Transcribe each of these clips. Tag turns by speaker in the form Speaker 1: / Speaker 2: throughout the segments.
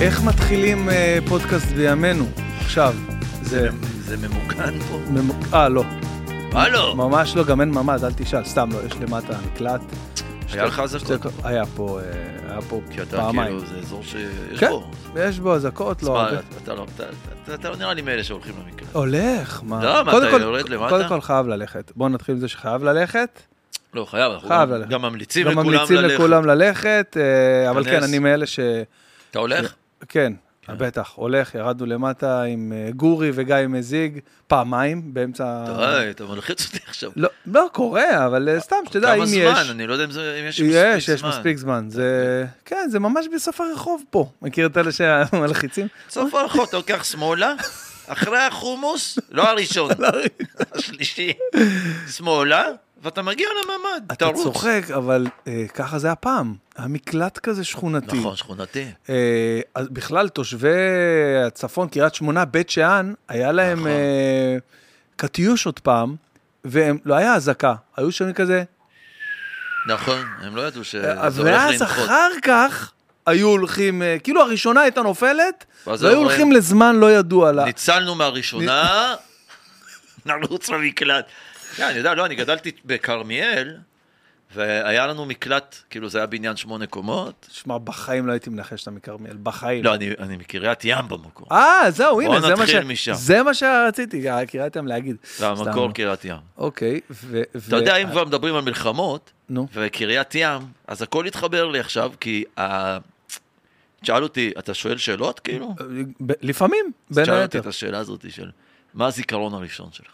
Speaker 1: איך מתחילים אה, פודקאסט בימינו? עכשיו. זה...
Speaker 2: זה ממוגן פה?
Speaker 1: ממ- אה, לא.
Speaker 2: הלו!
Speaker 1: ממש לא, גם אין ממ"ד, אל תשאל. סתם לא, יש למטה מקלט. שתי-
Speaker 2: לך אזעקות?
Speaker 1: שתי ק- היה פה, אה, היה פה
Speaker 2: כי אתה
Speaker 1: לא. פעמיים.
Speaker 2: כאילו, זה אזור שיש
Speaker 1: כן.
Speaker 2: בו.
Speaker 1: יש בו אזעקות, לא
Speaker 2: תשמע,
Speaker 1: הרבה.
Speaker 2: אתה לא- אתה- אתה- אתה לא נראה לי מאלה שהולכים למקרה.
Speaker 1: הולך, מה?
Speaker 2: לא, מה,
Speaker 1: קודם
Speaker 2: אתה
Speaker 1: כל-
Speaker 2: יורד למטה?
Speaker 1: קודם כל חייב ללכת. בואו נתחיל עם זה שחייב ללכת.
Speaker 2: לא, חייב, אנחנו
Speaker 1: חייב
Speaker 2: גם-
Speaker 1: ללכת.
Speaker 2: גם ממליצים
Speaker 1: גם
Speaker 2: לכולם ללכת.
Speaker 1: ממליצים לכולם ללכת, אה, אבל כן,
Speaker 2: תיכנס.
Speaker 1: אני מאלה ש...
Speaker 2: אתה הולך?
Speaker 1: כן, בטח, הולך, ירדנו למטה עם אה, גורי וגיא מזיג, פעמיים, באמצע... ה-
Speaker 2: די, אתה מלחיץ אותי עכשיו.
Speaker 1: לא, לא קורה, אבל אה, סתם, שתדע, אם
Speaker 2: כמה
Speaker 1: יש...
Speaker 2: זמן? אני לא יודע אם זה- אם יש מספיק זמן. אוקיי.
Speaker 1: יש, יש מספיק זמן. זה... כן, זה ממש בסוף הרחוב פה. מכיר את אלה שמלחיצים?
Speaker 2: סוף הרחוב, אתה לוקח שמאלה, אחרי החומוס, לא הראשון, השלישי, שמאלה, ואתה מגיע לממ"ד,
Speaker 1: אתה
Speaker 2: תרוץ.
Speaker 1: צוחק, אבל אה, ככה זה הפעם. המקלט כזה שכונתי.
Speaker 2: נכון, שכונתי.
Speaker 1: אה, אז בכלל, תושבי הצפון, קריית שמונה, בית שאן, היה להם
Speaker 2: נכון.
Speaker 1: אה, קטיושות פעם, והם, לא היה אזעקה, היו שומעים כזה,
Speaker 2: נכון, הם לא ידעו שזה הולך לנחות.
Speaker 1: אה, ואז אחר כך היו הולכים, אה, כאילו הראשונה הייתה נופלת,
Speaker 2: ואז
Speaker 1: והיו
Speaker 2: אומרים,
Speaker 1: הולכים לזמן לא ידוע לה.
Speaker 2: ניצלנו מהראשונה, נרוץ למקלט. כן, אני יודע, לא, אני גדלתי בכרמיאל, והיה לנו מקלט, כאילו זה היה בניין שמונה קומות.
Speaker 1: שמע, בחיים לא הייתי מנחש אותם מכרמיאל, בחיים.
Speaker 2: לא, אני, אני מקריית ים במקור.
Speaker 1: אה, זהו,
Speaker 2: בוא
Speaker 1: הנה, זה מה ש...
Speaker 2: נתחיל משם.
Speaker 1: זה מה שרציתי, קראתם להגיד.
Speaker 2: והמקור
Speaker 1: סתם.
Speaker 2: קריית ים.
Speaker 1: אוקיי, ו... אה,
Speaker 2: אתה יודע, אם כבר מדברים על מלחמות,
Speaker 1: נו,
Speaker 2: וקריית ים, אז הכל התחבר לי עכשיו, כי ה... תשאל אותי, אתה שואל שאלות כאילו?
Speaker 1: ב- לפעמים, אה, בין
Speaker 2: תשאל אותי
Speaker 1: היתר.
Speaker 2: את השאלה הזאת של מה הזיכרון הראשון שלך.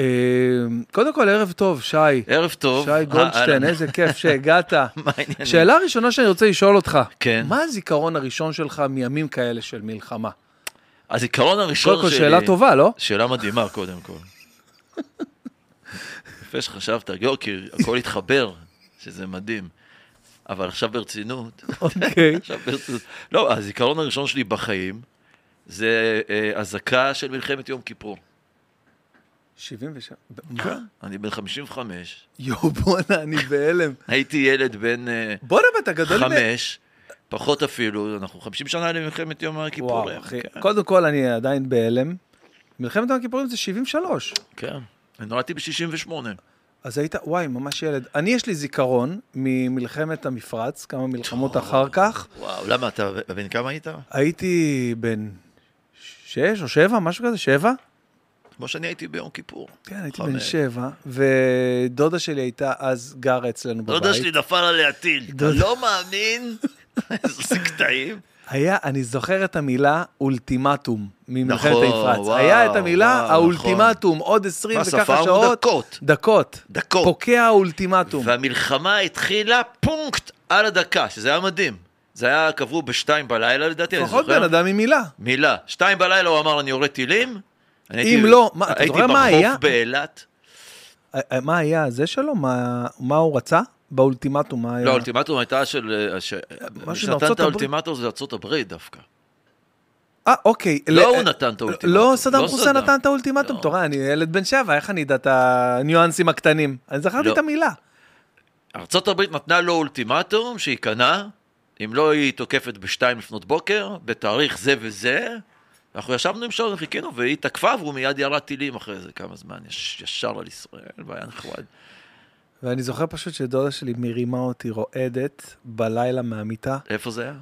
Speaker 1: אה, קודם כל, ערב טוב, שי.
Speaker 2: ערב טוב. אה,
Speaker 1: שי גולדשטיין,
Speaker 2: אהלן.
Speaker 1: איזה כיף שהגעת.
Speaker 2: מה העניינים?
Speaker 1: שאלה ראשונה שאני רוצה לשאול אותך,
Speaker 2: כן.
Speaker 1: מה הזיכרון הראשון שלך מימים כאלה של מלחמה?
Speaker 2: הזיכרון הראשון
Speaker 1: קודם כל, שאלה טובה, לא?
Speaker 2: שאלה מדהימה, קודם כל. יפה שחשבת, גיאור, כי הכל התחבר, שזה מדהים. אבל עכשיו ברצינות,
Speaker 1: אוקיי.
Speaker 2: עכשיו ברצינות. לא, הזיכרון הראשון שלי בחיים זה אה, אזעקה של מלחמת יום כיפור.
Speaker 1: 77. מה?
Speaker 2: אני בן 55,
Speaker 1: יואו, בואנה, אני בהלם.
Speaker 2: הייתי ילד בן אה,
Speaker 1: בואנה, ואתה גדול מ...
Speaker 2: חמש, פחות אפילו, אנחנו 50 שנה למלחמת יום הכיפורים.
Speaker 1: וואו, אחי.
Speaker 2: כן,
Speaker 1: קודם כל, אני עדיין בהלם. מלחמת יום הכיפורים זה 73.
Speaker 2: כן. אני נולדתי ב-68.
Speaker 1: אז היית, וואי, ממש ילד. אני, יש לי זיכרון ממלחמת המפרץ, כמה מלחמות אחר כך.
Speaker 2: וואו, למה אתה, בן כמה היית?
Speaker 1: הייתי בן שש או שבע, משהו כזה, שבע?
Speaker 2: כמו שאני הייתי ביום כיפור.
Speaker 1: כן, הייתי
Speaker 2: חמש.
Speaker 1: בן שבע, ודודה שלי הייתה אז גרה אצלנו בבית.
Speaker 2: דודה שלי נפל עליה טיל. אתה
Speaker 1: דודה-
Speaker 2: לא מאמין? איזה קטעים.
Speaker 1: היה, אני זוכר את המילה אולטימטום ממלחמת
Speaker 2: נכון,
Speaker 1: המפרץ.
Speaker 2: וואו,
Speaker 1: היה את המילה
Speaker 2: וואו,
Speaker 1: האולטימטום, עוד 20
Speaker 2: מה,
Speaker 1: וככה
Speaker 2: ספרנו
Speaker 1: שעות.
Speaker 2: דקות.
Speaker 1: דקות.
Speaker 2: דקות.
Speaker 1: פוקע האולטימטום.
Speaker 2: והמלחמה התחילה פונקט על הדקה, שזה היה מדהים. זה היה, קבעו בשתיים בלילה לדעתי, אני
Speaker 1: לפחות בן
Speaker 2: כן, זוכר.
Speaker 1: אדם עם מילה.
Speaker 2: מילה. שתיים בלילה הוא אמר, אני יורה טילים. אני
Speaker 1: אם
Speaker 2: הייתי-
Speaker 1: לא, מה, אתה זוכר מה
Speaker 2: הייתי
Speaker 1: היה?
Speaker 2: בחוף באילת.
Speaker 1: אה, מה היה הזה שלו? מה מה הוא רצה? באולטימטום, מה היה?
Speaker 2: לא, האולטימטום הייתה של... אה, ש- מי שנתן
Speaker 1: לארצות
Speaker 2: את האולטימטום זה ארצות הברית דווקא.
Speaker 1: אה, אוקיי.
Speaker 2: לא
Speaker 1: ל-
Speaker 2: הוא נתן את האולטימטום.
Speaker 1: לא סדאם
Speaker 2: לא
Speaker 1: חוסיין
Speaker 2: סדאם.
Speaker 1: נתן את האולטימטום.
Speaker 2: לא.
Speaker 1: אתה רואה, אני ילד בן שבע, איך אני אדע את הניואנסים הקטנים? אני זכרתי
Speaker 2: לא.
Speaker 1: את המילה.
Speaker 2: ארצות הברית נתנה לו אולטימטום שייכנע, אם לא היא תוקפת בשתיים לפנות בוקר, בתאריך זה וזה. אנחנו ישבנו עם שור וחיכינו, והיא תקפה, והוא מיד ירה טילים אחרי זה כמה זמן, יש, ישר על ישראל, והיה נחמד.
Speaker 1: ואני זוכר פשוט שדודה שלי מרימה אותי רועדת בלילה מהמיטה.
Speaker 2: איפה זה היה?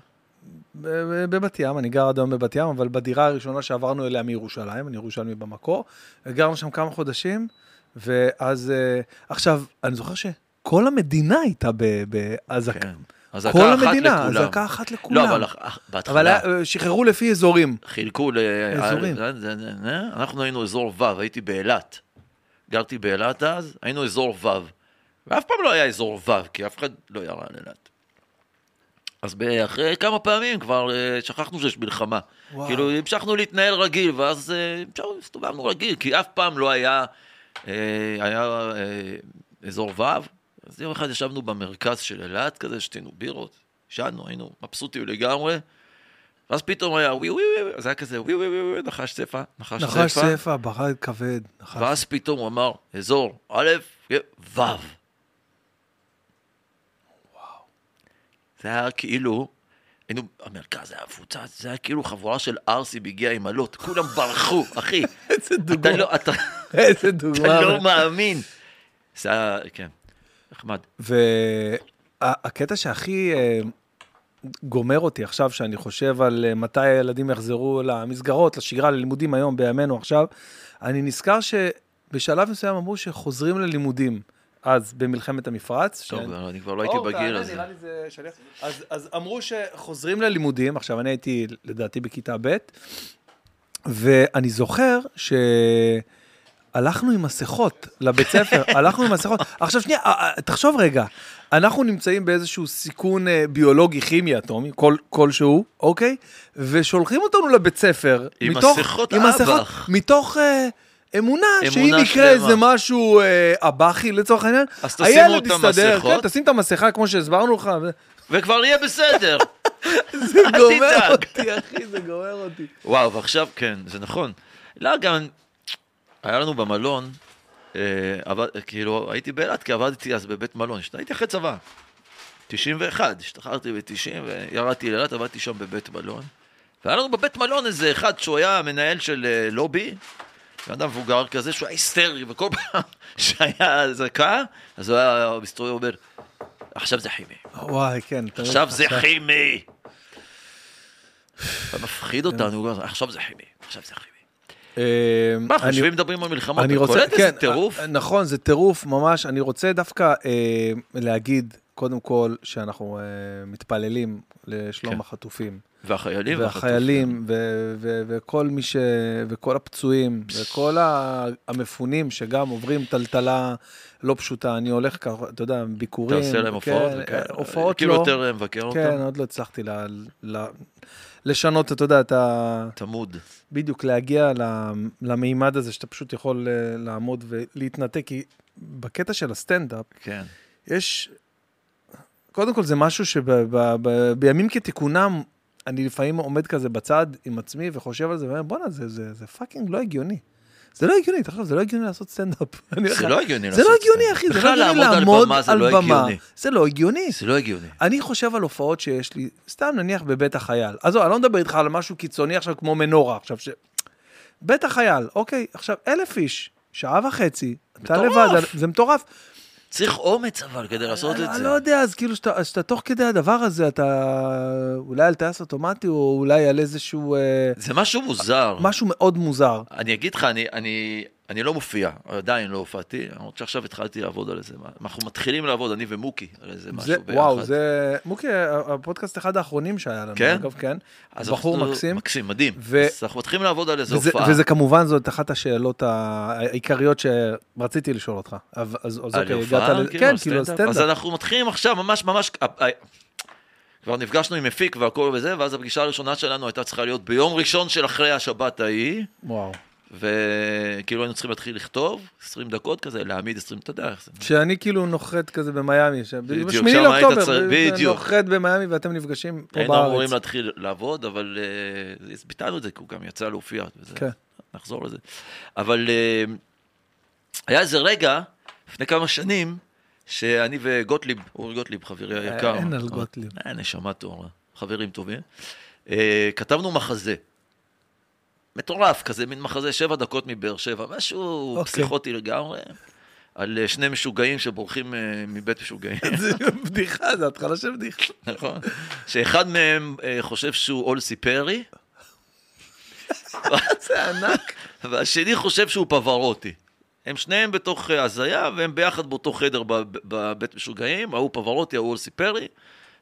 Speaker 1: ב- ב- בבת ים, אני גר עד היום בבת ים, אבל בדירה הראשונה שעברנו אליה מירושלים, אני ירושלמי במקור, גרנו שם כמה חודשים, ואז... אה, עכשיו, אני זוכר שכל המדינה הייתה ב- באזעקה.
Speaker 2: כן. אז
Speaker 1: כל
Speaker 2: אזעקה אחת
Speaker 1: המדינה,
Speaker 2: לכולם.
Speaker 1: אזעקה אחת לכולם.
Speaker 2: לא, אבל אח- אח-
Speaker 1: אבל
Speaker 2: בהתחלה
Speaker 1: היה- אה, שחררו לפי אזורים.
Speaker 2: חילקו ל...
Speaker 1: אזורים.
Speaker 2: אה, זה- זה- זה- אנחנו היינו אזור ו', הייתי באילת. גרתי באילת אז, היינו אזור ו'. ואף פעם לא היה אזור ו', כי אף אחד לא ירה על אילת. אז ב- אחרי כמה פעמים כבר אה, שכחנו שיש מלחמה.
Speaker 1: וואו.
Speaker 2: כאילו המשכנו להתנהל רגיל, ואז אה, המשכנו, הסתובבנו רגיל, כי אף פעם לא היה, אה, היה אה, אזור ו'. אז יום אחד ישבנו במרכז של אילת כזה, שתינו בירות, ישנו, היינו מבסוטים לגמרי. ואז פתאום היה ווי ווי ווי, אז היה כזה ווי ווי ווי, ווי, נחש צפה, נחש
Speaker 1: נחש
Speaker 2: צפה.
Speaker 1: שפע, ברד כבד. נחש-
Speaker 2: ואז פתאום הוא אמר, אזור א', ו'. זה היה כאילו, היינו, המרכז היה מפוצץ, זה היה כאילו חבורה של ארסיב הגיעה עם אלות, כולם ברחו, אחי.
Speaker 1: איזה דוגמה.
Speaker 2: אתה לא, אתה,
Speaker 1: איזה דוגמה.
Speaker 2: אתה לא מאמין. זה היה, כן, נחמד.
Speaker 1: והקטע שהכי אה, גומר אותי עכשיו, שאני חושב על אה, מתי הילדים יחזרו למסגרות, לשגרה, ללימודים היום, בימינו עכשיו, אני נזכר שבשלב מסוים אמרו שחוזרים ללימודים. אז במלחמת המפרץ.
Speaker 2: טוב,
Speaker 1: שאני-
Speaker 2: אני כבר לא הייתי
Speaker 1: אור,
Speaker 2: בגיל
Speaker 1: תענה,
Speaker 2: הזה.
Speaker 1: אוקיי, נראה לי זה שליח. אז, אז אמרו שחוזרים ללימודים, עכשיו אני הייתי לדעתי בכיתה ב', ואני זוכר שהלכנו עם מסכות לבית ספר, הלכנו עם מסכות. עכשיו שנייה, אה, אה, תחשוב רגע, אנחנו נמצאים באיזשהו סיכון אה, ביולוגי, כימי אטומי, כל, כלשהו, אוקיי? ושולחים אותנו לבית סבר.
Speaker 2: עם
Speaker 1: מתוך-
Speaker 2: מסכות
Speaker 1: עם
Speaker 2: אב"כ.
Speaker 1: מסכות, מתוך... אה, אמונה, שאם
Speaker 2: אמונה
Speaker 1: יקרה איזה
Speaker 2: שלמה.
Speaker 1: משהו אה, אב"כי לצורך העניין,
Speaker 2: אז תשימו
Speaker 1: הילד
Speaker 2: את
Speaker 1: יסתדר,
Speaker 2: המסכות.
Speaker 1: כן, תשים את המסכה כמו שהסברנו לך. ו-
Speaker 2: וכבר יהיה בסדר.
Speaker 1: זה גומר
Speaker 2: תדאג.
Speaker 1: אותי, אחי, זה גומר אותי.
Speaker 2: וואו, ועכשיו כן, זה נכון. לא, גם היה לנו במלון, אה, עבד, כאילו, הייתי באילת, כי עבדתי אז בבית מלון, שת- הייתי אחרי צבא. 91, השתחררתי ב-90 וירדתי לאילת, עבדתי שם בבית מלון. והיה לנו בבית מלון איזה אחד שהוא היה מנהל של אה, לובי, בן אדם מבוגר כזה, שהוא היה היסטרי, וכל פעם שהיה אזעקה, אז הוא היה מסתובב ואומר, עכשיו זה כימי,
Speaker 1: וואי, כן. אתה-
Speaker 2: עכשיו זה כימי. אתה מפחיד אותנו, הוא אומר, עכשיו זה כימי, עכשיו זה כימי.
Speaker 1: אה,
Speaker 2: מה,
Speaker 1: אני-
Speaker 2: חושבים מדברים על מלחמות,
Speaker 1: אני
Speaker 2: אתה
Speaker 1: רוצה,
Speaker 2: קולט
Speaker 1: כן,
Speaker 2: איזה טירוף?
Speaker 1: אה, נכון, זה טירוף ממש. אני רוצה דווקא אה, להגיד, קודם כל, שאנחנו אה, מתפללים לשלום
Speaker 2: כן.
Speaker 1: החטופים.
Speaker 2: והחיילים
Speaker 1: והחיילים, ו- ו- וכל מי ש... וכל הפצועים, וכל ה- המפונים שגם עוברים טלטלה לא פשוטה. אני הולך ככה, אתה יודע, ביקורים.
Speaker 2: תעשה להם
Speaker 1: כן,
Speaker 2: הופעות?
Speaker 1: אה,
Speaker 2: וכאלה.
Speaker 1: הופעות
Speaker 2: כאילו
Speaker 1: לא.
Speaker 2: יותר מבקר
Speaker 1: כן,
Speaker 2: אותם?
Speaker 1: עוד לא הצלחתי ל... ל... לשנות, אתה יודע, את ה...
Speaker 2: תמוד.
Speaker 1: בדיוק להגיע ל- למימד הזה שאתה פשוט יכול אה, לעמוד ולהתנתק, כי בקטע של הסטנדאפ,
Speaker 2: כן.
Speaker 1: יש... קודם כל, זה משהו שבימים כתיקונם, אני לפעמים עומד כזה בצד עם עצמי וחושב על זה, ואומר, בואנה, זה, זה, זה פאקינג לא הגיוני. זה לא הגיוני, תחשוב, זה לא הגיוני לעשות סטנדאפ. אני אומר לך,
Speaker 2: זה לא הגיוני
Speaker 1: זה לא
Speaker 2: לעשות
Speaker 1: הגיוני,
Speaker 2: סטנדאפ.
Speaker 1: אחי, זה לא
Speaker 2: בכלל
Speaker 1: הגיוני
Speaker 2: לעמוד על
Speaker 1: לעמוד
Speaker 2: במה זה
Speaker 1: על
Speaker 2: לא
Speaker 1: במה.
Speaker 2: הגיוני.
Speaker 1: זה לא הגיוני.
Speaker 2: זה לא הגיוני.
Speaker 1: אני חושב על הופעות שיש לי, סתם נניח בבית החייל. עזוב, אני לא מדבר איתך על משהו קיצוני עכשיו כמו מנורה, עכשיו ש... בית החייל, אוקיי, עכשיו אלף איש, שעה וחצי, אתה
Speaker 2: מטורף.
Speaker 1: לבד, זה מטורף.
Speaker 2: צריך אומץ אבל כדי לעשות
Speaker 1: אני
Speaker 2: את זה.
Speaker 1: לא יודע, אז כאילו שאתה, שאתה תוך כדי הדבר הזה, אתה אולי על טייס אוטומטי, או אולי על איזשהו אה,
Speaker 2: זה משהו מוזר.
Speaker 1: משהו מאוד מוזר.
Speaker 2: אני אגיד לך, אני, אני, אני לא מופיע, עדיין לא הופעתי, למרות שעכשיו התחלתי לעבוד על איזה, מה- אנחנו מתחילים לעבוד, אני ומוקי, על איזה משהו
Speaker 1: זה,
Speaker 2: ביחד.
Speaker 1: וואו, זה... מוקי, הפודקאסט אחד האחרונים שהיה לנו,
Speaker 2: כן?
Speaker 1: אגב, כן.
Speaker 2: אז
Speaker 1: בחור
Speaker 2: אנחנו-
Speaker 1: מקסים.
Speaker 2: מקסים, מדהים.
Speaker 1: ו-
Speaker 2: אז אנחנו מתחילים לעבוד על איזה
Speaker 1: וזה,
Speaker 2: הופעה.
Speaker 1: וזה כמובן, זאת אחת השאלות העיקריות שרציתי לשאול אותך. אז, אז אז
Speaker 2: על
Speaker 1: אוקיי,
Speaker 2: הופעה,
Speaker 1: הגעת ל...
Speaker 2: כאילו,
Speaker 1: כן,
Speaker 2: על
Speaker 1: כאילו,
Speaker 2: סטנדאפ.
Speaker 1: הסטנדאפ.
Speaker 2: אז אנחנו מתחילים עכשיו, ממש ממש, אה, אה, כבר נפגשנו עם מפיק והכל וזה, ואז הפגישה הראשונה שלנו הייתה צריכה להיות ביום ראשון של אחרי השבת ההיא,
Speaker 1: וואו.
Speaker 2: וכאילו היינו צריכים להתחיל לכתוב, 20 דקות כזה, להעמיד 20, אתה יודע איך זה.
Speaker 1: שאני כאילו נוחת כזה במיאמי, ש-
Speaker 2: בדיוק,
Speaker 1: בשמיני
Speaker 2: שם היית
Speaker 1: לאוקטובר,
Speaker 2: צריך- בדיוק.
Speaker 1: נוחת במיאמי ואתם נפגשים פה
Speaker 2: היינו אמורים
Speaker 1: בארץ.
Speaker 2: להתחיל לעבוד, אבל אה, אז ביטלנו את זה, כי הוא גם יצא להופיע. וזה-
Speaker 1: כן.
Speaker 2: נחזור לזה. אבל אה, היה איזה רגע, לפני כמה שנים, שאני וגוטליב, אורי גוטליב, חברי היקר.
Speaker 1: אין על גוטליב.
Speaker 2: אה, נשמה טהורה, חברים טובים. אה, כתבנו מחזה. מטורף, כזה מין מחזה שבע דקות מבאר שבע, משהו
Speaker 1: אוקיי.
Speaker 2: פסיכוטי לגמרי, על אה, שני משוגעים שבורחים אה, מבית משוגעים.
Speaker 1: זה בדיחה, זה התחלה של בדיחה.
Speaker 2: נכון. שאחד מהם אה, חושב שהוא אולסי פרי,
Speaker 1: זה ענק.
Speaker 2: והשני חושב שהוא פברוטי. הם שניהם בתוך אה, הזיה, והם ביחד באותו חדר ב- ב- בבית משוגעים, ההוא פברוטי, ההוא אולסי פרי,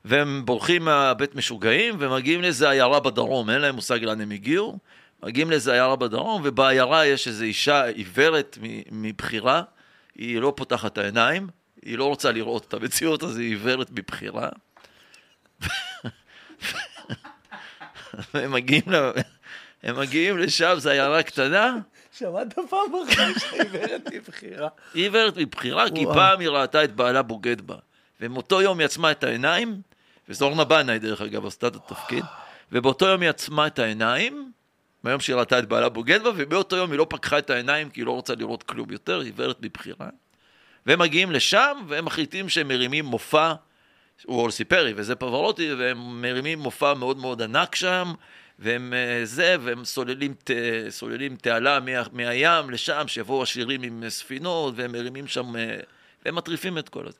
Speaker 2: והם בורחים מהבית משוגעים, ומגיעים לאיזה עיירה בדרום, אין להם מושג לאן הם הגיעו, מגיעים לאיזה עיירה בדרום, ובעיירה יש איזו אישה עיוורת מ- מבחירה, היא לא פותחת את העיניים, היא לא רוצה לראות את המציאות, אז היא עיוורת מבחירה. והם מגיעים, ל... הם מגיעים לשם, זו עיירה קטנה,
Speaker 1: שמעת פעם אחת שעיוורת היא בחירה.
Speaker 2: היא עיוורת מבחירה, כי
Speaker 1: וואו.
Speaker 2: פעם היא ראתה את בעלה בוגד בה. ומאותו יום היא עצמה את העיניים, וזו אורנה בנאי דרך אגב, עשתה את התפקיד, ובאותו יום היא עצמה את העיניים, מהיום שהיא ראתה את בעלה בוגד בה, ובאותו יום היא לא פקחה את העיניים כי היא לא רוצה לראות כלום יותר, היא עיוורת מבחירה. והם מגיעים לשם, והם מחליטים שהם מרימים מופע הוא אולסי פרי וזה פברוטי, והם מרימים מופע מאוד מאוד ענק שם, והם אה, זה, והם סוללים, ת, סוללים תעלה מה, מהים לשם, שיבואו עשירים עם ספינות, והם מרימים שם, אה, והם מטריפים את כל זה.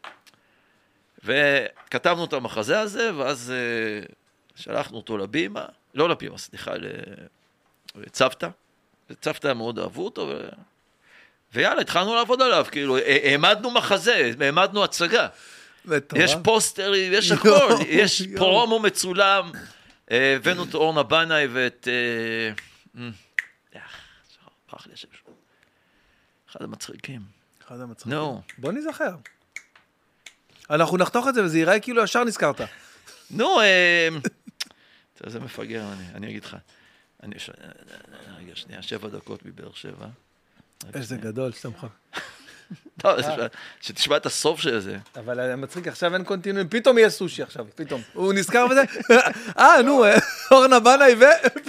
Speaker 2: וכתבנו את המחזה הזה, ואז אה, שלחנו אותו לבימה, לא לבימה, סליחה, ל- לצוותא. וצוותא מאוד אהבו אותו, ו... ויאללה, התחלנו לעבוד עליו, כאילו, ה- העמדנו מחזה, העמדנו הצגה.
Speaker 1: מטורף.
Speaker 2: יש פוסטרים, יש הכל,
Speaker 1: יואו,
Speaker 2: יש
Speaker 1: יואו.
Speaker 2: פרומו מצולם. אה, הבאנו את אורנה בנאי ואת... אה, אמ, איך, ברח לי השם שלו. אחד המצחיקים.
Speaker 1: אחד המצחיקים.
Speaker 2: נו,
Speaker 1: בוא נזכר. אנחנו נחתוך את זה וזה ייראה כאילו ישר נזכרת.
Speaker 2: אוקיי. נו, אה, אתה זה מפגר, אני- אני אגיד לך. אני... ש- אה, רגע, שנייה, שבע דקות מבאר שבע. רק
Speaker 1: איזה
Speaker 2: שנייה.
Speaker 1: גדול, שאתה מחכה.
Speaker 2: לא,
Speaker 1: אה.
Speaker 2: זה- שתשמע את הסוף של זה.
Speaker 1: אבל היה מצחיק, עכשיו אין קונטינואים, פתאום יהיה סושי עכשיו, פתאום. הוא נזכר בזה, אה, נו, אורנה בנאי ו...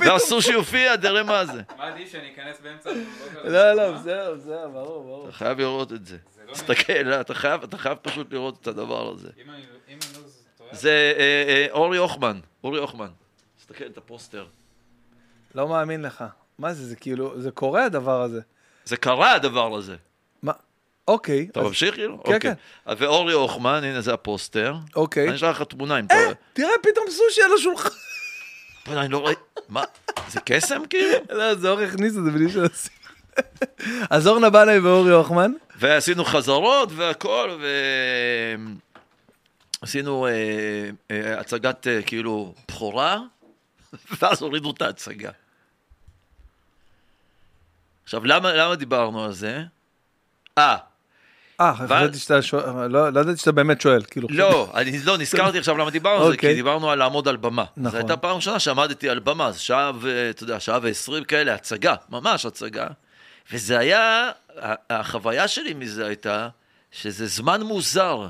Speaker 2: לא, סושי הופיע, תראה מה זה.
Speaker 3: מה עדיף שאני אכנס באמצע הפרולוג על
Speaker 1: לא, לא,
Speaker 3: הבמה?
Speaker 1: זהו, זהו, ברור, ברור.
Speaker 2: אתה חייב לראות את זה.
Speaker 3: זה לא
Speaker 2: תסתכל, לא, אתה חייב- אתה חייב פשוט לראות את הדבר הזה.
Speaker 3: אם אני אם אני לא טועה,
Speaker 2: זה אה, אה, אורי הוחמן, אורי הוחמן. תסתכל את הפוסטר.
Speaker 1: לא מאמין לך. מה זה, זה כאילו, זה קורה הדבר הזה.
Speaker 2: זה קרה הדבר הזה.
Speaker 1: מה? אוקיי,
Speaker 2: אתה
Speaker 1: אז-
Speaker 2: ממשיך כאילו?
Speaker 1: כן,
Speaker 2: אוקיי. אז ואורי הוחמן, הנה זה הפוסטר.
Speaker 1: אוקיי.
Speaker 2: אני אשלח לך תמונה אם אתה רואה.
Speaker 1: תראה, פתאום סושי על השולחן.
Speaker 2: בוא'נה, אני לא רואה... מה? זה קסם כאילו?
Speaker 1: לא, זה אור הכניס את זה בלי שעושים. אז אורנה בנאי ואורי הוחמן.
Speaker 2: ועשינו חזרות והכל, ו... עשינו אה, אה, הצגת אה, כאילו בכורה, ואז הורידו את ההצגה. עכשיו, למה, למה דיברנו על זה? אה,
Speaker 1: אה,
Speaker 2: ואז-
Speaker 1: חשבתי שאתה שואל, לא לא ידעתי שאתה באמת שואל, כאילו.
Speaker 2: לא, אני לא נזכרתי עכשיו למה דיברנו על זה,
Speaker 1: אוקיי.
Speaker 2: כי דיברנו על לעמוד על במה.
Speaker 1: נכון.
Speaker 2: זו הייתה פעם ראשונה שעמדתי על במה, אז שעה, ו- אתה יודע, שעה ועשרים כאלה, הצגה, ממש הצגה. וזה היה, ה- החוויה שלי מזה הייתה, שזה זמן מוזר.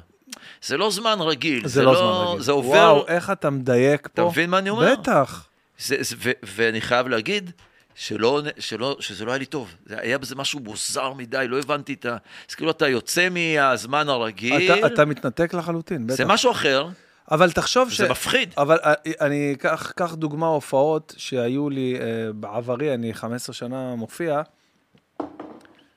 Speaker 2: זה לא זמן רגיל.
Speaker 1: זה לא זמן רגיל.
Speaker 2: זה עובר...
Speaker 1: וואו, איך אתה מדייק פה.
Speaker 2: אתה מבין מה אני אומר?
Speaker 1: בטח.
Speaker 2: זה, זה, ו, ואני חייב להגיד שלא, שלא, שזה לא היה לי טוב. זה היה בזה משהו מוזר מדי, לא הבנתי את ה... אז כאילו אתה יוצא מהזמן הרגיל,
Speaker 1: אתה- אתה מתנתק לחלוטין, בטח.
Speaker 2: זה משהו אחר,
Speaker 1: אבל תחשוב ש...
Speaker 2: זה מפחיד.
Speaker 1: אבל אה, אני אקח אקח דוגמה הופעות שהיו לי אה, בעברי, אני 15 שנה מופיע.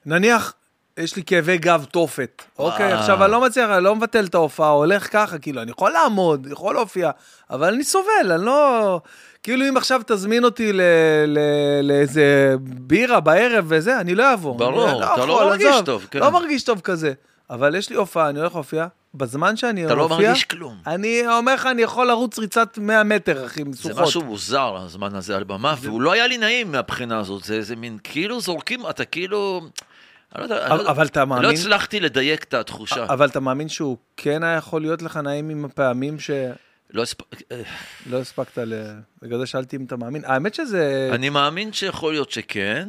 Speaker 1: נניח, יש לי כאבי גב תופת, אוקיי? עכשיו אני לא מצליח, אני לא מבטל את ההופעה, הולך ככה, כאילו, אני יכול לעמוד, יכול להופיע, אבל אני סובל, אני לא... כאילו, אם עכשיו תזמין אותי ל- ל- לאיזה בירה בערב וזה, אני לא אבוא.
Speaker 2: ברור,
Speaker 1: אני
Speaker 2: אתה לא
Speaker 1: יכול,
Speaker 2: מרגיש
Speaker 1: עזוב,
Speaker 2: טוב, כן.
Speaker 1: לא מרגיש טוב כזה. אבל יש לי הופעה, אני הולך להופיע, בזמן שאני
Speaker 2: אתה
Speaker 1: מופיע... אה,
Speaker 2: לא מרגיש כלום.
Speaker 1: אני אומר לך, אני יכול לרוץ ריצת 100 מטר, אחי,
Speaker 2: זה
Speaker 1: משוכות.
Speaker 2: משהו מוזר, הזמן הזה על במה, והוא לא היה לי נעים מהבחינה הזאת. זה איזה מין, כאילו זורקים, אתה כאילו... אני לא יודע, אני לא
Speaker 1: אבל,
Speaker 2: יודע-
Speaker 1: אבל אתה
Speaker 2: אני לא
Speaker 1: מאמין,
Speaker 2: הצלחתי לדייק את התחושה.
Speaker 1: אבל אתה מאמין שהוא כן היה יכול להיות לך נעים עם הפעמים שלא
Speaker 2: לא הספ- אה,
Speaker 1: הספקת ל... בגלל זה שאלתי אם אתה מאמין. האמת שזה... אני,
Speaker 2: אני מאמין שיכול להיות שכן,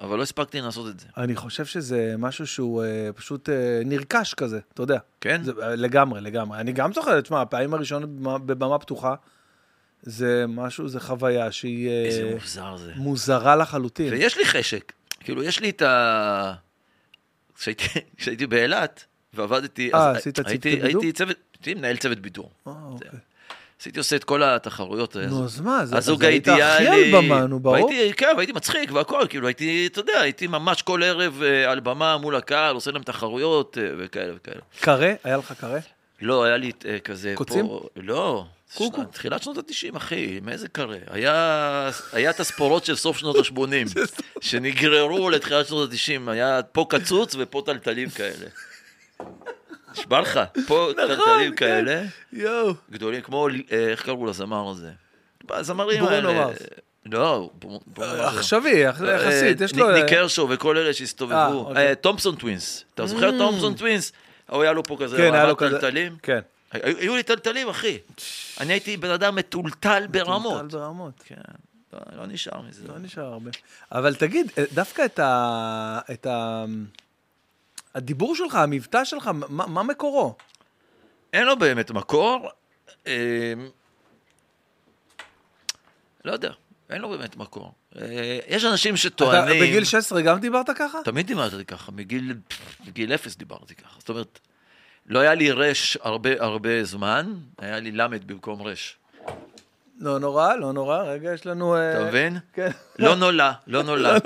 Speaker 2: אבל לא הספקתי לעשות את זה.
Speaker 1: אני חושב שזה משהו שהוא אה, פשוט אה, נרכש כזה, אתה יודע.
Speaker 2: כן?
Speaker 1: זה, אה, לגמרי, לגמרי. אני גם זוכר, תשמע, הפעמים הראשונות בבמה- בבמה פתוחה, זה משהו, זה חוויה שהיא אה,
Speaker 2: איזה מוזר זה.
Speaker 1: מוזרה לחלוטין.
Speaker 2: ויש לי חשק. כאילו, יש לי את ה... כשהייתי- כשהייתי באילת, ועבדתי,
Speaker 1: אה,
Speaker 2: אז
Speaker 1: עשית צוותי
Speaker 2: הייתי-
Speaker 1: בידור?
Speaker 2: הייתי צוות, הייתי מנהל צוות בידור.
Speaker 1: אה, אוקיי.
Speaker 2: עשיתי עושה את כל התחרויות. אז-
Speaker 1: נו, אז מה, זה- אז
Speaker 2: הזוג
Speaker 1: היית
Speaker 2: האידיאלי.
Speaker 1: הכי על במה, נו, ברור.
Speaker 2: והייתי, כן, והייתי מצחיק והכל, כאילו הייתי, אתה יודע, הייתי ממש כל ערב אה, על במה מול הקהל, עושה להם תחרויות אה, וכאלה וכאלה.
Speaker 1: קרה? היה לך קרה?
Speaker 2: לא, היה לי אה, כזה...
Speaker 1: קוצים?
Speaker 2: פה- לא.
Speaker 1: קוקו.
Speaker 2: שנת- תחילת שנות ה-90, אחי, מאיזה קרה? היה היה את הספורות של סוף שנות ה-80, שנגררו לתחילת שנות ה-90, היה פה קצוץ ופה טלטלים כאלה. נשבע לך, פה טלטלים
Speaker 1: כן.
Speaker 2: כאלה.
Speaker 1: יואו.
Speaker 2: גדולים, כמו, אה, איך קראו לזמר הזה? הזמרים
Speaker 1: ברונו
Speaker 2: האלה.
Speaker 1: מרס.
Speaker 2: לא, ברונו מרס. לא.
Speaker 1: עכשווי, אח-
Speaker 2: אה,
Speaker 1: יחסית, יש לו...
Speaker 2: ניק-
Speaker 1: אה,
Speaker 2: ניק קרשו וכל אלה
Speaker 1: אה,
Speaker 2: שהסתובבו.
Speaker 1: אוקיי. Mm.
Speaker 2: אה, תומפסון טווינס. אתה זוכר תומפסון טווינס? הוא היה לו פה כזה,
Speaker 1: כן, היה לו
Speaker 2: רמת
Speaker 1: כזה...
Speaker 2: טלטלים.
Speaker 1: כן.
Speaker 2: היו היו לי טלטלים, אחי. אני הייתי בן אדם מטולטל ברמות.
Speaker 1: טלטל ברמות.
Speaker 2: כן, לא- לא נשאר מזה.
Speaker 1: לא נשאר הרבה. אבל תגיד, אה, דווקא את ה... את ה... הדיבור שלך, המבטא שלך, מה, מה מקורו?
Speaker 2: אין לו באמת מקור. אמ, לא יודע, אין לו באמת מקור. אה, יש אנשים
Speaker 1: אתה
Speaker 2: שטוענים...
Speaker 1: בגיל 16 גם דיברת ככה?
Speaker 2: תמיד דיברתי ככה, מגיל, מגיל אפס דיברתי ככה. זאת אומרת, לא היה לי רש הרבה הרבה זמן, היה לי למד במקום רש.
Speaker 1: לא נורא, לא נורא, רגע, יש לנו... אה,
Speaker 2: אתה מבין?
Speaker 1: כן.
Speaker 2: לא נולה, לא נולה.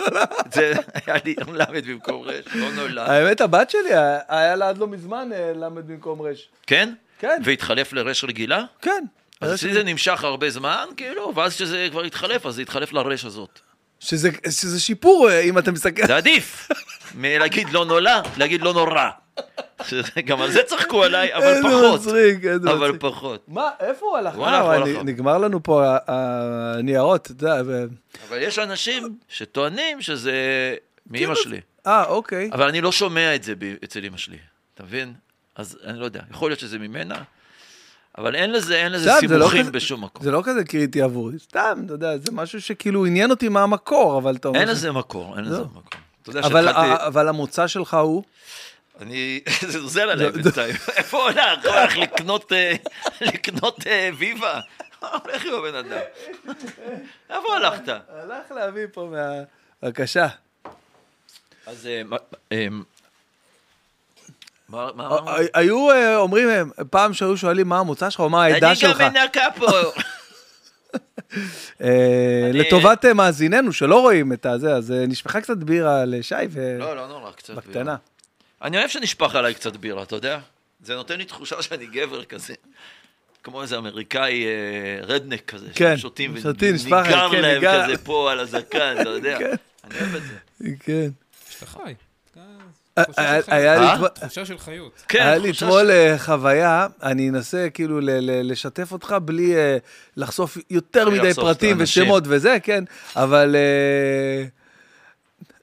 Speaker 2: זה היה לי למד במקום רש, לא נולה.
Speaker 1: האמת, הבת שלי, היה- היה לה עד לא מזמן אה, למד במקום רש.
Speaker 2: כן?
Speaker 1: כן.
Speaker 2: והתחלף לרש רגילה?
Speaker 1: כן.
Speaker 2: אז אצלי זה נמשך הרבה זמן, כאילו, ואז כשזה כבר התחלף, אז זה התחלף לרש הזאת.
Speaker 1: שזה, שזה שיפור, אה, אם אתה מסתכל.
Speaker 2: זה עדיף מלהגיד לא נולה, להגיד לא נורא. שזה- גם על זה צחקו עליי, אבל
Speaker 1: איזה
Speaker 2: פחות.
Speaker 1: מצחיק, איזה
Speaker 2: אבל
Speaker 1: מצחיק.
Speaker 2: פחות.
Speaker 1: מה, איפה הוא הלך?
Speaker 2: הוא הלך,
Speaker 1: אה,
Speaker 2: הוא
Speaker 1: נ-
Speaker 2: הלך.
Speaker 1: נגמר לנו פה ה- ה- הניירות, אתה יודע. ו-
Speaker 2: אבל יש אנשים שטוענים שזה מאימא שלי.
Speaker 1: אה, אוקיי.
Speaker 2: אבל אני לא שומע את זה ב- אצל אמא שלי, אתה מבין? אז אני לא יודע, יכול להיות שזה ממנה, אבל אין לזה, אין לזה
Speaker 1: סתם, זה לא
Speaker 2: סיבוכים
Speaker 1: כזה-
Speaker 2: בשום מקום.
Speaker 1: זה לא כזה קריטי עבורי, סתם, אתה יודע, זה משהו שכאילו עניין אותי מה המקור, אבל אתה אומר...
Speaker 2: אין
Speaker 1: ש-
Speaker 2: לזה מקור, אין לזה
Speaker 1: לא.
Speaker 2: מקור. אתה יודע
Speaker 1: אבל,
Speaker 2: שהתחלתי,
Speaker 1: ה- אבל המוצא שלך הוא?
Speaker 2: אני, זה נוזל עליי בינתיים. איפה הוא הולך? הוא הולך לקנות, אה, לקנות אה, ויווה? מה הולך עם הבן אדם? איפה הלכת?
Speaker 1: הלך להביא פה מה... בבקשה.
Speaker 2: אז אה, מה- אה, מה מה
Speaker 1: ה-
Speaker 2: אמרנו?
Speaker 1: ה- היו אה, אומרים, אה, פעם שהיו שואלים מה המוצא שלך או מה העדה שלך.
Speaker 2: אני גם מנקה פה.
Speaker 1: אה,
Speaker 2: אני-
Speaker 1: לטובת אה, מאזיננו שלא רואים את הזה, אז אה, נשפכה קצת בירה אה, לשי,
Speaker 2: לא, לא נורא, קצת.
Speaker 1: ובקטנה.
Speaker 2: אני אוהב שנשפך עליי קצת בירה, אתה יודע? זה נותן לי תחושה שאני גבר כזה. כמו איזה אמריקאי אה, רדנק כזה,
Speaker 1: כן,
Speaker 2: ששותים
Speaker 1: שותים, נשפך עליהם, כן,
Speaker 2: להם
Speaker 1: ניגר.
Speaker 2: כזה פה על הזקן, אתה יודע. אני אוהב את זה.
Speaker 1: כן.
Speaker 3: שאתה חי.
Speaker 1: אה,
Speaker 3: אה, תחושה
Speaker 1: אה,
Speaker 3: של
Speaker 1: היה לי
Speaker 2: אה?
Speaker 1: אתמול-
Speaker 3: חיות. תחושה של חיות.
Speaker 2: כן,
Speaker 1: היה לי
Speaker 2: תחושה
Speaker 1: אתמול
Speaker 2: ש-
Speaker 1: אה, חוויה, אני אנסה כאילו ל- ל- לשתף אותך בלי אה, לחשוף יותר
Speaker 2: בלי
Speaker 1: מדי
Speaker 2: לחשוף את
Speaker 1: פרטים
Speaker 2: האנשים.
Speaker 1: ושמות וזה, כן, אבל אה,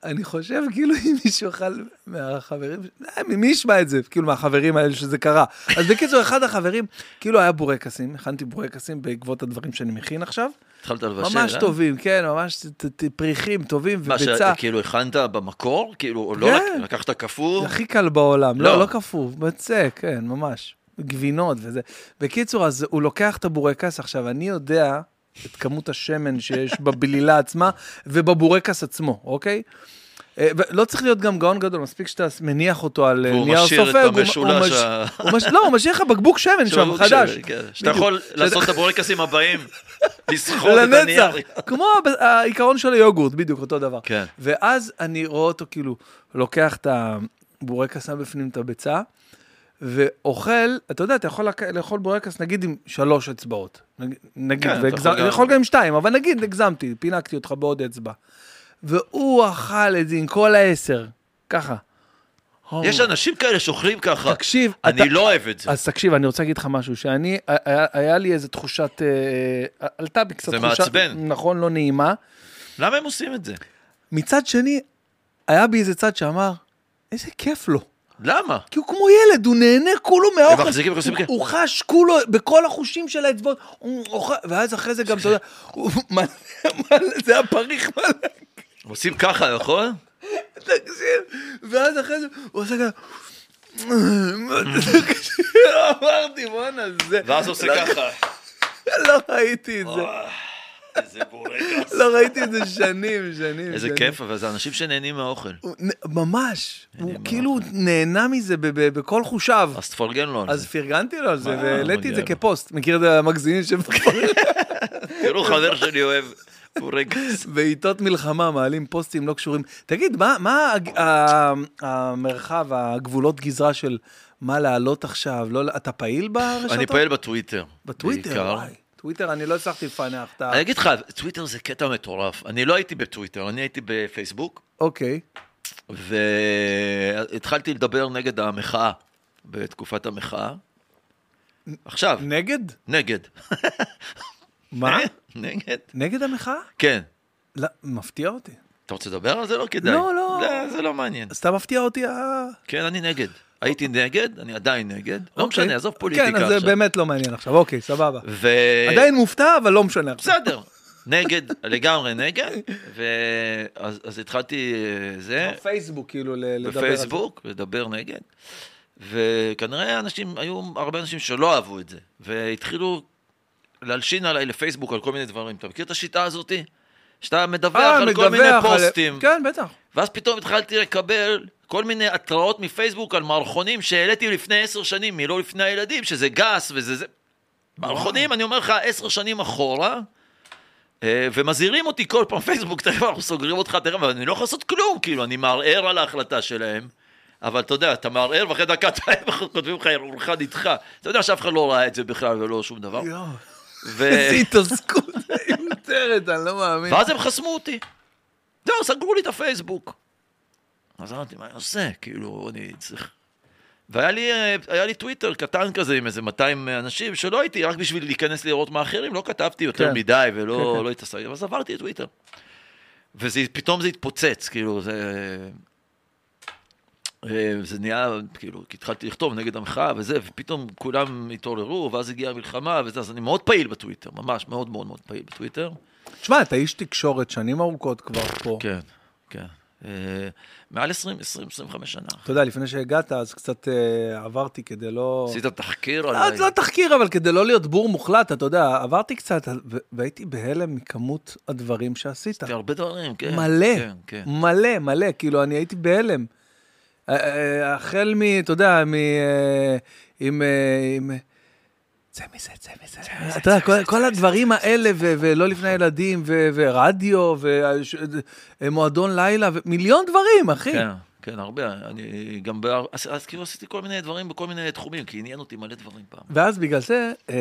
Speaker 1: אני חושב כאילו אם מישהו אכל מהחברים, אה, מי ישמע את זה, כאילו מהחברים האלה שזה קרה. אז בקיצור, אחד החברים, כאילו היה בורקסים, הכנתי בורקסים בעקבות הדברים שאני מכין עכשיו,
Speaker 2: התחלת לבשל,
Speaker 1: ממש
Speaker 2: אה?
Speaker 1: טובים, כן, ממש ת- ת- פריחים טובים
Speaker 2: מה,
Speaker 1: וביצה.
Speaker 2: שכאילו הכנת במקור? כאילו, או לא
Speaker 1: כן.
Speaker 2: לק- לקחת קפוא?
Speaker 1: זה הכי קל בעולם, לא,
Speaker 2: לא.
Speaker 1: לא קפוא, בצק, כן, ממש. גבינות וזה. בקיצור, אז הוא לוקח את הבורקס, עכשיו, אני יודע את כמות השמן שיש בבלילה עצמה ובבורקס עצמו, אוקיי? אה, ו- לא צריך להיות גם גאון גדול, מספיק שאתה מניח אותו על אה,
Speaker 2: והוא
Speaker 1: נייר סופג.
Speaker 2: משאיר את
Speaker 1: הוא מ-
Speaker 2: המשולש
Speaker 1: הוא מש-
Speaker 2: ה-
Speaker 1: הוא מש- לא, הוא משאיר לך בקבוק שמן שם,
Speaker 2: שהוא-
Speaker 1: חדש.
Speaker 2: כן, שאתה
Speaker 1: בדיוק.
Speaker 2: יכול
Speaker 1: שזה-
Speaker 2: לעשות את הבורקסים הבאים, לסחוט את הנייר.
Speaker 1: לנצח, כמו הב- העיקרון של היוגורט, בדיוק אותו דבר.
Speaker 2: כן.
Speaker 1: ואז אני רואה אותו כאילו, לוקח את הבורקס, שם בפנים את הביצה, ואוכל, אתה יודע, אתה יכול לק- לאכול בורקס נגיד עם שלוש אצבעות. נג- נגיד,
Speaker 2: כן, אתה
Speaker 1: והגז-
Speaker 2: יכול גם-
Speaker 1: אני יכול גם עם שתיים, אבל נגיד הגזמתי, פינקתי אותך בעוד אצבע. והוא אכל את זה עם כל העשר, ככה.
Speaker 2: יש אנשים כאלה שאוכלים ככה.
Speaker 1: תקשיב, אתה-
Speaker 2: אני לא אוהב את זה.
Speaker 1: אז תקשיב, אני רוצה להגיד לך משהו, שאני, היה, היה לי איזה תחושת, אה, עלתה בי קצת
Speaker 2: זה
Speaker 1: תחושה,
Speaker 2: מעצבן.
Speaker 1: נכון, לא נעימה.
Speaker 2: למה הם עושים את זה?
Speaker 1: מצד שני, היה בי איזה צד שאמר, איזה כיף לו.
Speaker 2: למה?
Speaker 1: כי הוא כמו ילד, הוא נהנה כולו מהאוכל.
Speaker 2: מחזיקים, עושים
Speaker 1: הוא-
Speaker 2: כן.
Speaker 1: הוא חש כולו, בכל החושים של האצבעות, הוא אוכל, ואז אחרי זה גם, אתה יודע, הוא מלא, מלא, זה היה פריך מלא,
Speaker 2: הם עושים ככה, נכון?
Speaker 1: תקשיב. ואז אחרי זה, הוא עושה ככה, אמרתי, בואנה, זה,
Speaker 2: ואז עושה ככה.
Speaker 1: לא ראיתי את זה,
Speaker 2: אה, איזה בורקס.
Speaker 1: לא ראיתי את זה שנים, שנים.
Speaker 2: איזה
Speaker 1: שנים.
Speaker 2: כיף, אבל זה אנשים שנהנים מהאוכל.
Speaker 1: הוא נ- ממש, הוא
Speaker 2: מה
Speaker 1: כאילו נהנה מזה ב- ב- בכל חושיו.
Speaker 2: אז תפרגן לו על
Speaker 1: אז
Speaker 2: זה.
Speaker 1: פרגנתי לו על זה,
Speaker 2: אוקיי. מה,
Speaker 1: והעליתי
Speaker 2: מגיע
Speaker 1: את זה
Speaker 2: לו.
Speaker 1: כפוסט. מכיר את המגזינים שמפרגנים?
Speaker 2: תראו, חבר שלי אוהב בורקס.
Speaker 1: בעיתות מלחמה מעלים פוסטים לא קשורים. תגיד, מה- מה הג- ה- המרחב, הגבולות גזרה של מה לעלות עכשיו? לא- אתה פעיל ברשתות?
Speaker 2: אני פעיל בטוויטר.
Speaker 1: בטוויטר,
Speaker 2: בעיקר.
Speaker 1: וואי. טוויטר, אני לא הצלחתי לפענח את ה...
Speaker 2: אני אגיד לך, טוויטר זה קטע מטורף. אני לא הייתי בטוויטר, אני הייתי בפייסבוק,
Speaker 1: אוקיי.
Speaker 2: והתחלתי לדבר נגד המחאה, בתקופת המחאה. עכשיו,
Speaker 1: נגד?
Speaker 2: נגד.
Speaker 1: מה?
Speaker 2: אה? נגד.
Speaker 1: נגד המחאה?
Speaker 2: כן.
Speaker 1: לא, מפתיע אותי.
Speaker 2: אתה רוצה לדבר על זה? לא כדאי.
Speaker 1: לא, לא.
Speaker 2: זה לא מעניין.
Speaker 1: סתם מפתיע אותי אה, ה...
Speaker 2: כן, אני נגד. הייתי נגד, אני עדיין נגד. לא
Speaker 1: אוקיי.
Speaker 2: משנה, עזוב פוליטיקה
Speaker 1: כן,
Speaker 2: עכשיו.
Speaker 1: אז זה באמת לא מעניין עכשיו, אוקיי, סבבה.
Speaker 2: ו...
Speaker 1: עדיין מופתע, אבל לא משנה עכשיו.
Speaker 2: בסדר. נגד, לגמרי נגד. ואז אז התחלתי אה, זה,
Speaker 1: בפייסבוק, כאילו, ל- לדבר על זה.
Speaker 2: בפייסבוק, לדבר נגד. וכנראה אנשים, היו הרבה אנשים שלא אהבו את זה. והתחילו להלשין עליי לפייסבוק על כל מיני דברים. אתה מכיר את השיטה הזאתי? שאתה מדווח
Speaker 1: אה,
Speaker 2: על כל מיני
Speaker 1: מדווח על-
Speaker 2: פוסטים.
Speaker 1: כן, בטח.
Speaker 2: ואז פתאום התחלתי לקבל כל מיני התראות מפייסבוק על מערכונים שהעליתי לפני עשר שנים, מלא לפני הילדים, שזה גס וזה זה. מערכונים, אני אומר לך, עשר שנים אחורה, אה, ומזהירים אותי כל פעם, פייסבוק, תכף אנחנו סוגרים אותך, תכף, אבל אני לא יכול לעשות כלום, כאילו, אני מערער על ההחלטה שלהם, אבל אתה יודע, אתה מערער, ואחרי דקה אתה- הם כותבים לך, ערעורך נדחה. אתה יודע שאף אחד לא ראה את זה בכלל ולא שום דבר.
Speaker 1: יואו,
Speaker 2: ו-
Speaker 1: איזה התעסקות מיותרת, אני לא מאמין.
Speaker 2: ואז הם חסמו אותי. זהו, סגרו לי את הפייסבוק. אז אמרתי, מה אני עושה? כאילו, אני צריך... והיה לי, אה, היה לי טוויטר קטן כזה עם איזה 200 אנשים שלא הייתי, רק בשביל להיכנס לראות מה אחרים, לא כתבתי יותר
Speaker 1: כן.
Speaker 2: מדי ולא
Speaker 1: כן, כן.
Speaker 2: לא התעסקתי, אז עברתי את טוויטר. ופתאום זה התפוצץ, כאילו, זה... אה, זה נהיה, כאילו, כי התחלתי לכתוב נגד המחאה וזה, ופתאום כולם התעוררו, ואז הגיעה המלחמה וזה, אז אני מאוד פעיל בטוויטר, ממש, מאוד מאוד מאוד פעיל בטוויטר.
Speaker 1: תשמע, אתה איש תקשורת שנים ארוכות כבר פה.
Speaker 2: כן, כן. אה, מעל 20, 20, 25 שנה.
Speaker 1: אתה יודע, לפני שהגעת, אז קצת אה, עברתי כדי לא...
Speaker 2: עשית תחקיר
Speaker 1: לא,
Speaker 2: עליי.
Speaker 1: זה לא תחקיר, אבל כדי לא להיות בור מוחלט, אתה יודע, עברתי קצת, ו- והייתי בהלם מכמות הדברים שעשית.
Speaker 2: עשיתי הרבה דברים, כן.
Speaker 1: מלא,
Speaker 2: כן, כן.
Speaker 1: מלא, מלא, כאילו, אני הייתי בהלם. אה, אה, החל מ, אתה יודע, מ... אה, עם... אה, עם- צא מזה, צא מזה. אתה יודע, כל- כל הדברים האלה, ו- ולא לפני ילדים, ו- ורדיו, ומועדון לילה, ומיליון דברים, אחי.
Speaker 2: כן, כן, הרבה. אני גם בער... אז, אז כאילו עשיתי כל מיני דברים בכל מיני תחומים, כי עניין אותי מלא דברים פעם.
Speaker 1: ואז בגלל זה, אה,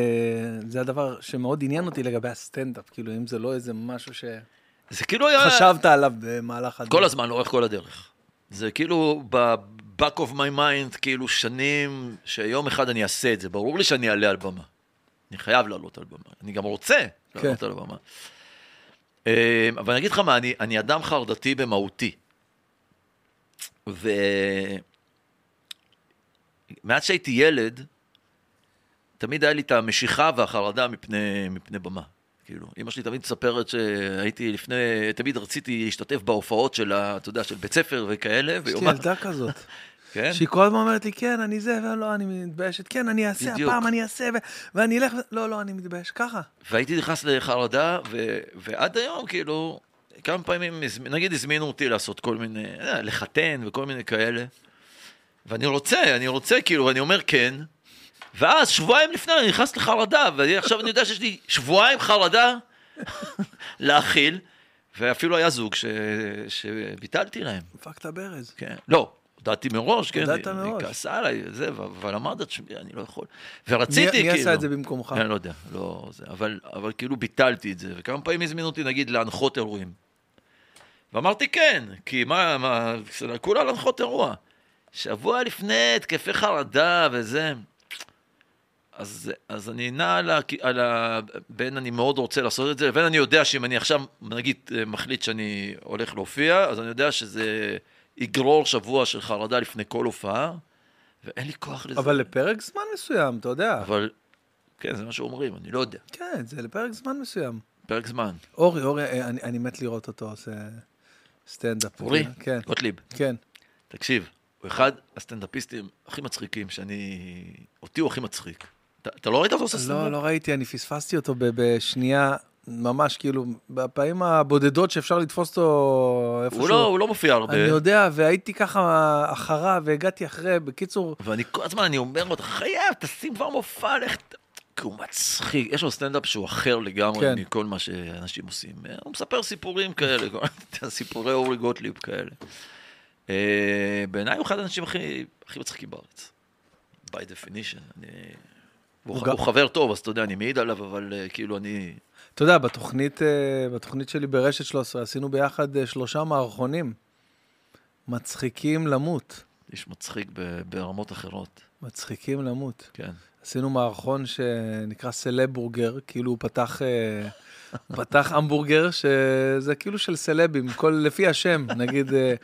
Speaker 1: זה הדבר שמאוד עניין אותי לגבי הסטנדאפ, כאילו, אם זה לא איזה משהו שחשבת
Speaker 2: זה כאילו היה...
Speaker 1: עליו במהלך הדרך.
Speaker 2: כל הזמן, לאורך כל הדרך. זה כאילו ב-back of my mind, כאילו שנים, שיום אחד אני אעשה את זה. ברור לי שאני אעלה על במה. אני חייב לעלות על במה. אני גם רוצה לעלות
Speaker 1: כן.
Speaker 2: על הבמה. אה, אבל אני אגיד לך מה, אני, אני אדם חרדתי במהותי. ומאז שהייתי ילד, תמיד היה לי את המשיכה והחרדה מפני, מפני במה. כאילו, אמא שלי תמיד מספרת שהייתי לפני, תמיד רציתי להשתתף בהופעות של, ה- אתה יודע, של בית ספר וכאלה,
Speaker 1: יש לי
Speaker 2: ויומן-
Speaker 1: ילדה כזאת.
Speaker 2: כן?
Speaker 1: שהיא כל הזמן אומרת לי, כן, אני זה, ולא, אני מתביישת, כן, אני אעשה,
Speaker 2: בדיוק.
Speaker 1: הפעם אני אעשה, ו- ואני אלך, ו- לא, לא, אני מתבייש, ככה.
Speaker 2: והייתי נכנס לחרדה, ו... ועד היום, כאילו, כמה פעמים, הזמ- נגיד הזמינו אותי לעשות כל מיני, לא יודע, לחתן וכל מיני כאלה. ואני רוצה, אני רוצה, כאילו, ואני אומר כן. ואז שבועיים לפני אני נכנס לחרדה, ועכשיו אני יודע שיש לי שבועיים חרדה להכיל, ואפילו היה זוג ש... שביטלתי להם.
Speaker 1: דפקת ברז.
Speaker 2: כן. לא, הודעתי מראש, כן.
Speaker 1: הודעת
Speaker 2: היא- היא
Speaker 1: מראש.
Speaker 2: כעסה עליי, זה, ו- אבל אמרת, תשמעי, אני לא יכול.
Speaker 1: מי
Speaker 2: ורציתי,
Speaker 1: מי
Speaker 2: כאילו.
Speaker 1: עשה את זה במקומך?
Speaker 2: אני לא יודע, לא זה, אבל, אבל כאילו ביטלתי את זה, וכמה פעמים הזמינו אותי נגיד להנחות אירועים. ואמרתי כן, כי מה, מה, כולה להנחות אירוע. שבוע לפני התקפי חרדה וזה. אז, אז אני נע על ה, על ה... בין אני מאוד רוצה לעשות את זה, לבין אני יודע שאם אני עכשיו, נגיד, אה, מחליט שאני הולך להופיע, אז אני יודע שזה יגרור שבוע של חרדה לפני כל הופעה, ואין לי כוח לזה.
Speaker 1: אבל לפרק זמן מסוים, אתה יודע.
Speaker 2: אבל... כן, זה מה שאומרים, אני לא יודע.
Speaker 1: כן, זה לפרק זמן מסוים.
Speaker 2: פרק זמן.
Speaker 1: אורי, אורי, אה, אני אני מת לראות אותו עושה סטנדאפ.
Speaker 2: אורי,
Speaker 1: כן,
Speaker 2: גוטליב,
Speaker 1: כן.
Speaker 2: תקשיב, הוא אחד הסטנדאפיסטים הכי מצחיקים שאני... אותי הוא הכי מצחיק. אתה- אתה לא ראית אותו עושה
Speaker 1: לא,
Speaker 2: סטנדאפ?
Speaker 1: לא ראיתי, אני פספסתי אותו ב- בשנייה, ממש כאילו, בפעמים הבודדות שאפשר לתפוס אותו איפשהו.
Speaker 2: הוא לא, הוא לא מופיע הרבה.
Speaker 1: אני יודע, והייתי ככה אחריו, והגעתי אחרי, בקיצור,
Speaker 2: ואני כל הזמן, אני אומר לו, אתה חייב, תשים כבר מופע, לך... ת-" כי הוא מצחיק, יש לו סטנדאפ שהוא אחר לגמרי
Speaker 1: כן.
Speaker 2: מכל מה שאנשים עושים. אה, הוא מספר סיפורים כאלה, כל מיני סיפורי אורי גוטליב כאלה. אה, בעיניי הוא אחד האנשים הכי, הכי מצחיקים בארץ. by definition. אני... הוא,
Speaker 1: הוא
Speaker 2: הוא,
Speaker 1: גם-
Speaker 2: הוא חבר טוב, אז אתה יודע, אני מעיד עליו, אבל אה, כאילו אני...
Speaker 1: אתה יודע, בתוכנית, אה, בתוכנית שלי ברשת 13 עשינו ביחד אה, שלושה מערכונים. מצחיקים למות.
Speaker 2: איש מצחיק ב- ברמות אחרות,
Speaker 1: מצחיקים למות.
Speaker 2: כן.
Speaker 1: עשינו מערכון שנקרא סלבורגר, כאילו הוא פתח, אה, הוא פתח המבורגר, שזה כאילו של סלבים, כל, לפי השם, נגיד, אה,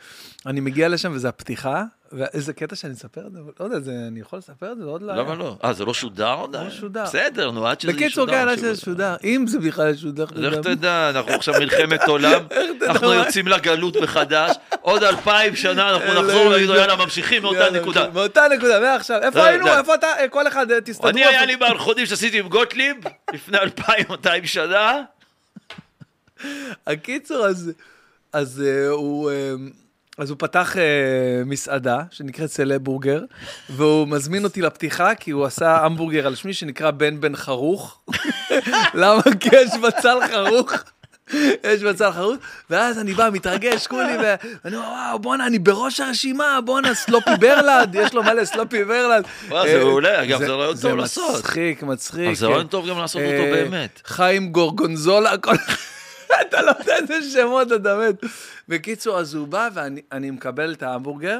Speaker 1: אני מגיע לשם וזה הפתיחה, ואיזה קטע שאני אספר את זה, אבל לא יודע, זה, אני יכול לספר את זה? עוד לא היה.
Speaker 2: למה לא? אה, זה לא שודר עוד?
Speaker 1: לא שודר.
Speaker 2: בסדר, נו, עד שזה ישודר.
Speaker 1: בקיצור, כן, עד
Speaker 2: שיהיה
Speaker 1: שזה שודר, אם זה בכלל שודר.
Speaker 2: לך תדע, אנחנו עכשיו מלחמת עולם, אנחנו יוצאים לגלות מחדש, עוד אלפיים שנה אנחנו נחזור ונגיד, יאללה, ממשיכים מאותה נקודה.
Speaker 1: מאותה נקודה, מעכשיו. איפה
Speaker 2: לא,
Speaker 1: היינו?
Speaker 2: לא.
Speaker 1: איפה אתה? אה, כל אחד, אה, תסתדרו.
Speaker 2: אני, היה לי מערכונים שעשיתי עם גוטליב לפני 2,200 שנה.
Speaker 1: הקיצור, אז, אז אה, הוא, אה, אז הוא פתח אה, מסעדה שנקראת סלבורגר, והוא מזמין אותי לפתיחה כי הוא עשה המבורגר על שמי שנקרא בן בן חרוך. למה? כי יש בצל חרוך. יש בצל חרוך, ואז אני בא, מתרגש, כולי, ואני אומר, וואו, בואנה, אני בראש הרשימה, בואנה, סלופי ברלנד, יש לו מלא סלופי ברלנד.
Speaker 2: וואו, זה
Speaker 1: אה,
Speaker 2: מעולה, אגב, זה רעיון טוב
Speaker 1: זה
Speaker 2: לעשות.
Speaker 1: מצחיק, מצחיק.
Speaker 2: אבל זה רעיון
Speaker 1: כן.
Speaker 2: טוב גם לעשות
Speaker 1: אה,
Speaker 2: אותו באמת.
Speaker 1: חיים גורגונזולה, הכל... אתה לא יודע איזה שמות אתה מת. בקיצור, אז הוא בא ואני אני מקבל את ההמבורגר,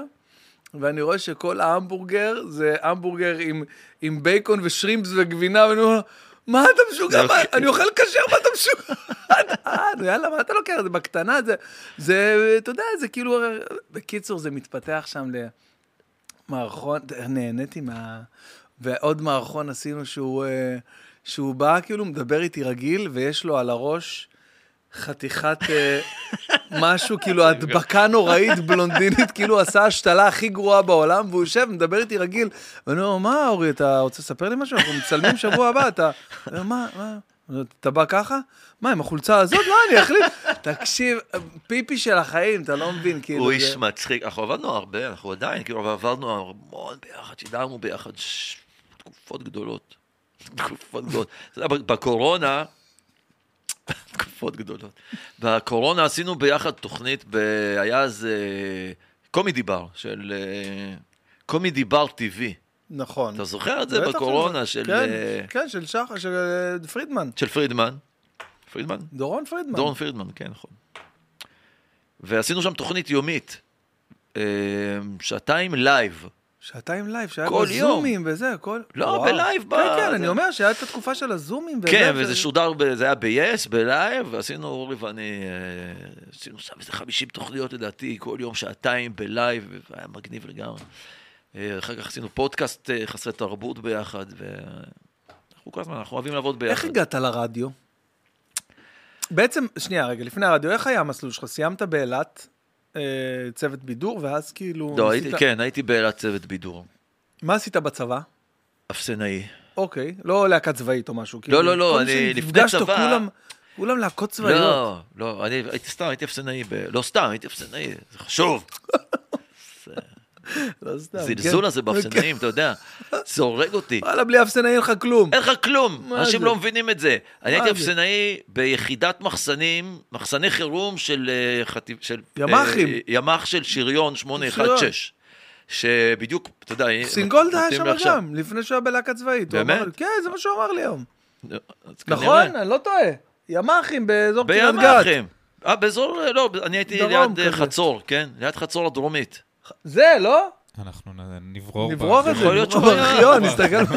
Speaker 1: ואני רואה שכל ההמבורגר זה המבורגר עם, עם בייקון ושרימפס וגבינה, ואני אומר, מה אתה משוגע? מה, אני אוכל כשר, מה אתה משוגע? אה, יאללה, מה אתה לוקח? זה בקטנה, זה, זה, אתה יודע, זה כאילו, בקיצור, זה מתפתח שם ל... מערכון, נהניתי מה... ועוד מערכון עשינו שהוא, אה, שהוא בא, כאילו, מדבר איתי רגיל, ויש לו על הראש חתיכת אה, משהו, כאילו, הדבקה נוראית בלונדינית, כאילו, עשה השתלה הכי גרועה בעולם, והוא יושב, מדבר איתי רגיל. ואני אומר, מה, אורי, אתה רוצה לספר לי משהו? אנחנו מצלמים שבוע הבא, אתה... אני אומר, מה, מה? אתה בא ככה? מה, עם החולצה הזאת? מה, אני אחליט. תקשיב, פיפי של החיים, אתה לא מבין, כאילו.
Speaker 2: הוא
Speaker 1: זה-
Speaker 2: איש מצחיק, אנחנו עבדנו הרבה, אנחנו עדיין, כאילו, אבל עברנו המון ביחד, שידרנו ביחד ש... תקופות גדולות. תקופות גדולות. אתה יודע, בקורונה, תקופות גדולות. בקורונה עשינו ביחד תוכנית, ב... היה אז אה, קומידי בר, של אה, קומידי בר TV.
Speaker 1: נכון.
Speaker 2: אתה זוכר את זה
Speaker 1: בטח
Speaker 2: בקורונה
Speaker 1: שאני
Speaker 2: של,
Speaker 1: זוכר.
Speaker 2: אה,
Speaker 1: כן, כן, של שחר, של אה, פרידמן.
Speaker 2: של פרידמן? פרידמן?
Speaker 1: דורון פרידמן.
Speaker 2: דורון פרידמן, כן, נכון. ועשינו שם תוכנית יומית, אה, שעתיים לייב.
Speaker 1: שעתיים לייב, שהיה
Speaker 2: כל
Speaker 1: כל
Speaker 2: יום.
Speaker 1: זומים וזה, כל...
Speaker 2: לא,
Speaker 1: וואו.
Speaker 2: בלייב ב-
Speaker 1: כן, כן,
Speaker 2: זה-
Speaker 1: אני אומר שהיה את התקופה של הזומים.
Speaker 2: כן,
Speaker 1: של-
Speaker 2: וזה שודר, ב- זה היה ב-yes, בלייב, ועשינו, אורי ואני, אה, עשינו שם איזה 50 תוכניות לדעתי, כל יום שעתיים בלייב, והיה מגניב לגמרי. אה, אחר כך עשינו פודקאסט אה, חסרי תרבות ביחד, ואנחנו כל הזמן, אנחנו אוהבים לעבוד ביחד.
Speaker 1: איך הגעת לרדיו? בעצם, שנייה רגע, לפני הרדיו, איך היה המסלול שלך? סיימת באילת אה, צוות בידור, ואז כאילו...
Speaker 2: לא,
Speaker 1: ניסית-
Speaker 2: הייתי, כן, הייתי באילת צוות בידור,
Speaker 1: מה עשית בצבא?
Speaker 2: אפסנאי.
Speaker 1: אוקיי, לא להקה צבאית או משהו. כאילו,
Speaker 2: לא, לא, לא,
Speaker 1: כל מי
Speaker 2: אני- לפני
Speaker 1: שנפגשת,
Speaker 2: צבא-
Speaker 1: כולם- כולם להקות צבאיות.
Speaker 2: לא, לא, אני הייתי סתם, הייתי אפסנאי, ב... לא סתם, הייתי אפסנאי, זה חשוב.
Speaker 1: לא סתם, כן.
Speaker 2: הזלזול הזה באפסנאים, אתה יודע, זה הורג אותי.
Speaker 1: וואלה, בלי אפסנאי אין לך כלום.
Speaker 2: אין לך כלום,
Speaker 1: מה
Speaker 2: אנשים
Speaker 1: זה?
Speaker 2: לא מבינים את זה. אני הייתי
Speaker 1: זה?
Speaker 2: אפסנאי ביחידת מחסנים, מחסני חירום של אה, חטיב... של, אה,
Speaker 1: ימ"חים.
Speaker 2: ימ"ח של שריון 816. שבדיוק, אתה יודע,
Speaker 1: סינגולד היה
Speaker 2: נותנים
Speaker 1: שם
Speaker 2: לי עכשיו-
Speaker 1: גם, לפני שהוא היה בלהקה צבאית. הוא
Speaker 2: באמת?
Speaker 1: אמר לי, כן, זה מה שהוא אמר לי היום.
Speaker 2: אז כנראה.
Speaker 1: נכון? אני לא טועה. ימ"חים באזור קריית גת.
Speaker 2: בימ"חים. אה, באזור, אה, לא, אני הייתי
Speaker 1: דרום
Speaker 2: ליד אה,
Speaker 1: כזה.
Speaker 2: חצור, כן? ליד חצור הדרומית.
Speaker 1: זה, לא?
Speaker 3: אנחנו נ- נברור.
Speaker 1: נברור
Speaker 3: בה.
Speaker 1: את זה.
Speaker 2: יכול להיות שהוא היה-
Speaker 1: בארכיון, נסתכל.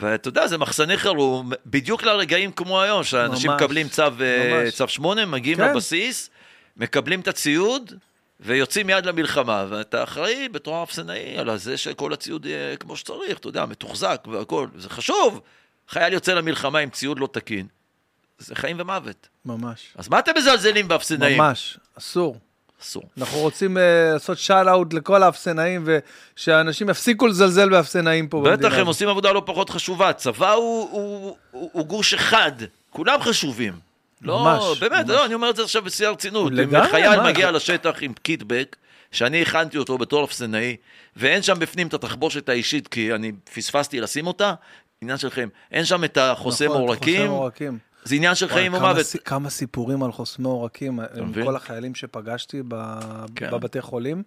Speaker 2: ואתה יודע, זה מחסני חירום, בדיוק לרגעים כמו היום, שאנשים
Speaker 1: ממש,
Speaker 2: מקבלים צו, אה,
Speaker 1: ממש.
Speaker 2: צו 8, מגיעים
Speaker 1: כן.
Speaker 2: לבסיס, מקבלים את הציוד, ויוצאים מיד למלחמה. ואתה אחראי בתור האפסנאי על זה שכל הציוד יהיה כמו שצריך, אתה יודע, מתוחזק והכול, זה חשוב. חייל יוצא למלחמה עם ציוד לא תקין, זה חיים ומוות.
Speaker 1: ממש.
Speaker 2: אז מה אתם מזלזלים באפסנאים?
Speaker 1: ממש, אסור.
Speaker 2: אסור.
Speaker 1: אנחנו רוצים אה, לעשות שאל אאוט לכל האפסנאים, ושאנשים יפסיקו לזלזל באפסנאים פה במדינה.
Speaker 2: בטח, הם
Speaker 1: הזאת.
Speaker 2: עושים עבודה לא פחות חשובה. צבא הוא, הוא, הוא, הוא גוש אחד, כולם חשובים. לא,
Speaker 1: ממש,
Speaker 2: באמת,
Speaker 1: ממש.
Speaker 2: לא, אני אומר את זה עכשיו בשיא הרצינות. אם
Speaker 1: לגמרי,
Speaker 2: חייל
Speaker 1: מה,
Speaker 2: מגיע
Speaker 1: איך-
Speaker 2: לשטח עם קיטבק, שאני הכנתי אותו בתור אפסנאי, ואין שם בפנים את התחבושת האישית, כי אני פספסתי לשים אותה, עניין שלכם. אין שם את החוסם
Speaker 1: נכון,
Speaker 2: עורקים,
Speaker 1: חוסם עורקים.
Speaker 2: זה עניין של חיים
Speaker 1: וואי,
Speaker 2: ומוות.
Speaker 1: כמה, סי- כמה סיפורים על חוסמי עורקים, עם
Speaker 2: מבין?
Speaker 1: כל החיילים שפגשתי ב,
Speaker 2: כן.
Speaker 1: בבתי חולים.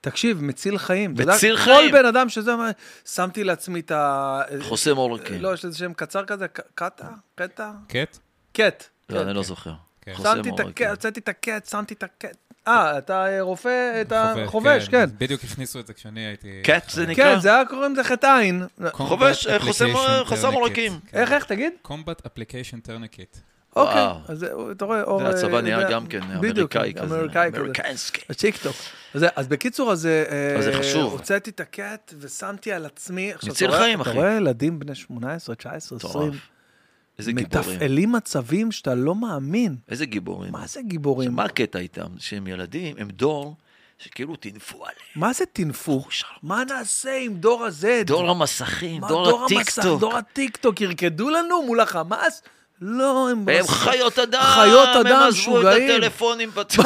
Speaker 1: תקשיב, מציל חיים. אתה
Speaker 2: מציל
Speaker 1: יודע,
Speaker 2: חיים.
Speaker 1: כל בן אדם שזה, אומר, שמתי לעצמי את ה...
Speaker 2: חוסם עורקים.
Speaker 1: לא, יש לזה שם קצר כזה, ק- קטע? קטע?
Speaker 3: קט?
Speaker 1: קט.
Speaker 2: לא, אני לא זוכר.
Speaker 3: כן.
Speaker 2: חוסם
Speaker 1: שמתי את
Speaker 2: עורקים.
Speaker 1: הקט, הוצאתי את הקט, שמתי את הקט. אה, אתה אה, רופא, אתה
Speaker 3: חובש,
Speaker 1: חובש, כן.
Speaker 3: בדיוק הכניסו את זה כשאני הייתי...
Speaker 2: קאט זה נקרא?
Speaker 1: כן, זה היה קוראים לזה חטא עין.
Speaker 3: כן.
Speaker 2: חובש, אה, חוסם-
Speaker 3: Application
Speaker 2: חוסם
Speaker 3: Tourniquet.
Speaker 2: עורקים.
Speaker 3: כן.
Speaker 1: איך, איך, תגיד?
Speaker 3: Combat Application Tourniquet.
Speaker 1: אוקיי,
Speaker 2: וואו.
Speaker 1: אז אה, אתה רואה, אור...
Speaker 2: זה הצבא
Speaker 1: אה,
Speaker 2: נהיה
Speaker 1: יודע-
Speaker 2: גם כן
Speaker 1: בדיוק,
Speaker 2: אמריקאי כזה.
Speaker 1: אמריקאי כזה.
Speaker 2: אמריקנסקי.
Speaker 1: בטיקטוק. אז, אז בקיצור, אז, אה,
Speaker 2: אז זה חשוב.
Speaker 1: הוצאתי את הקט ושמתי על עצמי. עכשיו,
Speaker 2: מציל
Speaker 1: אתה רואה-
Speaker 2: חיים, אחי.
Speaker 1: אתה רואה ילדים בני 18, 19, 20,
Speaker 2: מטורף. איזה גיבורים.
Speaker 1: מתפעלים מצבים שאתה לא מאמין.
Speaker 2: איזה גיבורים.
Speaker 1: מה זה גיבורים?
Speaker 2: מה הקטע איתם? שהם ילדים, הם דור שכאילו טינפו עליהם.
Speaker 1: מה זה טינפו? מה נעשה עם דור הזה?
Speaker 2: דור המסכים,
Speaker 1: מה,
Speaker 2: דור
Speaker 1: המסך,
Speaker 2: הטיקטוק.
Speaker 1: דור הטיקטוק, ירקדו לנו מול החמאס? לא, הם...
Speaker 2: הם חיות אדם,
Speaker 1: חיות אדם,
Speaker 2: הם עזבו את
Speaker 1: משוגעים.
Speaker 2: הטלפונים בצד.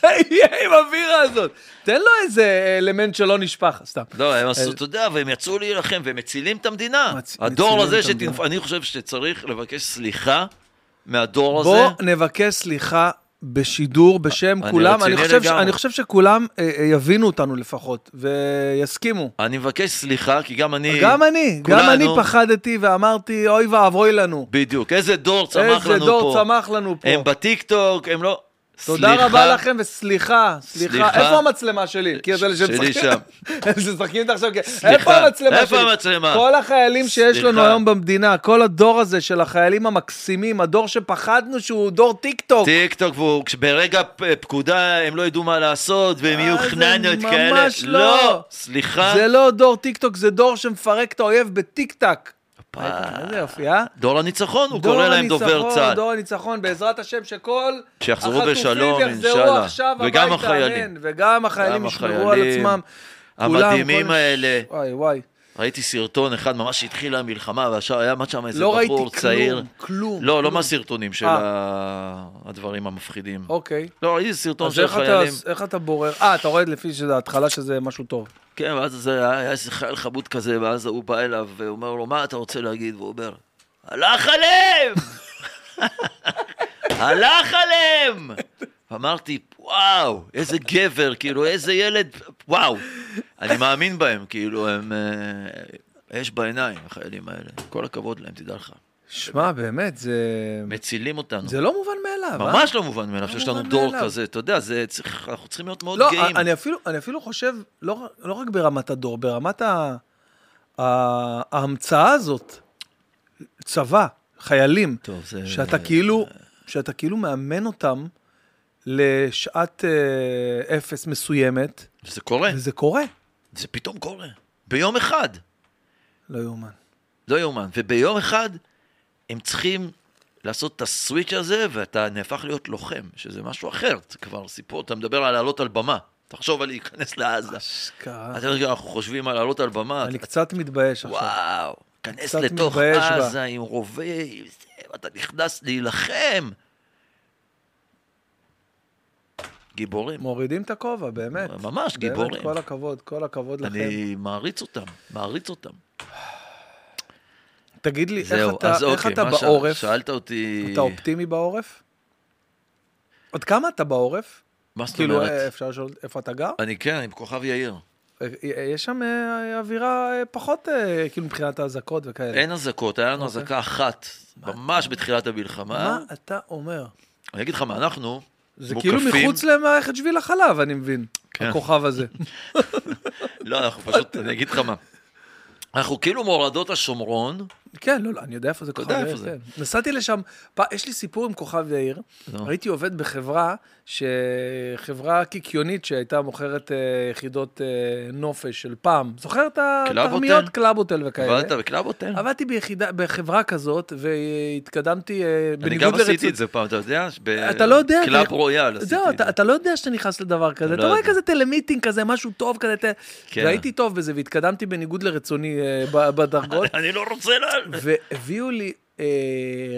Speaker 1: תהיה עם הבירה הזאת. תן לו איזה אלמנט שלא נשפך, סתם.
Speaker 2: לא, הם
Speaker 1: אל-
Speaker 2: עשו, אתה יודע, והם יצאו להילחם, והם מצילים את המדינה.
Speaker 1: מצ-
Speaker 2: הדור
Speaker 1: מצילים
Speaker 2: הזה
Speaker 1: את
Speaker 2: שתנפ...
Speaker 1: המדינה.
Speaker 2: אני חושב שצריך לבקש סליחה מהדור הזה.
Speaker 1: בוא נבקש סליחה בשידור בשם
Speaker 2: אני
Speaker 1: כולם.
Speaker 2: רציני
Speaker 1: אני חושב, ש...
Speaker 2: לגמרי.
Speaker 1: אני חושב שכולם אה, אה, יבינו אותנו לפחות, ויסכימו.
Speaker 2: אני מבקש סליחה, כי גם אני...
Speaker 1: גם אני, גם
Speaker 2: כולנו.
Speaker 1: אני פחדתי ואמרתי, אוי ואבוי לנו.
Speaker 2: בדיוק. איזה דור צמח לנו פה.
Speaker 1: איזה דור צמח לנו פה.
Speaker 2: הם בטיקטוק, הם לא...
Speaker 1: לא. תודה
Speaker 2: סליחה.
Speaker 1: רבה לכם, וסליחה, סליחה.
Speaker 2: סליחה.
Speaker 1: איפה המצלמה שלי? כי אלה
Speaker 2: שלי
Speaker 1: שמשחקים-
Speaker 2: שם.
Speaker 1: אלה שמשחקים איתה עכשיו, כן.
Speaker 2: סליחה.
Speaker 1: איפה המצלמה שלי?
Speaker 2: איפה המצלמה?
Speaker 1: כל החיילים שיש לנו
Speaker 2: סליחה.
Speaker 1: היום במדינה, כל הדור הזה של החיילים המקסימים, הדור שפחדנו שהוא דור טיקטוק.
Speaker 2: טיקטוק, והוא- כשברגע פ- פקודה הם לא ידעו מה לעשות, והם
Speaker 1: אה,
Speaker 2: יהיו
Speaker 1: זה
Speaker 2: חננות
Speaker 1: ממש
Speaker 2: כאלה.
Speaker 1: לא.
Speaker 2: לא, סליחה.
Speaker 1: זה לא דור טיקטוק, זה דור שמפרק את האויב בטיקטק.
Speaker 2: אה,
Speaker 1: איזה יופי, אה?
Speaker 2: דור הניצחון, הוא קורא להם דובר צה"ל.
Speaker 1: דור הניצחון, בעזרת השם שכל
Speaker 2: שיחזרו
Speaker 1: החטופים
Speaker 2: בשלום,
Speaker 1: יחזרו
Speaker 2: אינשאללה.
Speaker 1: עכשיו
Speaker 2: וגם
Speaker 1: הביתה,
Speaker 2: החיילים.
Speaker 1: אמן. וגם החיילים
Speaker 2: גם
Speaker 1: ישמרו על
Speaker 2: החיילים.
Speaker 1: עצמם. כולם,
Speaker 2: המדהימים
Speaker 1: כל-
Speaker 2: האלה.
Speaker 1: וואי וואי,
Speaker 2: ראיתי סרטון אחד ממש התחילה המלחמה, והשאר היה עמד שם איזה
Speaker 1: לא ראיתי
Speaker 2: בחור
Speaker 1: כלום,
Speaker 2: צעיר.
Speaker 1: כלום.
Speaker 2: לא, לא
Speaker 1: כלום.
Speaker 2: מהסרטונים של
Speaker 1: אה.
Speaker 2: ה- הדברים המפחידים.
Speaker 1: אוקיי.
Speaker 2: לא, ראיתי סרטון
Speaker 1: אז
Speaker 2: של
Speaker 1: איך אתה,
Speaker 2: חיילים.
Speaker 1: איך אתה בורר? אה, אתה רואה לפי שזה ההתחלה שזה משהו טוב.
Speaker 2: כן, ואז זה היה היה איזה חייל חבוד כזה, ואז הוא בא אליו ואומר לו, מה אתה רוצה להגיד? והוא אומר, הלך עליהם! הלך עליהם! אמרתי, וואו, איזה גבר, כאילו, איזה ילד, וואו. אני מאמין בהם, כאילו, הם אה, אש בעיניים, החיילים האלה. כל הכבוד להם, תדע לך.
Speaker 1: שמע, באמת, זה...
Speaker 2: מצילים אותנו.
Speaker 1: זה לא מובן מאליו, אה?
Speaker 2: ממש לא מובן מאליו שיש לנו
Speaker 1: מובן
Speaker 2: דור
Speaker 1: מאליו.
Speaker 2: כזה, אתה יודע, זה צריך, אנחנו צריכים להיות מאוד
Speaker 1: לא,
Speaker 2: גאים.
Speaker 1: אני אפילו, אני אפילו חושב, לא, לא רק ברמת הדור, ברמת ה, ה, ההמצאה הזאת, צבא, חיילים,
Speaker 2: טוב, זה...
Speaker 1: שאתה כאילו, שאתה כאילו מאמן אותם לשעת אה, אפס מסוימת,
Speaker 2: זה קורה,
Speaker 1: וזה קורה.
Speaker 2: זה פתאום קורה. ביום אחד.
Speaker 1: לא יאומן.
Speaker 2: לא יאומן. וביום אחד הם צריכים לעשות את הסוויץ' הזה, ואתה נהפך להיות לוחם, שזה משהו אחר. זה כבר סיפור, אתה מדבר על לעלות על במה. תחשוב על להיכנס לעזה.
Speaker 1: אשכרה.
Speaker 2: אתה יודע, אנחנו חושבים על לעלות על במה.
Speaker 1: אה, אני קצת מתבייש עכשיו.
Speaker 2: וואו, כנס
Speaker 1: קצת
Speaker 2: לתוך
Speaker 1: מתבייש בה.
Speaker 2: עזה עם רובה, עם זה, אתה נכנס להילחם. גיבורים.
Speaker 1: מורידים את הכובע, באמת.
Speaker 2: ממש
Speaker 1: באמת,
Speaker 2: גיבורים.
Speaker 1: כל הכבוד, כל הכבוד לכם.
Speaker 2: אני מעריץ אותם, מעריץ אותם.
Speaker 1: תגיד לי, איך
Speaker 2: זהו,
Speaker 1: אתה-
Speaker 2: אז
Speaker 1: איך
Speaker 2: אוקיי,
Speaker 1: אתה
Speaker 2: מה ש-
Speaker 1: בעורף?
Speaker 2: שאלת אותי...
Speaker 1: אתה אופטימי בעורף? עוד כמה אתה בעורף?
Speaker 2: מה זאת
Speaker 1: כאילו,
Speaker 2: אומרת?
Speaker 1: אה, אפשר לשאול איפה אתה גר?
Speaker 2: אני כן, אני בכוכב יאיר.
Speaker 1: אה, אה, יש שם אה, אווירה אה, פחות, אה, כאילו, מבחינת האזעקות וכאלה.
Speaker 2: אין אזעקות, היה לנו
Speaker 1: אוקיי.
Speaker 2: אזעקה אחת, ממש בתחילת המלחמה.
Speaker 1: מה אתה אומר?
Speaker 2: אני אגיד לך מה, אנחנו
Speaker 1: זה
Speaker 2: מוקפים-
Speaker 1: כאילו מחוץ למערכת שביל החלב, אני מבין.
Speaker 2: כן.
Speaker 1: הכוכב הזה.
Speaker 2: לא, אנחנו פשוט, אני אגיד לך מה. אנחנו כאילו מורדות השומרון,
Speaker 1: כן, לא, לא, אני יודע איפה זה כוכב
Speaker 2: יודע
Speaker 1: יאיר.
Speaker 2: איפה זה.
Speaker 1: כן. נסעתי לשם, פ- יש לי סיפור עם כוכב יאיר.
Speaker 2: נו.
Speaker 1: הייתי עובד בחברה, ש- חברה קיקיונית שהייתה מוכרת אה, יחידות אה, נופש של פעם. זוכר את
Speaker 2: קלאב
Speaker 1: התרמיות
Speaker 2: הוטל?
Speaker 1: קלאבוטל וכאלה?
Speaker 2: עבדת בקלאבוטל.
Speaker 1: עבדתי ביחידה, בחברה כזאת, והתקדמתי אה,
Speaker 2: אני
Speaker 1: בניגוד
Speaker 2: גם
Speaker 1: לרצותי.
Speaker 2: עשיתי את זה פעם, אתה יודע? ב-
Speaker 1: אתה לא יודע.
Speaker 2: קלאב
Speaker 1: אתה-
Speaker 2: רויאל עשיתי
Speaker 1: זהו,
Speaker 2: את זה.
Speaker 1: אתה, אתה לא יודע שאתה נכנס לדבר כזה. אתה
Speaker 2: לא
Speaker 1: רואה
Speaker 2: יודע.
Speaker 1: כזה טלמיטינג כזה, משהו טוב כזה. ת...
Speaker 2: כן.
Speaker 1: והייתי טוב בזה, והתקדמתי בניגוד לרצוני אה, ב- בדרגות.
Speaker 2: אני לא רוצה ל...
Speaker 1: והביאו לי אה,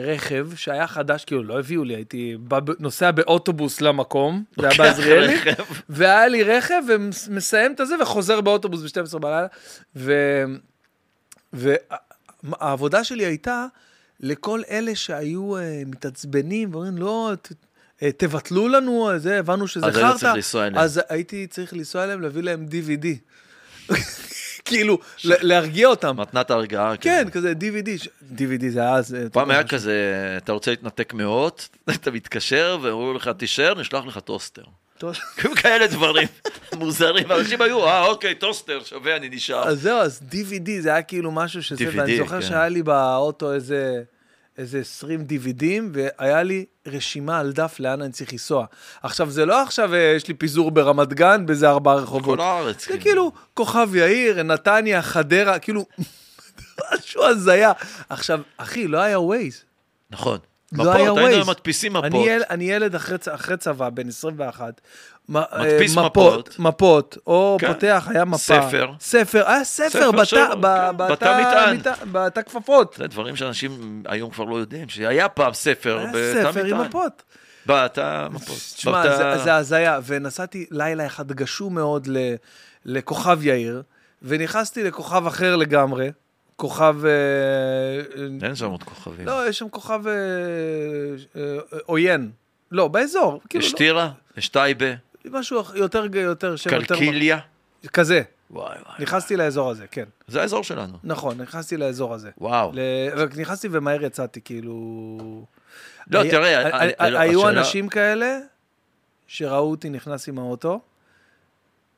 Speaker 1: רכב שהיה חדש, כאילו, לא הביאו לי, הייתי בא- נוסע באוטובוס למקום, זה היה בעזריאלי,
Speaker 2: רכב.
Speaker 1: והיה לי רכב ומסיים את הזה וחוזר באוטובוס ב-12 בלילה. והעבודה שלי הייתה לכל אלה שהיו אה, מתעצבנים ואומרים, לא, ת, אה, תבטלו לנו, אה, זה, הבנו שזה
Speaker 2: אז היית
Speaker 1: חרטא.
Speaker 2: צריך לנסוע אליהם.
Speaker 1: אז הייתי צריך לנסוע אליהם, להביא להם DVD. כאילו, ל- להרגיע אותם.
Speaker 2: מתנת הרגעה.
Speaker 1: כן, כזה DVD, ש- DVD זה היה אז... אה,
Speaker 2: פעם היה
Speaker 1: אתה-
Speaker 2: כזה, אתה רוצה להתנתק מאות, אתה מתקשר, ואומרים לך, תישאר, נשלח לך טוסטר. כאילו כאלה דברים מוזרים, אנשים היו, אה, אוקיי, טוסטר, שווה, אני נשאר.
Speaker 1: אז זהו, אז DVD זה היה כאילו משהו שזה,
Speaker 2: DVD,
Speaker 1: ואני זוכר
Speaker 2: כן.
Speaker 1: שהיה לי באוטו איזה... איזה 20 DVDים, והיה לי רשימה על דף לאן אני צריך לנסוע. עכשיו, זה לא עכשיו אה, יש לי פיזור ברמת גן באיזה ארבעה רחובות.
Speaker 2: כל הארץ.
Speaker 1: זה כאילו כוכב יאיר, נתניה, חדרה, כאילו, משהו הזיה. עכשיו, אחי, לא היה ווייז.
Speaker 2: נכון.
Speaker 1: לא היה
Speaker 2: מפות, היינו
Speaker 1: ווייז.
Speaker 2: מדפיסים
Speaker 1: אני,
Speaker 2: מפות.
Speaker 1: יל, אני ילד אחרי, צ- אחרי צבא, בן 21. מ- אה,
Speaker 2: מדפיס
Speaker 1: מפות.
Speaker 2: מפות.
Speaker 1: מפות, או
Speaker 2: כן.
Speaker 1: פותח, היה מפה.
Speaker 2: ספר.
Speaker 1: ספר, היה ספר,
Speaker 2: ספר
Speaker 1: בתא-
Speaker 2: שלו,
Speaker 1: ב-
Speaker 2: כן,
Speaker 1: בתא
Speaker 2: בתא מטען.
Speaker 1: מטע- בתא כפפות.
Speaker 2: זה דברים שאנשים היום כבר לא יודעים, שהיה פעם ספר
Speaker 1: היה
Speaker 2: בתא
Speaker 1: אה, ספר עם
Speaker 2: מטען.
Speaker 1: מפות.
Speaker 2: בתא מפות.
Speaker 1: תשמע,
Speaker 2: בתא-
Speaker 1: זה- זה הזיה. ונסעתי לילה אחד גשום מאוד ל- לכוכב יאיר, ונכנסתי לכוכב אחר לגמרי, כוכב... אה,
Speaker 2: אין שם עוד כוכבים.
Speaker 1: לא, יש שם כוכב אה, אה, עוין. לא, באזור. כאילו,
Speaker 2: יש
Speaker 1: לא.
Speaker 2: טירה, יש טייבה,
Speaker 1: משהו אח- יותר, ג- יותר, שם יותר...
Speaker 2: קלקיליה.
Speaker 1: כזה.
Speaker 2: וואי וואי.
Speaker 1: נכנסתי לאזור הזה, כן.
Speaker 2: זה האזור שלנו.
Speaker 1: נכון, נכנסתי לאזור הזה.
Speaker 2: וואו.
Speaker 1: ל- רק נכנסתי ומהר יצאתי, כאילו...
Speaker 2: לא,
Speaker 1: היה-
Speaker 2: תראה,
Speaker 1: ה-
Speaker 2: ה-
Speaker 1: ה-
Speaker 2: ה-
Speaker 1: היו
Speaker 2: השאלה-
Speaker 1: אנשים כאלה שראו אותי נכנס עם האוטו,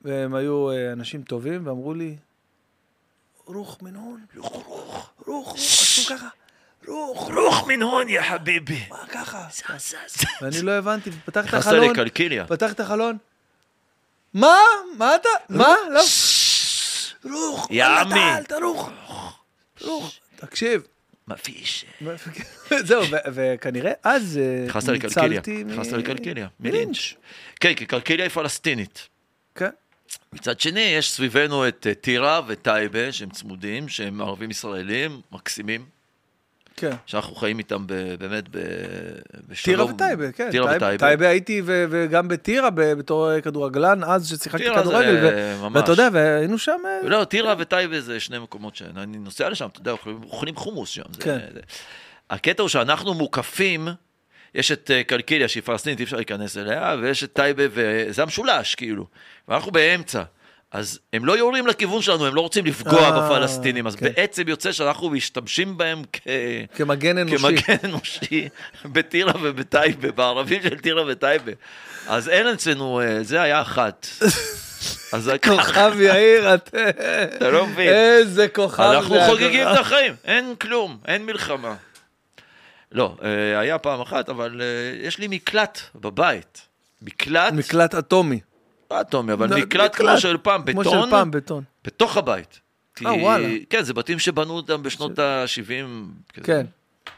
Speaker 1: והם היו אה, אנשים טובים, ואמרו לי, רוח מנעון, רוח, רוח, רוח, עשו ככה, רוח,
Speaker 2: רוח מן הון, יא חביבי.
Speaker 1: מה ככה?
Speaker 2: זז, זז.
Speaker 1: ואני לא הבנתי, ופתח את
Speaker 2: נכנסת
Speaker 1: החלון,
Speaker 2: לקלקיליה.
Speaker 1: פתח את החלון. מה? מה אתה? מה? לא. רוח,
Speaker 2: יא
Speaker 1: אל
Speaker 2: עמי.
Speaker 1: תעל, תרוך. רוח. תקשיב.
Speaker 2: מפיש.
Speaker 1: זהו, ו- וכנראה אז אה,
Speaker 2: נכנסת לקלקיליה.
Speaker 1: ניצלתי מ...
Speaker 2: נכנסת לקלקיליה. מלינץ'. כן, כי קלקיליה היא פלסטינית.
Speaker 1: כן.
Speaker 2: מצד שני, יש סביבנו את אה, טירה וטייבה, שהם צמודים, שהם ערבים ישראלים, מקסימים,
Speaker 1: כן.
Speaker 2: שאנחנו חיים איתם ב- באמת ב- בשלום.
Speaker 1: טירה וטייבה, כן.
Speaker 2: טירה
Speaker 1: טייב-
Speaker 2: וטייבה.
Speaker 1: טייבה הייתי, ו- וגם בטירה ב- בתור אה, כדורגלן, אז ששיחקתי
Speaker 2: טירה זה
Speaker 1: כדורגל. ו-
Speaker 2: ממש.
Speaker 1: ואתה יודע, והיינו שם... אה,
Speaker 2: לא, טירה וטייבה זה שני מקומות שאני נוסע לשם, אתה יודע, אוכלים- אוכלים חומוס שם. זה-
Speaker 1: כן.
Speaker 2: זה- הקטע הוא שאנחנו מוקפים, יש את אה, קלקיליה שהיא פלסטינית, אי אפשר להיכנס אליה, ויש את טייבה, וזה המשולש, כאילו. ואנחנו באמצע. אז הם לא יורים לכיוון שלנו, הם לא רוצים לפגוע
Speaker 1: אה,
Speaker 2: בפלסטינים, אז
Speaker 1: כן.
Speaker 2: בעצם יוצא שאנחנו משתמשים בהם כ...
Speaker 1: כמגן אנושי.
Speaker 2: כמגן אנושי בטירה ובטייבה, בערבים של טירה וטייבה. אז אין אצלנו, אה, זה היה אחת. אז ככה,
Speaker 1: כוכב יאיר, את-
Speaker 2: אתה לא מבין.
Speaker 1: איזה כוכב אה, זה.
Speaker 2: אנחנו
Speaker 1: הדבר.
Speaker 2: חוגגים את החיים, אין כלום, אין מלחמה. לא, אה, היה פעם אחת, אבל אה, יש לי מקלט בבית. מקלט,
Speaker 1: מקלט אטומי.
Speaker 2: לא אטומי, אבל
Speaker 1: לא,
Speaker 2: מקלט כמו של פעם,
Speaker 1: כמו של פעם,
Speaker 2: בטון,
Speaker 1: בטון.
Speaker 2: בתוך הבית. כי-
Speaker 1: אה, וואלה.
Speaker 2: כן, זה בתים שבנו אותם בשנות ה-70.
Speaker 1: כן.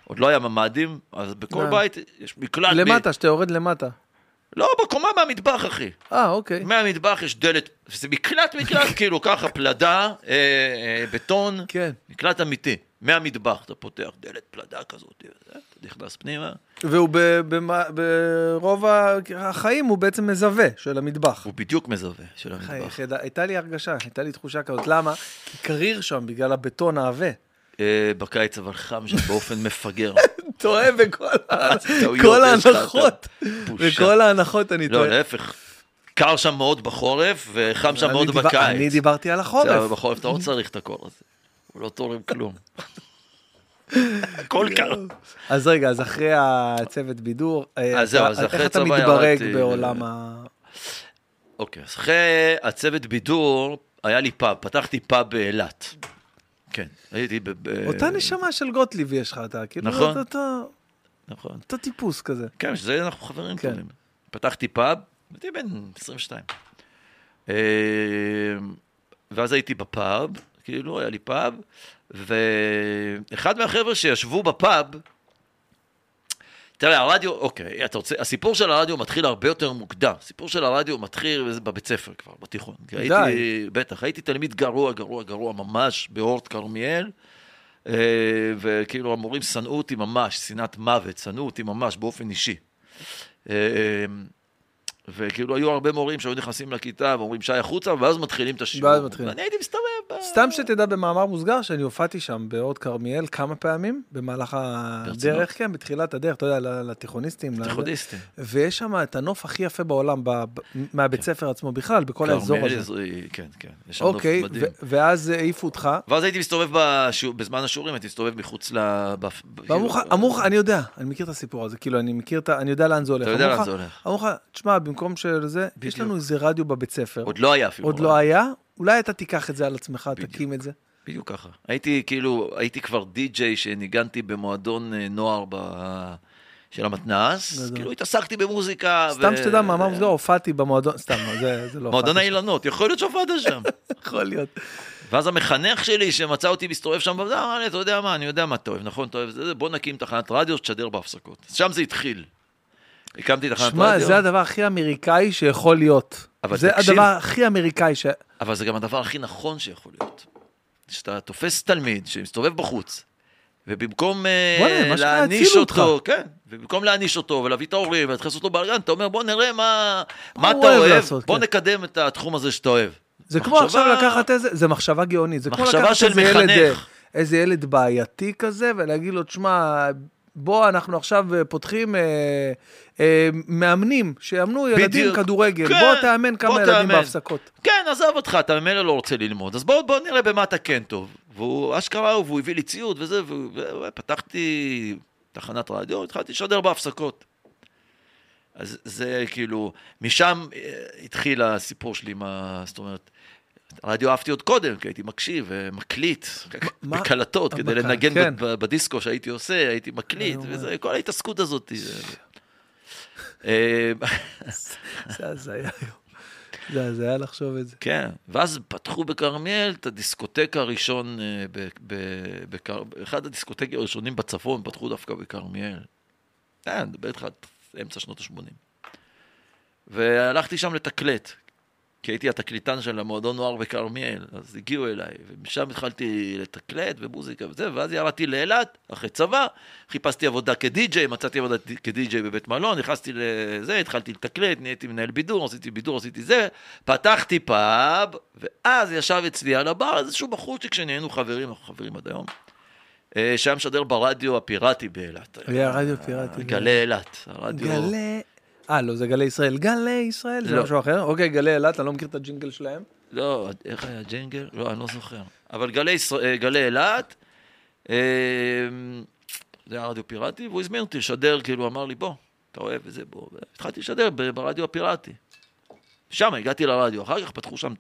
Speaker 2: עוד לא היה ממ"דים, אז בכל
Speaker 1: אה.
Speaker 2: בית יש מקלט. ב-
Speaker 1: למטה, שאתה יורד למטה.
Speaker 2: לא, בקומה מהמטבח, אחי.
Speaker 1: אה, אוקיי.
Speaker 2: מהמטבח יש דלת, זה מקלט מקלט, כאילו ככה, פלדה, אה, אה, בטון,
Speaker 1: כן.
Speaker 2: מקלט אמיתי. מהמטבח אתה פותח דלת פלדה כזאת, אה, אתה נכנס פנימה,
Speaker 1: והוא ב- במ- ברוב ה- החיים הוא בעצם מזווה של המטבח.
Speaker 2: הוא בדיוק מזווה של
Speaker 1: חי,
Speaker 2: המטבח.
Speaker 1: יחידה, הייתה לי הרגשה, הייתה לי תחושה כזאת. למה? כי קריר שם בגלל הבטון העבה.
Speaker 2: אה, בקיץ אבל חם שם באופן מפגר.
Speaker 1: טועה בכל ה-
Speaker 2: טעויות,
Speaker 1: כל
Speaker 2: יש לך, אתה-
Speaker 1: ההנחות.
Speaker 2: בושה.
Speaker 1: בכל ההנחות אני
Speaker 2: לא,
Speaker 1: טועה.
Speaker 2: להפך. קר שם מאוד בחורף, וחם שם
Speaker 1: אני
Speaker 2: מאוד
Speaker 1: דיבר-
Speaker 2: בקיץ.
Speaker 1: אני דיברתי על
Speaker 2: זה,
Speaker 1: החורף.
Speaker 2: בחורף אתה לא צריך את הקור הזה. הוא לא תורם כלום. הכל קר.
Speaker 1: אז רגע, אז אחרי הצוות בידור, אה,
Speaker 2: אז זהו,
Speaker 1: אתה-
Speaker 2: אז אחרי
Speaker 1: איך אתה
Speaker 2: צבא
Speaker 1: מתברג
Speaker 2: ירדתי
Speaker 1: בעולם
Speaker 2: ל-
Speaker 1: ה...
Speaker 2: אוקיי, אז אחרי הצוות בידור, היה לי פאב, פתחתי פאב באילת. כן, הייתי ב... ב-
Speaker 1: אותה נשמה של גוטליב יש לך, אתה כאילו,
Speaker 2: נכון.
Speaker 1: אתה- אתה-
Speaker 2: נכון.
Speaker 1: אותו טיפוס כזה.
Speaker 2: כן, שזה אנחנו חברים
Speaker 1: כן.
Speaker 2: טובים. פתחתי פאב, הייתי בן 22. אה, ואז הייתי בפאב, כאילו, היה לי פאב, ואחד מהחבר'ה שישבו בפאב, תראה, הרדיו, אוקיי, אתה רוצה, הסיפור של הרדיו מתחיל הרבה יותר מוקדם. הסיפור של הרדיו מתחיל בבית ספר כבר, בתיכון. כי
Speaker 1: די.
Speaker 2: הייתי, בטח, הייתי תלמיד גרוע, גרוע, גרוע ממש באורט כרמיאל, אה, וכאילו המורים שנאו אותי ממש, שנאת מוות, שנאו אותי ממש באופן אישי. אה, וכאילו היו הרבה מורים שהיו נכנסים לכיתה ואומרים שי החוצה, ואז מתחילים את השיעור.
Speaker 1: ואז מתחילים.
Speaker 2: ואני הייתי מסתובב. ב-
Speaker 1: סתם שתדע במאמר מוסגר שאני הופעתי שם באורט כרמיאל כמה פעמים במהלך
Speaker 2: ברצינות?
Speaker 1: הדרך, כן, בתחילת הדרך, אתה יודע, ל- לתיכוניסטים. ל-
Speaker 2: תיכוניסטים.
Speaker 1: ויש שם את הנוף הכי יפה בעולם, ב- ב- מהבית ספר עצמו בכלל, בכל האזור
Speaker 2: כן. כרמיאל
Speaker 1: הזה.
Speaker 2: זה- כן, כן. יש שם נוף
Speaker 1: אוקיי,
Speaker 2: מדהים.
Speaker 1: ו- ואז העיפו אותך,
Speaker 2: ואז הייתי מסתובב בשיעור, בזמן השיעורים, הייתי מסתובב מחוץ ל... בפ-
Speaker 1: ואמרו לך,
Speaker 2: כאילו-
Speaker 1: אמרו לך, אני יודע, אני מכיר את הסיפור הזה, כאילו, אני מכיר את ה... אני יודע לאן זה הולך.
Speaker 2: אתה יודע
Speaker 1: אמרו
Speaker 2: לאן
Speaker 1: לך-
Speaker 2: זה הולך.
Speaker 1: אמרו לך, תשמע, במקום שזה, יש
Speaker 2: בדיוק.
Speaker 1: לנו איזה רדיו בבית ספר,
Speaker 2: עוד לא היה אפילו.
Speaker 1: עוד לא היה, אולי אתה תיקח את זה על עצמך, תקים את זה.
Speaker 2: בדיוק ככה. הייתי כאילו, הייתי כבר די-ג'יי שניגנתי במועדון אה, נוער ב... של המתנ"ס,
Speaker 1: גדול.
Speaker 2: כאילו התעסקתי במוזיקה.
Speaker 1: סתם
Speaker 2: ו-
Speaker 1: שתדע, מאמר מוסגר, הופעתי במועדון, סתם, זה זה לא...
Speaker 2: אה, מועדון
Speaker 1: הופעתי שם.
Speaker 2: האילנות, יכול להיות שעבדת שם.
Speaker 1: יכול להיות.
Speaker 2: ואז המחנך שלי, שמצא אותי מסתובב שם, בזה, אמר לי, אתה יודע מה, אני יודע מה אתה אוהב, נכון, אתה אוהב זה, זה, בוא נקים תחנת רדיו שתשדר בהפסקות. אז שם זה התחיל. הקמתי תחנת
Speaker 1: שמע,
Speaker 2: רדיו,
Speaker 1: זה הדבר הכי אמריקאי שיכול להיות.
Speaker 2: אבל
Speaker 1: זה
Speaker 2: תקשיב.
Speaker 1: הדבר הכי אמריקאי ש...
Speaker 2: אבל זה גם הדבר הכי נכון שיכול להיות. שאתה תופס תלמיד שמסתובב בחוץ, ובמקום אה,
Speaker 1: בוא'נה, מה שנקרא,
Speaker 2: להעניש
Speaker 1: הצילו
Speaker 2: אותו,
Speaker 1: אותך.
Speaker 2: כן, ובמקום להעניש אותו ולהביא את ההורים ולהתחיל לעשות לו בלאגן, אתה אומר, בוא נראה מה, מה
Speaker 1: הוא
Speaker 2: אתה
Speaker 1: אוהב
Speaker 2: אוהב,
Speaker 1: לעשות,
Speaker 2: בוא
Speaker 1: כן."
Speaker 2: נקדם את התחום הזה שאתה אוהב.
Speaker 1: זה כמו
Speaker 2: מחשבה-
Speaker 1: עכשיו לקחת איזה, זה מחשבה גאונית, זה כמו
Speaker 2: מחשבה
Speaker 1: לקחת
Speaker 2: של
Speaker 1: איזה ילד,
Speaker 2: מחנך.
Speaker 1: אה, איזה ילד בעייתי כזה, ולהגיד לו, תשמע, בוא, אנחנו עכשיו אה, פותחים אה, אה, מאמנים, שיאמנו ילדים
Speaker 2: בדיוק.
Speaker 1: כדורגל,
Speaker 2: כן,
Speaker 1: בוא תאמן כמה
Speaker 2: בוא
Speaker 1: ילדים
Speaker 2: תאמן.
Speaker 1: בהפסקות.
Speaker 2: כן, עזב אותך, אתה ממילא לא רוצה ללמוד, אז בואו בוא נראה במה אתה כן טוב. והוא אשכרה, והוא הביא לי ציוד וזה, והוא- ופתחתי תחנת רדיו, התחלתי לשדר בהפסקות. אז זה כאילו, משם אה, התחיל הסיפור שלי עם ה... זאת אומרת, רדיו אהבתי עוד קודם, כי הייתי מקשיב, אה, מקליט,
Speaker 1: מה-
Speaker 2: בקלטות, כדי
Speaker 1: בקל-
Speaker 2: לנגן
Speaker 1: כן.
Speaker 2: ב- ב- בדיסקו שהייתי עושה, הייתי מקליט,
Speaker 1: אני
Speaker 2: וזה, כל ההתעסקות הזאת. זה- אה,
Speaker 1: זה הזיה היום. זה הזיה לחשוב את זה.
Speaker 2: כן, ואז פתחו בכרמיאל את הדיסקוטק הראשון, אה, ב- ב- בקר- אחד הדיסקוטקים הראשונים בצפון פתחו דווקא בכרמיאל. אה, אני מדבר איתך על אמצע שנות ה-80. והלכתי שם לתקלט, כי הייתי התקליטן של המועדון נוער בכרמיאל, אז הגיעו אליי, ומשם התחלתי לתקלט ומוזיקה וזה, ואז ירדתי לאילת, אחרי צבא, חיפשתי עבודה כדי-ג'יי, מצאתי עבודה כדי-ג'יי בבית מלון, נכנסתי לזה, התחלתי לתקלט, נהייתי מנהל בידור, עשיתי בידור, עשיתי זה, פתחתי פאב, ואז ישב אצלי על הבר איזשהו בחורצ'יק שנהיינו חברים, אנחנו חברים עד היום, אה, שהיה משדר ברדיו הפיראטי באילת.
Speaker 1: היה רדיו פיראטי.
Speaker 2: גלי אילת, הרדיו.
Speaker 1: גלי... אה, לא, זה גלי ישראל. גלי ישראל, זה
Speaker 2: לא.
Speaker 1: משהו אחר? אוקיי, גלי אילת, אני לא מכיר את הג'ינגל שלהם.
Speaker 2: לא, איך היה ג'נגל? לא, אני לא זוכר. אבל גלי, ישראל- אה, גלי אילת, אה, זה היה רדיו פיראטי, והוא הזמין אותי לשדר, כאילו, אמר לי, בוא, אתה אוהב וזה, בוא. התחלתי לשדר ב- ברדיו הפיראטי. שם הגעתי לרדיו, אחר כך פתחו שם,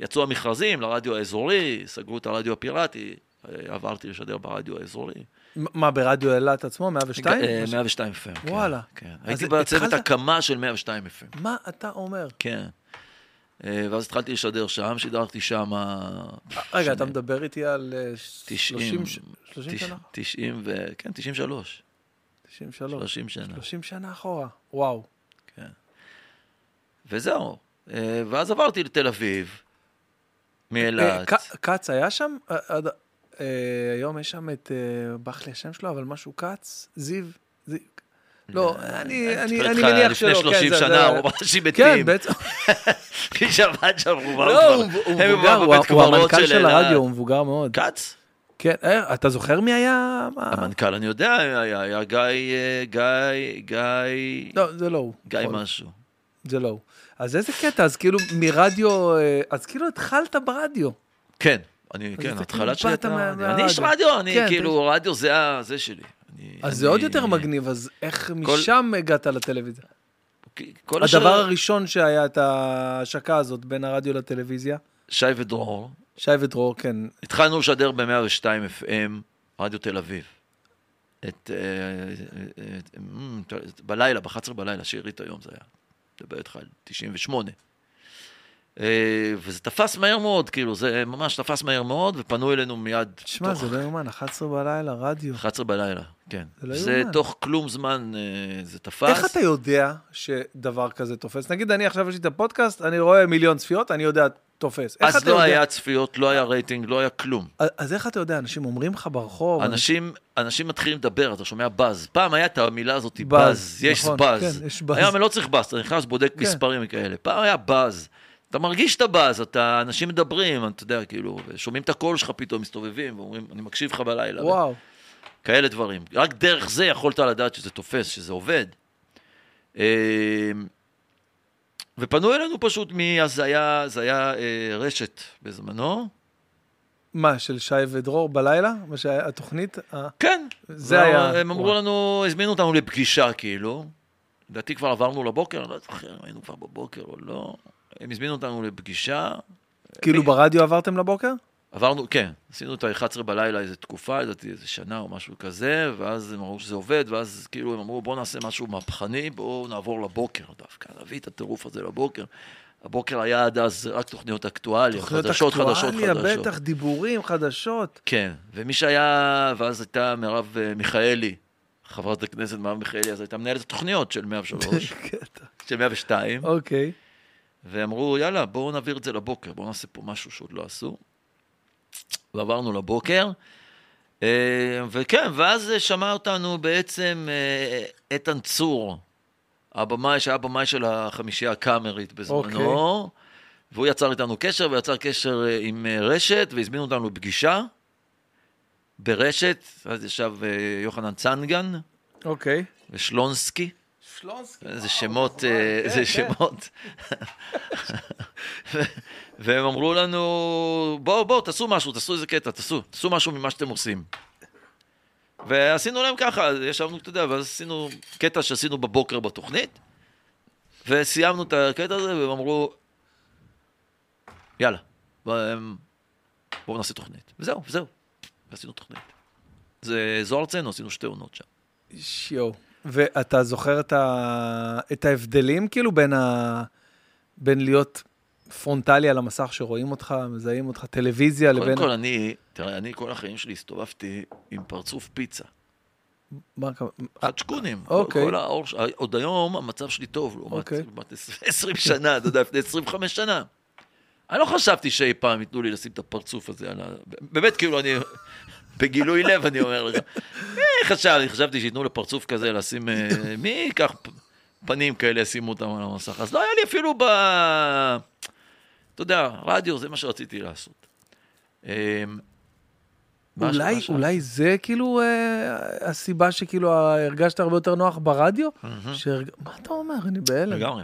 Speaker 2: יצאו המכרזים לרדיו האזורי, סגרו את הרדיו הפיראטי, אה, עברתי לשדר ברדיו האזורי.
Speaker 1: מ- מה, ברדיו אילת עצמו, 102?
Speaker 2: אה, 102 FM. כן,
Speaker 1: וואלה.
Speaker 2: כן.
Speaker 1: אז
Speaker 2: הייתי בצוות
Speaker 1: התחלת-
Speaker 2: הקמה של 102 FM.
Speaker 1: מה אתה אומר?
Speaker 2: כן. אה, ואז התחלתי לשדר שם, שידרתי שם...
Speaker 1: רגע, אתה מדבר איתי על אה,
Speaker 2: 90,
Speaker 1: 30 ש- 30 שנה? לא,
Speaker 2: 90 ו... כן, 93.
Speaker 1: 93.
Speaker 2: 30 שנה.
Speaker 1: 30 שנה אחורה, וואו.
Speaker 2: וזהו. אה, ואז עברתי לתל אביב, מאילת.
Speaker 1: אה, ק- כץ היה שם? אה, עד- אה, היום יש שם את, אה, ברח לי השם שלו, אבל משהו כץ, זיו. זיו- לא, אני
Speaker 2: אה, אני
Speaker 1: אני-
Speaker 2: מדבר
Speaker 1: אני
Speaker 2: איתך
Speaker 1: מניח שלא.
Speaker 2: לפני
Speaker 1: כן,
Speaker 2: 30
Speaker 1: זה-
Speaker 2: שנה,
Speaker 1: זה-
Speaker 2: הוא ממש
Speaker 1: כן,
Speaker 2: היבטים.
Speaker 1: בעצם,
Speaker 2: מי שעבד שם, הוא כבר...
Speaker 1: לא, הוא- הוא
Speaker 2: הם
Speaker 1: מבוגר,
Speaker 2: כבר
Speaker 1: הוא-
Speaker 2: בבית
Speaker 1: הוא
Speaker 2: קברות
Speaker 1: המנכ"ל של
Speaker 2: אילת.
Speaker 1: הרדיו, הוא מבוגר מאוד.
Speaker 2: כץ?
Speaker 1: כן, אה, אתה זוכר מי היה? מה?
Speaker 2: המנכ"ל, אני יודע, היה היה גיא... אה, גיא... גיא...
Speaker 1: לא, זה לא הוא.
Speaker 2: גיא
Speaker 1: יכול.
Speaker 2: משהו.
Speaker 1: זה לא הוא. אז איזה קטע, אז כאילו מרדיו, אה, אז כאילו התחלת ברדיו.
Speaker 2: כן, אני, כן,
Speaker 1: אתה
Speaker 2: ההתחלה
Speaker 1: כאילו
Speaker 2: שלי
Speaker 1: באת
Speaker 2: הייתה...
Speaker 1: מה-
Speaker 2: רדיו. אני
Speaker 1: מהרדיו.
Speaker 2: איש רדיו, אני
Speaker 1: כן,
Speaker 2: כאילו, רדיו זה ה- זה שלי. אני-
Speaker 1: אז זה
Speaker 2: אני-
Speaker 1: עוד יותר מגניב, אז איך
Speaker 2: כל-
Speaker 1: משם הגעת לטלוויזיה?
Speaker 2: כל השאר-
Speaker 1: הדבר הראשון שהיה את ההשקה הזאת בין הרדיו לטלוויזיה,
Speaker 2: שי ודרור,
Speaker 1: שי ודרור, כן,
Speaker 2: התחלנו לשדר ב-102 FM, רדיו תל אביב. את... אה, אה, את- אמ, ת- בלילה, ב-11 בלילה, שארית היום זה היה. מדבר איתך על 98. אה, וזה תפס מהר מאוד, כאילו, זה ממש תפס מהר מאוד, ופנו אלינו מיד.
Speaker 1: תשמע,
Speaker 2: תוך
Speaker 1: זה לא יאומן, 11 בלילה, רדיו.
Speaker 2: 11 בלילה, כן.
Speaker 1: זה לא
Speaker 2: זה
Speaker 1: יאומן.
Speaker 2: תוך כלום זמן אה, זה תפס.
Speaker 1: איך אתה יודע שדבר כזה תופס? נגיד, אני עכשיו יש לי את הפודקאסט, אני רואה מיליון צפיות, אני יודע, תופס. איך
Speaker 2: אז
Speaker 1: אתה
Speaker 2: לא
Speaker 1: יודע-
Speaker 2: היה צפיות, לא היה רייטינג, לא היה כלום.
Speaker 1: אז- אז איך אתה יודע, אנשים אומרים לך ברחוב,
Speaker 2: אנשים, אנשים מתחילים לדבר, אתה שומע באז. פעם היה את המילה הזאת,
Speaker 1: באז,
Speaker 2: באז, יש
Speaker 1: נכון,
Speaker 2: באז.
Speaker 1: כן, יש באז.
Speaker 2: היום אני לא צריך באז, אתה נכנס, בודק
Speaker 1: כן.
Speaker 2: מספרים כאלה. פעם היה באז. אתה מרגיש את הבאז, אתה, אנשים מדברים, אתה יודע, כאילו, שומעים את הקול שלך פתאום, מסתובבים, ואומרים, אני מקשיב לך בלילה.
Speaker 1: וואו,
Speaker 2: כאלה דברים. רק דרך זה יכולת לדעת שזה תופס, שזה עובד. אה, ופנו אלינו פשוט, מ- אז זה היה, זה היה אה, רשת בזמנו.
Speaker 1: מה, של שי ודרור בלילה? מה שהיה, התוכנית? אה,
Speaker 2: כן.
Speaker 1: זה היה.
Speaker 2: הם אמרו
Speaker 1: וואו.
Speaker 2: לנו, הזמינו אותנו לפגישה, כאילו. לדעתי כבר עברנו לבוקר, אני לא זוכר אם היינו כבר בבוקר או לא. הם הזמינו אותנו לפגישה,
Speaker 1: כאילו ברדיו עברתם לבוקר?
Speaker 2: עברנו, כן, עשינו את ה-11 בלילה איזה תקופה, לדעתי איזה שנה או משהו כזה, ואז הם אמרו שזה עובד, ואז כאילו הם אמרו, בואו נעשה משהו מהפכני, בואו נעבור לבוקר דווקא, נביא את הטירוף הזה לבוקר. הבוקר היה עד אז רק תוכניות אקטואליה,
Speaker 1: תוכניות
Speaker 2: חדשות, חדשות,
Speaker 1: אקטואליה,
Speaker 2: חדשות.
Speaker 1: בטח, דיבורים, חדשות.
Speaker 2: כן, ומי שהיה, ואז הייתה מרב אה, מיכאלי, חברת הכנסת מרב מיכאלי, אז הייתה מנהלת התוכניות של 103,
Speaker 1: קטע.
Speaker 2: של 102,
Speaker 1: אוקיי.
Speaker 2: ואמרו, יאללה, בואו נעביר את זה לבוקר, בואו נעשה פה משהו שעוד לא עשו. ועברנו לבוקר, אה, וכן, ואז אה, שמע אותנו בעצם אה, איתן צור, הבמאי, שהיה הבמאי של החמישייה הקאמרית בזמנו, והוא יצר איתנו קשר, ויצר קשר אה, עם אה, רשת, והזמינו אותנו לפגישה ברשת, אז ישב אה, יוחנן צנגן
Speaker 1: אוקיי.
Speaker 2: ושלונסקי.
Speaker 1: שלונסקי.
Speaker 2: זה שמות,
Speaker 1: נכון,
Speaker 2: אה,
Speaker 1: כן, כן.
Speaker 2: זה שמות. ו- והם אמרו לנו, בואו, בואו, תעשו משהו, תעשו איזה קטע, תעשו, תעשו משהו ממה שאתם עושים. ועשינו להם ככה, ישבנו, אתה יודע, ואז עשינו קטע שעשינו בבוקר בתוכנית, וסיימנו את הקטע הזה, והם אמרו, יאללה, בואו בואו נעשה תוכנית. וזהו, וזהו, ועשינו תוכנית. זה זו ארצנו, עשינו שתי עונות שם.
Speaker 1: שיו. ואתה זוכר את, ה... את ההבדלים, כאילו, בין, ה... בין להיות פרונטלי על המסך שרואים אותך, מזהים אותך, טלוויזיה,
Speaker 2: קודם
Speaker 1: לבין...
Speaker 2: כל, אני, תראה, אני כל החיים שלי הסתובבתי עם פרצוף פיצה.
Speaker 1: מה הכוונה?
Speaker 2: חדשקונים.
Speaker 1: אוקיי.
Speaker 2: כל העור, ש- עוד היום המצב שלי טוב, לעומת
Speaker 1: אוקיי.
Speaker 2: לעומת 20 שנה, אתה יודע, לפני 25 שנה. אני לא חשבתי שאי פעם ייתנו לי לשים את הפרצוף הזה על ה... באמת, כאילו, אני... בגילוי לב, אני אומר לך. אה, חשבתי, חשבתי שייתנו לפרצוף כזה לשים... אה, מי ייקח פ- פנים כאלה, ישימו אותם על המסך? אז לא היה לי אפילו ב... אתה יודע, רדיו, זה מה שרציתי לעשות. אה, מה ש-
Speaker 1: אולי,
Speaker 2: מה ש-
Speaker 1: אולי זה כאילו אה, הסיבה שכאילו אה, הרגשת הרבה יותר נוח ברדיו? שהרג... מה אתה אומר? אני בהלם.
Speaker 2: לגמרי.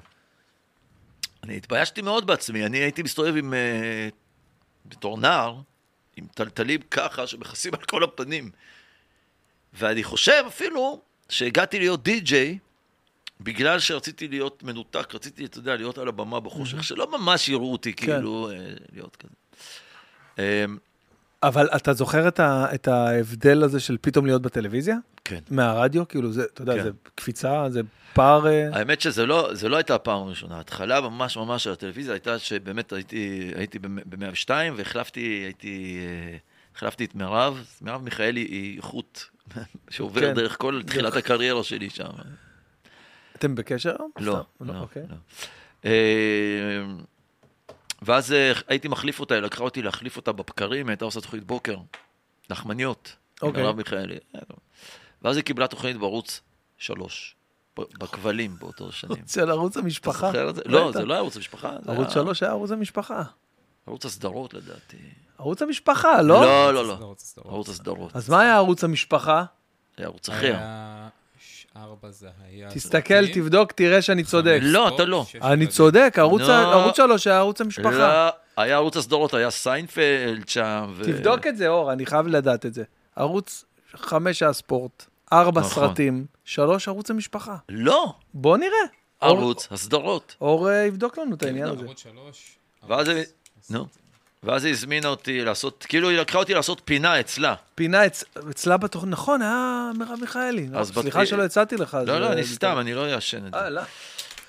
Speaker 2: אני התביישתי מאוד בעצמי, אני הייתי מסתובב עם, אה, בתור נער, עם טלטלים ככה שמכסים על כל הפנים. ואני חושב אפילו שהגעתי להיות די-ג'יי, בגלל שרציתי להיות מנותק, רציתי, אתה יודע, להיות על הבמה בחושך, שלא ממש יראו אותי, כאילו, אה, להיות כזה. אה,
Speaker 1: אבל אתה זוכר את, ה... את ההבדל הזה של פתאום להיות בטלוויזיה?
Speaker 2: כן.
Speaker 1: מהרדיו? כאילו, זה, אתה יודע,
Speaker 2: כן.
Speaker 1: זה קפיצה, זה פער... אה,
Speaker 2: האמת שזה לא, זה לא הייתה הפעם הראשונה. ההתחלה ממש ממש של הטלוויזיה הייתה שבאמת הייתי, הייתי ב-102 והחלפתי הייתי, אה, החלפתי את מירב. מירב מיכאלי היא חוט שעובר
Speaker 1: כן.
Speaker 2: כן. דרך כל תחילת הקריירה שלי שם.
Speaker 1: אתם בקשר? היום?
Speaker 2: לא,
Speaker 1: סתם,
Speaker 2: לא,
Speaker 1: אוקיי.
Speaker 2: לא. אה, ואז אה, הייתי מחליף אותה, היא לקחה אותי להחליף אותה בבקרים, היא הייתה עושה תוכנית בוקר, נחמניות, עם
Speaker 1: אוקיי.
Speaker 2: מירב מיכאלי. אה, לא. ואז היא קיבלה תוכנית בערוץ שלוש, ב- בכבלים באותו שנים.
Speaker 1: של ערוץ
Speaker 2: אתה
Speaker 1: המשפחה.
Speaker 2: זוכר את זה?
Speaker 1: בטח.
Speaker 2: לא, זה לא היה ערוץ המשפחה. זה
Speaker 1: ערוץ
Speaker 2: היה
Speaker 1: שלוש היה ערוץ המשפחה.
Speaker 2: ערוץ הסדרות לדעתי.
Speaker 1: ערוץ המשפחה, לא?
Speaker 2: לא, לא, לא.
Speaker 3: סדרות, סדרות.
Speaker 2: ערוץ הסדרות.
Speaker 1: אז מה היה ערוץ המשפחה?
Speaker 2: היה ערוץ אחר.
Speaker 3: היה ש- ארבע זה היה...
Speaker 1: תסתכל,
Speaker 3: סרטים.
Speaker 1: תבדוק, תראה שאני צודק.
Speaker 2: לא, אתה לא.
Speaker 3: שש
Speaker 1: אני
Speaker 3: ילדים.
Speaker 1: צודק, ערוץ
Speaker 2: לא.
Speaker 1: ה- ערוץ שלוש היה ערוץ המשפחה.
Speaker 2: לא, היה ערוץ הסדרות, היה סיינפלד שם. ו-
Speaker 1: תבדוק את זה, אור, אני חייב לדעת את זה. ערוץ חמש היה ספורט, ארבע
Speaker 2: נכון.
Speaker 1: סרטים, שלוש ערוץ המשפחה.
Speaker 2: לא,
Speaker 1: בוא נראה. אור-
Speaker 2: ערוץ הסדרות.
Speaker 1: אור אה, יבדוק
Speaker 2: כן,
Speaker 1: לנו את
Speaker 2: לא,
Speaker 1: העניין הזה.
Speaker 3: ערוץ שלוש.
Speaker 2: ואז
Speaker 3: ערוץ-
Speaker 2: הם- נו. ואז היא הזמינה אותי לעשות, כאילו היא לקחה אותי לעשות פינה אצלה.
Speaker 1: פינה אצ- אצלה בתוכנית, נכון, היה מרב מיכאלי. לא,
Speaker 2: אז
Speaker 1: סליחה
Speaker 2: בת-
Speaker 1: שלא הצעתי לך. זה-
Speaker 2: לא, לא, אני סתם, אני לא אעשן את זה.
Speaker 1: אה, לא.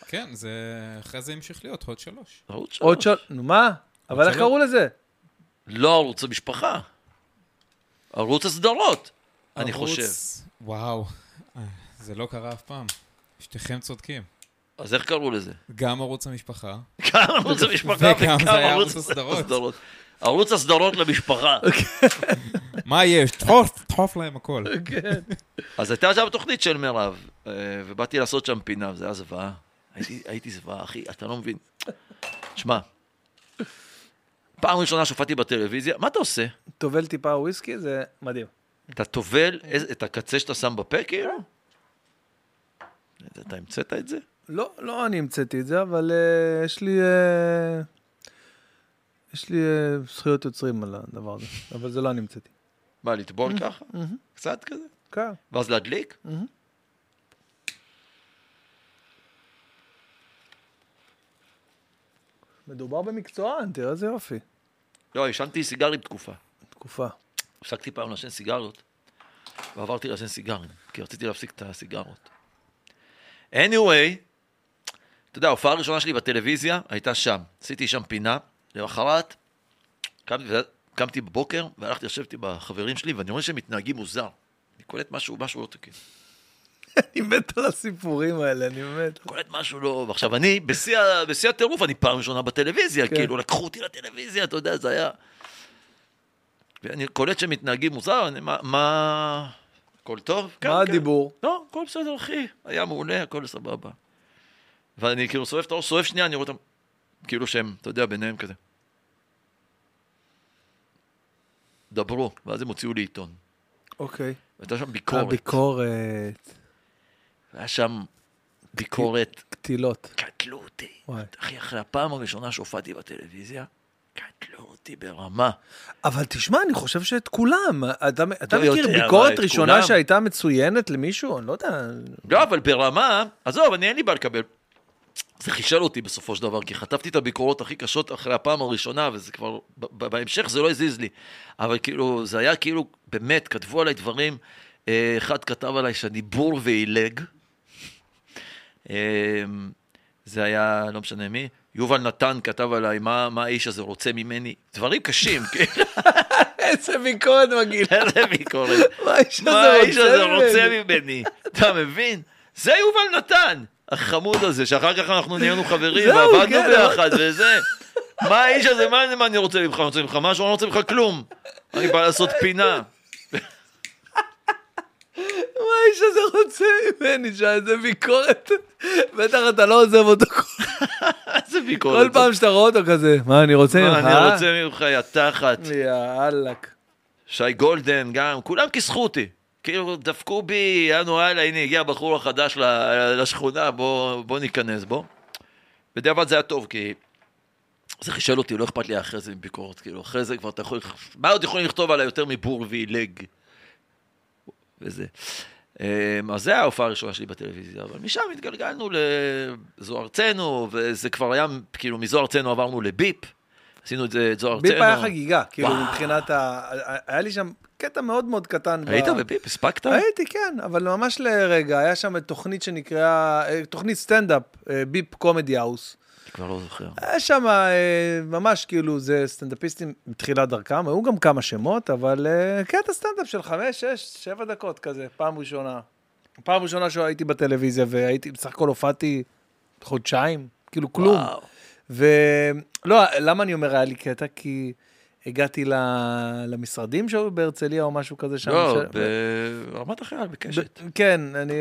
Speaker 3: כן, זה... אחרי זה המשיך להיות עוד שלוש.
Speaker 2: ערוץ
Speaker 1: עוד
Speaker 2: שלוש.
Speaker 1: שלוש, נו מה? אבל איך
Speaker 3: שלוש.
Speaker 1: קראו לזה?
Speaker 2: לא ערוץ המשפחה. ערוץ הסדרות, אני
Speaker 3: ערוץ-
Speaker 2: חושב.
Speaker 3: וואו, אה, זה לא קרה אף פעם. שתיכם צודקים.
Speaker 2: אז איך קראו לזה?
Speaker 3: גם ערוץ המשפחה.
Speaker 2: גם ערוץ המשפחה
Speaker 3: וגם
Speaker 2: וגם
Speaker 3: זה היה
Speaker 2: ערוץ
Speaker 3: ערוץ הסדרות. אוקיי.
Speaker 2: הסדרות. ערוץ הסדרות למשפחה.
Speaker 3: מה יש? דחוף, דחוף להם הכל.
Speaker 2: אז הייתה שם תוכנית של מירב, אה, ובאתי לעשות שם פינה, וזה היה זוועה. הייתי- הייתי זוועה, אחי, אתה לא מבין. שמע, פעם ראשונה שהופעתי בטלוויזיה, מה אתה עושה?
Speaker 1: טובל טיפה וויסקי, זה מדהים.
Speaker 2: אתה טובל איזה- את הקצה שאתה שם בפה, כאילו? אתה המצאת את זה?
Speaker 1: לא, לא אני המצאתי את זה, אבל אה, יש לי... אה, יש לי אה, זכויות יוצרים על הדבר הזה, אבל זה לא אני המצאתי.
Speaker 2: מה, לטבול
Speaker 3: Mm-hmm.
Speaker 2: ככה? קצת כזה?
Speaker 1: כן.
Speaker 2: ואז להדליק?
Speaker 1: מדובר במקצוען, תראה איזה יופי.
Speaker 2: לא, עישנתי סיגרים תקופה.
Speaker 1: תקופה.
Speaker 2: הפסקתי פעם לעשן סיגריות, ועברתי לעשן סיגרים, כי רציתי להפסיק את הסיגרות. anyway, אתה יודע, ההופעה הראשונה שלי בטלוויזיה הייתה שם. עשיתי שם פינה, למחרת קמתי, קמתי בבוקר והלכתי, ישבתי בחברים שלי, ואני רואה שהם מתנהגים מוזר. אני קולט משהו, משהו לא תקין.
Speaker 1: אני מת על הסיפורים האלה, אני מת.
Speaker 2: קולט משהו לא... ועכשיו אני, בשיא ה- בשיא הטירוף, אני פעם ראשונה בטלוויזיה,
Speaker 1: כן.
Speaker 2: כאילו, לקחו אותי לטלוויזיה, אתה יודע, זה היה... ואני קולט שהם מתנהגים מוזר, אני, מה- מה... הכל טוב? כן,
Speaker 1: מה
Speaker 2: כן.
Speaker 1: הדיבור?
Speaker 2: לא, הכל בסדר, אחי. היה מעולה, הכל סבבה. ואני כאילו סובב את הראש, סובב שנייה, אני רואה אותם, כאילו שהם, אתה יודע, ביניהם כזה. דברו, ואז הם הוציאו לי עיתון.
Speaker 1: אוקיי.
Speaker 2: הייתה שם ביקורת.
Speaker 1: הביקורת,
Speaker 2: היה שם ביקורת,
Speaker 1: קטילות.
Speaker 2: קטלו אותי.
Speaker 1: וואי.
Speaker 2: אחי, אחרי הפעם הראשונה שהופעתי בטלוויזיה, קטלו אותי ברמה.
Speaker 1: אבל תשמע, אני חושב שאת כולם, אתה, אתה
Speaker 2: לא
Speaker 1: מכיר
Speaker 2: יודע,
Speaker 1: ביקורת
Speaker 2: אבל את
Speaker 1: ראשונה
Speaker 2: כולם.
Speaker 1: שהייתה מצוינת למישהו? אני לא יודע.
Speaker 2: לא, אבל ברמה, עזוב, אני אין לי בעיה לקבל. זה חישל אותי בסופו של דבר, כי חטפתי את הביקורות הכי קשות אחרי הפעם הראשונה, וזה כבר, ב- ב- בהמשך זה לא הזיז לי. אבל כאילו, זה היה כאילו, באמת, כתבו עליי דברים, אה, אחד כתב עליי שאני בור ועילג. אה, זה היה, לא משנה מי, יובל נתן כתב עליי, מה, מה האיש הזה רוצה ממני? דברים קשים, כאילו,
Speaker 1: איזה ביקורת מגעילה.
Speaker 2: איזה ביקורת.
Speaker 1: מה אוקיי. האיש
Speaker 2: מה האיש הזה
Speaker 1: ממני?
Speaker 2: רוצה ממני? אתה מבין? זה יובל נתן, החמוד הזה, שאחר כך אנחנו נהיינו חברים
Speaker 1: זהו,
Speaker 2: ועבדנו
Speaker 1: כן,
Speaker 2: ביחד וזה. מה האיש הזה, מה זה, מה אני רוצה ממך? אני רוצה ממך משהו? אני לא רוצה ממך כלום. אני בא לעשות פינה.
Speaker 1: מה האיש הזה רוצה ממני? שאיזה ביקורת. בטח אתה לא עוזב אותו כל-
Speaker 2: איזה ביקורת.
Speaker 1: כל פעם שאתה רואה אותו כזה. מה, אני רוצה
Speaker 2: לא, מה
Speaker 1: ממך?
Speaker 2: אני רוצה ממך, יא תחת.
Speaker 1: יאללק.
Speaker 2: שי גולדן גם, כולם כיסחו אותי. כאילו, דפקו בי, יענו, הלאה, הנה, הגיע הבחור החדש ל- לשכונה, בוא, בוא ניכנס בו. בדיעבד זה היה טוב, כי זה חישל אותי, לא אכפת לי אחרי זה מביקורת, כאילו, אחרי זה כבר אתה יכול... לכ- מה עוד יכולים לכתוב עליי יותר מבור ועילג? וזה. אמ, אז זה היה ההופעה הראשונה שלי בטלוויזיה, אבל משם התגלגלנו לזו ארצנו, וזה כבר היה, כאילו, מזו ארצנו עברנו לביפ, עשינו את זה, את זו ארצנו.
Speaker 1: ביפ היה חגיגה, כאילו
Speaker 2: וואו.
Speaker 1: מבחינת ה... היה לי שם קטע מאוד מאוד קטן. ב-
Speaker 2: היית בביפ? הספקת?
Speaker 1: הייתי, כן, אבל ממש לרגע, היה שם תוכנית שנקראה, אה, תוכנית סטנדאפ, אה, ביפ קומדי האוס.
Speaker 2: כבר לא זוכר.
Speaker 1: היה שם אה, ממש כאילו, זה סטנדאפיסטים מתחילת דרכם, היו גם כמה שמות, אבל אה, קטע סטנדאפ של חמש, שש, שבע דקות כזה, פעם ראשונה. פעם ראשונה שהייתי בטלוויזיה, והייתי, בסך הכל הופעתי חודשיים, כאילו כלום.
Speaker 2: וואו.
Speaker 1: ולא, למה אני אומר היה לי קטע? כי הגעתי ל... למשרדים שהיו בהרצליה או משהו כזה שם.
Speaker 2: לא,
Speaker 1: ש-
Speaker 2: ברמת החייל, בקשת.
Speaker 1: ב- כן, אני... אה,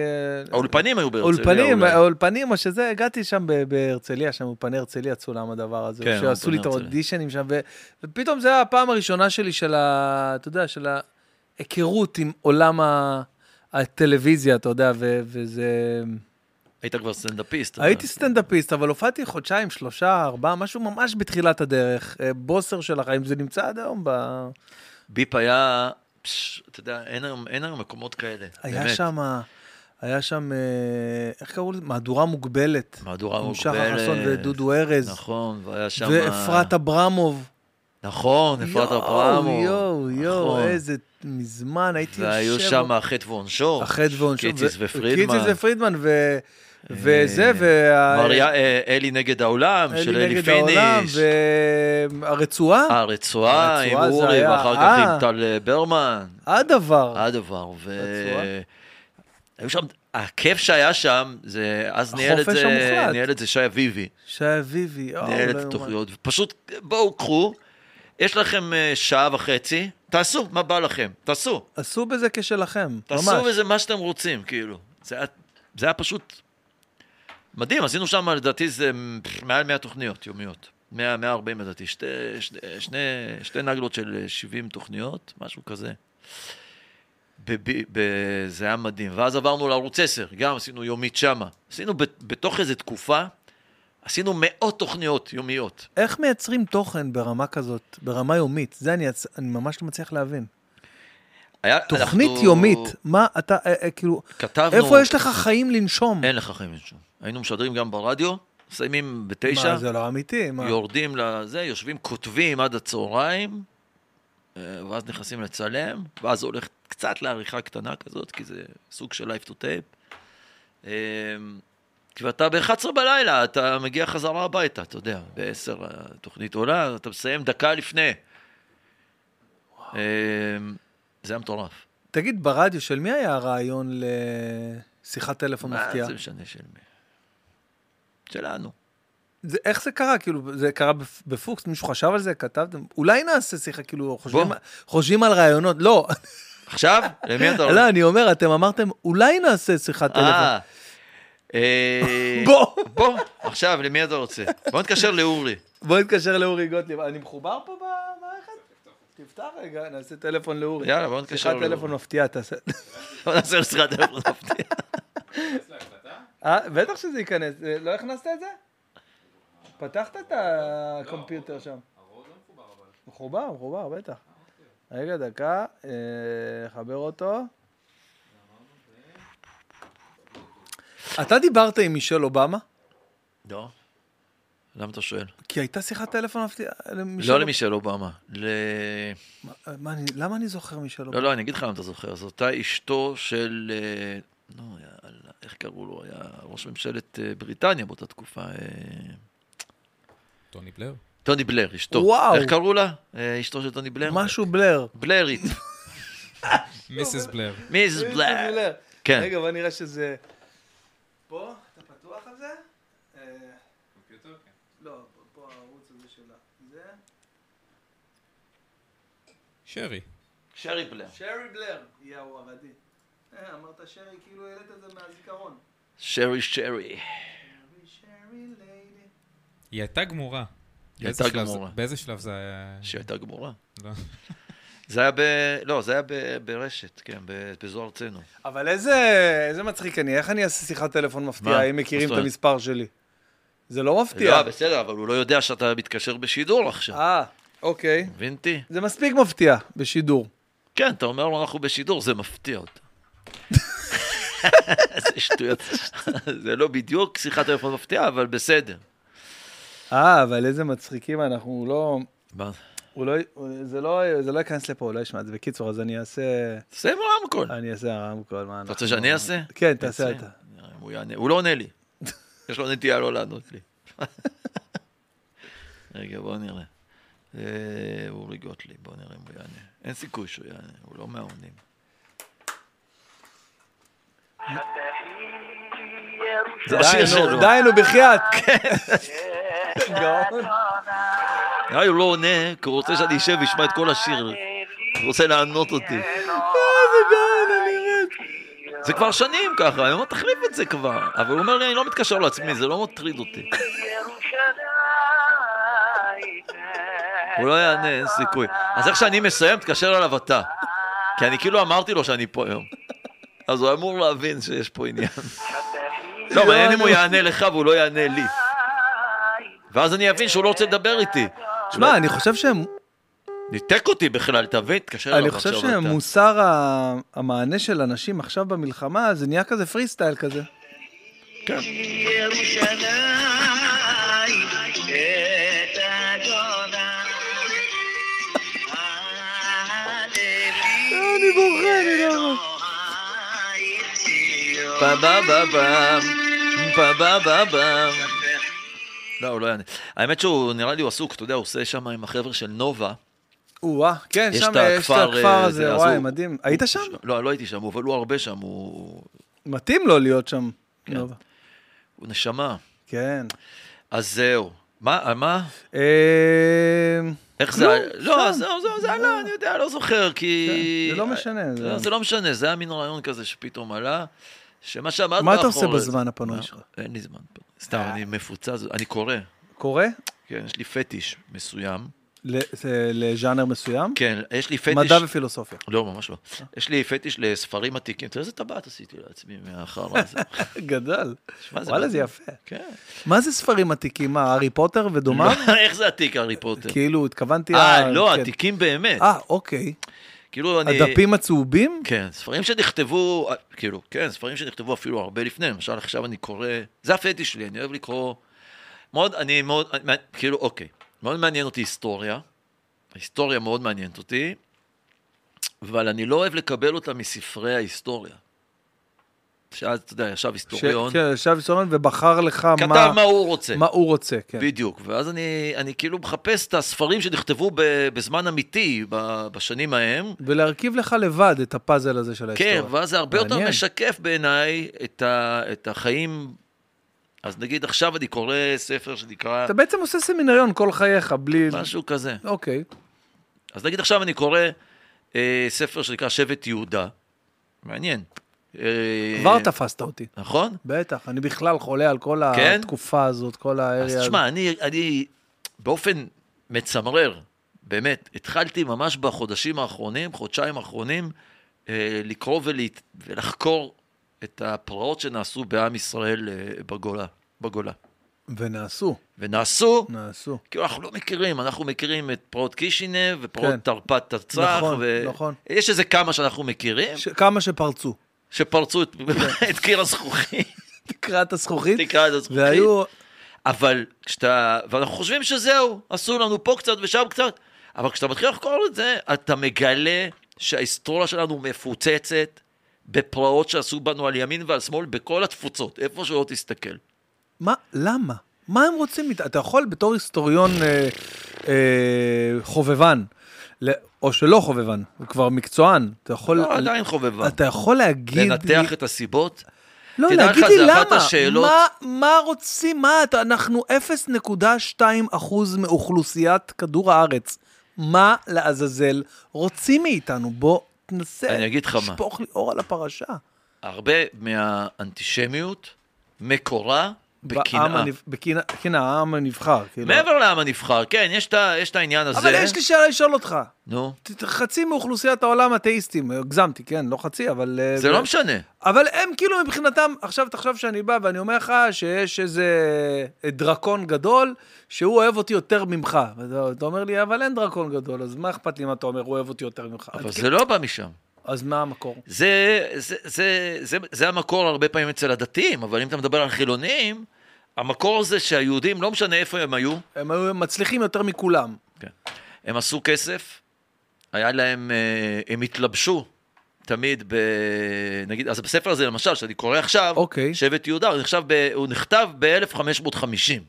Speaker 2: האולפנים היו בהרצליה.
Speaker 1: אולפנים,
Speaker 2: אולי.
Speaker 1: האולפנים אה, או שזה, הגעתי שם ב- בהרצליה, שם אולפני הרצליה צולם הדבר הזה,
Speaker 2: כן,
Speaker 1: שעשו לי את
Speaker 2: אולפני הרצליה.
Speaker 1: האודישנים שם, ו- ופתאום זה היה הפעם הראשונה שלי של ה... אתה יודע, של ההיכרות עם עולם ה- הטלוויזיה, אתה יודע, ו- וזה...
Speaker 2: היית כבר סטנדאפיסט. אתה
Speaker 1: הייתי
Speaker 2: יודע.
Speaker 1: סטנדאפיסט, אבל הופעתי חודשיים, שלושה, ארבעה, משהו ממש בתחילת הדרך. אה, בוסר של החיים, זה נמצא עד היום ב...
Speaker 2: ביפ היה, פש, אתה יודע, אין היום- אין היום מקומות כאלה.
Speaker 1: היה
Speaker 2: באמת.
Speaker 1: שם, היה שם, אה, איך קראו לזה? מהדורה מוגבלת.
Speaker 2: מהדורה
Speaker 1: עם
Speaker 2: מוגבלת.
Speaker 1: שחר חסון ודודו ארז.
Speaker 2: אוקיי, נכון, והיה שם...
Speaker 1: ואפרת אברמוב.
Speaker 2: נכון, אפרת
Speaker 1: יואו,
Speaker 2: אברמוב.
Speaker 1: יואו, יואו,
Speaker 2: נכון.
Speaker 1: איזה מזמן, הייתי יושב...
Speaker 2: והיו שם החטא ועונשו.
Speaker 1: החטא ועונשו.
Speaker 2: קיציס
Speaker 1: ו-
Speaker 2: ופרידמן. אה,
Speaker 1: קיציס ופרידמן, ו... וזה, וה...
Speaker 2: מריה- אה, אלי נגד העולם, של אלי פיניש. אה.
Speaker 1: והרצועה,
Speaker 2: הרצועה עם
Speaker 1: הרצועה זה
Speaker 2: אורי,
Speaker 1: היה-
Speaker 2: ואחר כך
Speaker 1: אה.
Speaker 2: עם טל אה, ברמן.
Speaker 1: הדבר.
Speaker 2: אה. הדבר, ו...
Speaker 1: נכון. בצורה.
Speaker 2: היו שם, הכיף שהיה שם, זה, אז ניהל את
Speaker 1: החופש
Speaker 2: זה,
Speaker 1: המוחלט.
Speaker 2: ניהל את זה שי אביבי,
Speaker 1: שי אביבי, יואו,
Speaker 2: ניהל את
Speaker 1: לא יאומן.
Speaker 2: התוכניות, ופשוט בואו קחו, יש לכם אה, שעה וחצי, תעשו מה בא לכם, תעשו,
Speaker 1: עשו בזה כשלכם,
Speaker 2: תעשו
Speaker 1: ממש.
Speaker 2: איזה מה שאתם רוצים, כאילו, זה, היה- זה היה פשוט מדהים, עשינו שם לדעתי זה מ, מעל 100 תוכניות יומיות, 100, 140 לדעתי, שתי, שני, שני, שתי נגלות של אה, 70 תוכניות, משהו כזה. בב... ב... זה היה מדהים. ואז עברנו לערוץ 10, גם עשינו יומית שמה. עשינו ב... בתוך איזו תקופה, עשינו מאות תוכניות יומיות.
Speaker 1: איך מייצרים תוכן ברמה כזאת, ברמה יומית? זה אני, הצ- אני ממש לא מצליח להבין.
Speaker 2: היה...
Speaker 1: תוכנית יומית, מה אתה, אה, אה, כאילו,
Speaker 2: כתבנו...
Speaker 1: איפה יש לך חיים לנשום?
Speaker 2: אין לך חיים אין שום. היינו משדרים גם ברדיו, מסיימים
Speaker 1: מה,
Speaker 2: בתשע,
Speaker 1: זה לא אמיתי, מה?
Speaker 2: יורדים לזה, יושבים, כותבים עד הצהריים, אה, ואז נכנסים לצלם, ואז הולך קצת לעריכה קטנה כזאת, כי זה סוג של live to tape. אה, כי אתה ב-11 בלילה, אתה מגיע חזרה הביתה, אתה יודע, ב-10 התוכנית עולה, אז אתה מסיים דקה לפני. אה, זה היה מטורף.
Speaker 1: תגיד, ברדיו של מי היה הרעיון לשיחת טלפון
Speaker 2: מה
Speaker 1: מפתיעה?
Speaker 2: זה משנה של מי? שלנו.
Speaker 1: זה- איך זה קרה? כאילו, זה קרה בפ- בפוקס? מישהו חשב על זה? כתבתם? אולי נעשה שיחה, כאילו, חושבים-
Speaker 2: בוא.
Speaker 1: חושבים על רעיונות. לא,
Speaker 2: עכשיו? למי אתה
Speaker 1: לא, אני אומר, אתם אמרתם, אולי נעשה שיחת טלפון.
Speaker 2: אה. אה,
Speaker 1: בוא.
Speaker 2: בוא, עכשיו, למי אתה רוצה? בוא נתקשר לאורי.
Speaker 1: בוא נתקשר לאורי גוטליב. אני מחובר פה במערכת? תפתח רגע, נעשה טלפון לאורי.
Speaker 2: יאללה, בוא נתקשר
Speaker 1: שיחת
Speaker 2: לאורי.
Speaker 1: טלפון מפתיעה, תעשה...
Speaker 2: בוא נעשה לך טלפון מפתיע.
Speaker 1: אה, בטח שזה ייכנס. אה, לא הכנסת את זה? פתחת את הקומפיוטר שם. לא, מחובר, מחובר, בטח. רגע, דקה, אה, חבר אותו. אתה דיברת עם מישל אובמה?
Speaker 2: לא. למה אתה שואל?
Speaker 1: כי הייתה שיחת טלפון מפתיעה למישל
Speaker 2: לא למישל אובמה. ל-
Speaker 1: אובמה. מה, אני- למה אני זוכר מישל אובמה?
Speaker 2: לא, לא, אני אגיד לך למה אתה זוכר. זו אותה אשתו של... אה, נו, יאללה, איך קראו לו? היה ראש ממשלת אה, בריטניה באותה תקופה. אה,
Speaker 3: טוני בלר?
Speaker 2: טוני בלר, אשתו.
Speaker 1: וואו.
Speaker 2: איך קראו לה? אה, אשתו של טוני בלר?
Speaker 1: משהו בלר.
Speaker 2: בלרית.
Speaker 3: מיסס
Speaker 2: לא,
Speaker 3: בלר.
Speaker 2: מיס בלר. כן.
Speaker 1: רגע, בוא נראה שזה... פה? אתה פתוח על זה? אה, לא, פה הערוץ הזה של ה- זה.
Speaker 3: שרי.
Speaker 2: שרי בלר.
Speaker 1: שרי בלר. יאו, עבדי. אה, אמרת שרי, כאילו העלית את זה מהזיכרון.
Speaker 2: שרי שרי.
Speaker 1: שרי ליידי.
Speaker 3: היא הייתה גמורה.
Speaker 2: היא
Speaker 3: באיזה
Speaker 2: הייתה
Speaker 3: שלב זה-
Speaker 2: גמורה.
Speaker 3: באיזה שלב זה היה...
Speaker 2: שהייתה גמורה.
Speaker 3: לא.
Speaker 2: זה היה ב... לא, זה היה ב... ברשת, כן, ב... בזו ארצנו.
Speaker 1: אבל איזה, איזה מצחיק אני, איך אני אעשה שיחת טלפון
Speaker 2: מה?
Speaker 1: מפתיעה אם מכירים
Speaker 2: מה
Speaker 1: את
Speaker 2: זאת
Speaker 1: המספר שלי? זה לא מפתיע.
Speaker 2: לא, בסדר, אבל הוא לא יודע שאתה מתקשר בשידור עכשיו.
Speaker 1: אה, אוקיי.
Speaker 2: מבין אותי?
Speaker 1: זה מספיק מפתיע בשידור.
Speaker 2: כן, אתה אומר לו, אנחנו בשידור, זה מפתיע אותה. איזה שטויות. זה לא בדיוק שיחת טלפון מפתיעה, אבל בסדר.
Speaker 1: אה, אבל איזה מצחיקים אנחנו, הוא לא...
Speaker 2: מה?
Speaker 1: הוא לא, הוא- זה לא, זה לא ייכנס לפה, הוא לא ישמע את זה. בקיצור, אז אני אעשה,
Speaker 2: זה עם רמקול.
Speaker 1: אני אעשה הרמקול, מה
Speaker 2: אתה
Speaker 1: אנחנו...
Speaker 2: רוצה שאני אעשה?
Speaker 1: כן, תעשה אתה.
Speaker 2: נראה אם אה, הוא יענה. הוא לא עונה לי. יש לו נטייה לא לענות לי. רגע, בוא נראה. אה, אורי גוטליב, בוא נראה אם הוא יענה. אין סיכוי שהוא יענה, הוא לא מהעונים. זה השיר
Speaker 1: די, נו,
Speaker 2: שלו.
Speaker 1: די, נו, בחייאת.
Speaker 2: נראה לי הוא לא עונה, כי הוא רוצה שאני אשב ואשמע את כל השיר. הוא רוצה לענות אותי. זה כבר שנים ככה, אני אומר, תחליף את זה כבר. אבל הוא אומר לי, אני לא מתקשר לעצמי, זה לא מטריד אותי. הוא לא יענה, אין סיכוי. אז איך שאני מסיים, תתקשר אליו אתה. כי אני כאילו אמרתי לו שאני פה היום. אז הוא אמור להבין שיש פה עניין. לא, מעניין אם הוא יענה לך והוא לא יענה לי. ואז אני אבין שהוא לא רוצה לדבר איתי.
Speaker 1: שמע, אני חושב שהם...
Speaker 2: לא, ניתק אותי בכלל, תבין, תתקשר אליו
Speaker 1: אני
Speaker 2: עכשיו
Speaker 1: חושב
Speaker 2: אתה.
Speaker 1: שמוסר ה- המענה של אנשים עכשיו במלחמה, זה נהיה כזה פרי סטייל כזה. אני בוכה, אני לא יכול.
Speaker 2: פה בה בה בם, פה בה בה בם. לא, הוא לא יענה. האמת שהוא, נראה לי הוא עסוק, אתה יודע, הוא עושה שם עם החבר'ה של נובה.
Speaker 1: או-אה, כן,
Speaker 2: יש
Speaker 1: שם
Speaker 2: את
Speaker 1: יש את
Speaker 2: הכפר,
Speaker 1: הכפר
Speaker 2: אה,
Speaker 1: הזה,
Speaker 2: זה, אז
Speaker 1: וואי,
Speaker 2: הוא-
Speaker 1: מדהים. היית שם?
Speaker 2: לא, לא הייתי שם, אבל הוא הרבה שם, הוא
Speaker 1: מתאים לו להיות שם.
Speaker 2: כן.
Speaker 1: נובה.
Speaker 2: הוא נשמה.
Speaker 1: כן.
Speaker 2: אז זהו. מה, על מה?
Speaker 1: אה,
Speaker 2: איך
Speaker 1: כלום,
Speaker 2: זה... לא,
Speaker 1: סתם.
Speaker 2: זהו, זהו, זה עלה, אני יודע, לא זוכר, כי...
Speaker 1: כן, זה לא משנה, זה-
Speaker 2: לא, זה לא משנה, זה היה מין רעיון כזה שפתאום עלה, שמה שעמד
Speaker 1: מה אתה
Speaker 2: מאחורי
Speaker 1: עושה
Speaker 2: זה-
Speaker 1: בזמן הפנוי
Speaker 2: מה?
Speaker 1: שלך? אה.
Speaker 2: אין לי זמן. סתם, אני מפוצץ, אני קורא.
Speaker 1: קורא?
Speaker 2: כן, יש לי פטיש מסוים.
Speaker 1: ל- זה לז'אנר מסוים?
Speaker 2: כן, יש לי פטיש...
Speaker 1: מדע אה. ופילוסופיה.
Speaker 2: לא, ממש לא. יש לי פטיש לספרים עתיקים. תראה איזה טבעת עשיתי לעצמי מהחרא הזה.
Speaker 1: גדל.
Speaker 2: שמע,
Speaker 1: וואלה, זה יפה.
Speaker 2: כן.
Speaker 1: מה זה ספרים עתיקים? מה, הארי פוטר ודומיו?
Speaker 2: לא, איך זה עתיק, הארי פוטר?
Speaker 1: כאילו, התכוונתי...
Speaker 2: אה,
Speaker 1: ה-
Speaker 2: לא,
Speaker 1: כן.
Speaker 2: עתיקים באמת.
Speaker 1: אה, אוקיי.
Speaker 2: כאילו, אני...
Speaker 1: הדפים הצהובים?
Speaker 2: כן, ספרים שנכתבו, כאילו, כן, ספרים שנכתבו אפילו הרבה לפני, למשל עכשיו אני קורא, זה הפטיש שלי, אני אוהב לקרוא מאוד, אני מאוד, אני- כאילו, אוקיי, מאוד מעניין אותי היסטוריה. ההיסטוריה מאוד מעניינת אותי, אבל אני לא אוהב לקבל אותה מספרי ההיסטוריה. שאז, אתה יודע, ישב היסטוריון,
Speaker 1: ש- כן, ישב היסטוריון ובחר לך מה...
Speaker 2: כתב מה, הוא רוצה.
Speaker 1: מה הוא רוצה, כן.
Speaker 2: בדיוק, ואז אני, אני כאילו מחפש את הספרים שנכתבו ב, בזמן אמיתי, ב, בשנים ההם.
Speaker 1: ולהרכיב לך לבד את הפאזל הזה של ההיסטוריה.
Speaker 2: כן, ואז זה הרבה יותר
Speaker 1: מעניין.
Speaker 2: משקף בעיניי את, ה, את החיים. אז נגיד עכשיו אני קורא ספר שנקרא
Speaker 1: אתה בעצם עושה סמינריון כל חייך, בלי...
Speaker 2: משהו כזה.
Speaker 1: אוקיי.
Speaker 2: אז נגיד עכשיו אני קורא אה, ספר שנקרא שבט יהודה. מעניין. אה,
Speaker 1: כבר תפסת אותי.
Speaker 2: נכון?
Speaker 1: בטח, אני בכלל חולה על כל
Speaker 2: כן?
Speaker 1: התקופה הזאת, כל
Speaker 2: אז
Speaker 1: האריה.
Speaker 2: תשמע, אני, אני באופן מצמרר, באמת, התחלתי ממש בחודשים האחרונים, חודשיים האחרונים, אה, לקרוא ולהת... ולחקור את הפרעות שנעשו בעם ישראל אה, בגולה, בגולה.
Speaker 1: ונעשו,
Speaker 2: ונעשו,
Speaker 1: נעשו.
Speaker 2: כאילו אנחנו לא מכירים, אנחנו מכירים את פרעות קישינב ופרעות
Speaker 1: כן.
Speaker 2: תרפ"ט תרצח.
Speaker 1: נכון,
Speaker 2: ו...
Speaker 1: נכון.
Speaker 2: יש איזה כמה שאנחנו מכירים,
Speaker 1: ש- כן. כמה שפרצו.
Speaker 2: שפרצו את, את קיר הזכוכית,
Speaker 1: תקרת הזכוכית,
Speaker 2: תקרא את הזכוכית.
Speaker 1: והיו...
Speaker 2: אבל כשאתה, ואנחנו חושבים שזהו, עשו לנו פה קצת ושם קצת, אבל כשאתה מתחיל לחקור את זה, אתה מגלה שההיסטוריה שלנו מפוצצת בפרעות שעשו בנו על ימין ועל שמאל, בכל התפוצות, איפה שלא תסתכל.
Speaker 1: מה, למה? מה הם רוצים? מאית- אתה יכול בתור היסטוריון אה, אה, חובבן, ל- או שלא חובבן, הוא כבר מקצוען, אתה יכול...
Speaker 2: לא, עדיין חובבן.
Speaker 1: אתה יכול להגיד... לי-
Speaker 2: לנתח את הסיבות,
Speaker 1: לא,
Speaker 2: תדע
Speaker 1: להגיד
Speaker 2: לך,
Speaker 1: לי
Speaker 2: זה
Speaker 1: למה.
Speaker 2: אחת השאלות.
Speaker 1: מה, מה רוצים? מה, אתה, אנחנו 0.2% מאוכלוסיית כדור הארץ. מה לעזאזל רוצים מאיתנו? בוא תנסה.
Speaker 2: אני אגיד לך מה.
Speaker 1: שפוך לי אור על הפרשה.
Speaker 2: הרבה מהאנטישמיות מקורה
Speaker 1: בעם
Speaker 2: בקנאה.
Speaker 1: הנב- בקנאה- כן, העם הנבחר. כאילו.
Speaker 2: מעבר לעם הנבחר, כן, יש את ה- יש את העניין הזה.
Speaker 1: אבל יש לי שאלה לשאול אותך.
Speaker 2: נו,
Speaker 1: ת- חצי מאוכלוסיית העולם אתאיסטים, הגזמתי, כן, לא חצי, אבל... אה,
Speaker 2: זה לא משנה.
Speaker 1: אבל הם כאילו מבחינתם, עכשיו תחשוב שאני בא ואני אומר לך שיש איזה דרקון גדול שהוא אוהב אותי יותר ממך. ואתה אתה אומר לי, אבל אין דרקון גדול, אז מה אכפת לי מה אתה אומר, הוא אוהב אותי יותר ממך?
Speaker 2: אבל
Speaker 1: אז
Speaker 2: זה
Speaker 1: כאילו,
Speaker 2: לא בא משם.
Speaker 1: אז מה המקור?
Speaker 2: זה, זה, זה, זה, זה המקור הרבה פעמים אצל הדתיים, אבל אם אתה מדבר על חילונים, המקור זה שהיהודים, לא משנה איפה הם היו,
Speaker 1: הם היו מצליחים יותר מכולם.
Speaker 2: הם עשו כסף, היה להם, אה, הם התלבשו תמיד ב... נגיד, אז בספר הזה למשל, שאני קורא עכשיו,
Speaker 1: אוקיי.
Speaker 2: שבט יהודה, הוא נחשב ב, הוא נכתב ב-1550,
Speaker 1: וואלה,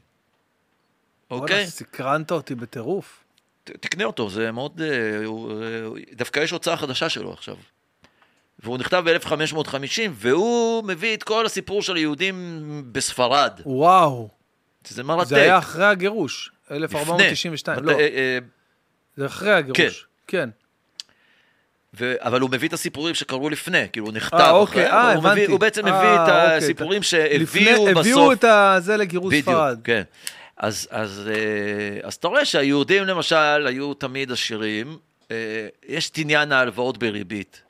Speaker 2: אוקיי?
Speaker 1: סקרנת אותי בטירוף.
Speaker 2: ת- תקנה אותו, זה מאוד... אה, הוא, אה, הוא- דווקא יש הוצאה חדשה שלו עכשיו. והוא נכתב ב-1550, והוא מביא את כל הסיפור של היהודים בספרד.
Speaker 1: וואו,
Speaker 2: זה מרתק.
Speaker 1: זה היה אחרי הגירוש,
Speaker 2: לפני.
Speaker 1: 1492,
Speaker 2: בת-
Speaker 1: לא,
Speaker 2: אה, אה,
Speaker 1: זה אחרי הגירוש. כן.
Speaker 2: ו... אבל הוא מביא את הסיפורים שקרו לפני, כאילו הוא נכתב
Speaker 1: אה,
Speaker 2: אחרי,
Speaker 1: אוקיי, אה,
Speaker 2: הוא, מביא,
Speaker 1: הבנתי.
Speaker 2: הוא בעצם
Speaker 1: אה,
Speaker 2: מביא את
Speaker 1: אוקיי.
Speaker 2: הסיפורים
Speaker 1: לפני,
Speaker 2: שהביאו בסוף.
Speaker 1: הביאו את הזה לגירוש
Speaker 2: בדיוק,
Speaker 1: ספרד.
Speaker 2: כן. אז, אז, אה, אז אתה רואה שהיהודים למשל היו תמיד עשירים, אה, יש את עניין ההלוואות בריבית.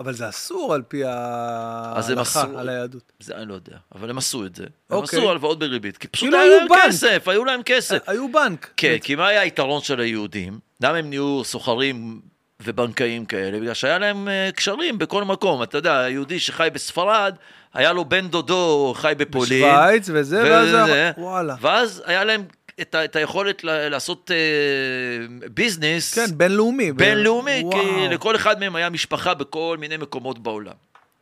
Speaker 1: אבל זה אסור על פי
Speaker 2: הם
Speaker 1: ההלכה
Speaker 2: אסור.
Speaker 1: על היהדות.
Speaker 2: זה אני לא יודע, אבל הם עשו את זה. הם
Speaker 1: אוקיי.
Speaker 2: עשו הלוואות בריבית, כי פשוט
Speaker 1: כאילו
Speaker 2: היה
Speaker 1: היו
Speaker 2: להם
Speaker 1: בנק. אה,
Speaker 2: כסף, היו להם כסף.
Speaker 1: היו בנק.
Speaker 2: כן, כי מה היה היתרון של היהודים? למה הם נהיו סוחרים ובנקאים כאלה? בגלל שהיה להם אה, קשרים בכל מקום. אתה יודע, היהודי שחי בספרד, היה לו בן דודו חי בפולין.
Speaker 1: שווייץ וזה, ואז...
Speaker 2: וזה.
Speaker 1: זה- וואלה.
Speaker 2: ואז היה להם את ה- את היכולת ל- לעשות אה, ביזנס
Speaker 1: כן, בינלאומי. ב-
Speaker 2: בינלאומי, כי
Speaker 1: וואו.
Speaker 2: לכל אחד מהם היה משפחה בכל מיני מקומות בעולם.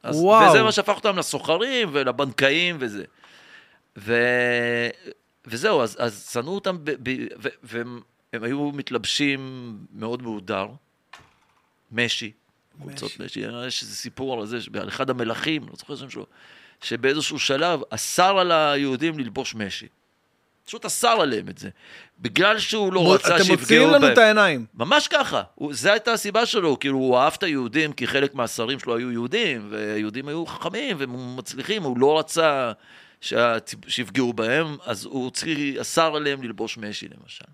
Speaker 2: אז,
Speaker 1: וואו.
Speaker 2: וזה מה שהפך אותם לסוחרים ולבנקאים וזה. ו... וזהו, אז, אז שנאו אותם, ב... ב... ו... והם הם היו מתלבשים מאוד מהודר. משי, קבוצות משי, יש איזה סיפור על זה, על אחד המלכים, לא זוכר שם שלו, שבאיזשהו שלב אסר על היהודים ללבוש משי. פשוט אסר עליהם את זה. בגלל שהוא לא
Speaker 1: מו-
Speaker 2: רצה
Speaker 1: אתם
Speaker 2: שיפגעו בהם.
Speaker 1: מוציאים לנו את העיניים.
Speaker 2: ממש ככה, הוא, זו הייתה הסיבה שלו, כאילו הוא אהב את היהודים כי חלק מהשרים שלו היו יהודים, והיהודים היו חכמים ומצליחים, הוא לא רצה שהציב- שיפגעו בהם, אז הוא הוציא, אסר עליהם ללבוש משי למשל.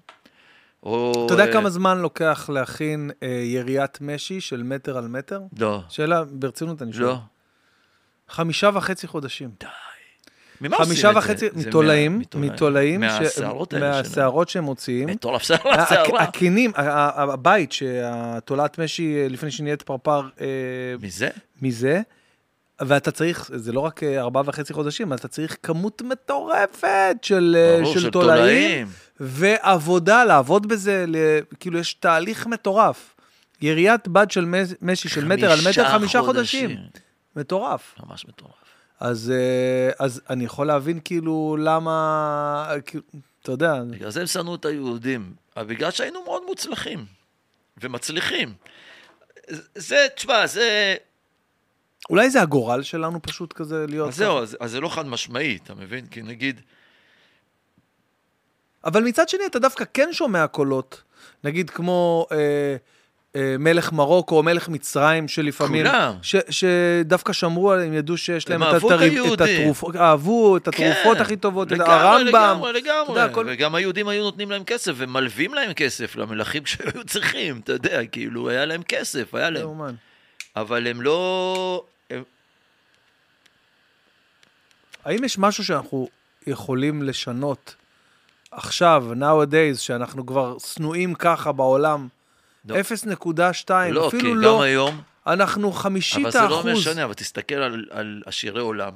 Speaker 2: או,
Speaker 1: אתה יודע
Speaker 2: אה,
Speaker 1: כמה זמן לוקח להכין אה, יריית משי של מטר על מטר?
Speaker 2: לא,
Speaker 1: שאלה, ברצינות אני שואל.
Speaker 2: לא.
Speaker 1: חמישה וחצי חודשים.
Speaker 2: ממה לא עושים
Speaker 1: חמישה
Speaker 2: את זה?
Speaker 1: וחצי,
Speaker 2: זה מה-
Speaker 1: מתולעים, מתולעים, ש-
Speaker 2: מהשערות האלה שלהם.
Speaker 1: מהשערות אה, שהם מוציאים.
Speaker 2: מטורף שער
Speaker 1: ה-
Speaker 2: השערה.
Speaker 1: הקינים, ה- ה- הבית שהתולעת משי, אה, לפני שהיא נהיית פרפר, אה,
Speaker 2: מזה?
Speaker 1: מזה, ואתה צריך, זה לא רק אה, ארבעה וחצי חודשים, אתה צריך כמות מטורפת של, אה,
Speaker 2: ברור,
Speaker 1: של תולעים, ועבודה, לעבוד בזה, ל... כאילו יש תהליך מטורף. יריית בד של מז- משי של מטר על מטר
Speaker 2: חמישה
Speaker 1: חמישה חודשים. מטורף.
Speaker 2: ממש מטורף.
Speaker 1: אז, אה, אז אני יכול להבין כאילו למה, כאילו, אתה יודע,
Speaker 2: בגלל זה הם שנאו את היהודים, אבל בגלל שהיינו מאוד מוצלחים ומצליחים. זה, תשמע, זה...
Speaker 1: אולי זה הגורל שלנו פשוט כזה להיות...
Speaker 2: אז זהו, אז, אז זה לא חד משמעי, אתה מבין? כי נגיד,
Speaker 1: אבל מצד שני, אתה דווקא כן שומע קולות, נגיד כמו אה, אה, מלך מרוקו או מלך מצרים, שלפעמים...
Speaker 2: כולם.
Speaker 1: ש, שדווקא שמרו עליהם, ידעו שיש להם
Speaker 2: הם
Speaker 1: את
Speaker 2: אהבו את
Speaker 1: הטריפ- את
Speaker 2: היהודים.
Speaker 1: התרופות, אהבו את
Speaker 2: כן.
Speaker 1: התרופות הכי טובות, את
Speaker 2: לגמרי,
Speaker 1: הרמב"ם.
Speaker 2: לגמרי,
Speaker 1: אתה
Speaker 2: לגמרי.
Speaker 1: יודע, כל-
Speaker 2: וגם היהודים היו נותנים להם כסף, ומלווים להם כסף למלכים שהיו צריכים, אתה יודע, כאילו, היה להם כסף, היה
Speaker 1: זה
Speaker 2: להם.
Speaker 1: אומן.
Speaker 2: אבל הם לא... הם...
Speaker 1: האם יש משהו שאנחנו יכולים לשנות עכשיו, nowadays, שאנחנו כבר שנואים ככה בעולם?
Speaker 2: לא.
Speaker 1: 0.2,
Speaker 2: לא, כי
Speaker 1: אפילו
Speaker 2: גם
Speaker 1: לא,
Speaker 2: היום...
Speaker 1: אנחנו חמישית
Speaker 2: אבל זה לא
Speaker 1: האחוז.
Speaker 2: משנה, אבל תסתכל על, על עשירי עולם.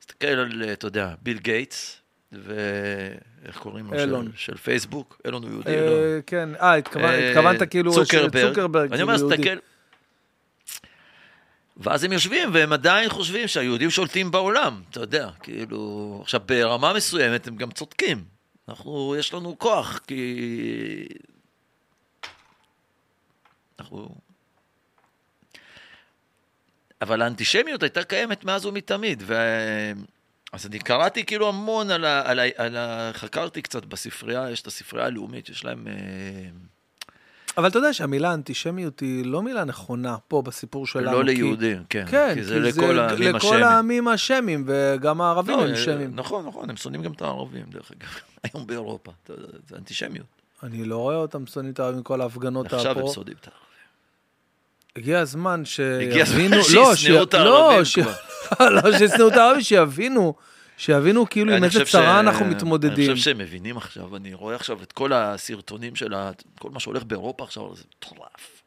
Speaker 2: תסתכל על, אה, אתה יודע, ביל גייטס, ואיך קוראים לו?
Speaker 1: אילון.
Speaker 2: של, של פייסבוק. אילון הוא יהודי,
Speaker 1: אה,
Speaker 2: אילון.
Speaker 1: כן, אה, התכוונת-
Speaker 2: כאילו, לא. אה,
Speaker 1: התכוונת כאילו... ש-
Speaker 2: צוקרברג.
Speaker 1: צוקרברג,
Speaker 2: אני אומר,
Speaker 1: כאילו יהודי.
Speaker 2: תסתכל. ואז הם יושבים, והם עדיין חושבים שהיהודים שולטים בעולם, אתה יודע, כאילו... עכשיו, ברמה מסוימת הם גם צודקים. אנחנו, יש לנו כוח, כי... אנחנו... אבל האנטישמיות הייתה קיימת מאז ומתמיד, ו... אז אני קראתי כאילו המון על ה... על ה... על ה... חקרתי קצת בספרייה, יש את הספרייה הלאומית, יש להם... אה,
Speaker 1: אבל אתה יודע שהמילה אנטישמיות היא לא מילה נכונה פה בסיפור שלנו.
Speaker 2: לא
Speaker 1: כי-
Speaker 2: ליהודים, כן.
Speaker 1: כן,
Speaker 2: כי זה לכל העמים
Speaker 1: לכל
Speaker 2: השמים.
Speaker 1: העמים השמים, וגם הערבים
Speaker 2: לא,
Speaker 1: הם
Speaker 2: אה,
Speaker 1: שמים.
Speaker 2: נכון, נכון, הם שונאים גם את הערבים, דרך אגב. היום באירופה, אתה יודע, זה אנטישמיות.
Speaker 1: אני לא רואה אותם שונאים את הערבים, כל ההפגנות
Speaker 2: עכשיו הם
Speaker 1: הפרו.
Speaker 2: שונאים את הערבים.
Speaker 1: הגיע הזמן שיבינו...
Speaker 2: הגיע הזמן
Speaker 1: לא,
Speaker 2: שישנאו
Speaker 1: ש-
Speaker 2: את הערבים
Speaker 1: לא, ש- לא, שישנאו את הערבים, שיבינו. שיבינו כאילו עם
Speaker 2: אני
Speaker 1: איזה
Speaker 2: חושב ש-
Speaker 1: צרה אנחנו
Speaker 2: אני
Speaker 1: מתמודדים.
Speaker 2: חושב שהם מבינים עכשיו, אני רואה עכשיו את כל הסרטונים של ה- כל מה שהולך באירופה עכשיו, זה מטורף.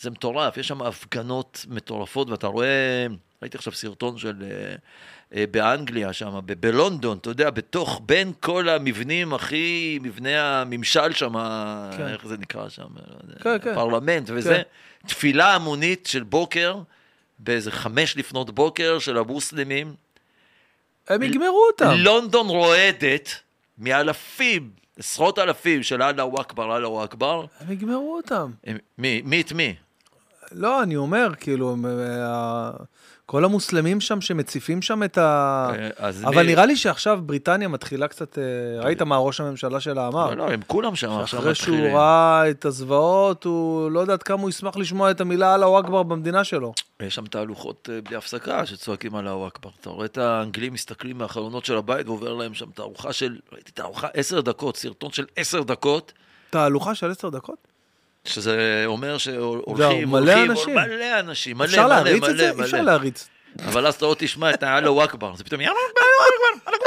Speaker 2: זה מטורף, יש שם הפגנות מטורפות, ואתה רואה, ראיתי עכשיו סרטון של... אה, אה, באנגליה שם, ב- בלונדון, אתה יודע, בתוך, בין כל המבנים הכי, מבני הממשל שם,
Speaker 1: כן.
Speaker 2: כן. איך זה נקרא שם,
Speaker 1: כן, כן.
Speaker 2: הפרלמנט וזה, תפילה המונית של בוקר, באיזה חמש לפנות בוקר של המוסלמים,
Speaker 1: הם יגמרו אותם.
Speaker 2: לונדון רועדת מאלפים, עשרות אלפים של אללהו אכבר, אללהו אכבר.
Speaker 1: הם יגמרו אותם.
Speaker 2: הם- מי, מי את מי?
Speaker 1: לא, אני אומר, כאילו, מ- ה- כל המוסלמים שם שמציפים שם את ה...
Speaker 2: אה, אז
Speaker 1: אבל
Speaker 2: מי-
Speaker 1: נראה לי שעכשיו בריטניה מתחילה קצת, אה, ראית מה ראש הממשלה שלה אמר?
Speaker 2: לא, לא, הם כולם שם עכשיו
Speaker 1: אחרי שהוא
Speaker 2: מתחילים.
Speaker 1: ראה את הזוועות, הוא לא יודעת כמה הוא ישמח לשמוע את המילה אללהו אכבר במדינה שלו.
Speaker 2: יש שם תהלוכות אה, בלי הפסקה שצועקים על הוואקבר. אתה רואה את האנגלים מסתכלים מהחלונות של הבית ועובר להם שם תערוכה של, ראיתי תערוכה עשר דקות, סרטון של עשר דקות,
Speaker 1: תהלוכה של עשר דקות?
Speaker 2: שזה אומר
Speaker 1: זהו,
Speaker 2: שהולכים,
Speaker 1: מלא
Speaker 2: הולכים,
Speaker 1: אנשים.
Speaker 2: מלא אנשים, מלא,
Speaker 1: אפשר
Speaker 2: מלא,
Speaker 1: להריץ את
Speaker 2: מלא,
Speaker 1: זה? אי אפשר
Speaker 2: מלא.
Speaker 1: להריץ.
Speaker 2: אבל אז אתה עוד תשמע את ה"אללה וואקבר", זה פתאום יאללה וואקבר.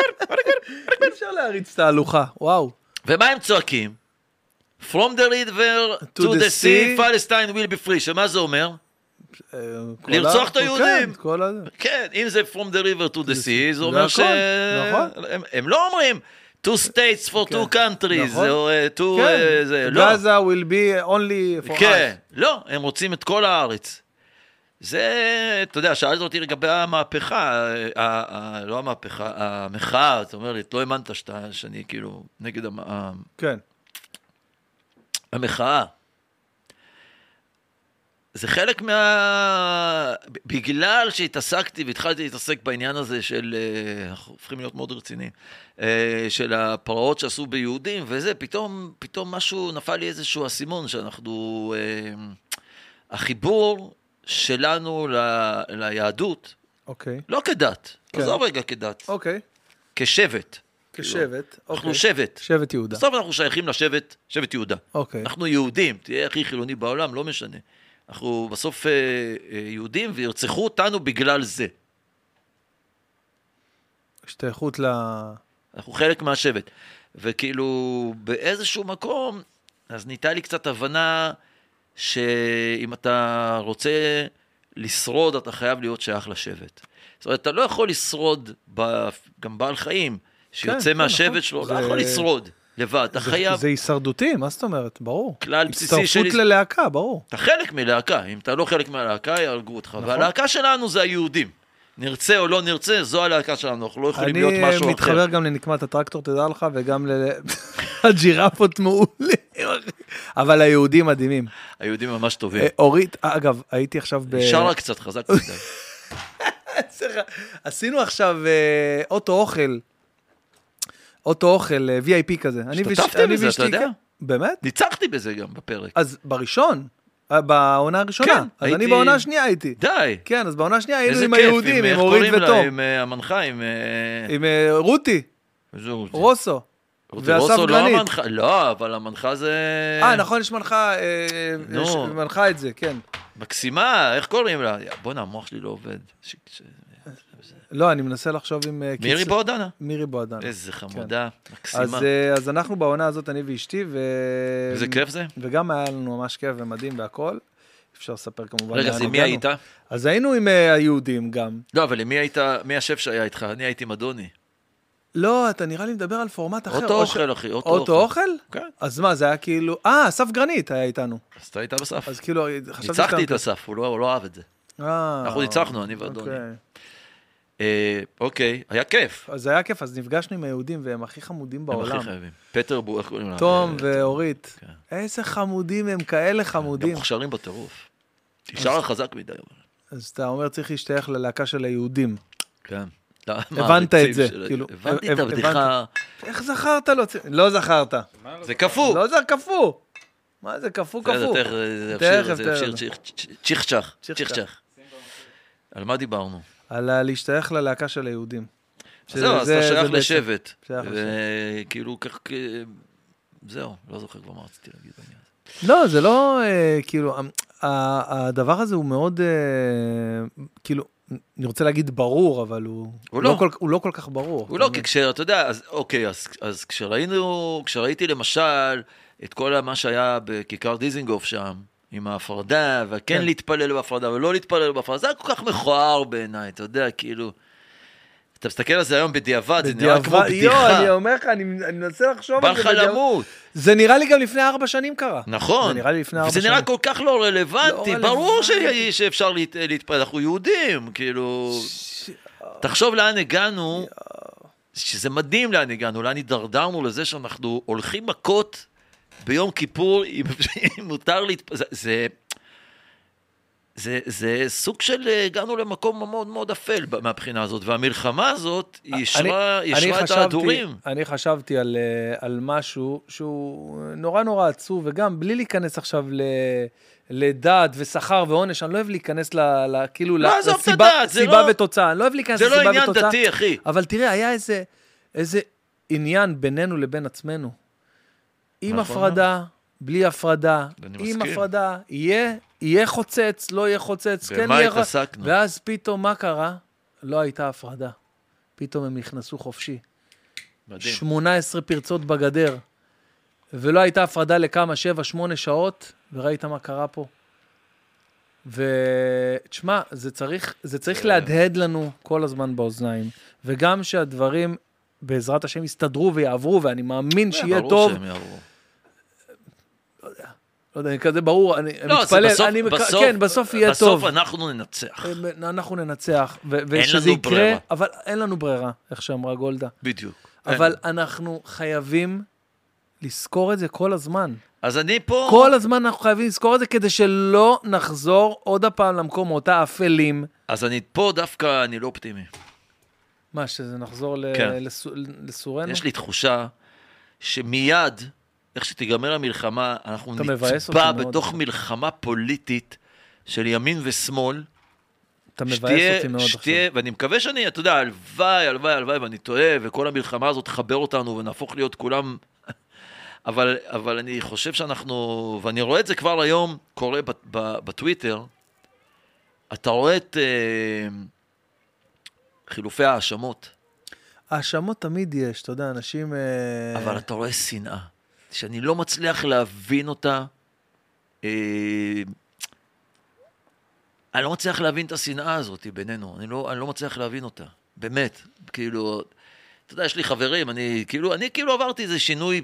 Speaker 1: אי אפשר להריץ תהלוכה, וואו.
Speaker 2: ומה הם צועקים? From the river to,
Speaker 1: the
Speaker 2: the sea,
Speaker 1: sea.
Speaker 2: Palestine will be free, שמה זה אומר?
Speaker 1: אה, כל
Speaker 2: לרצוח
Speaker 1: ה-
Speaker 2: את היהודים.
Speaker 1: כן, כל הזה.
Speaker 2: כן, אם זה From the river to the sea, זה
Speaker 1: זה
Speaker 2: אומר
Speaker 1: הכל,
Speaker 2: ש...
Speaker 1: נכון.
Speaker 2: הם- הם לא אומרים Two states for
Speaker 1: כן,
Speaker 2: two countries,
Speaker 1: נכון.
Speaker 2: או אה, two... אה, זה,
Speaker 1: כן,
Speaker 2: לא.
Speaker 1: גאזה will be only for us.
Speaker 2: כן, לא, הם רוצים את כל הארץ. זה, אתה יודע, שאלת אותי לגבי המהפכה, ה- ה- ה- לא המהפכה, המחאה, זאת אומרת, לא האמנת שאתה- שאני כאילו נגד המ- ה-
Speaker 1: כן.
Speaker 2: המחאה. זה חלק מה... ב- בגלל שהתעסקתי והתחלתי להתעסק בעניין הזה של... אה, אנחנו הופכים להיות מאוד רציניים. אה, של הפרעות שעשו ביהודים וזה, פתאום, פתאום משהו, נפל לי איזשהו אסימון שאנחנו... אה, החיבור שלנו ל... ליהדות,
Speaker 1: אוקיי.
Speaker 2: לא כדת,
Speaker 1: כן.
Speaker 2: עזוב רגע כדת,
Speaker 1: אוקיי.
Speaker 2: כשבט.
Speaker 1: כשבט,
Speaker 2: אנחנו
Speaker 1: אוקיי.
Speaker 2: שבט.
Speaker 1: שבט יהודה.
Speaker 2: בסוף אנחנו שייכים לשבט, שבט יהודה.
Speaker 1: אוקיי.
Speaker 2: אנחנו יהודים, תהיה הכי חילוני בעולם, לא משנה. אנחנו בסוף אה, אה, יהודים וירצחו אותנו בגלל זה.
Speaker 1: השתייכות ל...
Speaker 2: אנחנו חלק מהשבט. וכאילו, באיזשהו מקום, אז נהייתה לי קצת הבנה שאם אתה רוצה לשרוד, אתה חייב להיות שייך לשבט. זאת אומרת, אתה לא יכול לשרוד, ב... גם בעל חיים, שיוצא
Speaker 1: כן, נכון.
Speaker 2: מהשבט שלו, לא
Speaker 1: זה-
Speaker 2: יכול לשרוד לבד, אתה
Speaker 1: זה-
Speaker 2: חייב,
Speaker 1: זה הישרדותי, מה זאת אומרת? ברור.
Speaker 2: כלל בסיסי של-
Speaker 1: הצטרפות ללהקה, ברור.
Speaker 2: אתה חלק מלהקה, אם אתה לא חלק מהלהקה, יהרגו אותך.
Speaker 1: נכון.
Speaker 2: והלהקה שלנו זה היהודים. נרצה או לא נרצה, זו הלהקה שלנו, אנחנו לא יכולים
Speaker 1: אני
Speaker 2: להיות משהו
Speaker 1: אה,
Speaker 2: אחר.
Speaker 1: מתחבר גם לנקמת הטרקטור, תדע לך, וגם ל... הג'ירפות מעולים. אבל היהודים מדהימים.
Speaker 2: היהודים ממש טובים.
Speaker 1: אה, אורית, אגב, הייתי עכשיו ב...
Speaker 2: שרה קצת חזק מדי.
Speaker 1: עשינו עכשיו אה, אוטו אוכל, אוטו אוכל אה, VIP כזה. אני ואשתי-
Speaker 2: השתתפתם
Speaker 1: אני
Speaker 2: בזה, אתה
Speaker 1: ואשתי-
Speaker 2: יודע?
Speaker 1: באמת?
Speaker 2: ניצחתי בזה גם בפרק.
Speaker 1: אז בראשון, אה, בעונה הראשונה.
Speaker 2: כן,
Speaker 1: אז אני
Speaker 2: הייתי-
Speaker 1: בעונה השנייה הייתי.
Speaker 2: די.
Speaker 1: כן, אז בעונה השנייה היינו
Speaker 2: איזה
Speaker 1: עם
Speaker 2: כיף,
Speaker 1: היהודים,
Speaker 2: איך
Speaker 1: עם אורית
Speaker 2: קוראים לה?
Speaker 1: ותום.
Speaker 2: עם אה, המנחה, עם... אה,
Speaker 1: עם אה, רותי,
Speaker 2: זהו, זה-
Speaker 1: רוסו.
Speaker 2: רותי
Speaker 1: ואסף
Speaker 2: רוסו לא
Speaker 1: גרנית.
Speaker 2: המנחה, לא, אבל המנחה זה...
Speaker 1: אה, נכון, יש מנחה, אה,
Speaker 2: כן. נו.
Speaker 1: יש מנחה את זה, כן.
Speaker 2: מקסימה, איך קוראים לה? יא, בואנה, המוח שלי לא עובד. ש- ש-
Speaker 1: לא, אני מנסה לחשוב עם... אה,
Speaker 2: מירי
Speaker 1: קיצ-
Speaker 2: בועדנה.
Speaker 1: מירי בועדן.
Speaker 2: איזה חמודה, מקסימה.
Speaker 1: כן. אז, אה, אז אנחנו בעונה הזאת, אני ואשתי, ו...
Speaker 2: איזה כיף זה.
Speaker 1: וגם היה לנו ממש כיף ומדהים והכל. אפשר לספר כמובן.
Speaker 2: רגע,
Speaker 1: לאן
Speaker 2: אז עם מי
Speaker 1: הגענו.
Speaker 2: היית?
Speaker 1: אז היינו עם אה, היהודים גם.
Speaker 2: לא, אבל עם מי היית, מי השף שהיה איתך? אני הייתי עם אדוני.
Speaker 1: לא, אתה נראה לי מדבר על פורמט אחר.
Speaker 2: אוטו
Speaker 1: או ש-
Speaker 2: אוכל, אחי, אוטו אוכל.
Speaker 1: אוטו אוכל?
Speaker 2: כן,
Speaker 1: אז מה, זה היה כאילו... אה, אסף גרנית היה איתנו.
Speaker 2: אז אתה היית בסף.
Speaker 1: אז כאילו, חשבתי...
Speaker 2: ניצחתי את
Speaker 1: שאתה-
Speaker 2: הסף, הוא לא הוא לא אהב את זה.
Speaker 1: אה,
Speaker 2: אנחנו ניצחנו, אני ואדוני.
Speaker 1: אוקיי.
Speaker 2: אה, אוקיי, היה כיף.
Speaker 1: אז היה כיף, אז נפגשנו עם היהודים, והם הכי חמודים
Speaker 2: הם הכי
Speaker 1: בעולם.
Speaker 2: חייבים. פטר בו, איך קוראים לה?
Speaker 1: תום
Speaker 2: אה,
Speaker 1: ואורית.
Speaker 2: כן.
Speaker 1: איזה חמודים הם, כאלה
Speaker 2: הם
Speaker 1: חמודים.
Speaker 2: מוכשרים בטירוף. נשאר חזק מדי. אבל.
Speaker 1: אז אתה אומר, צריך להשתייך ללהקה של היהודים.
Speaker 2: כן. למה,
Speaker 1: הבנת את
Speaker 2: הביצים
Speaker 1: זה,
Speaker 2: של-
Speaker 1: כאילו,
Speaker 2: הבנתי
Speaker 1: הב-
Speaker 2: את
Speaker 1: הב-
Speaker 2: הבדיחה.
Speaker 1: איך זכרת לו? לא זכרת.
Speaker 2: זה קפוא.
Speaker 1: לא זה קפוא. מה זה קפוא
Speaker 2: בסדר,
Speaker 1: קפוא?
Speaker 2: תכף, אה, זה
Speaker 1: תכף,
Speaker 2: אפשיר- זה אפשיר
Speaker 1: תכף.
Speaker 2: צ'יך- צ'יך- צ'יכצ'ך.
Speaker 1: צ'יכצ'ך.
Speaker 2: צ'יכצ'ך. על מה דיברנו?
Speaker 1: על ה- להשתייך ללהקה של היהודים.
Speaker 2: אז זהו, אז אתה
Speaker 1: שזה-
Speaker 2: שייך
Speaker 1: זה בעצם-
Speaker 2: לשבט.
Speaker 1: שייך
Speaker 2: וכאילו, כך... כ- זהו, לא זוכר כבר מה רציתי להגיד בעניין הזה.
Speaker 1: לא, זה לא, אה, כאילו, ה- ה- הדבר הזה הוא מאוד, אה, כאילו, אני רוצה להגיד ברור, אבל הוא
Speaker 2: הוא
Speaker 1: לא
Speaker 2: לא.
Speaker 1: כל- הוא לא כל כך ברור.
Speaker 2: הוא לא,
Speaker 1: אתה
Speaker 2: כי
Speaker 1: מבין?
Speaker 2: כשאתה יודע, אז אוקיי, אז- אז כשראינו, כשראיתי למשל את כל מה שהיה בכיכר דיזינגוף שם, עם ההפרדה, והכן
Speaker 1: כן.
Speaker 2: להתפלל בהפרדה ולא להתפלל בהפרדה, זה היה כל כך מכוער בעיניי, אתה יודע, כאילו... אתה מסתכל על זה היום בדיעבד, זה נראה כמו
Speaker 1: בדיעבד- יואו,
Speaker 2: בדיחה.
Speaker 1: אני אומר לך, אני אני מנסה לחשוב
Speaker 2: בא
Speaker 1: על זה.
Speaker 2: לך
Speaker 1: בדיעבד.
Speaker 2: למות.
Speaker 1: זה נראה לי גם לפני ארבע שנים קרה.
Speaker 2: נכון.
Speaker 1: זה נראה לי לפני ארבע
Speaker 2: וזה
Speaker 1: שנים.
Speaker 2: נראה כל כך לא רלוונטי.
Speaker 1: לא
Speaker 2: ברור
Speaker 1: רלוונטי.
Speaker 2: ש- שאפשר להת- להתפלל, אנחנו יהודים, כאילו...
Speaker 1: ש-
Speaker 2: תחשוב לאן הגענו, שזה מדהים לאן הגענו, לאן הידרדרנו לזה שאנחנו הולכים מכות ביום כיפור, אם אם מותר להתפלל. זה... זה, זה סוג של אה, הגענו למקום מאוד מאוד אפל ב- מהבחינה הזאת, והמלחמה הזאת היא ישרה,
Speaker 1: אני- אני
Speaker 2: ישרה את
Speaker 1: חשבתי-
Speaker 2: ההדורים.
Speaker 1: אני חשבתי על, אה, על משהו שהוא נורא נורא עצוב, וגם בלי להיכנס עכשיו ל... לדעת ושכר ועונש, אני לא אוהב להיכנס ל... ל... כאילו
Speaker 2: לא,
Speaker 1: ל-
Speaker 2: עזוב את
Speaker 1: לסיבה
Speaker 2: הדעת, זה
Speaker 1: סיבה
Speaker 2: לא-
Speaker 1: ותוצאה, אני לא אוהב להיכנס
Speaker 2: זה
Speaker 1: לסיבה
Speaker 2: לא
Speaker 1: ותוצאה.
Speaker 2: עניין דתי, אחי.
Speaker 1: אבל תראה, היה איזה, איזה עניין בינינו לבין עצמנו. עם
Speaker 2: נכון
Speaker 1: הפרדה, בלי הפרדה,
Speaker 2: אני
Speaker 1: עם
Speaker 2: מסכים.
Speaker 1: הפרדה, יהיה, יהיה חוצץ, לא יהיה חוצץ, כן
Speaker 2: במה
Speaker 1: יהיה... ר-
Speaker 2: התעסקנו?
Speaker 1: ואז פתאום מה קרה? לא הייתה הפרדה. פתאום הם נכנסו חופשי.
Speaker 2: מדהים.
Speaker 1: 18 פרצות בגדר, ולא הייתה הפרדה לכמה, 7, 8 שעות, וראית מה קרה פה. ותשמע, זה צריך, זה צריך
Speaker 2: זה-
Speaker 1: להדהד לנו כל הזמן באוזניים, וגם שהדברים, בעזרת השם, יסתדרו ויעברו, ואני מאמין שיהיה
Speaker 2: כן, אה, ברור
Speaker 1: טוב.
Speaker 2: שהם יעברו.
Speaker 1: לא יודע, כזה ברור, אני
Speaker 2: לא, זה
Speaker 1: מתפלל,
Speaker 2: בסוף-
Speaker 1: אני מק-
Speaker 2: בסוף-
Speaker 1: כן, בסוף יהיה טוב.
Speaker 2: בסוף אנחנו ננצח,
Speaker 1: הם- אה, אנחנו ננצח, ו- ושזה
Speaker 2: לנו
Speaker 1: יקרה,
Speaker 2: ברירה.
Speaker 1: אבל אין לנו ברירה, איך שאמרה גולדה.
Speaker 2: בדיוק. כן.
Speaker 1: אבל אנחנו חייבים לזכור את זה כל הזמן.
Speaker 2: אז אני פה...
Speaker 1: כל הזמן אנחנו חייבים לזכור את זה כדי שלא נחזור עוד הפעם למקום אותה אפלים.
Speaker 2: אז אני פה דווקא, אני לא אופטימי.
Speaker 1: מה, שזה נחזור ל-
Speaker 2: כן.
Speaker 1: לסו- לסורנו?
Speaker 2: יש לי תחושה שמיד, איך שתיגמר המלחמה, אנחנו
Speaker 1: אתה מבאס
Speaker 2: נצבע
Speaker 1: אותי מאוד.
Speaker 2: בתוך מלחמה פוליטית של ימין ושמאל.
Speaker 1: אתה מבאס
Speaker 2: שתהיה,
Speaker 1: אותי מאוד
Speaker 2: שתהיה,
Speaker 1: עכשיו.
Speaker 2: ואני מקווה שאני, אתה יודע, הלוואי, הלוואי, הלוואי, ואני טועה, וכל המלחמה הזאת תחבר אותנו ונהפוך להיות כולם... אבל, אבל אני חושב שאנחנו, ואני רואה את זה כבר היום קורה ב, ב, בטוויטר, אתה רואה את אה, חילופי ההאשמות,
Speaker 1: האשמות תמיד יש, אתה יודע, אנשים... אה,
Speaker 2: אבל אתה רואה שנאה, שאני לא מצליח להבין אותה. אה, אני לא מצליח להבין את השנאה הזאת בינינו, אני לא, אני לא מצליח להבין אותה, באמת. כאילו, אתה יודע, יש לי חברים, אני כאילו, אני כאילו עברתי איזה שינוי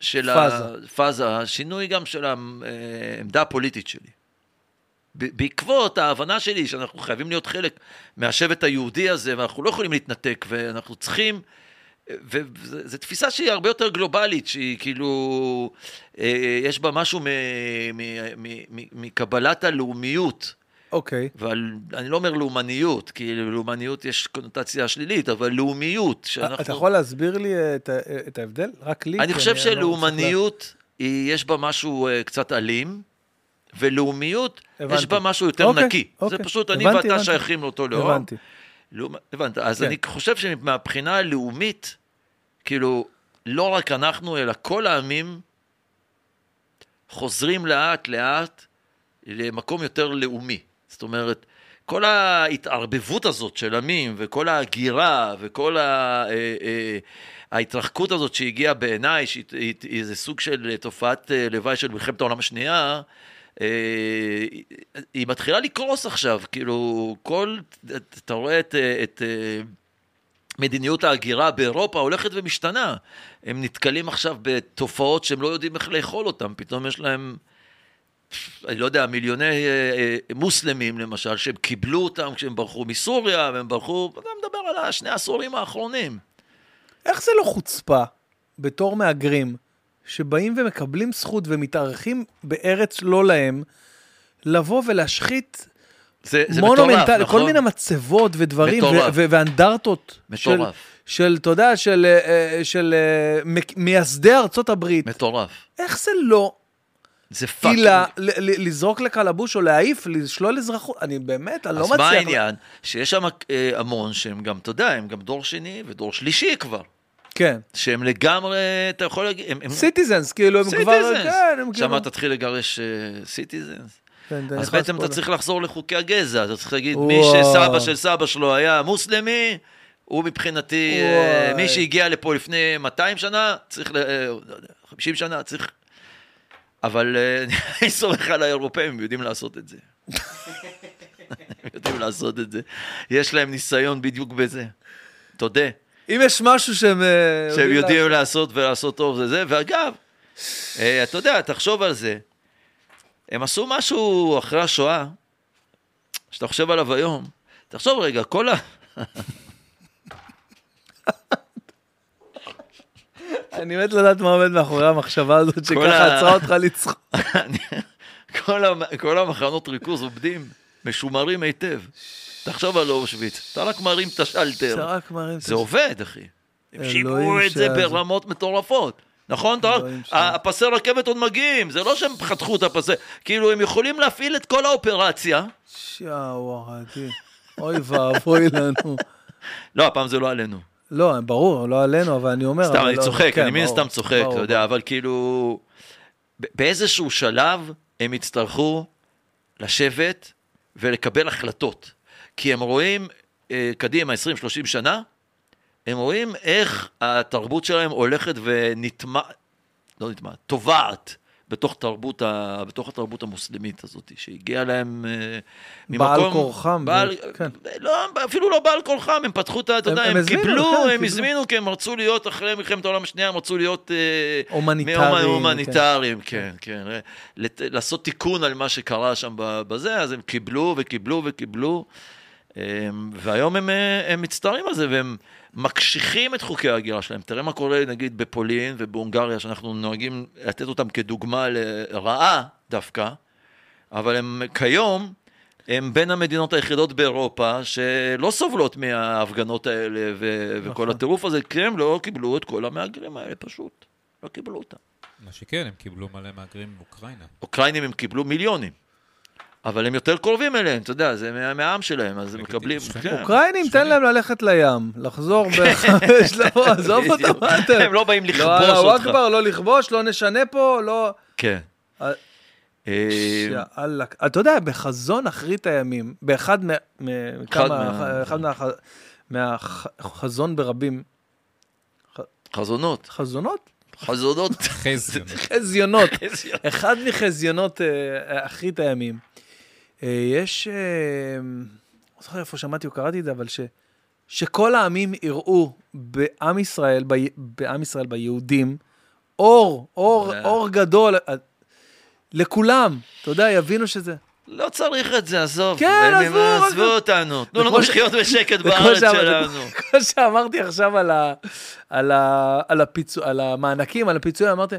Speaker 2: של
Speaker 1: פאזה.
Speaker 2: ה... פאזה, שינוי גם של אה, העמדה הפוליטית שלי. ב- בעקבות ההבנה שלי שאנחנו חייבים להיות חלק מהשבט היהודי הזה, ואנחנו לא יכולים להתנתק, ואנחנו צריכים... וזו תפיסה שהיא הרבה יותר גלובלית, שהיא כאילו, אה, יש בה משהו מ- מ- מ- מ- מקבלת הלאומיות.
Speaker 1: אוקיי.
Speaker 2: אבל אני לא אומר לאומניות, כי לאומניות יש קונוטציה שלילית, אבל לאומיות, שאנחנו...
Speaker 1: אה, אתה יכול להסביר לי את ה- את ההבדל? רק לי?
Speaker 2: אני
Speaker 1: כי
Speaker 2: חושב
Speaker 1: לא מצליח לה-
Speaker 2: שלאומניות, היא- יש בה משהו אה, קצת אלים, ולאומיות,
Speaker 1: הבנתי.
Speaker 2: יש בה משהו יותר
Speaker 1: אוקיי,
Speaker 2: נקי. זה
Speaker 1: אוקיי.
Speaker 2: פשוט אני
Speaker 1: הבנתי,
Speaker 2: ואתה
Speaker 1: הבנתי.
Speaker 2: שייכים לאותו לאום.
Speaker 1: הבנתי.
Speaker 2: לאומ- הבנת, אז
Speaker 1: כן.
Speaker 2: אני חושב שמבחינה הלאומית, כאילו, לא רק אנחנו, אלא כל העמים חוזרים לאט-לאט למקום יותר לאומי. זאת אומרת, כל ההתערבבות הזאת של עמים, וכל ההגירה, וכל ה... אה, אה, ההתרחקות הזאת שהגיעה בעיניי, שהיא היא- היא איזה סוג של תופעת אה, לוואי של מלחמת העולם השנייה, אה, היא- היא מתחילה לקרוס עכשיו, כאילו, כל, אתה רואה את, אה, את אה, מדיניות ההגירה באירופה הולכת ומשתנה. הם נתקלים עכשיו בתופעות שהם לא יודעים איך לאכול אותן, פתאום יש להם, אני לא יודע, מיליוני אה, אה, מוסלמים למשל, שהם קיבלו אותם כשהם ברחו מסוריה, והם ברחו, אתה מדבר על השני העשורים האחרונים.
Speaker 1: איך זה לא חוצפה, בתור מהגרים, שבאים ומקבלים זכות ומתארחים בארץ לא להם, לבוא ולהשחית
Speaker 2: זה, זה מטורף,
Speaker 1: מונומנטל,
Speaker 2: נכון?
Speaker 1: כל מיני מצבות ודברים, ו-
Speaker 2: מטורף.
Speaker 1: ו- ואנדרטות. של,
Speaker 2: מטורף.
Speaker 1: של, אתה יודע, של, אה, אה, של אה, מק- מייסדי ארצות הברית.
Speaker 2: מטורף.
Speaker 1: איך זה לא
Speaker 2: זה פאקינג.
Speaker 1: עילה ל- ל- לזרוק לקלבוש או להעיף, לשלול אזרחות? אני באמת, אני לא מצליח.
Speaker 2: אז מה העניין? שיש שם אה, המון שהם גם, אתה יודע, הם גם דור שני ודור שלישי כבר.
Speaker 1: כן.
Speaker 2: שהם לגמרי, אתה יכול להגיד, הם... הם-
Speaker 1: סיטיזנס, כאילו, הם כבר...
Speaker 2: Mm. Citizens.
Speaker 1: כן, הם כאילו...
Speaker 2: שם תתחיל לגרש אה, סיטיזנס.
Speaker 1: כן, אתה
Speaker 2: אז
Speaker 1: נכנס
Speaker 2: בעצם
Speaker 1: פה
Speaker 2: אתה
Speaker 1: ל-
Speaker 2: צריך לחזור לחוקי הגזע, אתה צריך להגיד,
Speaker 1: וואו.
Speaker 2: מי שסבא של סבא שלו היה מוסלמי, הוא מבחינתי, אה,
Speaker 1: וואי.
Speaker 2: מי שהגיע לפה לפני 200 שנה, צריך, ל- אה, לא יודע, 50 שנה, צריך... אבל אה, אני סומך על האירופאים, הם יודעים לעשות את זה. הם יודעים לעשות את זה. יש להם ניסיון בדיוק בזה. תודה.
Speaker 1: אם יש משהו שהם... אה,
Speaker 2: שהם
Speaker 1: לעשות-
Speaker 2: יודעים לעשות ולעשות טוב זה זה, ואגב, אה, אתה יודע, תחשוב על זה, הם עשו משהו אחרי השואה, שאתה חושב עליו היום, תחשוב רגע, כל ה...
Speaker 1: אני מת לדעת מה עומד מאחורי המחשבה הזאת, שככה
Speaker 2: ה-
Speaker 1: עצרה אותך לצחוק.
Speaker 2: כל, המ... כל המחנות ריכוז עובדים, משומרים היטב. תחשוב על אושוויץ, אתה רק מרים את השלטר,
Speaker 1: שרק מראים את
Speaker 2: כן. זה עובד, אחי. הם שיפרו
Speaker 1: אלוהים
Speaker 2: את זה
Speaker 1: שאז.
Speaker 2: ברמות מטורפות. נכון, אתה
Speaker 1: אלוהים שאז.
Speaker 2: הפסי רכבת עוד מגיעים, זה לא שהם חתכו את הפסי, כאילו הם יכולים להפעיל את כל האופרציה,
Speaker 1: שווארתי. אוי ואבוי לנו.
Speaker 2: לא, הפעם זה לא עלינו.
Speaker 1: לא, ברור, לא עלינו, אבל אני אומר...
Speaker 2: סתם,
Speaker 1: אבל
Speaker 2: אני
Speaker 1: לא-
Speaker 2: צוחק,
Speaker 1: כן,
Speaker 2: אני מן
Speaker 1: ברור,
Speaker 2: הסתם צוחק,
Speaker 1: ברור,
Speaker 2: אתה יודע, אבל כאילו... ב- באיזשהו שלב הם יצטרכו לשבת ולקבל החלטות. כי הם רואים, אה, קדימה, 20-30 שנה, הם רואים איך התרבות שלהם הולכת ונטמעת, לא נטמעת, טובעת. בתוך, תרבות ה... בתוך התרבות המוסלמית הזאת, שהגיעה להם אה, ממקום...
Speaker 1: בעל כורחם,
Speaker 2: בעל...
Speaker 1: כן.
Speaker 2: כן. לא, אפילו לא בעל כורחם, הם פתחו את ה... אתה
Speaker 1: הם-
Speaker 2: יודע,
Speaker 1: הם
Speaker 2: הם,
Speaker 1: הזמינו, כן,
Speaker 2: קיבלו, הם
Speaker 1: קיבלו.
Speaker 2: הזמינו, כי הם רצו להיות, אחרי מלחמת העולם השנייה, הם רצו להיות... אה,
Speaker 1: הומניטריים,
Speaker 2: מהומ-
Speaker 1: כן.
Speaker 2: הומניטריים, כן, כן. אה, לת- לעשות תיקון על מה שקרה שם ב- בזה, אז הם קיבלו וקיבלו וקיבלו, אה, והיום הם, אה, הם מצטערים על זה, והם מקשיחים את חוקי ההגירה שלהם. תראה מה קורה, נגיד, בפולין ובהונגריה, שאנחנו נוהגים לתת אותם כדוגמה לרעה דווקא, אבל הם כיום... הם בין המדינות היחידות באירופה שלא סובלות מההפגנות האלה ו- וכל
Speaker 1: נכון.
Speaker 2: הטירוף הזה, כי הם לא קיבלו את כל המהגרים האלה פשוט. לא קיבלו אותם.
Speaker 3: מה שכן, הם קיבלו מלא מהגרים מאוקראינה.
Speaker 2: אוקראינים הם קיבלו מיליונים, אבל הם יותר קרובים אליהם, אתה יודע, זה מה- מהעם שלהם, אז הם
Speaker 3: לגיטימי,
Speaker 2: מקבלים...
Speaker 3: שכנים.
Speaker 2: כן.
Speaker 1: אוקראינים, תן להם ללכת לים, לחזור בחמש, לבוא, עזוב אותם, מה אתם?
Speaker 2: הם לא באים לכבוש
Speaker 1: לא, אללה
Speaker 2: אותך.
Speaker 1: אכבר, לא לכבוש, לא נשנה פה, לא...
Speaker 2: כן.
Speaker 1: אה,
Speaker 2: אה,
Speaker 1: יאללה. אתה יודע, בחזון אחרית הימים, באחד מה- מכמה,
Speaker 2: מה-
Speaker 1: אחד מהח- מהחזון ברבים,
Speaker 2: חזונות,
Speaker 1: חזונות?
Speaker 2: חזונות.
Speaker 3: חזיון.
Speaker 1: חזיונות.
Speaker 2: איזה-
Speaker 1: אחד מחזיונות אה, אחרית הימים, אה, יש, אה, לא זוכר איפה שמעתי או קראתי את זה, אבל ש, שכל העמים יראו בעם ישראל, ב, בעם ישראל, ביהודים, אור, אור,
Speaker 2: אה.
Speaker 1: אור גדול, אה, לכולם, אתה יודע, יבינו שזה.
Speaker 2: לא צריך את זה, עזוב.
Speaker 1: כן,
Speaker 2: הם- הם
Speaker 1: עזבו,
Speaker 2: עזבו
Speaker 1: עזבו.
Speaker 2: אותנו. תנו
Speaker 1: וכמו
Speaker 2: לנו
Speaker 1: ש-
Speaker 2: לחיות בשקט
Speaker 1: וכמו
Speaker 2: בארץ
Speaker 1: שאמר-
Speaker 2: שלנו.
Speaker 1: כמו שאמרתי עכשיו על, ה, על, ה, על, הפיצו, על המענקים, על הפיצויים, אמרתי,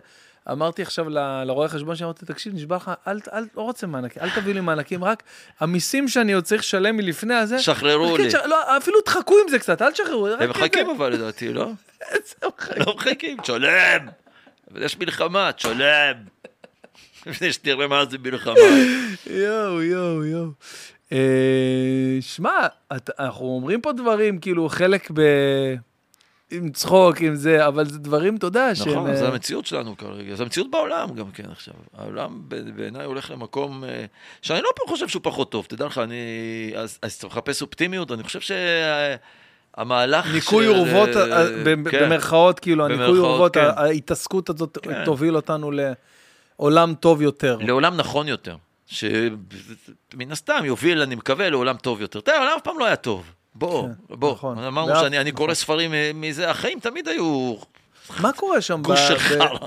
Speaker 1: אמרתי עכשיו ל- לרואה חשבון שאמרתי, תקשיב, נשבע לך, אל, אל, לא רוצה מענקים, אל תביאו לי מענקים, רק המיסים שאני עוד צריך לשלם מלפני הזה,
Speaker 2: שחררו
Speaker 1: כן,
Speaker 2: לי.
Speaker 1: ש- לא, אפילו תחכו עם זה קצת, אל תשחררו. רק את זה.
Speaker 2: הם מחכים אבל לדעתי, לא?
Speaker 1: זה מחכים.
Speaker 2: לא מחכים, תשלם. אבל יש מלחמה, תשלם. לפני שתראה מה זה מלחמה.
Speaker 1: יואו, יואו, יואו. אה, שמע, את- אנחנו אומרים פה דברים, כאילו, חלק ב... עם צחוק, עם זה, אבל זה דברים, אתה יודע, שהם...
Speaker 2: נכון,
Speaker 1: אה,
Speaker 2: זו המציאות שלנו כרגע. זו המציאות בעולם גם כן עכשיו. העולם ב- בעיניי הולך למקום אה, שאני לא פה חושב שהוא פחות טוב. תדע לך, אני... אז אז אתה מחפש אופטימיות, אני חושב שהמהלך...
Speaker 1: ניקוי אורוות, אה, ב- במרכאות, כאילו, הניקוי
Speaker 2: כן. במרכאות,
Speaker 1: אורוות,
Speaker 2: כן.
Speaker 1: ה- ההתעסקות הזאת
Speaker 2: כן.
Speaker 1: תוביל אותנו לעולם טוב יותר.
Speaker 2: לעולם נכון יותר. שמן הסתם יוביל, אני מקווה, לעולם טוב יותר. תראה, העולם אף פעם לא היה טוב. בוא,
Speaker 1: כן,
Speaker 2: בוא.
Speaker 1: נכון.
Speaker 2: אמרנו
Speaker 1: ואף-
Speaker 2: שאני אני קורא
Speaker 1: נכון.
Speaker 2: ספרים אה, מזה, החיים תמיד היו
Speaker 1: מה קורה שם? ב-
Speaker 2: גוש של
Speaker 1: ב-
Speaker 2: חרא.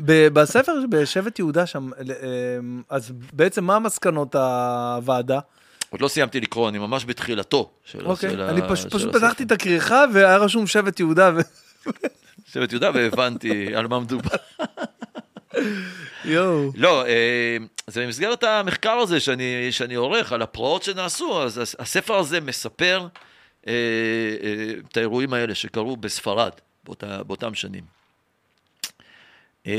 Speaker 1: ב- בספר, בשבט יהודה שם, אה, אז בעצם מה המסקנות הוועדה?
Speaker 2: עוד לא סיימתי לקרוא, אני ממש בתחילתו של ה- של
Speaker 1: אוקיי,
Speaker 2: ה-
Speaker 1: אני פש-
Speaker 2: של
Speaker 1: פשוט
Speaker 2: הספר.
Speaker 1: פתחתי את הכריכה והיה רשום שבט יהודה. ו-
Speaker 2: שבט יהודה והבנתי על מה מדובר.
Speaker 1: יואו.
Speaker 2: לא, אה, זה במסגרת המחקר הזה שאני, שאני עורך על הפרעות שנעשו, אז הס- הספר הזה מספר אה, אה, את האירועים האלה שקרו בספרד באותה, באותם שנים. אה,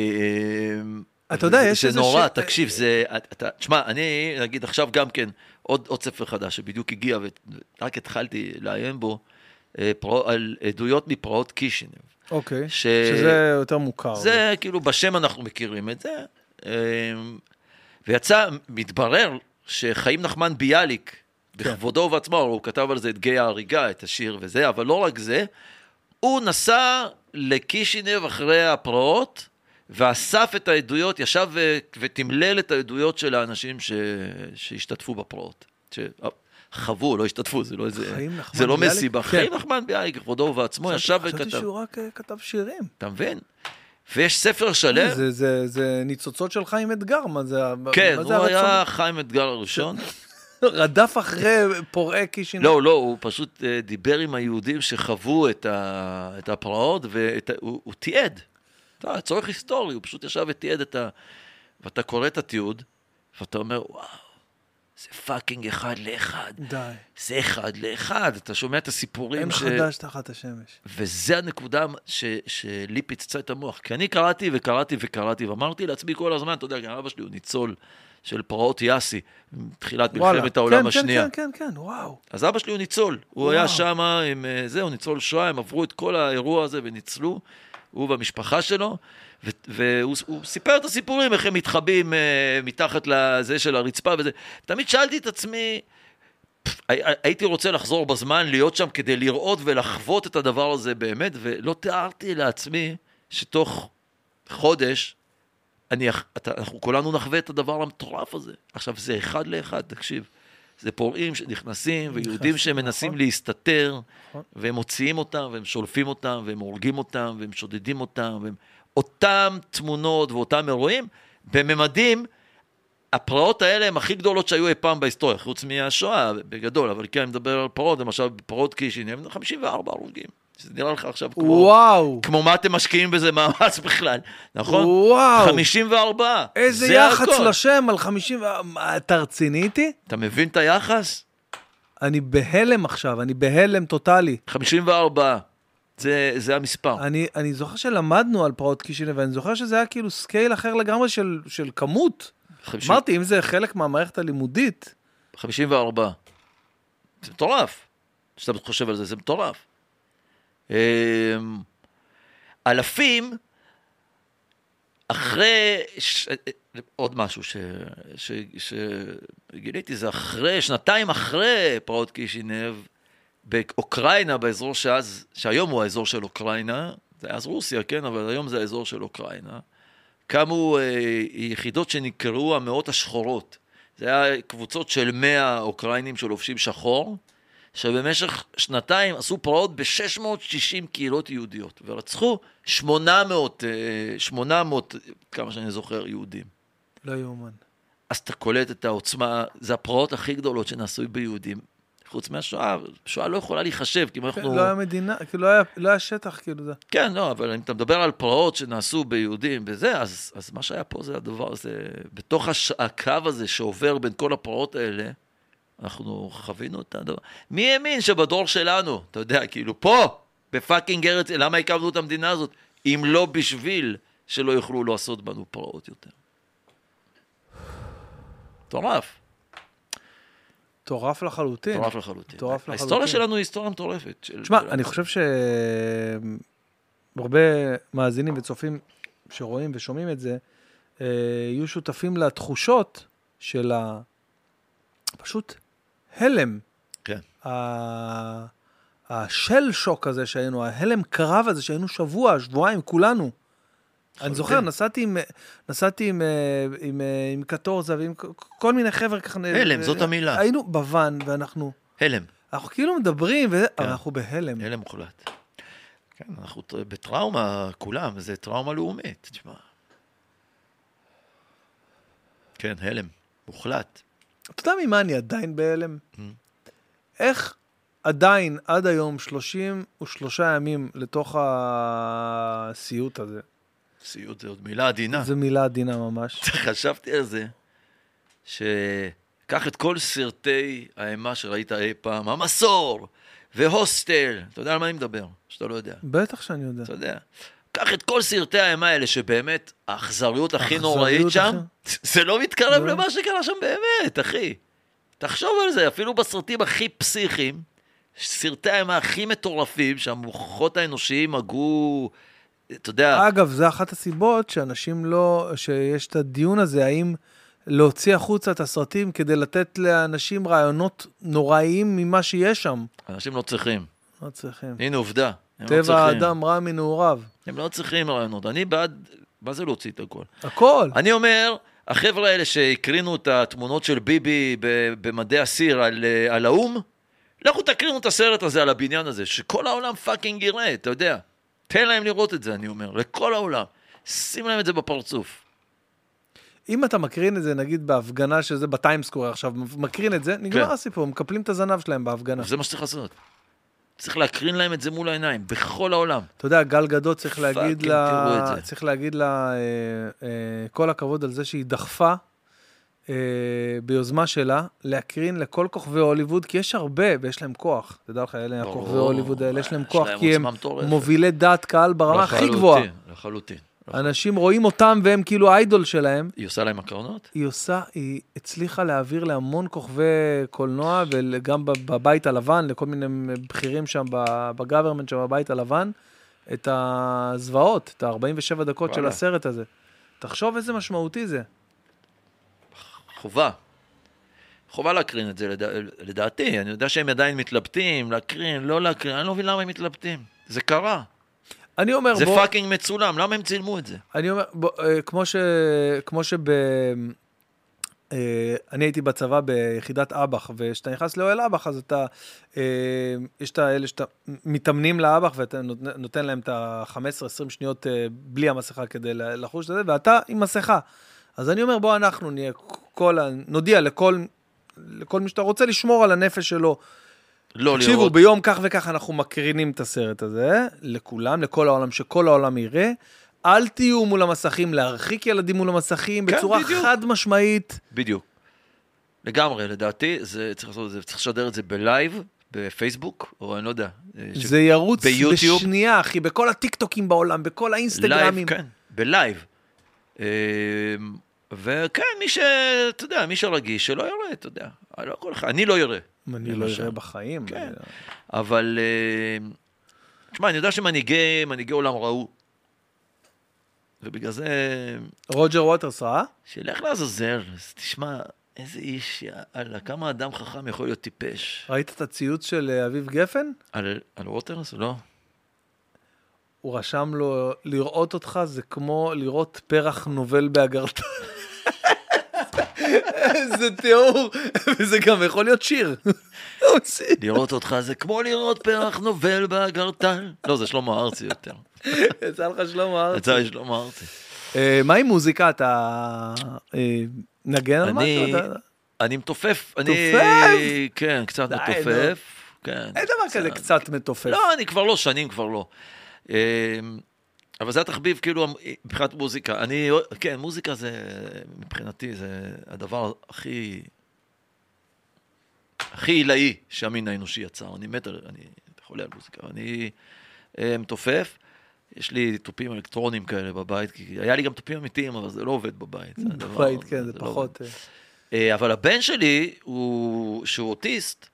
Speaker 1: אתה יודע, יש
Speaker 2: זה
Speaker 1: איזה
Speaker 2: נורא,
Speaker 1: ש-
Speaker 2: תקשיב, זה... אתה- תשמע, אני, נגיד, עכשיו גם כן, עוד, עוד ספר חדש שבדיוק הגיע, ורק התחלתי לעיין בו, אה, פרע, על עדויות מפרעות קישינב.
Speaker 1: אוקיי,
Speaker 2: ש-
Speaker 1: שזה יותר מוכר.
Speaker 2: אה, זה כאילו בשם אנחנו מכירים את זה. אמ, ויצא, מתברר שחיים נחמן ביאליק,
Speaker 1: כן.
Speaker 2: בכבודו ובעצמו, הוא כתב על זה את גיא ההריגה, את השיר וזה, אבל לא רק זה, הוא נסע לקישינב אחרי הפרעות, ואסף את העדויות, ישב ו- ותמלל את העדויות של האנשים ש... שהשתתפו בפרעות. ש... חוו, לא השתתפו, זה לא איזה...
Speaker 1: חיים נחמן
Speaker 2: זה לא
Speaker 1: ביאליק?
Speaker 2: מסיבה.
Speaker 1: כן.
Speaker 2: חיים נחמן ביאליק, כבודו ובעצמו, ישב
Speaker 1: חשבתי- חשבתי
Speaker 2: וכתב.
Speaker 1: שהוא רק אה, כתב שירים.
Speaker 2: אתה מבין? ויש ספר שלם.
Speaker 1: זה- זה- זה ניצוצות של חיים אתגר, מה זה?
Speaker 2: כן,
Speaker 1: מה זה
Speaker 2: הוא היה
Speaker 1: הרצון? כן.
Speaker 2: חיים אתגר הראשון.
Speaker 1: רדף אחרי פורעי קישינב.
Speaker 2: לא, לא, הוא פשוט אה, דיבר עם היהודים שחוו את ה- את הפרעות, והוא תיעד. אתה, צורך היסטורי, הוא פשוט ישב ותיעד את ה... ואתה קורא את התיעוד, ואתה אומר, וואו, זה פאקינג אחד לאחד.
Speaker 1: די.
Speaker 2: זה אחד לאחד, אתה שומע את הסיפורים
Speaker 1: אין חדש תחת השמש.
Speaker 2: וזה הנקודה ש, שלי פיצצה את המוח. כי אני קראתי וקראתי וקראתי, ואמרתי לעצמי כל הזמן, אתה יודע, גם אבא שלי הוא ניצול של פרעות יאסי, תחילת
Speaker 1: וואלה.
Speaker 2: מלחמת העולם
Speaker 1: כן,
Speaker 2: השנייה.
Speaker 1: כן, כן, כן, כן, וואו.
Speaker 2: אז אבא שלי הוא ניצול, הוא היה
Speaker 1: וואו.
Speaker 2: שם עם אה, זה, הוא ניצול שואה, הם עברו את כל האירוע הזה וניצלו, הוא והמשפחה שלו, ו- והוא הוא סיפר את הסיפורים, איך הם מתחבאים אה, מתחת לזה של הרצפה וזה. תמיד שאלתי את עצמי, פפ, הי- הייתי רוצה לחזור בזמן, להיות שם כדי לראות ולחוות את הדבר הזה באמת, ולא תיארתי לעצמי שתוך חודש, אני, אח- אתה, אנחנו כולנו נחווה את הדבר המטורף הזה. עכשיו, זה אחד לאחד, תקשיב. זה פורעים שנכנסים, ויהודים
Speaker 1: נכנסים,
Speaker 2: שמנסים
Speaker 1: נכון.
Speaker 2: להסתתר,
Speaker 1: נכון.
Speaker 2: והם מוציאים אותם, והם שולפים אותם, והם הורגים אותם, והם שודדים אותם, והם... אותם תמונות ואותם אירועים, בממדים, הפרעות האלה הן הכי גדולות שהיו אי פעם בהיסטוריה, חוץ מהשואה בגדול, אבל כן, אני מדבר על פרעות, למשל, פרעות קישינב, 54 הרוגים. שזה נראה לך עכשיו כמו...
Speaker 1: וואו.
Speaker 2: כמו מה אתם משקיעים בזה מאמץ בכלל, נכון?
Speaker 1: וואו.
Speaker 2: 54.
Speaker 1: איזה
Speaker 2: זה
Speaker 1: יח"צ
Speaker 2: הכל.
Speaker 1: לשם על 50... ו- מה, אתה רציני איתי?
Speaker 2: אתה מבין את היחס?
Speaker 1: אני בהלם עכשיו, אני בהלם טוטאלי.
Speaker 2: 54. זה, זה המספר.
Speaker 1: אני, אני זוכר שלמדנו על פרעות קישינב, ואני זוכר שזה היה כאילו סקייל אחר לגמרי של, של כמות.
Speaker 2: 50,
Speaker 1: אמרתי, אם זה חלק מהמערכת הלימודית,
Speaker 2: 54. זה מטורף. כשאתה חושב על זה, זה מטורף. אמ, אלפים, אחרי, ש... אה, עוד משהו ש... ש... שגיליתי, זה אחרי, שנתיים אחרי פרעות קישינב, באוקראינה, באזור שאז, שהיום הוא האזור של אוקראינה, זה אז רוסיה, כן, אבל היום זה האזור של אוקראינה, קמו אה, יחידות שנקראו המאות השחורות. זה היה קבוצות של 100 אוקראינים שלובשים שחור, שבמשך שנתיים עשו פרעות ב-660 קהילות יהודיות, ורצחו 800, אה, 800, כמה שאני זוכר, יהודים.
Speaker 1: לא יאומן.
Speaker 2: אז אתה קולט את העוצמה, זה הפרעות הכי גדולות שנעשו ביהודים, חוץ מהשואה, שואה לא יכולה להיחשב, כי אם אנחנו...
Speaker 1: לא היה מדינה, כאילו לא היה- לא היה שטח, כאילו זה.
Speaker 2: כן, לא, אבל אם אתה מדבר על פרעות שנעשו ביהודים וזה, אז, אז מה שהיה פה זה הדבר, זה בתוך הש... הקו הזה שעובר בין כל הפרעות האלה, אנחנו חווינו את הדבר. מי האמין שבדור שלנו, אתה יודע, כאילו פה, בפאקינג ארץ, למה הקמנו את המדינה הזאת, אם לא בשביל שלא יוכלו לעשות בנו פרעות יותר? מטורף,
Speaker 1: מטורף לחלוטין.
Speaker 2: מטורף לחלוטין.
Speaker 1: מטורף
Speaker 2: ההיסטוריה
Speaker 1: כן. לחלוטין.
Speaker 2: שלנו היא היסטוריה מטורפת. של-
Speaker 1: תשמע,
Speaker 2: של-
Speaker 1: אני חושב שהרבה מאזינים וצופים שרואים ושומעים את זה, אה, יהיו שותפים לתחושות של ה... פשוט הלם.
Speaker 2: כן.
Speaker 1: ה- השל שוק הזה שהיינו, ההלם קרב הזה שהיינו שבוע, שבועיים, כולנו. אני זוכר, נסעתי עם, נסעתי עם, אה, עם, אה, עם קטורזה ועם כ- כל מיני חבר'ה ככה. אה,
Speaker 2: הלם, זאת המילה.
Speaker 1: היינו בוואן, ואנחנו
Speaker 2: הלם.
Speaker 1: אנחנו כאילו מדברים,
Speaker 2: כן.
Speaker 1: וזה, אבל אנחנו בהלם.
Speaker 2: הלם מוחלט. כן, אנחנו ט- בטראומה, כולם, זה טראומה לאומית, תשמע. כן, הלם, מוחלט.
Speaker 1: אתה יודע ממה אני עדיין בהלם?
Speaker 2: Mm.
Speaker 1: איך עדיין, עד היום, 33 ימים לתוך הסיוט הזה,
Speaker 2: סיוט זה עוד מילה עדינה.
Speaker 1: זו מילה עדינה ממש.
Speaker 2: חשבתי על זה, שקח את כל סרטי האימה שראית אי פעם, המסור והוסטל, אתה יודע על מה אני מדבר, שאתה לא יודע.
Speaker 1: בטח שאני יודע.
Speaker 2: אתה יודע. קח את כל סרטי האימה האלה, שבאמת, האכזריות הכי
Speaker 1: האכזריות
Speaker 2: נוראית שם, זה לא מתקרב
Speaker 1: לא.
Speaker 2: למה שקרה שם באמת, אחי. תחשוב על זה, אפילו בסרטים הכי פסיכיים, סרטי האימה הכי מטורפים, שהמוחות האנושיים הגו, אתה יודע,
Speaker 1: אגב, זו אחת הסיבות שאנשים לא, שיש את הדיון הזה, האם להוציא החוצה את הסרטים כדי לתת לאנשים רעיונות נוראיים ממה שיש שם.
Speaker 2: אנשים לא צריכים.
Speaker 1: לא צריכים.
Speaker 2: הנה עובדה, הם לא
Speaker 1: טבע
Speaker 2: צריכים.
Speaker 1: האדם רע מנעוריו.
Speaker 2: הם לא צריכים רעיונות. אני בעד, מה זה להוציא את הכל?
Speaker 1: הכל.
Speaker 2: אני אומר, החבר'ה האלה שהקרינו את התמונות של ביבי ב- במדי הסיר על, אה, על האו"ם, לכו תקרינו את הסרט הזה על הבניין הזה, שכל העולם פאקינג יראה, אתה יודע. תן להם לראות את זה, אני אומר, לכל העולם. שים להם את זה בפרצוף.
Speaker 1: אם אתה מקרין את זה, נגיד בהפגנה שזה בטיימסקוור עכשיו, מקרין את זה, נגמר
Speaker 2: כן.
Speaker 1: הסיפור, מקפלים את הזנב שלהם בהפגנה.
Speaker 2: זה מה שצריך לעשות. צריך להקרין להם את זה מול העיניים, בכל העולם.
Speaker 1: אתה יודע, גל גדות צריך להגיד
Speaker 2: פאקינג,
Speaker 1: לה,
Speaker 2: תראו את זה.
Speaker 1: צריך להגיד לה אה, אה, כל הכבוד על זה שהיא דחפה אה, ביוזמה שלה להקרין לכל כוכבי הוליווד, כי יש הרבה ויש להם כוח. תדע לך, אלה
Speaker 2: ברור,
Speaker 1: הכוכבי הוליווד האלה, יש להם
Speaker 2: יש
Speaker 1: כוח,
Speaker 2: להם
Speaker 1: כי הם
Speaker 2: עוצמה מטורפת.
Speaker 1: מובילי דעת קהל ברמה הכי
Speaker 2: לחלוטין,
Speaker 1: גבוהה.
Speaker 2: לחלוטין.
Speaker 1: אנשים רואים אותם והם כאילו האיידול שלהם.
Speaker 2: היא עושה להם הקרנות?
Speaker 1: היא עושה, היא הצליחה להעביר להמון כוכבי קולנוע, וגם בב- בבית הלבן, לכל מיני בכירים שם ב- בגוברמנט שם בבית הלבן, את הזוועות, את ה-47 דקות של
Speaker 2: וואלה.
Speaker 1: הסרט הזה. תחשוב איזה משמעותי זה.
Speaker 2: חובה. חובה להקרין את זה, לדע... לדעתי. אני יודע שהם עדיין מתלבטים, להקרין, לא להקרין, אני לא מבין למה הם מתלבטים. זה קרה.
Speaker 1: אני אומר,
Speaker 2: זה
Speaker 1: בוא,
Speaker 2: פאקינג מצולם, למה הם צילמו את זה?
Speaker 1: אני אומר, בוא, אה, כמו ש... כמו שב... אה, אני הייתי בצבא ביחידת אב"ח, וכשאתה נכנס לאוהל אב"ח, אז אתה, אה, יש את האלה שאתה מתאמנים לאב"ח, ואתה נות- נותן להם את ה-15-20 שניות אה, בלי המסכה כדי ל- לחוש את זה, ואתה עם מסכה. אז אני אומר, בוא אנחנו נהיה כל ה... נודיע לכל, לכל מי שאתה רוצה לשמור על הנפש שלו,
Speaker 2: לא
Speaker 1: תקשיבו,
Speaker 2: לראות.
Speaker 1: ביום כך וכך אנחנו מקרינים את הסרט הזה, לכולם, לכל העולם, שכל העולם יראה. אל תהיו מול המסכים, להרחיק ילדים מול המסכים
Speaker 2: כן,
Speaker 1: בצורה
Speaker 2: בדיוק.
Speaker 1: חד משמעית.
Speaker 2: בדיוק. לגמרי, לדעתי, זה צריך לעשות את זה, צריך לשדר את זה בלייב, בפייסבוק, או אני לא יודע. אה, ש-
Speaker 1: זה ירוץ
Speaker 2: ביוטיוב?
Speaker 1: בשנייה, אחי, בכל הטיקטוקים בעולם, בכל האינסטגרמים.
Speaker 2: לייב, כן, בלייב. אה, וכן, מי ש... אתה יודע, מי שרגיש, שלא יראה, אתה יודע. לא כל אחד, אני לא אראה.
Speaker 1: אני לא
Speaker 2: למשל.
Speaker 1: אראה בחיים.
Speaker 2: כן. אבל, אה, תשמע, אני יודע שמנהיגי מנהיגי עולם ראו, ובגלל זה,
Speaker 1: רוג'ר ווטרס אה? ראה?
Speaker 2: שילך לעזאזל, אז תשמע, איזה איש, יאללה, כמה אדם חכם יכול להיות טיפש.
Speaker 1: ראית את הציוץ של אה, אביב גפן?
Speaker 2: על, על ווטרס? לא.
Speaker 1: הוא רשם לו, לראות אותך זה כמו לראות פרח נובל באגרטל. איזה תיאור, וזה גם יכול להיות שיר.
Speaker 2: לראות אותך זה כמו לראות פרח נובל באגרטל. לא, זה שלמה ארצי יותר.
Speaker 1: יצא לך שלמה ארצי.
Speaker 2: יצא לי שלמה ארצי.
Speaker 1: אה, מה עם מוזיקה? אתה אה, נגן על משהו?
Speaker 2: אני,
Speaker 1: אתה-
Speaker 2: אני מתופף. אני,
Speaker 1: תופף?
Speaker 2: כן, קצת
Speaker 1: די,
Speaker 2: מתופף. כן.
Speaker 1: אין דבר כזה קצת מתופף.
Speaker 2: לא, אני כבר לא, שנים כבר לא. אמ, אבל זה התחביב, כאילו, מבחינת מוזיקה. אני, כן, מוזיקה זה, מבחינתי, זה הדבר הכי, הכי עילאי שהמין האנושי יצר. אני מת על, אני חולה על מוזיקה. אני אה, מתופף, יש לי תופים אלקטרונים כאלה בבית, כי היה לי גם תופים אמיתיים, אבל זה לא עובד בבית. זה הדבר-
Speaker 1: בבית, כן, זה
Speaker 2: לא עובד.
Speaker 1: פחות... אה,
Speaker 2: אה, אבל הבן שלי, הוא, שהוא אוטיסט,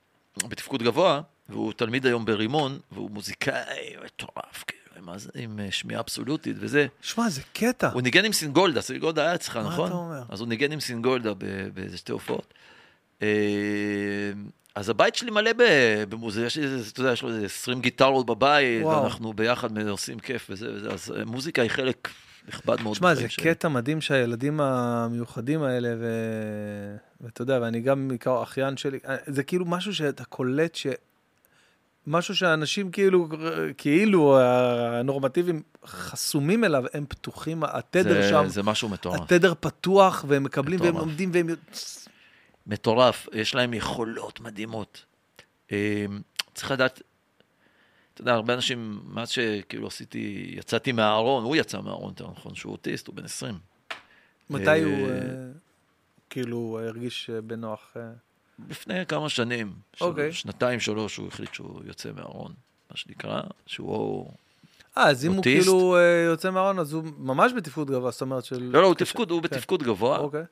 Speaker 2: בתפקוד גבוה, והוא תלמיד היום ברימון, והוא מוזיקאי מטורף, כאילו, מה זה, עם אה, שמיעה אבסולוטית וזה.
Speaker 1: שמע, זה קטע.
Speaker 2: הוא ניגן עם סינגולדה, סינגולדה היה אצלך,
Speaker 1: מה
Speaker 2: נכון?
Speaker 1: אתה אומר?
Speaker 2: אז הוא ניגן עם סינגולדה ב- באיזה שתי הופעות. אה, אז הבית שלי מלא ב- במוזיקה, יש לי, איזה- אתה יודע, יש לו איזה 20 גיטרות בבית,
Speaker 1: וואו.
Speaker 2: ואנחנו ביחד עושים כיף וזה וזה, אז אה, מוזיקה היא חלק נכבד מאוד.
Speaker 1: שמע, זה
Speaker 2: בחיים שלי.
Speaker 1: קטע מדהים שהילדים המיוחדים האלה, ו... ואתה יודע, ואני גם בעיקר אחיין שלי, זה כאילו משהו שאתה קולט ש... משהו שאנשים כאילו, כאילו הנורמטיביים חסומים אליו, הם פתוחים, התדר
Speaker 2: זה-
Speaker 1: שם,
Speaker 2: זה משהו מטורף.
Speaker 1: התדר פתוח, והם מקבלים, והם
Speaker 2: מטורף.
Speaker 1: עומדים, והם...
Speaker 2: מטורף, יש להם יכולות מדהימות. אה, צריך לדעת, אתה יודע, הרבה אנשים, מאז שכאילו עשיתי, יצאתי מהארון, הוא יצא מהארון, יותר נכון, שהוא אוטיסט, הוא בן 20.
Speaker 1: מתי הוא
Speaker 2: אה,
Speaker 1: אה, כאילו הרגיש אה, בנוח? אה?
Speaker 2: לפני כמה שנים, של-
Speaker 1: אוקיי.
Speaker 2: שנתיים, שלוש, הוא החליט שהוא יוצא מהארון, מה שנקרא, שהוא...
Speaker 1: אה, אז אם הוא
Speaker 2: אוטיסט?
Speaker 1: כאילו אה, יוצא מהארון, אז הוא ממש בתפקוד גבוה, זאת אומרת של...
Speaker 2: לא, לא, הוא תפקוד, הוא
Speaker 1: כן.
Speaker 2: בתפקוד גבוה.
Speaker 1: אוקיי.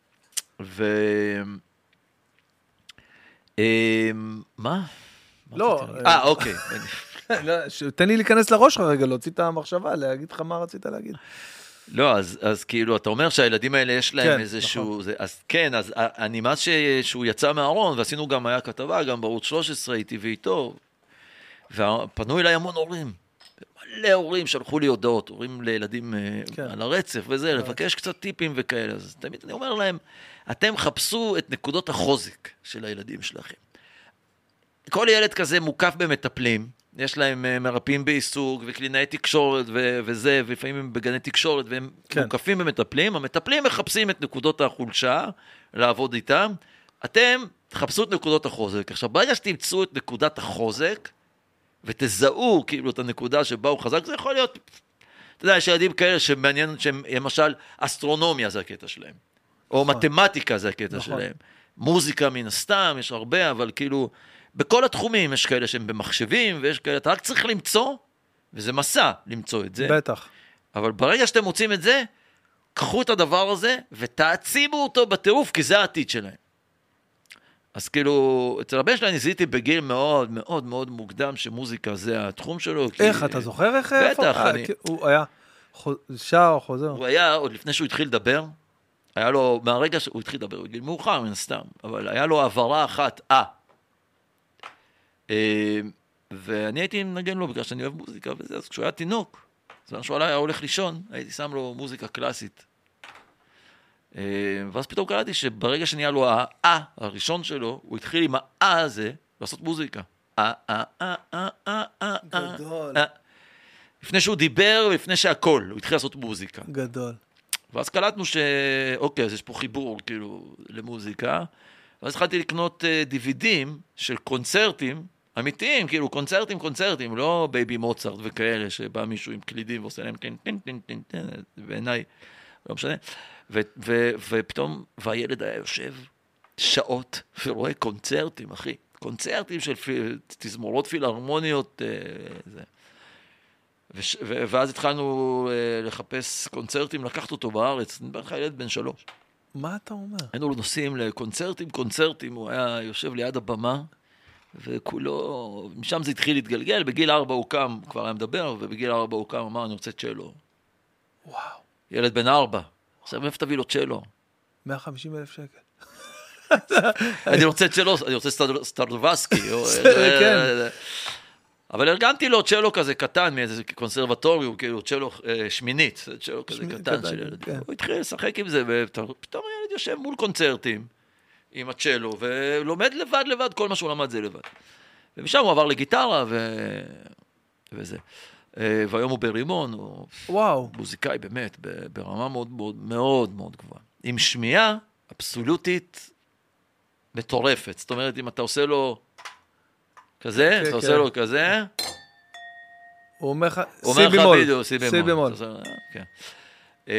Speaker 2: ו... אה, מה? מה
Speaker 1: לא,
Speaker 2: רציתי להגיד?
Speaker 1: אה,
Speaker 2: אה, אוקיי.
Speaker 1: לא, ש- תן לי להיכנס לראש שלך רגע, להוציא את המחשבה, להגיד לך מה רצית להגיד.
Speaker 2: לא, אז, אז כאילו, אתה אומר שהילדים האלה יש להם
Speaker 1: כן,
Speaker 2: כן, איזשהו... נכון. זה, אז כן, אז אה, אני, מאז ש- שהוא יצא מהארון, ועשינו גם, היה כתבה, גם בערוץ 13, איתי ואיתו, ופנו אליי המון הורים. מלא הורים שלחו לי הודעות, הורים לילדים
Speaker 1: כן.
Speaker 2: כן. על הרצף וזה, לבקש קצת טיפים וכאלה. אז תמיד אני אומר להם, אתם חפשו את נקודות החוזק של הילדים שלכם. כל ילד כזה מוקף במטפלים, יש להם אה, מרפאים בעיסוק וקלינאי תקשורת ו- וזה, ולפעמים הם בגני תקשורת, והם
Speaker 1: כן.
Speaker 2: כן. מוקפים במטפלים, המטפלים מחפשים את נקודות החולשה, לעבוד איתם, אתם תחפשו את נקודות החוזק. עכשיו, ברגע שתמצאו את נקודת החוזק, ותזהו כאילו את הנקודה שבה הוא חזק, זה יכול להיות, אתה יודע, יש ילדים כאלה שמעניין שהם, למשל, אסטרונומיה זה הקטע שלהם, או
Speaker 1: נכון.
Speaker 2: מתמטיקה זה הקטע
Speaker 1: נכון.
Speaker 2: שלהם, מוזיקה מן הסתם, יש הרבה, אבל כאילו, בכל התחומים יש כאלה שהם במחשבים, ויש כאלה, אתה רק צריך למצוא, וזה מסע למצוא את זה, אה,
Speaker 1: בטח.
Speaker 2: אבל ברגע שאתם מוצאים את זה, קחו את הדבר הזה ותעצימו אותו בטירוף, כי זה העתיד שלהם. אז כאילו, אצל הבן שלי אני זיהיתי בגיל מאוד מאוד מאוד מוקדם שמוזיקה זה התחום שלו. כי-
Speaker 1: איך, אתה זוכר איך...
Speaker 2: בטח,
Speaker 1: איפה- אה,
Speaker 2: אני-
Speaker 1: כי הוא היה חו- שר או חוזר.
Speaker 2: הוא היה, עוד לפני שהוא התחיל לדבר, היה לו, מהרגע שהוא התחיל לדבר, בגיל מאוחר מן הסתם, אבל היה לו הבהרה אחת, אה. אה, ואני הייתי מנגן לו בגלל שאני אוהב מוזיקה וזה, אז כשהוא היה תינוק, זמן שהוא היה הולך לישון, הייתי שם לו מוזיקה קלאסית. אה, ואז פתאום קלטתי שברגע שנהיה לו האה הראשון שלו, הוא התחיל עם האה הזה לעשות מוזיקה. אה, אה, אה, אה, אה, אה, אה.
Speaker 1: גדול.
Speaker 2: אה. לפני שהוא דיבר ולפני שהכל, הוא התחיל לעשות מוזיקה.
Speaker 1: גדול.
Speaker 2: ואז קלטנו ש... אוקיי, אז יש פה חיבור, כאילו, למוזיקה. ואז התחלתי לקנות אה, דיווידים של קונצרטים אמיתיים, כאילו, קונצרטים, קונצרטים, לא בייבי מוצרט וכאלה, שבא מישהו עם קלידים ועושה להם טין, טין, טין, טין, טין, בעיניי, לא משנה. ו- ו- ופתאום, והילד היה יושב שעות ורואה קונצרטים, אחי. קונצרטים של פי- תזמורות פילהרמוניות, אה, זה. וש, ו, ואז התחלנו אה, לחפש קונצרטים, לקחת אותו בארץ, אני מדבר לך ילד בן שלוש.
Speaker 1: מה אתה אומר?
Speaker 2: היינו נוסעים לקונצרטים, קונצרטים, הוא היה יושב ליד הבמה, וכולו, משם זה התחיל להתגלגל, בגיל ארבע הוא קם, הוא כבר היה מדבר, ובגיל ארבע הוא קם, אמר, אני רוצה צ'לו.
Speaker 1: וואו,
Speaker 2: ילד בן ארבע. עכשיו, מאיפה תביא לו צ'לו?
Speaker 1: 150 אלף שקל.
Speaker 2: אה, אני רוצה צ'לו, אני רוצה סטר- סטרדובסקי. או-
Speaker 1: כן.
Speaker 2: אבל ארגנתי לו צ'לו כזה קטן מאיזה קונסרבטוריום, כאילו צ'לו אה, שמינית, זה צ'לו כזה
Speaker 1: שמינית
Speaker 2: קטן
Speaker 1: קטן,
Speaker 2: של ילד.
Speaker 1: כן.
Speaker 2: הוא התחיל לשחק עם זה, ופתאום הילד יושב מול קונצרטים עם הצ'לו, ולומד לבד לבד, כל מה שהוא למד זה לבד. ומשם הוא עבר לגיטרה ו... וזה. אה, והיום הוא ברימון, הוא
Speaker 1: וואו.
Speaker 2: מוזיקאי באמת, ב- ברמה מאוד מאוד מאוד מאוד גבוהה. עם שמיעה אבסולוטית מטורפת. זאת אומרת, אם אתה עושה לו כזה,
Speaker 1: כן,
Speaker 2: אתה
Speaker 1: כן.
Speaker 2: עושה לו כזה,
Speaker 1: הוא אומר לך,
Speaker 2: הוא אומר
Speaker 1: סי
Speaker 2: לך
Speaker 1: במול.
Speaker 2: בדיוק, סי במול. אתה עושה- אה, כן. אמ,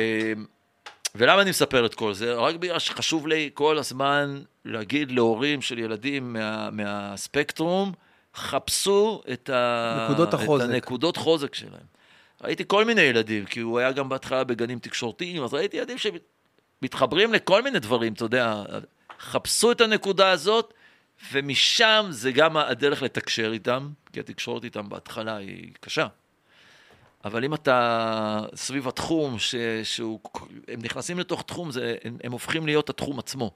Speaker 2: ולמה אני מספר את כל זה? רק בגלל שחשוב לי כל הזמן להגיד להורים של ילדים מה, מהספקטרום, חפשו את, ה...
Speaker 1: נקודות החוזק.
Speaker 2: את הנקודות חוזק שלהם. ראיתי כל מיני ילדים, כי הוא היה גם בהתחלה בגנים תקשורתיים, אז ראיתי ילדים שמתחברים לכל מיני דברים, אתה יודע, חפשו את הנקודה הזאת, ומשם זה גם הדרך לתקשר איתם, כי התקשורת איתם בהתחלה היא קשה. אבל אם אתה סביב התחום, ש, שהוא, הם נכנסים לתוך תחום, זה, הם, הם הופכים להיות התחום עצמו.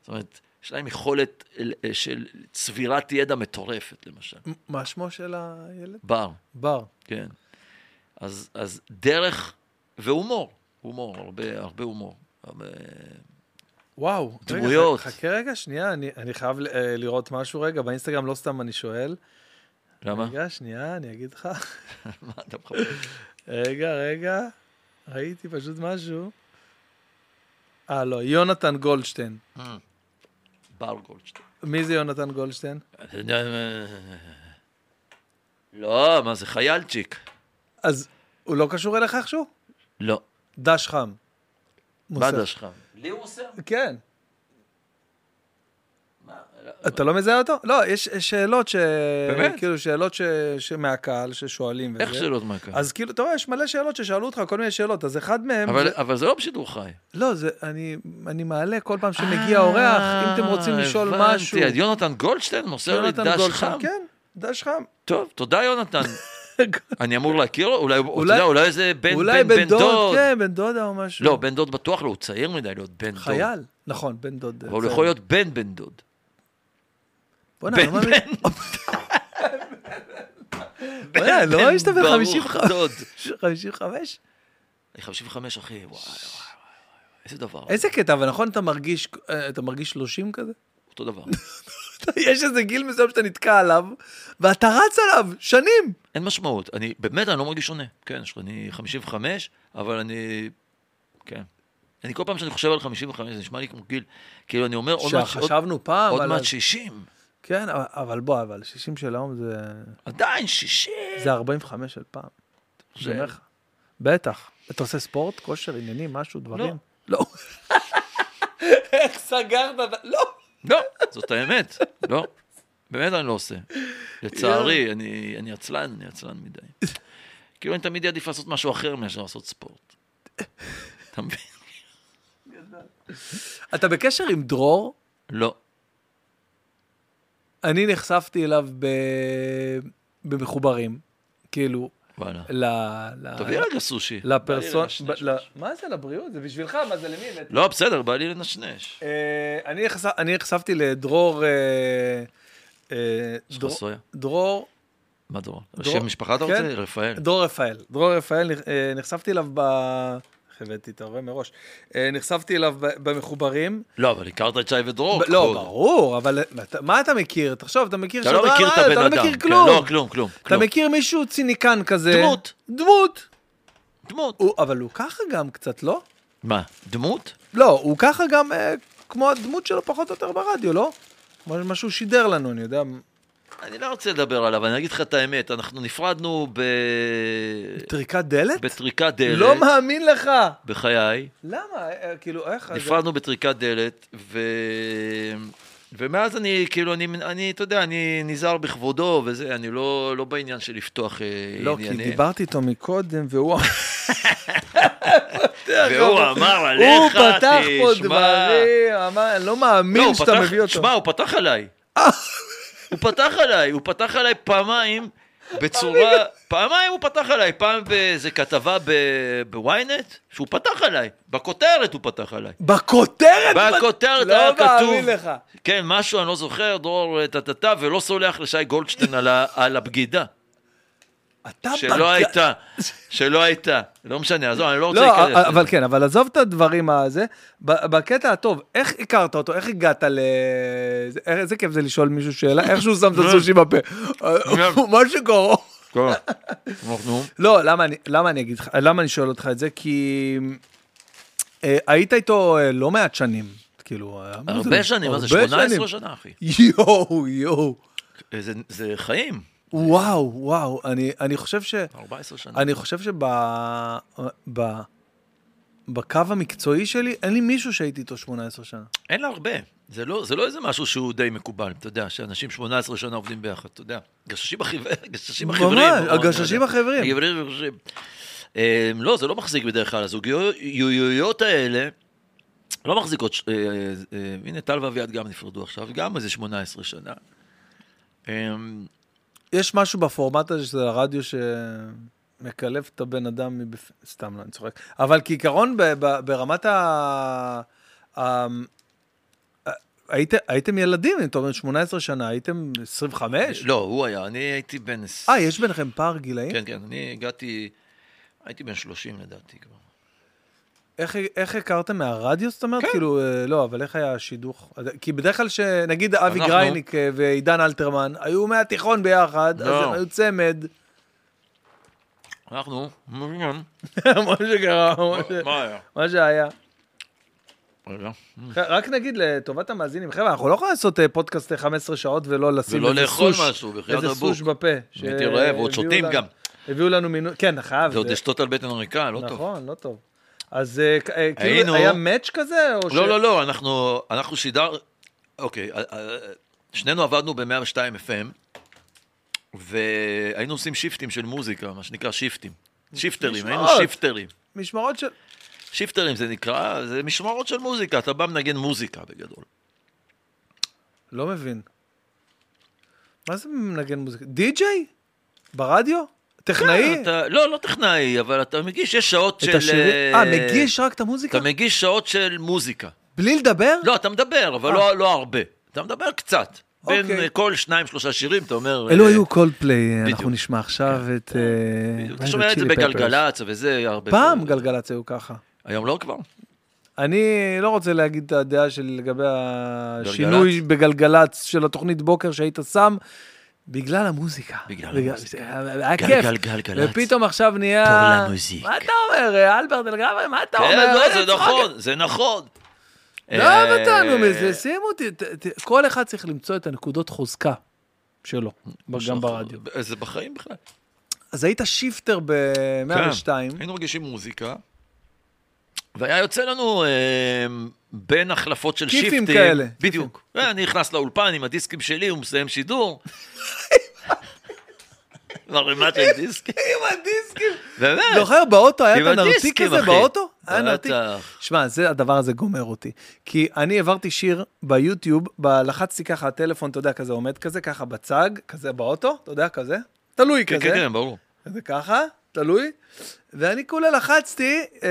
Speaker 2: זאת אומרת, יש להם יכולת אה, של צבירת ידע מטורפת, למשל.
Speaker 1: מה שמו של הילד?
Speaker 2: בר,
Speaker 1: בר.
Speaker 2: כן. אז, אז דרך והומור, הומור, הרבה, הרבה הומור. אה, הרבה...
Speaker 1: וואו. רגע,
Speaker 2: דמויות.
Speaker 1: ח- חכה רגע, שנייה, אני, אני חייב ל- אה, לראות משהו רגע. באינסטגרם לא סתם אני שואל.
Speaker 2: אה. למה?
Speaker 1: רגע, שנייה, אני אגיד לך.
Speaker 2: מה אתה מחפש?
Speaker 1: רגע, רגע, ראיתי פשוט משהו. אה, לא, יונתן גולדשטיין.
Speaker 2: בר גולדשטיין.
Speaker 1: מי זה יונתן גולדשטיין?
Speaker 2: אתה יודע, אה, לא, מה זה חיילצ'יק?
Speaker 1: אז הוא לא קשור אליך איכשהו?
Speaker 2: לא.
Speaker 1: דש חם.
Speaker 2: מה
Speaker 1: מוסר.
Speaker 2: דש חם? לי הוא עושה?
Speaker 1: כן.
Speaker 2: מה?
Speaker 1: אתה לא מזהה אותו? לא, יש יש שאלות ש...
Speaker 3: באמת?
Speaker 1: כאילו, שאלות ש... שמהקהל ששואלים וזה.
Speaker 2: איך שאלות מהקהל?
Speaker 1: אז כאילו, אתה רואה, יש מלא שאלות ששאלו אותך, כל מיני שאלות, אז אחד מהם...
Speaker 2: אבל,
Speaker 1: זה...
Speaker 2: זה... אבל זה לא בשידור חי.
Speaker 1: לא, זה, אני, אני מעלה כל פעם שמגיע אורח, אם אתם רוצים לשאול
Speaker 2: אה, הבנתי,
Speaker 1: משהו...
Speaker 2: אז יונתן גולדשטיין מוסר לי
Speaker 1: יונתן
Speaker 2: דש
Speaker 1: גולדשטיין,
Speaker 2: חם.
Speaker 1: כן, דש חם.
Speaker 2: טוב, תודה יונתן. אני אמור להכיר? אולי,
Speaker 1: אולי-
Speaker 2: אתה יודע, אולי איזה בן,
Speaker 1: אולי
Speaker 2: בן, בן דוד.
Speaker 1: כן, בן דודה או משהו.
Speaker 2: לא, בן דוד בטוח לא, הוא צעיר מדי להיות בן דוד.
Speaker 1: חייל. נכון, בן דוד.
Speaker 2: אבל הוא יכול להיות בן בן דוד.
Speaker 1: בוא'נה,
Speaker 2: בן
Speaker 1: לא מאמין.
Speaker 2: בן.
Speaker 1: בוא'נה, לא מאמין שאתה בן
Speaker 2: ברוך
Speaker 1: 55.
Speaker 2: דוד.
Speaker 1: 55?
Speaker 2: אני 55 אחי, וואי וואי וואי. וואי, איזה דבר.
Speaker 1: איזה קטע, אבל נכון, אתה מרגיש, אה, אתה מרגיש 30 כזה?
Speaker 2: אותו דבר.
Speaker 1: יש איזה גיל מסוים שאתה נתקע עליו, ואתה רץ עליו שנים.
Speaker 2: אין משמעות. אני, באמת, אני לא מרגיש שונה. כן, יש- אני 55, אבל אני... כן. אני כל פעם שאני חושב על 55, זה נשמע לי כמו גיל. כאילו, אני אומר, עוד מעט- עוד-
Speaker 1: שחשבנו פעם
Speaker 2: עוד
Speaker 1: על
Speaker 2: מעט
Speaker 1: ה-
Speaker 2: 60.
Speaker 1: כן, אבל- אבל בוא, אבל 60 של היום זה...
Speaker 2: עדיין 60.
Speaker 1: זה 45 של פעם.
Speaker 2: זה-
Speaker 1: זה אומר לך. בטח. אתה עושה ספורט, כושר, עניינים, משהו, דברים? לא. איך סגרת? לא.
Speaker 2: לא, זאת האמת. לא. באמת אני לא עושה. לצערי, אני אני עצלן, אני עצלן מדי. כאילו, אני תמיד אעדיף לעשות משהו אחר מאשר לעשות ספורט. אתה מבין?
Speaker 1: אתה בקשר עם דרור?
Speaker 2: לא.
Speaker 1: אני נחשפתי אליו ב... במחוברים. כאילו,
Speaker 2: וואלה.
Speaker 1: ל... ל...
Speaker 2: תביא רגע סושי. בא לי
Speaker 1: לפרסונה...
Speaker 2: לנשנש.
Speaker 1: מה זה לבריאות? זה בשבילך, מה זה למי?
Speaker 2: לא, בסדר, בא לי לנשנש.
Speaker 1: אה, אני נחשף- אני נחשפתי לדרור... אה, אה,
Speaker 2: יש לך
Speaker 1: דרור-
Speaker 2: סויה?
Speaker 1: דרור...
Speaker 2: מה דרור?
Speaker 1: דרור?
Speaker 2: שם משפחה אתה
Speaker 1: כן.
Speaker 2: רוצה? רפאל.
Speaker 1: דרור רפאל. דרור רפאל, אה, נחשפתי אליו ב... איך הבאתי את ההורה מראש? אה, נחשפתי אליו ב- במחוברים.
Speaker 2: לא, אבל הכרת את שי ודרור.
Speaker 1: ב- לא,
Speaker 2: קודם.
Speaker 1: ברור, אבל אה, אתה- מה אתה מכיר? תחשוב, אתה מכיר
Speaker 2: אתה לא
Speaker 1: שדרן
Speaker 2: מכיר את
Speaker 1: רדיו,
Speaker 2: הבן אדם.
Speaker 1: אתה לא מכיר
Speaker 2: כן,
Speaker 1: כלום.
Speaker 2: לא, כלום, כלום.
Speaker 1: אתה
Speaker 2: כלום.
Speaker 1: מכיר מישהו ציניקן כזה.
Speaker 2: דמות.
Speaker 1: דמות.
Speaker 2: דמות.
Speaker 1: הוא- אבל הוא ככה גם קצת, לא?
Speaker 2: מה, דמות?
Speaker 1: לא, הוא ככה גם אה, כמו הדמות שלו פחות או יותר ברדיו, לא? מה מה שהוא שידר לנו, אני יודע.
Speaker 2: אני לא רוצה לדבר עליו, אני אגיד לך את האמת. אנחנו נפרדנו ב...
Speaker 1: טריקת דלת?
Speaker 2: בטריקת דלת.
Speaker 1: לא מאמין לך.
Speaker 2: בחיי.
Speaker 1: למה? אה, כאילו, איך?
Speaker 2: נפרדנו בטריקת דלת, ו... ומאז אני, כאילו, אני, אני, אתה יודע, אני נזהר בכבודו וזה, אני לא, לא בעניין של לפתוח אה,
Speaker 1: לא, כי
Speaker 2: עניינים.
Speaker 1: דיברתי איתו מקודם, והוא...
Speaker 2: והוא אמר עליך,
Speaker 1: הוא פתח פה
Speaker 2: תשמע.
Speaker 1: דברים, אמר, אני לא מאמין שאתה
Speaker 2: הוא פתח-
Speaker 1: מביא אותו. אה.
Speaker 2: שמע, הוא פתח עליי. הוא פתח עליי, הוא פתח עליי פעמיים בצורה... פעמיים הוא פתח עליי, פעם באיזה כתבה ב- בוויינט, שהוא פתח עליי, בכותרת הוא פתח עליי.
Speaker 1: בכותרת!
Speaker 2: בכותרת
Speaker 1: לא
Speaker 2: היה כתוב...
Speaker 1: מאמין לך.
Speaker 2: כן, משהו, אני לא זוכר, דרור טה-טה-טה, ולא סולח לשי גולדשטיין על ה- על הבגידה.
Speaker 1: אתה
Speaker 2: שלא
Speaker 1: בגד-
Speaker 2: הייתה, שלא הייתה. לא משנה, עזוב, אני לא רוצה
Speaker 1: לא,
Speaker 2: להיכנס.
Speaker 1: אבל
Speaker 2: לזה.
Speaker 1: כן, אבל עזוב את הדברים הזה. ב- בקטע הטוב, איך הכרת אותו? איך הגעת ל... זה- איך- איזה כיף זה לשאול מישהו שאלה, איך שהוא שם את הסושי בפה. מה שקורה.
Speaker 2: טוב, אנחנו...
Speaker 1: לא, למה אני- למה אני אגיד לך, למה אני שואל אותך את זה? כי אה, היית איתו אה, לא מעט שנים. כאילו, אה, מה זה?
Speaker 2: הרבה שנים, מה זה?
Speaker 1: הרבה
Speaker 2: 18
Speaker 1: שנים.
Speaker 2: שנה, אחי.
Speaker 1: יואו, יואו.
Speaker 2: זה- זה חיים,
Speaker 1: וואו, וואו, אני, אני חושב ש...
Speaker 2: 14 שנה.
Speaker 1: אני חושב שב... ב, בקו המקצועי שלי, אין לי מישהו שהייתי איתו 18 שנה.
Speaker 2: אין לה הרבה. זה לא, זה לא איזה משהו שהוא די מקובל, אתה יודע, שאנשים 18 שנה עובדים ביחד, אתה יודע. גששים החבר- גששים
Speaker 1: ממש,
Speaker 2: החברים. או-
Speaker 1: הגששים
Speaker 2: אני יודע.
Speaker 1: החברים.
Speaker 2: הגברים הגששים. אה, לא, זה לא מחזיק בדרך כלל, הזוגיויות האלה לא מחזיקות, ש- אה, אה, הנה טל ואביעד גם נפרדו עכשיו, גם איזה 18 שנה. אה,
Speaker 1: יש משהו בפורמט הזה של הרדיו שמקלף את הבן אדם מבפ... סתם, לא, אני צוחק. אבל כעיקרון, ב, ב, ברמת ה... ה... היית, הייתם ילדים, אתה אומר 18 שנה, הייתם 25?
Speaker 2: לא, הוא היה, אני הייתי בן... עש-
Speaker 1: אה, יש ביניכם פער גילאים?
Speaker 2: כן, כן, אני הגעתי, הייתי בן 30 לדעתי כבר.
Speaker 1: איך, איך הכרתם מהרדיו, זאת אומרת? כן. כאילו, אה, לא, אבל איך היה השידוך? כי בדרך כלל, שנגיד אבי
Speaker 2: אנחנו-
Speaker 1: גרייניק אה, ועידן אלתרמן היו מהתיכון ביחד, אז
Speaker 2: לא.
Speaker 1: הם היו צמד.
Speaker 2: אנחנו,
Speaker 1: מה שקרה, מה ש-
Speaker 2: מה היה?
Speaker 1: מה שהיה.
Speaker 2: רגע.
Speaker 1: רק נגיד לטובת המאזינים, חבר'ה, אנחנו לא יכולים לעשות אה, פודקאסט אה, 15 שעות ולא לשים
Speaker 2: ולא
Speaker 1: איזה
Speaker 2: לאכול
Speaker 1: סוש-
Speaker 2: משהו, בחייאת
Speaker 1: איזה
Speaker 2: רבוק.
Speaker 1: סוש בפה.
Speaker 2: הייתי
Speaker 1: ש-
Speaker 2: רעב, ועוד
Speaker 1: הביאו
Speaker 2: שותים
Speaker 1: לנו-
Speaker 2: גם.
Speaker 1: הביאו לנו מינוי, כן, חייב.
Speaker 2: ועוד
Speaker 1: זה-
Speaker 2: לשתות על בטן ריקה, לא טוב.
Speaker 1: נכון, לא טוב. אז אה, כ- אה, כאילו
Speaker 2: היינו-
Speaker 1: היה מאץ' כזה? או ש-
Speaker 2: לא, לא, לא, אנחנו, אנחנו שידר... אוקיי, אה, אה, שנינו עבדנו ב-102 FM, והיינו עושים שיפטים של מוזיקה, מה שנקרא שיפטים. שיפטרים, היינו
Speaker 1: משמעות.
Speaker 2: שיפטרים.
Speaker 1: משמרות של...
Speaker 2: שיפטרים זה נקרא, זה משמרות של מוזיקה, אתה בא מנגן מוזיקה בגדול.
Speaker 1: לא מבין. מה זה מנגן מוזיקה? די-ג'יי? ברדיו? טכנאי?
Speaker 2: אתה, לא, לא טכנאי, אבל אתה מגיש, יש שעות של...
Speaker 1: את השירים? אה, מגיש רק את
Speaker 2: אתה
Speaker 1: המוזיקה?
Speaker 2: מגיש שעות של מוזיקה.
Speaker 1: בלי לדבר?
Speaker 2: לא, אתה מדבר, אבל לא, לא הרבה. אתה מדבר קצת. בין
Speaker 1: אה. אוקיי.
Speaker 2: אה, כל שניים, שלושה שירים, אתה אומר...
Speaker 1: אלו
Speaker 2: אה,
Speaker 1: היו קולדפליי, אנחנו
Speaker 2: בדיוק. כן.
Speaker 1: נשמע עכשיו את... אה,
Speaker 2: בדיוק.
Speaker 1: מה
Speaker 2: אתה שומע את זה
Speaker 1: צ'ילי פפרס.
Speaker 2: בגלגלצ וזה הרבה...
Speaker 1: פעם
Speaker 2: פעמים.
Speaker 1: גלגלצ היו ככה.
Speaker 2: היום לא כבר.
Speaker 1: אני לא רוצה להגיד את הדעה שלי לגבי השינוי בגלגלצ של התוכנית בוקר שהיית שם, בגלל המוזיקה.
Speaker 2: בגלל המוזיקה.
Speaker 1: המוזיקה. היה כיף.
Speaker 2: גלגלגלגלצ.
Speaker 1: ופתאום עכשיו נהיה...
Speaker 2: פור למוזיק.
Speaker 1: מה אתה אומר, אה, אלברט אלגברי? מה אתה אומר?
Speaker 2: כן, לא,
Speaker 1: איזה
Speaker 2: זה
Speaker 1: צחוק.
Speaker 2: נכון, זה נכון.
Speaker 1: לא
Speaker 2: אה,
Speaker 1: אותנו מזה, שימו אותי, ת- ת- כל אחד צריך למצוא את הנקודות חוזקה שלו, גם
Speaker 2: שאנחנו-
Speaker 1: ברדיו.
Speaker 2: אה, זה בחיים בכלל.
Speaker 1: אז היית שיפטר ב-102,
Speaker 2: כן. היינו מגישים מוזיקה, והיה יוצא לנו אה, בין החלפות של
Speaker 1: כיפים
Speaker 2: שיפטים.
Speaker 1: כאלה,
Speaker 2: בדיוק. ואני נכנס לאולפן עם הדיסקים שלי, הוא מסיים שידור. מרימה של דיסקים.
Speaker 1: עם הדיסקים.
Speaker 2: באמת.
Speaker 1: זוכר לא, באוטו, היה את
Speaker 2: עם
Speaker 1: הנרתיק
Speaker 2: הדיסקים,
Speaker 1: הזה
Speaker 2: אחי.
Speaker 1: באוטו? היה
Speaker 2: בטח.
Speaker 1: נרתיק. שמע, זה, הדבר הזה גומר אותי. כי אני העברתי שיר ביוטיוב, ב- לחצתי ככה, הטלפון, אתה יודע, כזה עומד כזה, ככה בצג, כזה באוטו, אתה יודע, כזה, תלוי
Speaker 2: כן,
Speaker 1: כזה.
Speaker 2: כן, כן, ברור.
Speaker 1: זה ככה, תלוי. ואני כולה לחצתי, אה,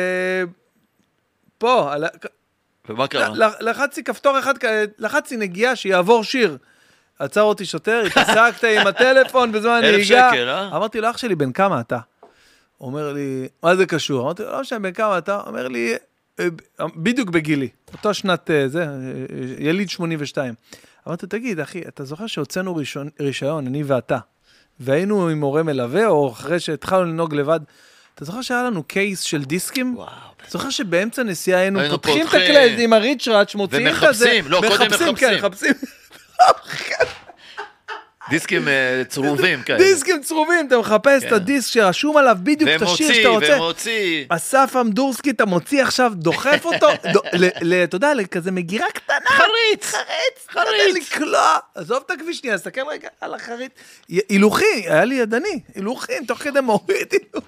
Speaker 1: פה, על, ה-
Speaker 2: ומה קרה?
Speaker 1: ל- ל- לחצתי כפתור אחד, כ- לחצתי נגיעה שיעבור שיר. עצר אותי שוטר, התעסקת עם הטלפון בזמן
Speaker 2: אלף
Speaker 1: נהיגה.
Speaker 2: שקל, אה?
Speaker 1: אמרתי לו, אח שלי, בן כמה אתה? אומר לי, מה זה קשור? אמרתי לו, לא משנה, בן כמה אתה? אומר לי, "אה, ב- בדיוק בגילי, אותה שנת, אה, זה, אה, אה, יליד 82. אמרתי לו, תגיד, אחי, אתה זוכר שהוצאנו רישיון- רישיון, אני ואתה, והיינו עם הורה מלווה, או אחרי שהתחלנו לנהוג לבד, אתה זוכר שהיה לנו קייס של דיסקים?
Speaker 2: וואו.
Speaker 1: אתה זוכר שבאמצע נסיעה היינו
Speaker 2: היינו
Speaker 1: פותחים את
Speaker 2: פותחים.
Speaker 1: הקלט עם הריצ'ראץ', מוציאים את הזה.
Speaker 2: ומחפשים, לא, קודם
Speaker 1: כן,
Speaker 2: מחפשים.
Speaker 1: מחפשים.
Speaker 2: דיסקים אה, צרובים כאלה.
Speaker 1: דיסקים צרובים, אתה מחפש את
Speaker 2: כן.
Speaker 1: הדיסק שרשום עליו בדיוק את השיר
Speaker 2: ומוציא,
Speaker 1: שאתה רוצה.
Speaker 2: ומוציא.
Speaker 1: אסף אמדורסקי, אתה מוציא עכשיו, דוחף אותו, ד- ל- ל- אתה יודע, לכזה מגירה קטנה.
Speaker 2: חריץ.
Speaker 1: חריץ, חריץ. לקלוע. עזוב את הכביש שנייה, תסתכל רגע על החריץ. י- הילוכי, היה לי ידני, הילוכים, תוך כדי מוריד הילוך.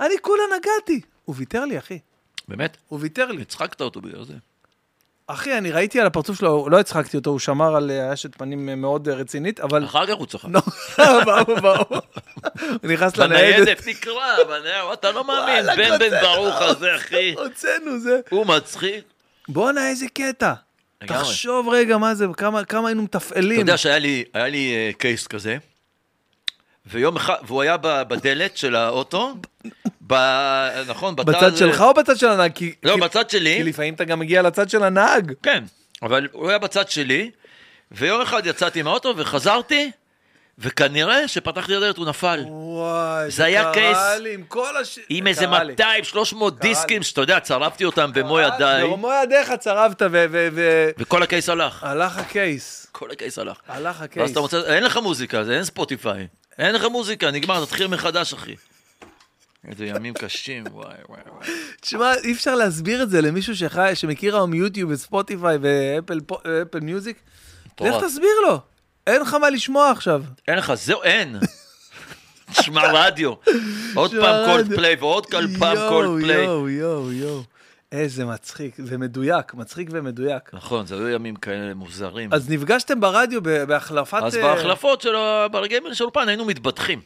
Speaker 1: אני כולה נגעתי. הוא ויתר לי, אחי.
Speaker 2: באמת?
Speaker 1: הוא ויתר לי.
Speaker 2: הצחקת אותו בגלל זה.
Speaker 1: אחי, אני ראיתי על הפרצוף שלו, לא הצחקתי אותו, הוא שמר על אה, אשת פנים אה, מאוד אה, רצינית, אבל...
Speaker 2: אחר כך הוא צחק.
Speaker 1: נו, ברור, ברור. הוא נכנס לניידת.
Speaker 2: בניידת תקרא, בניידת, אתה לא מאמין,
Speaker 1: וואלה,
Speaker 2: בן בן
Speaker 1: קוצר.
Speaker 2: ברוך הזה, אחי.
Speaker 1: הוצאנו זה.
Speaker 2: הוא מצחיק.
Speaker 1: בואנה, איזה קטע.
Speaker 2: לגמרי.
Speaker 1: תחשוב רגע מה זה, כמה- כמה היינו
Speaker 2: אתה
Speaker 1: מתפעלים.
Speaker 2: יודע שהיה לי, היה לי אה, קייס כזה, ויום אחד, והוא היה ב- בדלת של האוטו, ב... נכון, בתא...
Speaker 1: בצד
Speaker 2: הזה-
Speaker 1: שלך או בצד של הנהג? כי-
Speaker 2: לא,
Speaker 1: כי-
Speaker 2: בצד
Speaker 1: כי
Speaker 2: שלי.
Speaker 1: לפעמים אתה גם מגיע לצד של הנהג.
Speaker 2: כן, אבל הוא היה בצד שלי, ויום אחד יצאתי מהאוטו וחזרתי, וכנראה שפתחתי את הדלת, הוא נפל.
Speaker 1: וואי,
Speaker 2: זה היה
Speaker 1: קרה
Speaker 2: קייס.
Speaker 1: לי עם כל הש...
Speaker 2: עם
Speaker 1: זה
Speaker 2: איזה
Speaker 1: קרה לי.
Speaker 2: 200-300
Speaker 1: לי.
Speaker 2: דיסקים, שאתה יודע, צרבתי אותם במו
Speaker 1: אה,
Speaker 2: ידיי,
Speaker 1: במו ידיך צרבת ו... ו- ו-
Speaker 2: וכל הקייס הלך.
Speaker 1: הלך הקייס.
Speaker 2: כל הקייס הלך.
Speaker 1: הלך
Speaker 2: ואז
Speaker 1: הקייס.
Speaker 2: אתה מוצא, אין לך מוזיקה, זה אין ספוטיפיי. אין לך מוזיקה, נגמר, תתחיל מחדש, אחי. איזה ימים קשים, וואי, וואי, וואי.
Speaker 1: תשמע, אי אפשר להסביר את זה למישהו שחי, שמכיר היום יוטיוב וספוטיפיי ואפל פו- אפל מיוזיק. לך
Speaker 2: מטורף.
Speaker 1: תסביר לו. אין לך מה לשמוע עכשיו.
Speaker 2: אין לך, זהו, אין. תשמע רדיו. עוד
Speaker 1: תשמע
Speaker 2: פעם
Speaker 1: רדיו.
Speaker 2: קולד פליי ועוד כל פעם קולד פליי.
Speaker 1: יואו, יואו, יואו. איזה מצחיק ומדויק, מצחיק ומדויק.
Speaker 2: נכון, זה היו ימים כאלה מוזרים.
Speaker 1: אז נפגשתם ברדיו ב- בהחלפת...
Speaker 2: אז
Speaker 1: אה,
Speaker 2: בהחלפות של הברגמר של אולפן היינו מתבדחים.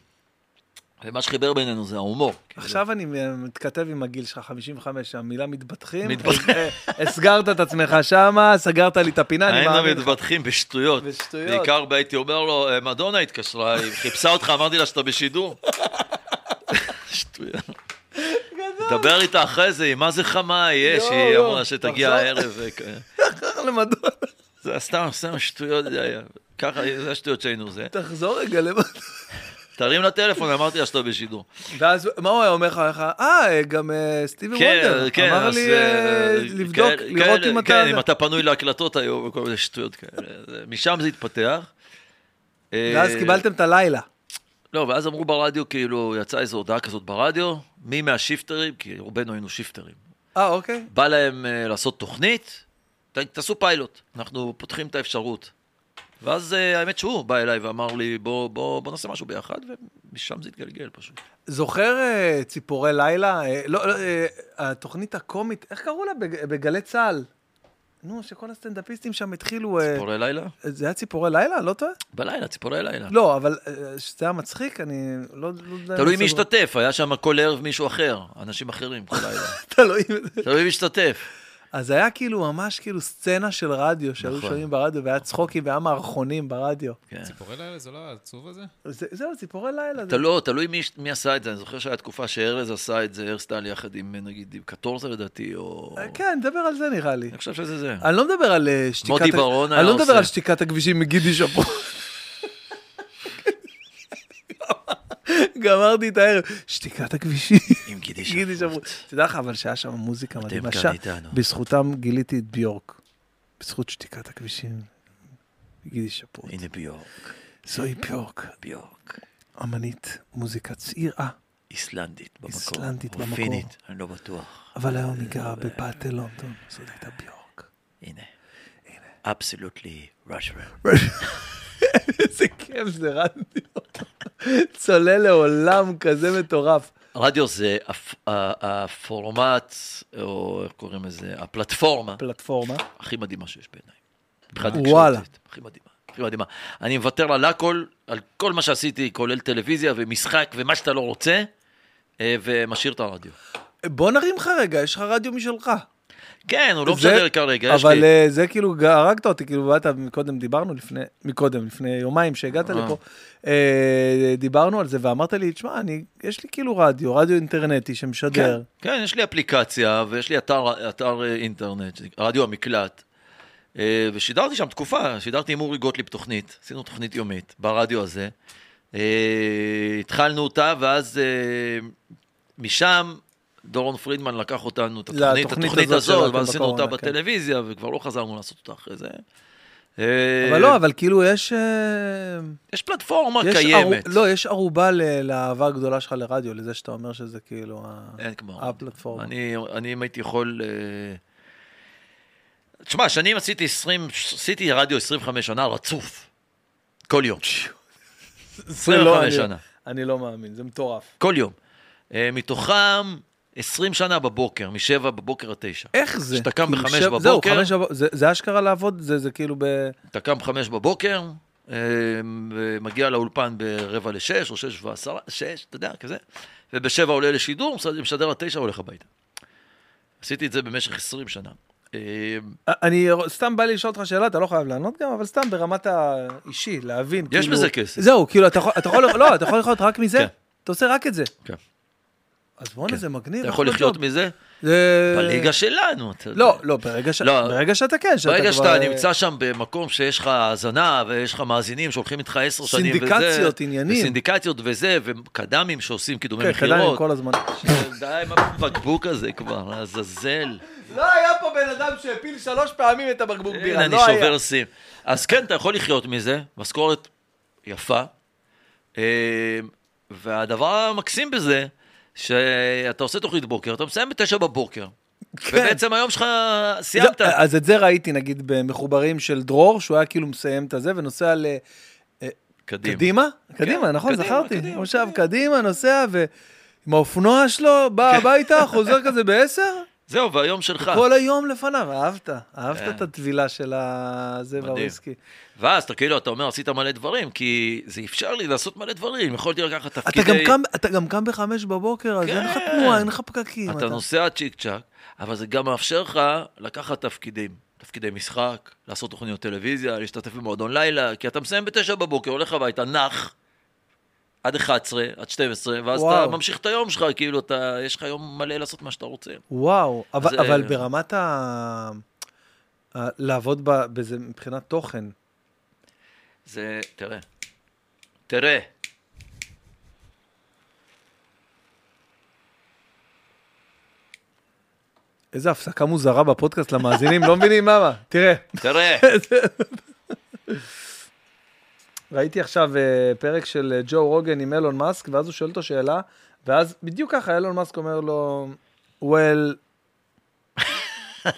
Speaker 2: ומה שחיבר בינינו זה ההומור.
Speaker 1: עכשיו אני מתכתב עם הגיל שלך, 55, המילה מתבטחים.
Speaker 2: מתבטחים.
Speaker 1: אה, הסגרת את עצמך שמה, סגרת לי את הפינה, אני
Speaker 2: היינו
Speaker 1: מאמין. לך.
Speaker 2: מתבדחים בשטויות.
Speaker 1: בשטויות.
Speaker 2: בעיקר הייתי אומר לו, "אה, מדונה התקשרה, היא חיפשה אותך, אמרתי לה שאתה בשידור. שטויות. דבר איתה אחרי זה, היא מה זה חמה יש,
Speaker 1: יואו,
Speaker 2: היא
Speaker 1: יואו.
Speaker 2: אמרה שתגיע
Speaker 1: לא, תחזור.
Speaker 2: הערב. וכאלה.
Speaker 1: למדון.
Speaker 2: זה סתם, סתם שטויות, זה היה. ככה, זה השטויות שהיינו זה.
Speaker 1: תחזור רגע למדון.
Speaker 2: תרים לטלפון, אמרתי לה שאתה בשידור.
Speaker 1: ואז מה הוא היה אומר לך? היה לך, אה, גם אה, סטיבי וונדר. אמר
Speaker 2: כן, אז,
Speaker 1: לי אה,
Speaker 2: אה,
Speaker 1: לבדוק,
Speaker 2: כאלה-
Speaker 1: לראות
Speaker 2: כאלה-
Speaker 1: אם
Speaker 2: כן, אם
Speaker 1: אתה...
Speaker 2: אתה פנוי להקלטות היום, וכל מיני שטויות כאלה. זה- משם זה התפתח. אה,
Speaker 1: ואז קיבלתם את הלילה.
Speaker 2: לא, ואז אמרו ברדיו, כאילו, יצאה איזו הודעה כזאת ברדיו, מי מהשיפטרים, כי רובנו היינו שיפטרים,
Speaker 1: אה, אוקיי.
Speaker 2: בא להם אה, לעשות תוכנית, ת- תעשו פיילוט, אנחנו פותחים את האפשרות. ואז אה, האמת שהוא בא אליי ואמר לי, בוא, בוא, בוא נעשה משהו ביחד, ומשם זה התגלגל פשוט.
Speaker 1: זוכר אה, ציפורי לילה? אה, לא, לא, אה, התוכנית הקומית, איך קראו לה? בג- בגלי צה"ל. נו, שכל הסטנדאפיסטים שם התחילו... אה,
Speaker 2: ציפורי לילה?
Speaker 1: זה היה ציפורי לילה? לא טועה?
Speaker 2: בלילה, ציפורי לילה.
Speaker 1: לא, אבל אה, שזה היה מצחיק, אני לא... לא יודע אם
Speaker 2: תלוי מי
Speaker 1: סגור.
Speaker 2: השתתף, היה שם כל ערב מישהו אחר, אנשים אחרים כל לילה.
Speaker 1: תלוי מי...
Speaker 2: תלוי מי השתתף.
Speaker 1: אז היה כאילו ממש כאילו סצנה של רדיו, שהיו
Speaker 2: נכון.
Speaker 1: שומעים ברדיו, והיה צחוקים והיה מערכונים ברדיו.
Speaker 2: כן.
Speaker 3: ציפורי לילה זה לא העצוב הזה?
Speaker 1: זה- זהו, ציפורי לילה. זה-
Speaker 2: אתה לא, תלוי מי, מי עשה את זה, אני זוכר שהיה תקופה שארז עשה את זה, הרסטל יחד עם נגיד עם קטורזה לדעתי, או...
Speaker 1: אה, כן, נדבר על זה נראה לי.
Speaker 2: אני חושב שזה זה.
Speaker 1: אני לא מדבר על אה, שתיקת...
Speaker 2: מוטי
Speaker 1: ה-
Speaker 2: ברון
Speaker 1: אני
Speaker 2: היה
Speaker 1: לא מדבר
Speaker 2: עושה.
Speaker 1: על שתיקת הכבישים מגידי שאפו. גמרתי את הערב, שתיקת הכבישים.
Speaker 2: עם גידי
Speaker 1: גידי
Speaker 2: שפרוט.
Speaker 1: שמרו. תדע לך, אבל שהיה שם מוזיקה מדהימה.
Speaker 2: כאן
Speaker 1: שם-
Speaker 2: איתנו.
Speaker 1: בזכותם גיליתי את ביורק. בזכות שתיקת הכבישים. גידי שפוט.
Speaker 2: הנה ביורק,
Speaker 1: זוהי ביורק,
Speaker 2: ביורק.
Speaker 1: אמנית מוזיקה צעירה,
Speaker 2: איסלנדית במקור.
Speaker 1: איסלנדית במקור.
Speaker 2: רופינית, אני לא בטוח.
Speaker 1: אבל היום היא גרה בפאתי לונדון. זאת הייתה ביורק.
Speaker 2: הנה. אבסולוטלי ראשרן.
Speaker 1: איזה כיף זה רדיו. צולל לעולם כזה מטורף.
Speaker 2: רדיו זה הפ- ה- הפורמט, או איך קוראים לזה? הפלטפורמה
Speaker 1: פלטפורמה.
Speaker 2: הכי מדהימה שיש בעיניי. מבחינה
Speaker 1: וואלה.
Speaker 2: תקשורתית, הכי מדהימה. הכי מדהימה. אני מוותר על הכל, על כל מה שעשיתי, כולל טלוויזיה ומשחק ומה שאתה לא רוצה, אה, ומשאיר את הרדיו.
Speaker 1: בוא נרים לך רגע, יש לך רדיו משלך.
Speaker 2: כן, הוא לא
Speaker 1: זה-
Speaker 2: משדר כרגע, יש לי.
Speaker 1: אבל אה, זה כאילו, ג- הרגת אותי, כאילו, באת מקודם, דיברנו לפני, מקודם, לפני יומיים שהגעת
Speaker 2: אה.
Speaker 1: לפה, אה, דיברנו על זה ואמרת לי, תשמע, אני, יש לי כאילו רדיו, רדיו אינטרנטי
Speaker 2: כן,
Speaker 1: שמשדר.
Speaker 2: כן, יש לי אפליקציה ויש לי אתר, אתר אה, אינטרנט, שנקרא- רדיו המקלט, אה, ושידרתי שם תקופה, שידרתי עם אורי גוטליב תוכנית, עשינו תוכנית יומית ברדיו הזה. אה, התחלנו אותה, ואז אה, משם דורון פרידמן לקח אותנו, את התוכנית,
Speaker 1: לתוכנית
Speaker 2: התוכנית
Speaker 1: הזאת
Speaker 2: הזאת,
Speaker 1: שלכם
Speaker 2: ואז עשינו אותה
Speaker 1: בקורונה, כן.
Speaker 2: בטלוויזיה, וכבר לא חזרנו לעשות אותה אחרי זה. אה,
Speaker 1: אבל לא, אבל כאילו, יש... אה,
Speaker 2: יש פלטפורמה
Speaker 1: יש
Speaker 2: קיימת.
Speaker 1: ערו- לא, יש ערובה ל- לאהבה הגדולה שלך לרדיו, לזה שאתה אומר שזה כאילו ה-
Speaker 2: אין כמו.
Speaker 1: הפלטפורמה.
Speaker 2: אה, אני, אני אם הייתי יכול... אה, תשמע, שנים עשיתי 20, עשיתי רדיו 25 שנה רצוף. כל יום.
Speaker 1: זה לא
Speaker 2: 25
Speaker 1: אני-
Speaker 2: שנה.
Speaker 1: אני לא מאמין, זה מטורף.
Speaker 2: כל יום. אה, מתוכם 20 שנה בבוקר, משבע בבוקר עד תשע.
Speaker 1: איך זה?
Speaker 2: כשאתה קם
Speaker 1: כאילו,
Speaker 2: בחמש
Speaker 1: שב- זהו,
Speaker 2: בבוקר-
Speaker 1: חמש בבוקר, זה- זה אשכרה לעבוד, זה זה כאילו ב...
Speaker 2: אתה קם חמש בבוקר, אה, מגיע לאולפן ברבע לשש, או שש ועשרה, שש, אתה יודע, כזה, ובשבע עולה לשידור, משדר עד תשע, הולך הביתה. עשיתי את זה במשך 20 שנה. אה,
Speaker 1: אני סתם בא לי לשאול אותך שאלה, אתה לא חייב לענות גם, אבל סתם ברמת האישי, להבין.
Speaker 2: יש
Speaker 1: כאילו-
Speaker 2: בזה כסף.
Speaker 1: זהו, כאילו, אתה יכול- אתה יכול, לא, אתה יכול לחיות רק מזה?
Speaker 2: כן.
Speaker 1: אתה עושה רק את זה.
Speaker 2: כן.
Speaker 1: אז בואנה,
Speaker 2: כן.
Speaker 1: זה מגניב.
Speaker 2: אתה יכול
Speaker 1: אחלה
Speaker 2: לחיות
Speaker 1: ג'וב.
Speaker 2: מזה?
Speaker 1: זה-
Speaker 2: בליגה שלנו. אתה-
Speaker 1: לא, לא, ברגע ש-
Speaker 2: לא.
Speaker 1: ברגע שאתה כן, שאתה כבר,
Speaker 2: ברגע שאתה
Speaker 1: אה,
Speaker 2: נמצא שם במקום שיש לך האזנה ויש לך מאזינים שהולכים איתך עשר שנים וזה.
Speaker 1: סינדיקציות, עניינים.
Speaker 2: סינדיקציות וזה, וקד"מים שעושים קידומי
Speaker 1: כן, קדיים
Speaker 2: מכירות.
Speaker 1: כל הזמן.
Speaker 2: די עם הבקבוק הזה כבר, לעזאזל.
Speaker 1: לא היה פה בן אדם שהפיל שלוש פעמים את הבקבוק לא
Speaker 2: הנה, אני שובר שיא. אז כן, אתה יכול לחיות מזה, משכורת יפה. אה, והדבר המקסים בזה, שאתה עושה תוכנית בוקר, אתה מסיים בתשע בבוקר. ובעצם היום שלך סיימת.
Speaker 1: כן. זה- אה, אז את זה ראיתי, נגיד, במחוברים של דרור, שהוא היה כאילו מסיים את הזה ונוסע ל...
Speaker 2: קדימה. כן,
Speaker 1: קדימה? קדימה, נכון,
Speaker 2: קדימה,
Speaker 1: זכרתי.
Speaker 2: קדימה, כן.
Speaker 1: הוא שם קדימה, נוסע, ועם האופנוע שלו, בא הביתה, חוזר כזה בעשר,
Speaker 2: זהו, והיום שלך.
Speaker 1: כל היום לפניו. אהבת, אהבת
Speaker 2: כן.
Speaker 1: את הטבילה של ה- זה
Speaker 2: מדהים.
Speaker 1: והוויסקי.
Speaker 2: ואז אתה כאילו, אתה אומר, עשית מלא דברים, כי זה אפשר לי לעשות מלא דברים. יכולתי לקחת
Speaker 1: אתה
Speaker 2: תפקידי...
Speaker 1: גם קם- אתה גם קם בחמש בבוקר, אז אין לך
Speaker 2: כן.
Speaker 1: תנועה, אין לך פקקים.
Speaker 2: אתה נוסע צ'יק צ'אק, אבל זה גם מאפשר לך לקחת תפקידים. תפקידי משחק, לעשות תוכניות טלוויזיה, להשתתף במועדון לילה, כי אתה מסיים בתשע בבוקר, הולך הביתה, נח, עד 11, עד 12, ואז
Speaker 1: וואו.
Speaker 2: אתה ממשיך את היום שלך, כאילו, אתה, יש לך יום מלא לעשות מה שאתה רוצה.
Speaker 1: וואו, אבל,
Speaker 2: זה-
Speaker 1: אבל ברמת ה... ה- לעבוד ב- בזה מבחינת תוכן.
Speaker 2: זה, תראה, תראה.
Speaker 1: איזה הפסקה מוזרה בפודקאסט למאזינים, לא מבינים למה. תראה,
Speaker 2: תראה,
Speaker 1: ראיתי עכשיו אה, פרק של אה, ג'ו רוגן עם אילון מאסק, ואז הוא שואל אותו שאלה, ואז בדיוק ככה אילון מאסק אומר לו, well...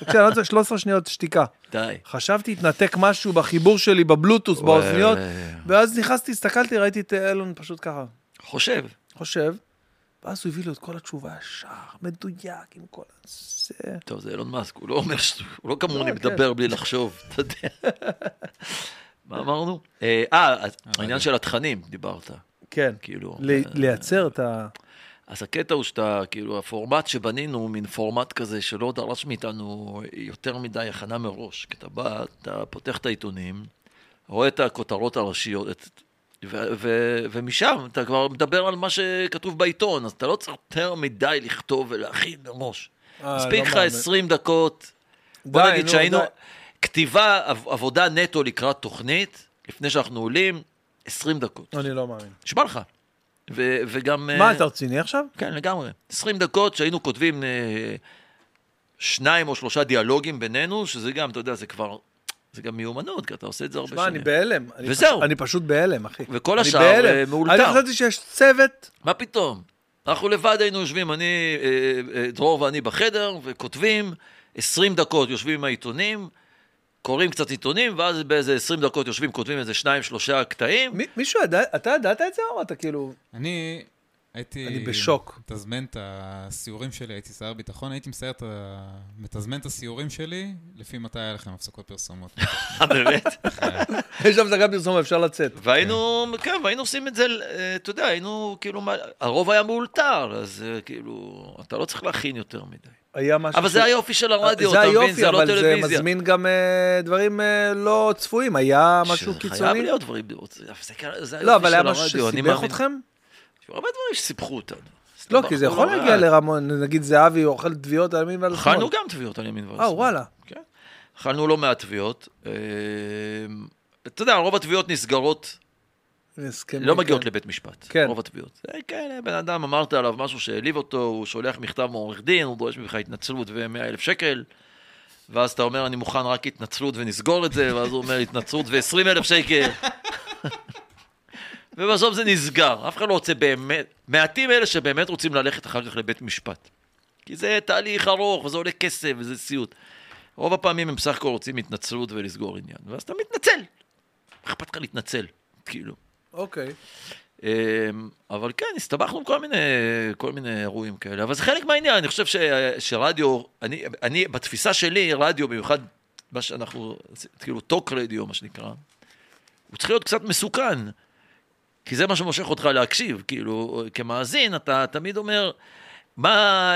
Speaker 1: תקשיב, אני לא צריך 13 שניות שתיקה.
Speaker 2: די.
Speaker 1: חשבתי התנתק משהו בחיבור שלי בבלוטוס, באוזניות,
Speaker 2: וואי.
Speaker 1: ואז נכנסתי, הסתכלתי, ראיתי את אה, אילון פשוט ככה.
Speaker 2: חושב.
Speaker 1: חושב, ואז הוא הביא לו את כל התשובה ישר, מדויק, עם כל זה.
Speaker 2: טוב, זה אילון מאסק, הוא לא אומר, ש- הוא לא כמוני
Speaker 1: לא, כן.
Speaker 2: מדבר בלי לחשוב, אתה יודע. מה אמרנו? אה, אה, אז העניין של התכנים דיברת,
Speaker 1: כן,
Speaker 2: כאילו. אה,
Speaker 1: ל- לייצר את ה...
Speaker 2: אז הקטע הוא שאתה, כאילו, הפורמט שבנינו הוא מין פורמט כזה שלא דרש מאיתנו יותר מדי הכנה מראש. כי אתה בא, אתה פותח את העיתונים, רואה את הכותרות הראשיות, את, ו, ו, ומשם אתה כבר מדבר על מה שכתוב בעיתון, אז אתה לא צריך יותר מדי לכתוב ולהכין מראש.
Speaker 1: אה,
Speaker 2: מספיק
Speaker 1: לא
Speaker 2: לך
Speaker 1: מאמין.
Speaker 2: 20 דקות,
Speaker 1: די,
Speaker 2: בוא נגיד
Speaker 1: נו,
Speaker 2: שהיינו,
Speaker 1: די.
Speaker 2: כתיבה, עב- עבודה נטו לקראת תוכנית, לפני שאנחנו עולים, 20 דקות.
Speaker 1: אני לא מאמין.
Speaker 2: נשבע לך. ו- וגם...
Speaker 1: מה,
Speaker 2: אה,
Speaker 1: אתה רציני עכשיו?
Speaker 2: כן, לגמרי. 20 דקות שהיינו כותבים אה, שניים או שלושה דיאלוגים בינינו, שזה גם, אתה יודע, זה כבר, זה גם מיומנות, כי אתה עושה את זה הרבה
Speaker 1: שמע, אני
Speaker 2: שנים.
Speaker 1: בהלם. אני
Speaker 2: לא וזהו.
Speaker 1: פשוט- אני פשוט בהלם, אחי.
Speaker 2: וכל
Speaker 1: אני
Speaker 2: השאר,
Speaker 1: בהלם.
Speaker 2: אה, מאולתר.
Speaker 1: אני חשבתי שיש צוות,
Speaker 2: מה פתאום? אנחנו לבד היינו יושבים, אני, אה, אה, דרור ואני בחדר, וכותבים 20 דקות, יושבים עם העיתונים, קוראים קצת עיתונים, ואז באיזה 20 דקות יושבים, כותבים איזה שניים, שלושה קטעים.
Speaker 1: מי- מישהו ידע, אתה ידעת את זה או אתה כאילו...
Speaker 3: אני הייתי...
Speaker 1: אני בשוק.
Speaker 3: מתזמן את הסיורים שלי, הייתי שר ביטחון, הייתי מסייר את ה... מתזמן את הסיורים שלי, לפי מתי היה לכם הפסקות פרסומות.
Speaker 2: אה,
Speaker 1: כן.
Speaker 2: באמת?
Speaker 1: יש הפסקת פרסום, אפשר לצאת.
Speaker 2: והיינו, כן, והיינו עושים את זה, אה, אתה יודע, היינו, כאילו, מה- הרוב היה מאולתר, אז אה, כאילו, אתה לא צריך להכין יותר מדי.
Speaker 1: היה משהו...
Speaker 2: אבל זה
Speaker 1: ש-
Speaker 2: היופי של הרדיו,
Speaker 1: זה
Speaker 2: אתה מבין?
Speaker 1: היופי,
Speaker 2: זה לא
Speaker 1: אבל זה
Speaker 2: טלוויזיה.
Speaker 1: מזמין גם אה, דברים אה, לא צפויים. היה משהו
Speaker 2: שזה
Speaker 1: קיצוני?
Speaker 2: חייב להיות דברים, זה- זה זה היופי של הרדיו,
Speaker 1: לא, אבל היה משהו
Speaker 2: אני
Speaker 1: שסיבך
Speaker 2: מאמין.
Speaker 1: אתכם?
Speaker 2: הרבה דברים שסיפחו אותנו.
Speaker 1: לא, כי זה יכול
Speaker 2: לא
Speaker 1: להגיע
Speaker 2: מעט.
Speaker 1: לרמון, נגיד זהבי אוכל תביעות על ימין ועל שמאל.
Speaker 2: אכלנו גם תביעות על ימין ועל
Speaker 1: אה, וואלה.
Speaker 2: כן. אכלנו לא מעט תביעות. אה, אתה יודע, רוב התביעות נסגרות,
Speaker 1: הסכמים,
Speaker 2: לא מגיעות
Speaker 1: כן.
Speaker 2: לבית משפט.
Speaker 1: כן.
Speaker 2: רוב התביעות. זה כאלה, בן אדם, אמרת עליו משהו שהעליב אותו, הוא שולח מכתב מעורך דין, הוא דורש ממך התנצלות ו-100 אלף שקל. ואז אתה אומר, אני מוכן רק התנצלות ונסגור את זה, ואז הוא אומר, התנצלות ו-20 אלף שקל. ובסוף זה נסגר, אף אחד לא רוצה באמת, מעטים אלה שבאמת רוצים ללכת אחר כך לבית משפט. כי זה תהליך ארוך, וזה עולה כסף, וזה סיוט. רוב הפעמים הם בסך הכל רוצים התנצלות ולסגור עניין, ואז אתה מתנצל. מה אכפת לך להתנצל, כאילו.
Speaker 1: אוקיי.
Speaker 2: אמ, אבל כן, הסתבכנו עם כל מיני, כל מיני אירועים כאלה, אבל זה חלק מהעניין, אני חושב ש, שרדיו, אני, אני, בתפיסה שלי, רדיו, במיוחד מה שאנחנו, כאילו טוק רדיו, מה שנקרא, הוא צריך להיות קצת מסוכן, כי זה מה שמושך אותך להקשיב, כאילו, כמאזין, אתה תמיד אומר, מה,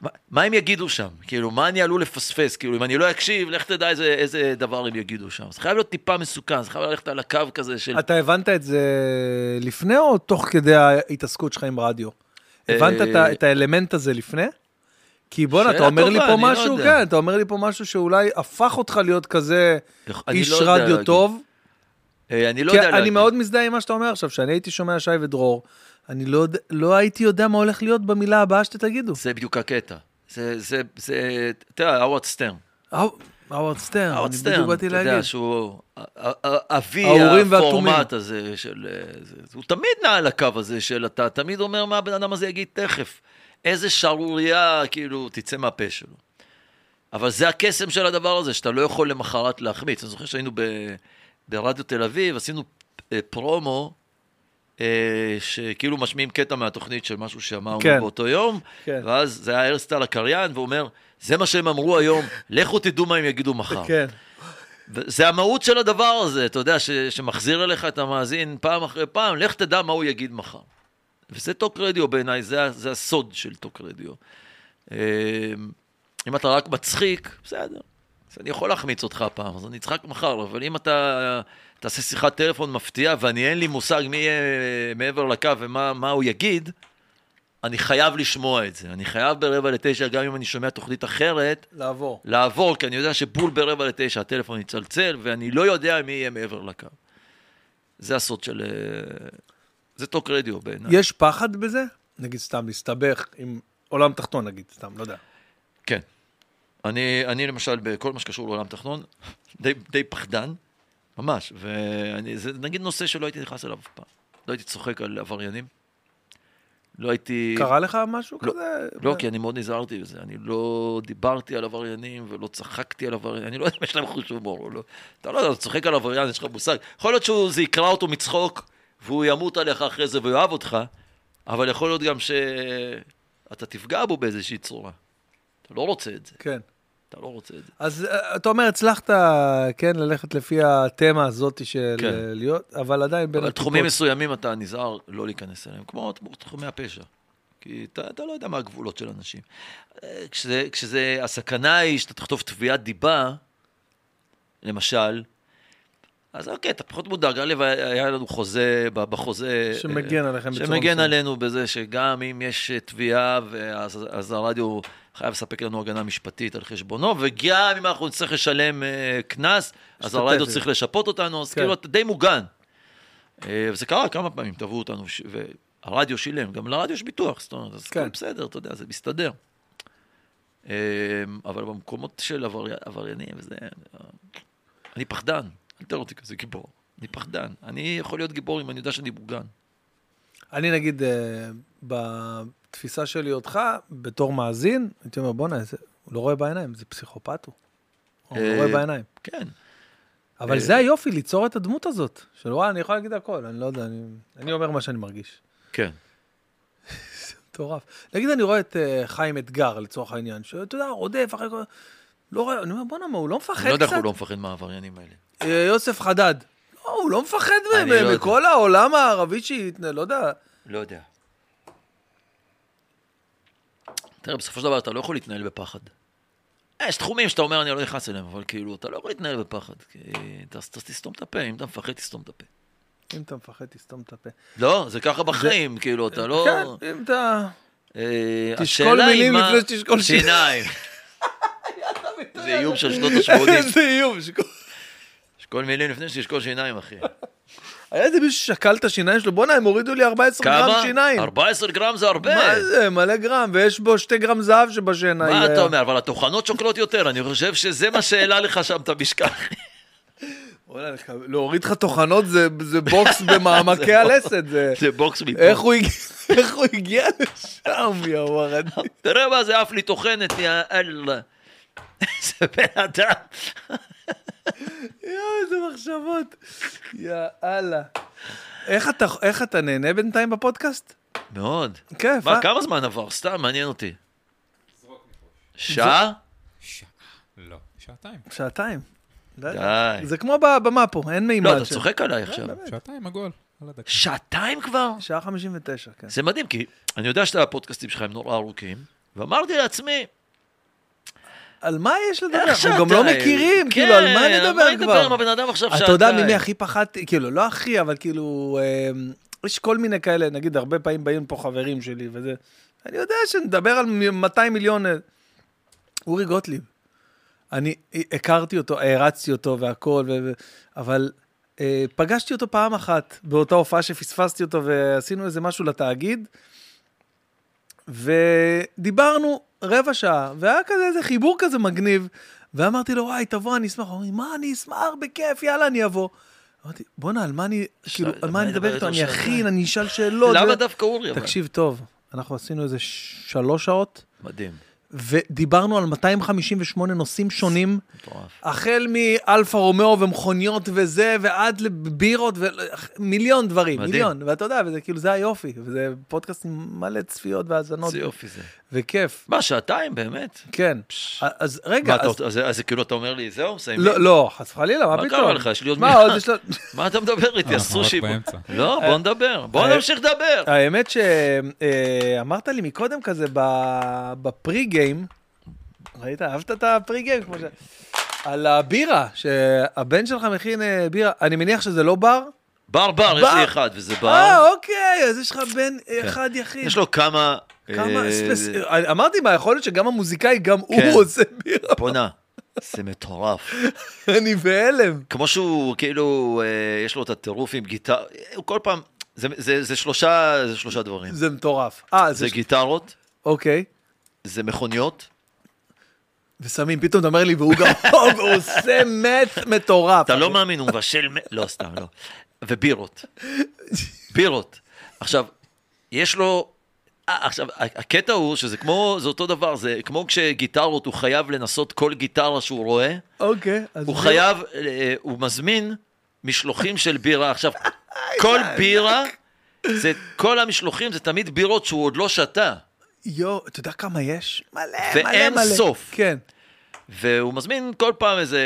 Speaker 2: מה- מה הם יגידו שם? כאילו, מה אני עלול לפספס? כאילו, אם אני לא אקשיב, לך תדע איזה, איזה דבר הם יגידו שם. זה חייב להיות טיפה מסוכן, זה חייב ללכת על הקו כזה של...
Speaker 1: אתה הבנת את זה לפני או תוך כדי ההתעסקות שלך עם רדיו? הבנת את ה- את האלמנט הזה לפני? כי בואנה, אתה
Speaker 2: אה, שאלה
Speaker 1: אומר לי
Speaker 2: טובה,
Speaker 1: פה
Speaker 2: אני לא
Speaker 1: משהו,
Speaker 2: יודע.
Speaker 1: כן, אתה אומר לי פה משהו שאולי הפך אותך להיות כזה
Speaker 2: אני
Speaker 1: איש
Speaker 2: לא יודע
Speaker 1: רדיו
Speaker 2: להגיד.
Speaker 1: טוב.
Speaker 2: אה, אני לא
Speaker 1: כי
Speaker 2: יודע
Speaker 1: אני
Speaker 2: להגיד.
Speaker 1: מאוד מזדהה עם מה שאתה אומר עכשיו, שאני הייתי שומע שי ודרור, אני לא יודע- לא הייתי יודע מה הולך להיות במילה הבאה שתגידו.
Speaker 2: זה בדיוק הקטע. זה, זה, זה, אתה יודע, האווארד סטרן.
Speaker 1: האוורד סטרן,
Speaker 2: האווארד
Speaker 1: כן, אני
Speaker 2: סטרן,
Speaker 1: בדיוק
Speaker 2: אתה
Speaker 1: באתי
Speaker 2: יודע,
Speaker 1: להגיד.
Speaker 2: שהוא א- א- א- אבי
Speaker 1: האורים והתומים.
Speaker 2: הפורמט הזה של... אה, זה- הוא תמיד נע על הקו הזה של אתה תמיד אומר מה הבן אדם הזה יגיד תכף. איזה שערורייה, כאילו, תצא מהפה שלו. אבל זה הקסם של הדבר הזה, שאתה לא יכול למחרת להחמיץ. אני זוכר שהיינו ב, ברדיו תל אביב, עשינו אה, פרומו, אה, שכאילו משמיעים קטע מהתוכנית של משהו שאמרנו
Speaker 1: כן.
Speaker 2: באותו יום,
Speaker 1: כן.
Speaker 2: ואז זה היה ארסטל הקריין, והוא אומר, זה מה שהם אמרו היום, לכו תדעו מה הם יגידו מחר.
Speaker 1: כן.
Speaker 2: זה המהות של הדבר הזה, אתה יודע, ש, שמחזיר אליך את המאזין פעם אחרי פעם, לך תדע מה הוא יגיד מחר. וזה טוק רדיו בעיניי, זה, ה- זה הסוד של טוק רדיו. אה, אם אתה רק מצחיק, בסדר. אז אני יכול להחמיץ אותך הפעם, אז אני אצחק מחר, אבל אם אתה תעשה שיחת טלפון מפתיעה ואני אין לי מושג מי יהיה מעבר לקו ומה מה הוא יגיד, אני חייב לשמוע את זה. אני חייב ברבע לתשע, גם אם אני שומע תוכנית אחרת,
Speaker 1: לעבור.
Speaker 2: לעבור, כי אני יודע שבול ברבע לתשע הטלפון יצלצל, ואני לא יודע מי יהיה מעבר לקו. זה הסוד של... אה, זה טוק רדיו בעיניי.
Speaker 1: יש פחד בזה? נגיד סתם להסתבך עם עולם תחתון, נגיד, סתם, לא יודע.
Speaker 2: כן. אני, אני למשל, בכל מה שקשור לעולם תחתון, די, די פחדן, ממש. וזה נגיד נושא שלא הייתי נכנס אליו אף פעם. לא הייתי צוחק על עבריינים. לא הייתי...
Speaker 1: קרה לך משהו
Speaker 2: לא,
Speaker 1: כזה?
Speaker 2: לא, כי אני מאוד נזהרתי בזה. אני לא דיברתי על עבריינים ולא צחקתי על עבריינים. אני לא יודע אם יש להם חוש הומור או לא. אתה לא יודע, אתה צוחק על עבריין, יש לך מושג. יכול להיות שזה יקרע אותו מצחוק, והוא ימות עליך אחרי זה ויאהב אותך, אבל יכול להיות גם שאתה תפגע בו באיזושהי צורה. אתה לא רוצה את זה.
Speaker 1: כן.
Speaker 2: אתה לא רוצה את זה.
Speaker 1: אז אה, אתה אומר, הצלחת, כן, ללכת לפי התמה הזאת של
Speaker 2: כן.
Speaker 1: אה, להיות, אבל עדיין בין
Speaker 2: אבל תחומים מסוימים אתה נזהר לא להיכנס אליהם, כמו תחומי הפשע. כי אתה, אתה לא יודע מה הגבולות של אנשים. אה, כשזה, כשזה, הסכנה היא שאתה תכתוב תביעת דיבה, למשל, אז אוקיי, אתה פחות מודאג. א', היה לנו חוזה, ב- בחוזה... אה,
Speaker 1: שמגן עליכם בצורה
Speaker 2: שמגן
Speaker 1: מסוימת.
Speaker 2: עלינו בזה שגם אם יש אה, תביעה, ואז- אז הרדיו חייב לספק לנו הגנה משפטית על חשבונו, וגם אם אנחנו נצטרך לשלם אה, קנס, אז
Speaker 1: משתתפת.
Speaker 2: הרדיו צריך לשפות אותנו, אז
Speaker 1: כן.
Speaker 2: כאילו אתה די מוגן. אה, וזה קרה כמה פעמים, תבעו אותנו, ש- והרדיו שילם, גם לרדיו יש ביטוח, זאת אומרת, אז
Speaker 1: כן.
Speaker 2: כן. בסדר, אתה יודע, זה מסתדר. אה, אבל במקומות של עברי- עבריינים, זה... אני פחדן, אל תראה אותי כזה גיבור. אני פחדן. אני יכול להיות גיבור אם אני יודע שאני מוגן.
Speaker 1: אני נגיד, אה, בתפיסה שלי אותך, בתור מאזין, הייתי אומר, בואנה, זה- הוא לא רואה בעיניים, זה פסיכופת הוא. הוא לא
Speaker 2: אה,
Speaker 1: רואה בעיניים.
Speaker 2: כן.
Speaker 1: אבל
Speaker 2: אה,
Speaker 1: זה היופי, ליצור את הדמות הזאת. של וואי, אני יכול להגיד הכל, אני לא יודע, אני- אני אומר מה שאני מרגיש.
Speaker 2: כן.
Speaker 1: מטורף. נגיד אני רואה את אה, חיים אתגר, לצורך העניין, שאתה יודע, רודף אחרי כל... לא רואה, אני אומר, בואנה, מה, הוא לא מפחד קצת?
Speaker 2: אני לא יודע איך הוא לא מפחד מהעבריינים האלה.
Speaker 1: אה, יוסף חדד. לא, הוא לא מפחד
Speaker 2: אני
Speaker 1: מ-
Speaker 2: לא יודע.
Speaker 1: מכל העולם הערבי שהת... לא יודע.
Speaker 2: לא יודע. תראה, בסופו של דבר אתה לא יכול להתנהל בפחד. אה, יש תחומים שאתה אומר, אני לא נכנס אליהם, אבל כאילו, אתה לא יכול להתנהל בפחד. כי אתה אתה תסתום את הפה, אם אתה מפחד, תסתום את הפה.
Speaker 1: אם אתה מפחד, תסתום את הפה.
Speaker 2: לא, זה ככה בחיים, כאילו, אתה לא...
Speaker 1: כן, אם אתה...
Speaker 2: אה,
Speaker 1: תשקול
Speaker 2: השאלה היא
Speaker 1: מילים
Speaker 2: מה-
Speaker 1: לפני שתשקול שיניים.
Speaker 2: שיניים. זה איום של שנות ה-80.
Speaker 1: איזה איום. שכל-
Speaker 2: שקול מילים לפני שתשקול שיניים, אחי.
Speaker 1: היה איזה מישהו ששקל את השיניים שלו, בואנה, הם הורידו לי 14
Speaker 2: כמה?
Speaker 1: גרם שיניים.
Speaker 2: 14 גרם זה הרבה.
Speaker 1: מה זה, אה. מלא גרם, ויש בו שתי גרם זהב שבשיניים.
Speaker 2: מה אתה
Speaker 1: היה.
Speaker 2: אומר? אבל הטוחנות שוקלות יותר, אני חושב שזה מה שהעלה לך שם את המשקל.
Speaker 1: וואלה, לק- להוריד לך טוחנות זה- זה בוקס במעמקי הלסת. זה-
Speaker 2: זה בוקס מפה.
Speaker 1: איך הוא הגיע- איך הוא הגיע לשם, יא ורד.
Speaker 2: תראה מה זה עף לי טוחנת, יא אללה. איזה בן אדם.
Speaker 1: יואו, איזה מחשבות. יאללה. איך אתה, איך אתה נהנה בינתיים בפודקאסט?
Speaker 2: מאוד.
Speaker 1: כיף,
Speaker 2: מה,
Speaker 1: אה?
Speaker 2: כמה זמן עבר? סתם, מעניין אותי. שעה?
Speaker 3: שעה. לא. שעתיים.
Speaker 1: שעתיים. די.
Speaker 2: די.
Speaker 1: זה כמו בבמה פה, אין מימד.
Speaker 2: לא, אתה
Speaker 1: של-
Speaker 2: צוחק עליי
Speaker 1: כן,
Speaker 2: עכשיו.
Speaker 1: אה,
Speaker 3: שעתיים עגול. על הדקה.
Speaker 2: שעתיים כבר?
Speaker 1: שעה 59, כן.
Speaker 2: זה מדהים, כי אני יודע שהפודקאסטים שלך הם נורא ארוכים, ואמרתי לעצמי, "אה,
Speaker 1: על מה יש לדבר?
Speaker 2: איך
Speaker 1: אנחנו גם
Speaker 2: שאתה-
Speaker 1: לא מכירים, כאילו, על מה נדבר
Speaker 2: כן, על מה נדבר עם
Speaker 1: כבר?
Speaker 2: הבן אדם עכשיו
Speaker 1: אתה יודע ממי הכי פחדתי, כאילו, לא הכי, אבל כאילו, אמ, יש כל מיני כאלה, נגיד, הרבה פעמים באים פה חברים שלי וזה. אני יודע שנדבר על מ- 200 מיליון... אה, אורי גוטליב. אני הכרתי אותו, הערצתי אותו והכל, ו- ו- אבל אה, פגשתי אותו פעם אחת באותה הופעה שפספסתי אותו ועשינו איזה משהו לתאגיד, ודיברנו רבע שעה, והיה כזה איזה חיבור כזה מגניב, ואמרתי לו, וואי, תבוא, אני אשמח. הוא אומר לי, מה, אני אשמח, בכיף, יאללה, אני אבוא. אמרתי, בואנה, על מה אני, כאילו, על מה אני אדבר איתו? אני אכין, אני אשאל שאלות.
Speaker 2: למה
Speaker 1: ו-
Speaker 2: דווקא אורי? אבל?
Speaker 1: תקשיב טוב, אנחנו עשינו איזה שלוש שעות.
Speaker 2: מדהים,
Speaker 1: ודיברנו על 258 נושאים שונים,
Speaker 2: מטורף.
Speaker 1: החל מאלפה רומאו ומכוניות וזה, ועד לבירות ומיליון דברים,
Speaker 2: מדהים.
Speaker 1: מיליון, ואתה יודע, וזה כאילו, זה היופי, וזה פודקאסט עם מלא צפיות והאזנות,
Speaker 2: איזה יופי זה.
Speaker 1: וכיף,
Speaker 2: מה, שעתיים באמת?
Speaker 1: כן. אז רגע,
Speaker 2: מה, אתה
Speaker 1: אז-
Speaker 2: רוצה- אז- אז זה כאילו אתה אומר לי, זהו, מסיימים?
Speaker 1: לא, לא, חס וחלילה, מה
Speaker 2: מה
Speaker 1: פתאום?
Speaker 2: קרה לך? יש לי עוד
Speaker 1: מה
Speaker 2: מילה.
Speaker 1: עוד יש לו?
Speaker 2: מה אתה מדבר איתי?
Speaker 3: אנחנו
Speaker 2: אסור
Speaker 3: רק
Speaker 2: שיבוא.
Speaker 3: באמצע.
Speaker 2: לא, בוא נדבר. בוא
Speaker 1: אה,
Speaker 2: נמשיך לדבר.
Speaker 1: האמת שאמרת לי מקודם כזה ב- בפרי גיים, ראית? אהבת את הפרי גיים? כמו ש... על הבירה, שהבן שלך מכין אה, בירה, אני מניח שזה לא בר?
Speaker 2: בר בר, יש לי
Speaker 1: בר?
Speaker 2: אחד, וזה בר.
Speaker 1: אה, אוקיי, אז יש לך בן אה, אחד יחיד.
Speaker 2: כן. יש לו כמה...
Speaker 1: כמה
Speaker 2: אה,
Speaker 1: ספס... אה, אמרתי מה, יכול להיות שגם המוזיקאי, גם
Speaker 2: כן.
Speaker 1: הוא עושה בירה.
Speaker 2: בואנה, זה מטורף.
Speaker 1: אני בהלם.
Speaker 2: כמו שהוא, כאילו, אה, יש לו את הטירוף עם גיטר, הוא כל פעם, זה- זה זה שלושה זה שלושה דברים.
Speaker 1: זה מטורף. אה, זה...
Speaker 2: זה גיטרות,
Speaker 1: אוקיי.
Speaker 2: זה מכוניות,
Speaker 1: וסמים, פתאום אתה אומר לי, והוא גם... הוא עושה מת מטורף.
Speaker 2: אתה לא מאמין, הוא מבשל, מ- לא, סתם, לא. ובירות. בירות. עכשיו, יש לו... אה, עכשיו, ה- הקטע הוא שזה כמו, זה אותו דבר, זה כמו כשגיטרות, הוא חייב לנסות כל גיטרה שהוא רואה,
Speaker 1: אוקיי. אז
Speaker 2: הוא
Speaker 1: זה-
Speaker 2: חייב, אה, הוא מזמין משלוחים של בירה. עכשיו, כל בירה, זה, כל המשלוחים זה תמיד בירות שהוא עוד לא שתה.
Speaker 1: יואו, אתה יודע כמה יש? מלא, מלא, מלא.
Speaker 2: ואין סוף.
Speaker 1: כן.
Speaker 2: והוא מזמין כל פעם איזה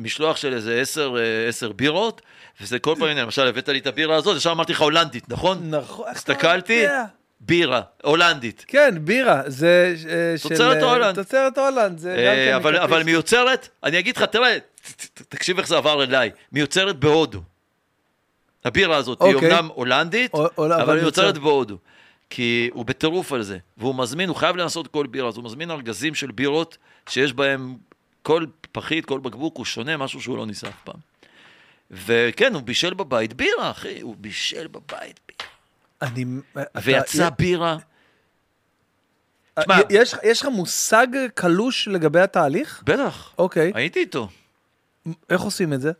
Speaker 2: משלוח של איזה עשר, אה, עשר בירות, וזה כל פעם, הנה, למשל, הבאת לי את הבירה הזאת, ישר אמרתי לך הולנדית, נכון?
Speaker 1: נכון. איך אתה
Speaker 2: הסתכלתי,
Speaker 1: יודע?
Speaker 2: בירה, הולנדית.
Speaker 1: כן, בירה, זה אה, של...
Speaker 2: תוצרת
Speaker 1: אה,
Speaker 2: הולנד.
Speaker 1: תוצרת הולנד, זה גם
Speaker 2: אה,
Speaker 1: כן...
Speaker 2: אבל,
Speaker 1: מקפריסין.
Speaker 2: אבל מיוצרת, אני אגיד לך, תראה, ת- ת- תקשיב איך זה עבר אליי, מיוצרת בהודו. הבירה הזאת היא
Speaker 1: אוקיי.
Speaker 2: אומנם הולנדית,
Speaker 1: או- או-
Speaker 2: אבל
Speaker 1: אבל
Speaker 2: היא מיוצרת
Speaker 1: מיוצרת.
Speaker 2: בהודו. כי הוא בטירוף על זה, והוא מזמין, הוא חייב לנסות כל בירה, אז הוא מזמין ארגזים של בירות שיש בהם כל פחית, כל בקבוק, הוא שונה, משהו שהוא לא ניסה אף פעם. וכן, הוא בישל בבית בירה, אחי, הוא בישל בבית בירה.
Speaker 1: אני... אתה-
Speaker 2: ויצא בירה,
Speaker 1: אה,
Speaker 2: תשמע.
Speaker 1: יש- יש לך מושג קלוש לגבי התהליך?
Speaker 2: בטח,
Speaker 1: אוקיי.
Speaker 2: הייתי איתו.
Speaker 1: איך עושים את זה?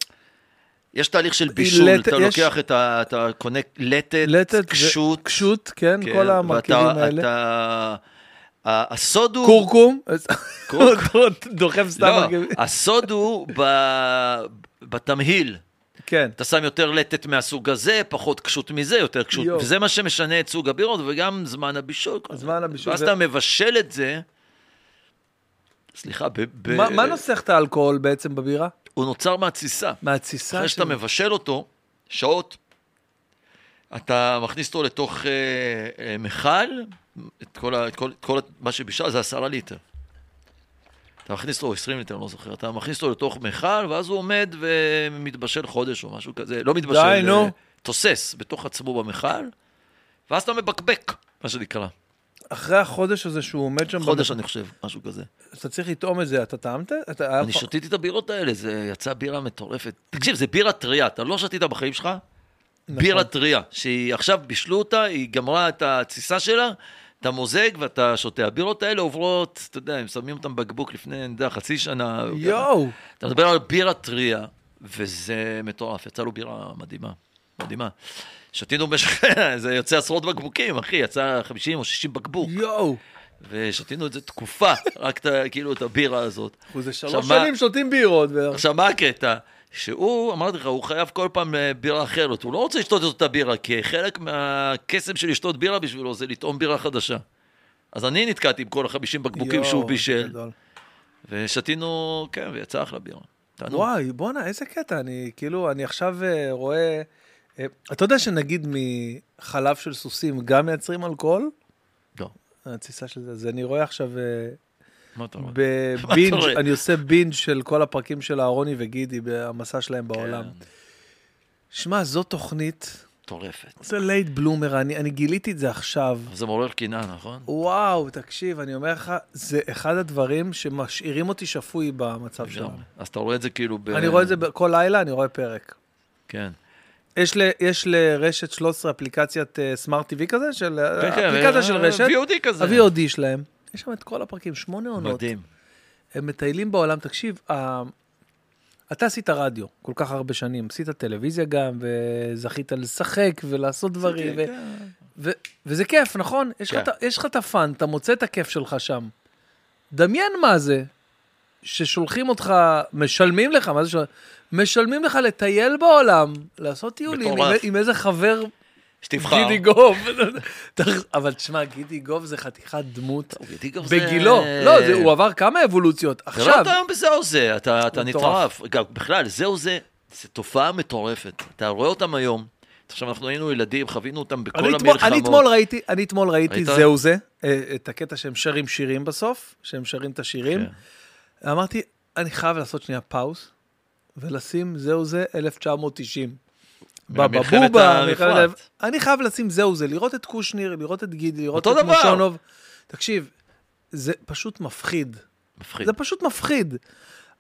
Speaker 2: יש תהליך של בישול,
Speaker 1: לט-
Speaker 2: אתה
Speaker 1: יש-
Speaker 2: לוקח את ה... אתה קונה לטת,
Speaker 1: לטת, ו-
Speaker 2: קשות,
Speaker 1: קשות, כן,
Speaker 2: כן,
Speaker 1: כל המרכיבים
Speaker 2: ואתה-
Speaker 1: האלה.
Speaker 2: אתה- ה- הסוד הוא...
Speaker 1: כורכום,
Speaker 2: קורק.
Speaker 1: דוחף סתם
Speaker 2: לא,
Speaker 1: מרכיבים.
Speaker 2: הסוד הוא ב- בתמהיל.
Speaker 1: כן,
Speaker 2: אתה שם יותר לטת מהסוג הזה, פחות קשות מזה, יותר קשות.
Speaker 1: יו.
Speaker 2: וזה מה שמשנה את סוג הבירות וגם זמן הבישול.
Speaker 1: זמן הבישול
Speaker 2: ואז
Speaker 1: ו-
Speaker 2: אתה מבשל את זה. סליחה, ב- ב-
Speaker 1: מה מה נוסח את האלכוהול בעצם בבירה?
Speaker 2: הוא נוצר מהתסיסה.
Speaker 1: מהתסיסה
Speaker 2: אחרי שאתה
Speaker 1: שלו.
Speaker 2: מבשל אותו, שעות, אתה מכניס אותו לתוך אה, אה, מכל, את כל, ה- את כל, את כל מה שבישל זה עשרה ליטר. אתה מכניס אותו, 20 ליטר, לא זוכר, אתה מכניס אותו לתוך מכל, ואז הוא עומד ומתבשל חודש או משהו כזה, לא מתבשל,
Speaker 1: די, נו.
Speaker 2: אה, תוסס בתוך עצמו במכל, ואז אתה מבקבק, מה שנקרא,
Speaker 1: אחרי החודש הזה שהוא עומד שם,
Speaker 2: חודש
Speaker 1: במ-
Speaker 2: אני חושב, משהו כזה.
Speaker 1: אתה צריך לטעום את זה, אתה טעמת? אתה- היה
Speaker 2: אני
Speaker 1: לך-
Speaker 2: שתיתי את הבירות האלה, זה יצא בירה מטורפת. תקשיב, זה בירה טריה, אתה לא שתית בחיים שלך?
Speaker 1: נכון.
Speaker 2: בירה טריה, שהיא עכשיו בישלו אותה, היא גמרה את התסיסה שלה, אתה מוזג ואתה שותה. הבירות האלה עוברות, אתה יודע, הם שמים אותם בקבוק לפני, אני יודע, חצי שנה.
Speaker 1: יואו,
Speaker 2: אתה מדבר על בירה טריה, וזה מטורף, יצא לו בירה מדהימה, מדהימה. שתינו במשך, זה יוצא עשרות בקבוקים, אחי, יצא 50 או 60 בקבוק,
Speaker 1: יואו.
Speaker 2: ושתינו את זה תקופה, רק את ה- כאילו את הבירה הזאת.
Speaker 1: אנחנו זה
Speaker 2: עכשיו,
Speaker 1: שלוש
Speaker 2: מה-
Speaker 1: שנים שותים בירות. ו-
Speaker 2: עכשיו, מה הקטע? שהוא, אמרתי לך, הוא חייב כל פעם אה, בירה אחרת. הוא לא רוצה לשתות את אותה בירה, כי חלק מהקסם של לשתות בירה בשבילו זה לטעום בירה חדשה. אז אני נתקעתי עם כל החמישים בקבוקים
Speaker 1: יואו,
Speaker 2: שהוא
Speaker 1: זה
Speaker 2: בישל,
Speaker 1: גדול.
Speaker 2: ושתינו, כן, ויצא אחלה בירה. תענוג.
Speaker 1: וואי, בואנה, איזה קטע, אני כאילו, אני עכשיו אה, רואה... אה, אתה יודע שנגיד מחלב של סוסים גם מייצרים אלכוהול?
Speaker 2: לא.
Speaker 1: התסיסה של זה. אז אני רואה עכשיו אה,
Speaker 2: מה אתה רואה?
Speaker 1: בבינג',
Speaker 2: מה אתה רואה?
Speaker 1: אני עושה בינג' של כל הפרקים של אהרוני וגידי במסע שלהם בעולם.
Speaker 2: כן,
Speaker 1: שמע, זו תוכנית,
Speaker 2: מטורפת.
Speaker 1: זה לייט בלומר, אני אני גיליתי את זה עכשיו.
Speaker 2: זה מעורר קינה, נכון?
Speaker 1: וואו, תקשיב, אני אומר לך, זה אחד הדברים שמשאירים אותי שפוי במצב שלנו.
Speaker 2: לגמרי. אז אתה רואה את זה כאילו ב...
Speaker 1: אני רואה את זה ב- כל לילה, אני רואה פרק.
Speaker 2: כן.
Speaker 1: יש, ל, יש לרשת 13 אפליקציית אה, סמארט TV כזה, של
Speaker 2: כן, כן,
Speaker 1: אפליקציה
Speaker 2: אה,
Speaker 1: של רשת, אה,
Speaker 2: VOD כזה.
Speaker 1: ה-VOD שלהם. יש שם את כל הפרקים, שמונה עונות.
Speaker 2: מדהים.
Speaker 1: הם מטיילים בעולם, תקשיב, ה... אתה עשית רדיו כל כך הרבה שנים, עשית טלוויזיה גם, וזכית לשחק ולעשות דברים, ו...
Speaker 2: כן.
Speaker 1: ו... וזה כיף, נכון? יש לך
Speaker 2: כן.
Speaker 1: את ה- יש לך את הפאן, אתה מוצא את הכיף שלך שם. דמיין מה זה, ששולחים אותך, משלמים לך, מה זה ש... משלמים לך לטייל בעולם, לעשות טיולים, עם,
Speaker 2: מטורף.
Speaker 1: עם איזה חבר
Speaker 2: שתבחר.
Speaker 1: גידי גוב. אבל תשמע, גידי גוב זה חתיכת דמות.
Speaker 2: גידי גוב זה-
Speaker 1: בגילו, לא, זה- הוא עבר כמה אבולוציות.
Speaker 2: אתה לא
Speaker 1: עכשיו,
Speaker 2: אתה היום בזה או זה, אתה, אתה
Speaker 1: הוא מטורף.
Speaker 2: נטרף. גם בכלל, זה או זה, זו תופעה מטורפת. אתה רואה אותם היום. עכשיו, אנחנו היינו ילדים, חווינו אותם בכל
Speaker 1: אני אתמול-
Speaker 2: המלחמות.
Speaker 1: אני אתמול ראיתי, אני אתמול ראיתי
Speaker 2: ראית?
Speaker 1: זהו זה, אה, את הקטע שהם שרים שירים בסוף, שהם שרים את השירים.
Speaker 2: כן.
Speaker 1: אמרתי, אני חייב לעשות שנייה פאוס, ולשים זהו זה 1990. בבא
Speaker 2: מלחמת
Speaker 1: בובה,
Speaker 2: המפרץ.
Speaker 1: מלחמת ה- אני חייב לשים זהו זה, לראות את קושניר, לראות את גידי, לראות
Speaker 2: אותו
Speaker 1: את
Speaker 2: דבר.
Speaker 1: מושונוב. תקשיב, זה פשוט מפחיד.
Speaker 2: מפחיד.
Speaker 1: זה פשוט מפחיד.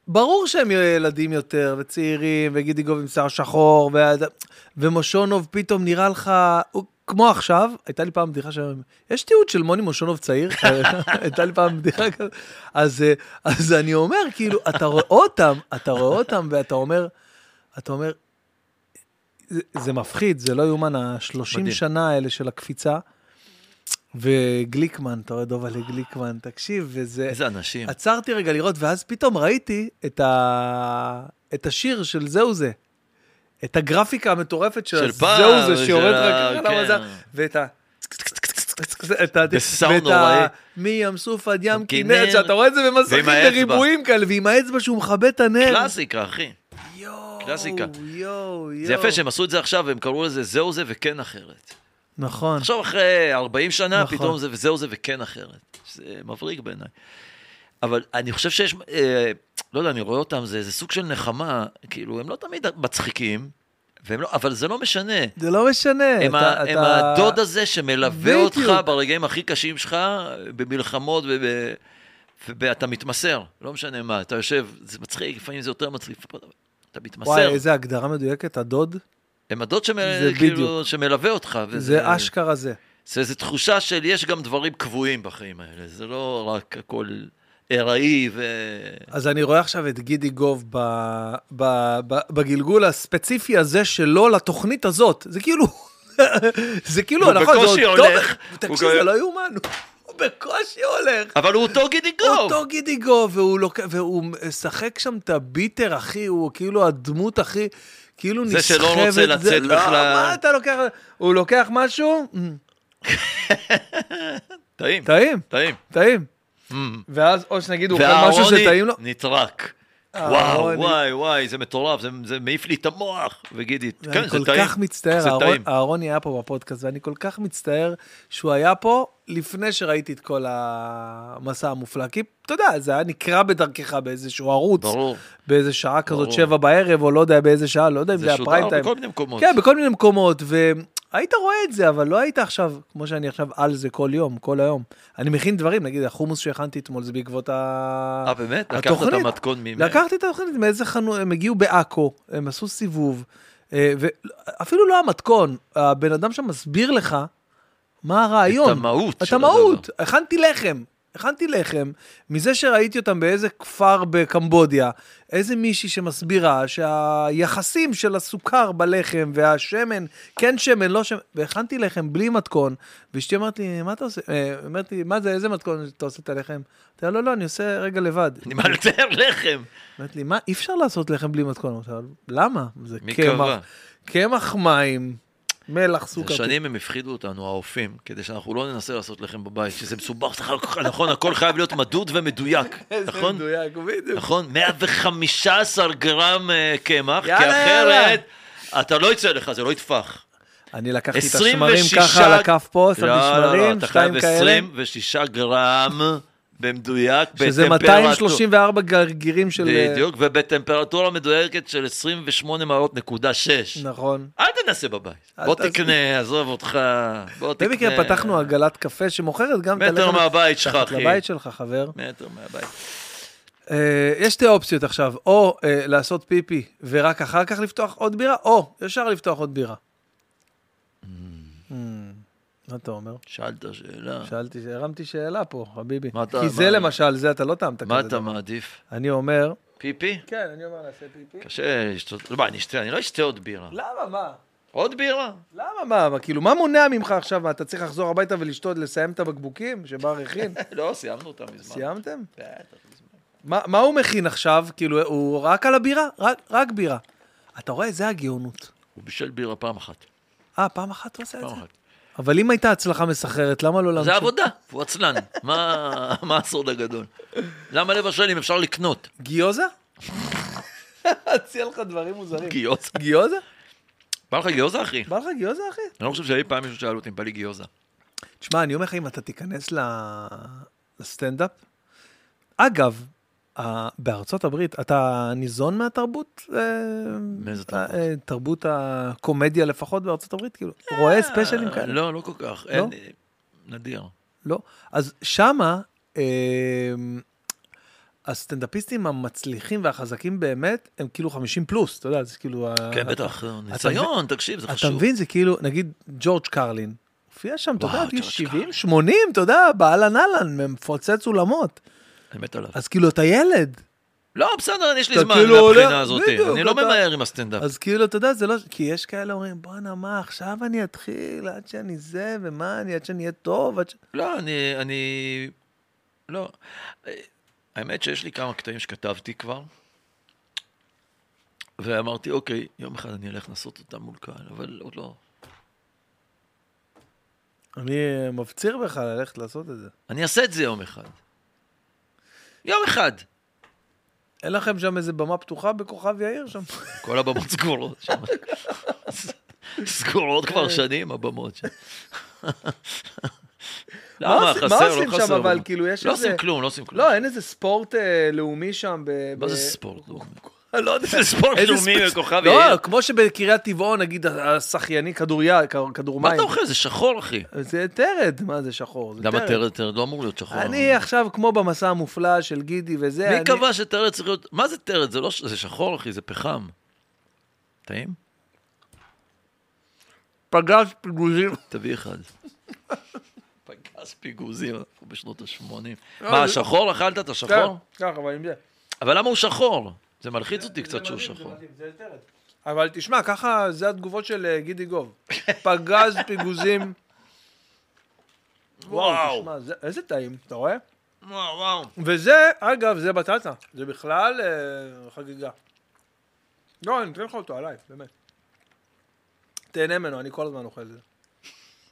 Speaker 1: ברור שהם ילדים יותר, וצעירים, וגידי גוב עם שיער שחור, ו... ומושונוב פתאום נראה לך, הוא... כמו עכשיו, הייתה לי פעם בדיחה ש... יש תיעוד של מוני מושונוב צעיר? הייתה לי פעם בדיחה כזאת. אז, אה, אז אני אומר, כאילו, אתה רואה אותם, אתה רואה אותם, ואתה אומר, אתה אומר, זה, זה מפחיד, זה לא יאומן, ה-30
Speaker 2: מדהים.
Speaker 1: שנה האלה של הקפיצה. וגליקמן, אתה רואה דובה לגליקמן, תקשיב, וזה...
Speaker 2: איזה אנשים.
Speaker 1: עצרתי רגע לראות, ואז פתאום ראיתי את, ה... את השיר של זהו זה. את הגרפיקה המטורפת של,
Speaker 2: של פעם,
Speaker 1: זהו זה שיורד
Speaker 2: של ה-
Speaker 1: רק על המזל,
Speaker 2: כן.
Speaker 1: ואת ה... את ה...
Speaker 2: בסאונד
Speaker 1: ואת ה...
Speaker 2: נוראי.
Speaker 1: מים סוף עד ים
Speaker 2: כנרת,
Speaker 1: כנרת, שאתה רואה את זה במסכים
Speaker 2: ועם האצבע.
Speaker 1: בריבועים כאלה, ועם האצבע שהוא מכבה את הנר.
Speaker 2: קלאסיקה, אחי.
Speaker 1: יואו,
Speaker 2: קלאסיקה.
Speaker 1: יואו, יואו.
Speaker 2: זה יפה שהם עשו את זה עכשיו, והם קראו לזה זהו זה וכן אחרת.
Speaker 1: נכון.
Speaker 2: עכשיו אחרי 40 שנה,
Speaker 1: נכון.
Speaker 2: נכון. פתאום זה וזהו זה וכן אחרת. זה מבריק בעיניי. אבל אני חושב שיש, אה, לא יודע, אני רואה אותם, זה, זה סוג של נחמה, כאילו, הם לא תמיד מצחיקים, והם לא, אבל זה לא משנה.
Speaker 1: זה לא משנה.
Speaker 2: הם,
Speaker 1: אתה-
Speaker 2: אתה, הם
Speaker 1: אתה-
Speaker 2: הדוד הזה שמלווה אותך
Speaker 1: בדיוק.
Speaker 2: ברגעים הכי קשים שלך, במלחמות, וב- ואתה מתמסר, לא משנה מה, אתה יושב, זה מצחיק, לפעמים זה יותר מצחיק, אבל אתה מתמסר.
Speaker 1: וואי, איזה הגדרה מדויקת, הדוד,
Speaker 2: הם הדוד
Speaker 1: זה
Speaker 2: שמל...
Speaker 1: בדיוק.
Speaker 2: כאילו, שמלווה אותך.
Speaker 1: זה אשכרה זה.
Speaker 2: זה איזו תחושה של יש גם דברים קבועים בחיים האלה, זה לא רק הכל ארעי ו... כן.
Speaker 1: אז אני רואה עכשיו את גידי גוב ב, ב, ב, בגלגול הספציפי הזה שלו לתוכנית הזאת. זה כאילו, זה כאילו,
Speaker 2: הוא
Speaker 1: נכון,
Speaker 2: בקושי
Speaker 1: זה אותו-
Speaker 2: הולך.
Speaker 1: תקשיב,
Speaker 2: הוא
Speaker 1: זה
Speaker 2: גם-
Speaker 1: לא יאומן, הוא- הוא בקושי הולך.
Speaker 2: אבל הוא אותו גידי גוב!
Speaker 1: אותו גידי גוב, והוא, לוק... והוא משחק שם את הביטר, אחי, הוא כאילו הדמות הכי, כאילו
Speaker 2: זה
Speaker 1: נסחבת.
Speaker 2: שלא רוצה לצאת
Speaker 1: לא,
Speaker 2: בכלל.
Speaker 1: מה אתה לוקח? הוא לוקח משהו? מ,
Speaker 2: טעים,
Speaker 1: טעים,
Speaker 2: טעים.
Speaker 1: טעים.
Speaker 2: Mm.
Speaker 1: ואז או שנגיד הוא אוכל משהו
Speaker 2: והארוני
Speaker 1: שטעים לו. אה,
Speaker 2: נטרק.
Speaker 1: הארוני.
Speaker 2: וואו, וואי, וואי, זה מטורף, זה- זה מעיף לי את המוח. וגידי, כן,
Speaker 1: אני
Speaker 2: זה
Speaker 1: כל
Speaker 2: טעים.
Speaker 1: כך מצטער,
Speaker 2: זה
Speaker 1: אהרון-
Speaker 2: טעים.
Speaker 1: אהרון היה פה בפודקאסט, ואני כל כך מצטער שהוא היה פה לפני שראיתי את כל המסע המופלא, כי אתה יודע, זה היה נקרע בדרכך באיזשהו ערוץ,
Speaker 2: ברור.
Speaker 1: באיזה שעה כזאת,
Speaker 2: ברור.
Speaker 1: שבע בערב, או לא יודע באיזה שעה, לא יודע אם זה
Speaker 2: זה
Speaker 1: היה פריים
Speaker 2: שודר
Speaker 1: טיים.
Speaker 2: בכל מיני מקומות.
Speaker 1: כן, בכל מיני מקומות, והיית רואה את זה, אבל לא היית עכשיו, כמו שאני עכשיו על זה כל יום, כל היום. אני מכין דברים, נגיד החומוס שהכנתי אתמול זה בעקבות ה...
Speaker 2: אה, באמת? לקחת את
Speaker 1: התוכנית.
Speaker 2: המתכון מ...
Speaker 1: לקחתי את התוכנית מאיזה חנות, הם הגיעו בעכו, הם עשו סיבוב, אה, ואפילו לא המתכון, הבן אדם שם מסביר לך מה הרעיון.
Speaker 2: את המהות
Speaker 1: את
Speaker 2: של
Speaker 1: המהות. הכנתי לחם, הכנתי לחם, מזה שראיתי אותם באיזה כפר בקמבודיה, איזה מישהי שמסבירה שהיחסים של הסוכר בלחם והשמן, כן שמן, לא שמן, והכנתי לחם בלי מתכון, ואשתי אמרת לי, מה אתה עושה? אה, אמרת לי, מה זה, איזה מתכון אתה עושה את הלחם? אמרתי לה, לא, לא, אני עושה רגע לבד.
Speaker 2: אני מאלתר לחם.
Speaker 1: אמרת לי, מה, אי אפשר לעשות לחם בלי מתכון. אמרתי לה, למה? זה
Speaker 2: מי
Speaker 1: קמח,
Speaker 2: קבע?
Speaker 1: קמח מים, מלח,
Speaker 2: זה
Speaker 1: סוכר.
Speaker 2: שנים הם הפחידו אותנו, האופים, כדי שאנחנו לא ננסה לעשות לחם בבית, שזה מסובך, צריך הכל- נכון, הכל חייב להיות מדוד ומדויק,
Speaker 1: איזה
Speaker 2: נכון?
Speaker 1: מדויק, בדיוק.
Speaker 2: נכון, 115 גרם אה, קמח, כי
Speaker 1: יאללה, יאללה.
Speaker 2: אחרת אתה לא יצא לך, זה לא יטפח.
Speaker 1: אני לקחתי את
Speaker 2: 26
Speaker 1: השמרים ככה על הכף פה, שמתי
Speaker 2: לא, לא, לא,
Speaker 1: שמרים,
Speaker 2: אתה
Speaker 1: שתיים
Speaker 2: חייב
Speaker 1: כאלה,
Speaker 2: 26 גרם במדויק,
Speaker 1: שזה
Speaker 2: בטמפרטור-
Speaker 1: 234 גרגירים של... אה,
Speaker 2: בדיוק, ובטמפרטורה מדויקת של 28 מעלות נקודה 6.
Speaker 1: נכון.
Speaker 2: אל תנסה בבית.
Speaker 1: אל
Speaker 2: בוא
Speaker 1: תעשה.
Speaker 2: תקנה, עזוב אותך, בוא תקנה.
Speaker 1: במקרה פתחנו עגלת קפה שמוכרת גם את
Speaker 2: אה. מטר
Speaker 1: הלחם
Speaker 2: מהבית שלך,
Speaker 1: מתחת
Speaker 2: אחי.
Speaker 1: לבית שלך, חבר.
Speaker 2: מטר מהבית.
Speaker 1: אה, יש שתי אופציות עכשיו, או אה, לעשות פיפי ורק אחר כך לפתוח עוד בירה, או ישר לפתוח עוד בירה. אה, מה אתה אומר?
Speaker 2: שאלת שאלה.
Speaker 1: שאלתי, הרמתי שאלה פה, חביבי.
Speaker 2: מה אתה-
Speaker 1: כי
Speaker 2: מה-
Speaker 1: זה למשל, זה אתה לא טעמת כזה.
Speaker 2: מה אתה
Speaker 1: דבר.
Speaker 2: מעדיף?
Speaker 1: אני אומר...
Speaker 2: פיפי?
Speaker 1: כן, אני אומר נעשה פיפי.
Speaker 2: קשה לשתות, לא, מה, אני אשתה, אני לא אשתה עוד בירה.
Speaker 1: למה, מה?
Speaker 2: עוד בירה?
Speaker 1: למה, מה? מה? כאילו, מה מונע ממך עכשיו? מה, אתה צריך לחזור הביתה ולשתות, לסיים את הבקבוקים שבר הכין?
Speaker 2: לא, סיימנו אותה מזמן.
Speaker 1: סיימתם?
Speaker 2: בטח, מזמן.
Speaker 1: מה, מה הוא מכין עכשיו? כאילו, הוא רק על הבירה? רק, רק בירה. אתה רואה? זה הגאונות.
Speaker 2: הוא בישל בירה פעם אחת.
Speaker 1: אה, פעם אחת הוא עשה את
Speaker 2: פעם
Speaker 1: זה?
Speaker 2: אחת.
Speaker 1: אבל אם הייתה הצלחה מסחררת, למה לא להמשיך?
Speaker 2: זה עבודה, הוא עצלן. מה מה הסוד הגדול? למה לבשל אם אפשר לקנות?
Speaker 1: גיוזה? אציע לך דברים מוזרים.
Speaker 2: גיוזה.
Speaker 1: גיוזה?
Speaker 2: בא לך גיוזה, אחי?
Speaker 1: בא לך גיוזה, אחי?
Speaker 2: אני לא חושב שאי פעם מישהו שאל אותי אם בא לי גיוזה.
Speaker 1: תשמע, אני אומר לך, אם אתה תיכנס ל- לסטנדאפ, אגב, ה- בארצות הברית, אתה ניזון מהתרבות? אה,
Speaker 2: מאיזה
Speaker 1: אה,
Speaker 2: תרבות?
Speaker 1: אה, תרבות הקומדיה לפחות בארצות הברית? כאילו, רואה ספיישלים
Speaker 2: אה,
Speaker 1: כאלה?
Speaker 2: לא, לא כל כך. אין, אה, נדיר.
Speaker 1: לא. אז שמה, אמ, הסטנדאפיסטים המצליחים והחזקים באמת, הם כאילו 50 פלוס, אתה יודע, זה כאילו... ה-
Speaker 2: כן, בטח, ניסיון, תקשיב, זה
Speaker 1: אתה
Speaker 2: חשוב.
Speaker 1: מבין, זה כאילו, נגיד, ג'ורג' קרלין, הופיע שם, אתה
Speaker 2: וואו,
Speaker 1: יודע, עד גיל
Speaker 2: ג'ורג'
Speaker 1: 70,
Speaker 2: קרלין.
Speaker 1: 80, אתה יודע, באהלן אהלן, מפוצץ אולמות.
Speaker 2: אני מת עליו.
Speaker 1: אז כאילו, אתה ילד.
Speaker 2: לא, בסדר, יש לי
Speaker 1: אתה
Speaker 2: זמן
Speaker 1: כאילו עולה-
Speaker 2: מהבחינה הזאת.
Speaker 1: בדיוק,
Speaker 2: אני לא
Speaker 1: אתה-
Speaker 2: ממהר עם הסטנדאפ.
Speaker 1: אז כאילו, אתה יודע, זה לא... כי יש כאלה אומרים, בואנה, מה, עכשיו אני אתחיל, עד שאני זה, ומה אני, עד שאני אהיה טוב, עד ש...
Speaker 2: לא, אני... אני... לא. אה, האמת שיש לי כמה קטעים שכתבתי כבר, ואמרתי, אוקיי, יום אחד אני אלך לנסות אותם מול קהל, אבל עוד לא.
Speaker 1: אני אה, מפציר בך ללכת לעשות את זה.
Speaker 2: אני אעשה את זה יום אחד. יום אחד.
Speaker 1: אין לכם שם איזה במה פתוחה בכוכב יאיר שם?
Speaker 2: כל הבמות סגורות שם. סגורות כבר שנים, הבמות שם.
Speaker 1: כן. מה
Speaker 2: למה?
Speaker 1: עושים- מה
Speaker 2: חסר,
Speaker 1: עושים
Speaker 2: לא
Speaker 1: שם
Speaker 2: חסר.
Speaker 1: אבל?
Speaker 2: במה.
Speaker 1: כאילו, יש
Speaker 2: לא
Speaker 1: איזה-
Speaker 2: עושים כלום, לא עושים כלום.
Speaker 1: לא, אין איזה ספורט אה, לאומי שם ב...
Speaker 2: מה
Speaker 1: ב-
Speaker 2: זה ספורט? אה, לאומי?
Speaker 1: לא יודע.
Speaker 2: זה ספורט
Speaker 1: איזה
Speaker 2: לאומי
Speaker 1: ספ-
Speaker 2: וכוכב
Speaker 1: לא,
Speaker 2: יאיר.
Speaker 1: כמו שבקריית טבעון, נגיד, השחייני, כדוריד, כ- כדור
Speaker 2: מה
Speaker 1: מים.
Speaker 2: אתה אוכל? זה שחור, אחי.
Speaker 1: זה טרד, מה זה שחור? זה
Speaker 2: למה טרד טרד לא אמור להיות שחור?
Speaker 1: אני עכשיו כמו במסע המופלא של גידי וזה,
Speaker 2: מי
Speaker 1: אני-
Speaker 2: קבע שטרד צריך להיות... מה זה טרד? זה לא... ש- זה שחור, אחי, זה פחם. טעים?
Speaker 1: פגש פיגוזים.
Speaker 2: תביא אחד. פגז פיגוזים, אנחנו בשנות ה-80.
Speaker 1: לא,
Speaker 2: מה,
Speaker 1: זה-
Speaker 2: שחור אכלת את השחור?
Speaker 1: ככה, אבל עם כן, זה.
Speaker 2: אבל למה הוא שחור? זה מלחיץ אותי קצת שהוא שחור.
Speaker 1: אבל תשמע, ככה זה התגובות של אה, גידי גוב. פגז פיגוזים. וואו,
Speaker 2: וואו.
Speaker 1: תשמע, זה- איזה טעים, אתה רואה?
Speaker 2: וואו, וואו.
Speaker 1: וזה, אגב, זה בטטה. זה בכלל אה, חגיגה. לא, אני אתן לך אותו עליי, באמת. תהנה ממנו, אני כל הזמן אוכל את זה.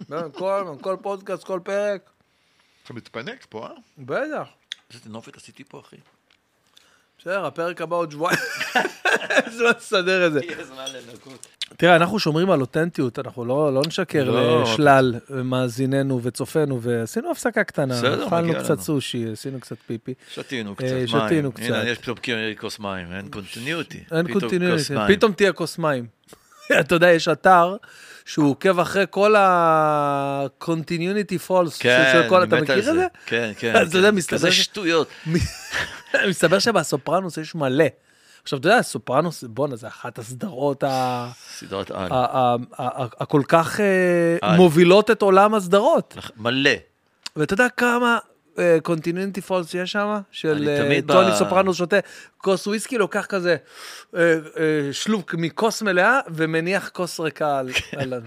Speaker 1: באמת, כל הזמן, כל פודקאסט, כל פרק.
Speaker 2: אתה מתפנק פה, אה?
Speaker 1: בטח.
Speaker 2: איזה נופת עשיתי פה, אחי.
Speaker 1: בסדר, הפרק הבא עוד שבועיים. זמן לסדר את זה.
Speaker 2: יהיה זמן לנקות.
Speaker 1: תראה, אנחנו שומרים על אותנטיות, אנחנו לא, לא נשקר
Speaker 2: לא.
Speaker 1: לשלל מאזיננו וצופינו, ועשינו הפסקה קטנה.
Speaker 2: בסדר,
Speaker 1: אכלנו
Speaker 2: מגיע
Speaker 1: קצת
Speaker 2: לנו.
Speaker 1: סושי, עשינו קצת פיפי.
Speaker 2: שתינו קצת
Speaker 1: אה,
Speaker 2: מים.
Speaker 1: שתינו קצת.
Speaker 2: הנה, יש פתאום כוס מים, אין קונטיניוטי.
Speaker 1: אין קונטיניוטי,
Speaker 2: פתאום...
Speaker 1: פתאום תהיה כוס מים. אתה יודע, יש אתר שהוא עוקב אחרי כל ה-continuity false
Speaker 2: כן,
Speaker 1: של כל,
Speaker 2: אני
Speaker 1: אתה
Speaker 2: מת על
Speaker 1: מכיר את זה?
Speaker 2: כן, כן.
Speaker 1: אתה יודע,
Speaker 2: כן.
Speaker 1: מסתבר
Speaker 2: כזה
Speaker 1: ש-
Speaker 2: שטויות.
Speaker 1: מסתבר שבסופרנוס יש מלא. עכשיו, אתה יודע, סופרנוס, בואנה, זה אחת הסדרות ה-
Speaker 2: סדרת על.
Speaker 1: ה- ה- ה- ה- הכל כך אה,
Speaker 2: על.
Speaker 1: מובילות את עולם הסדרות.
Speaker 2: לח- מלא.
Speaker 1: ואתה יודע כמה אה, קונטיננטי פולס יש שם? של
Speaker 2: אני
Speaker 1: אה,
Speaker 2: תמיד ב-
Speaker 1: טוני סופרנו שותה כוס וויסקי, לוקח כזה אה, אה, שלוב מכוס מלאה ומניח כוס ריקה על...
Speaker 2: כן.
Speaker 1: על... ה-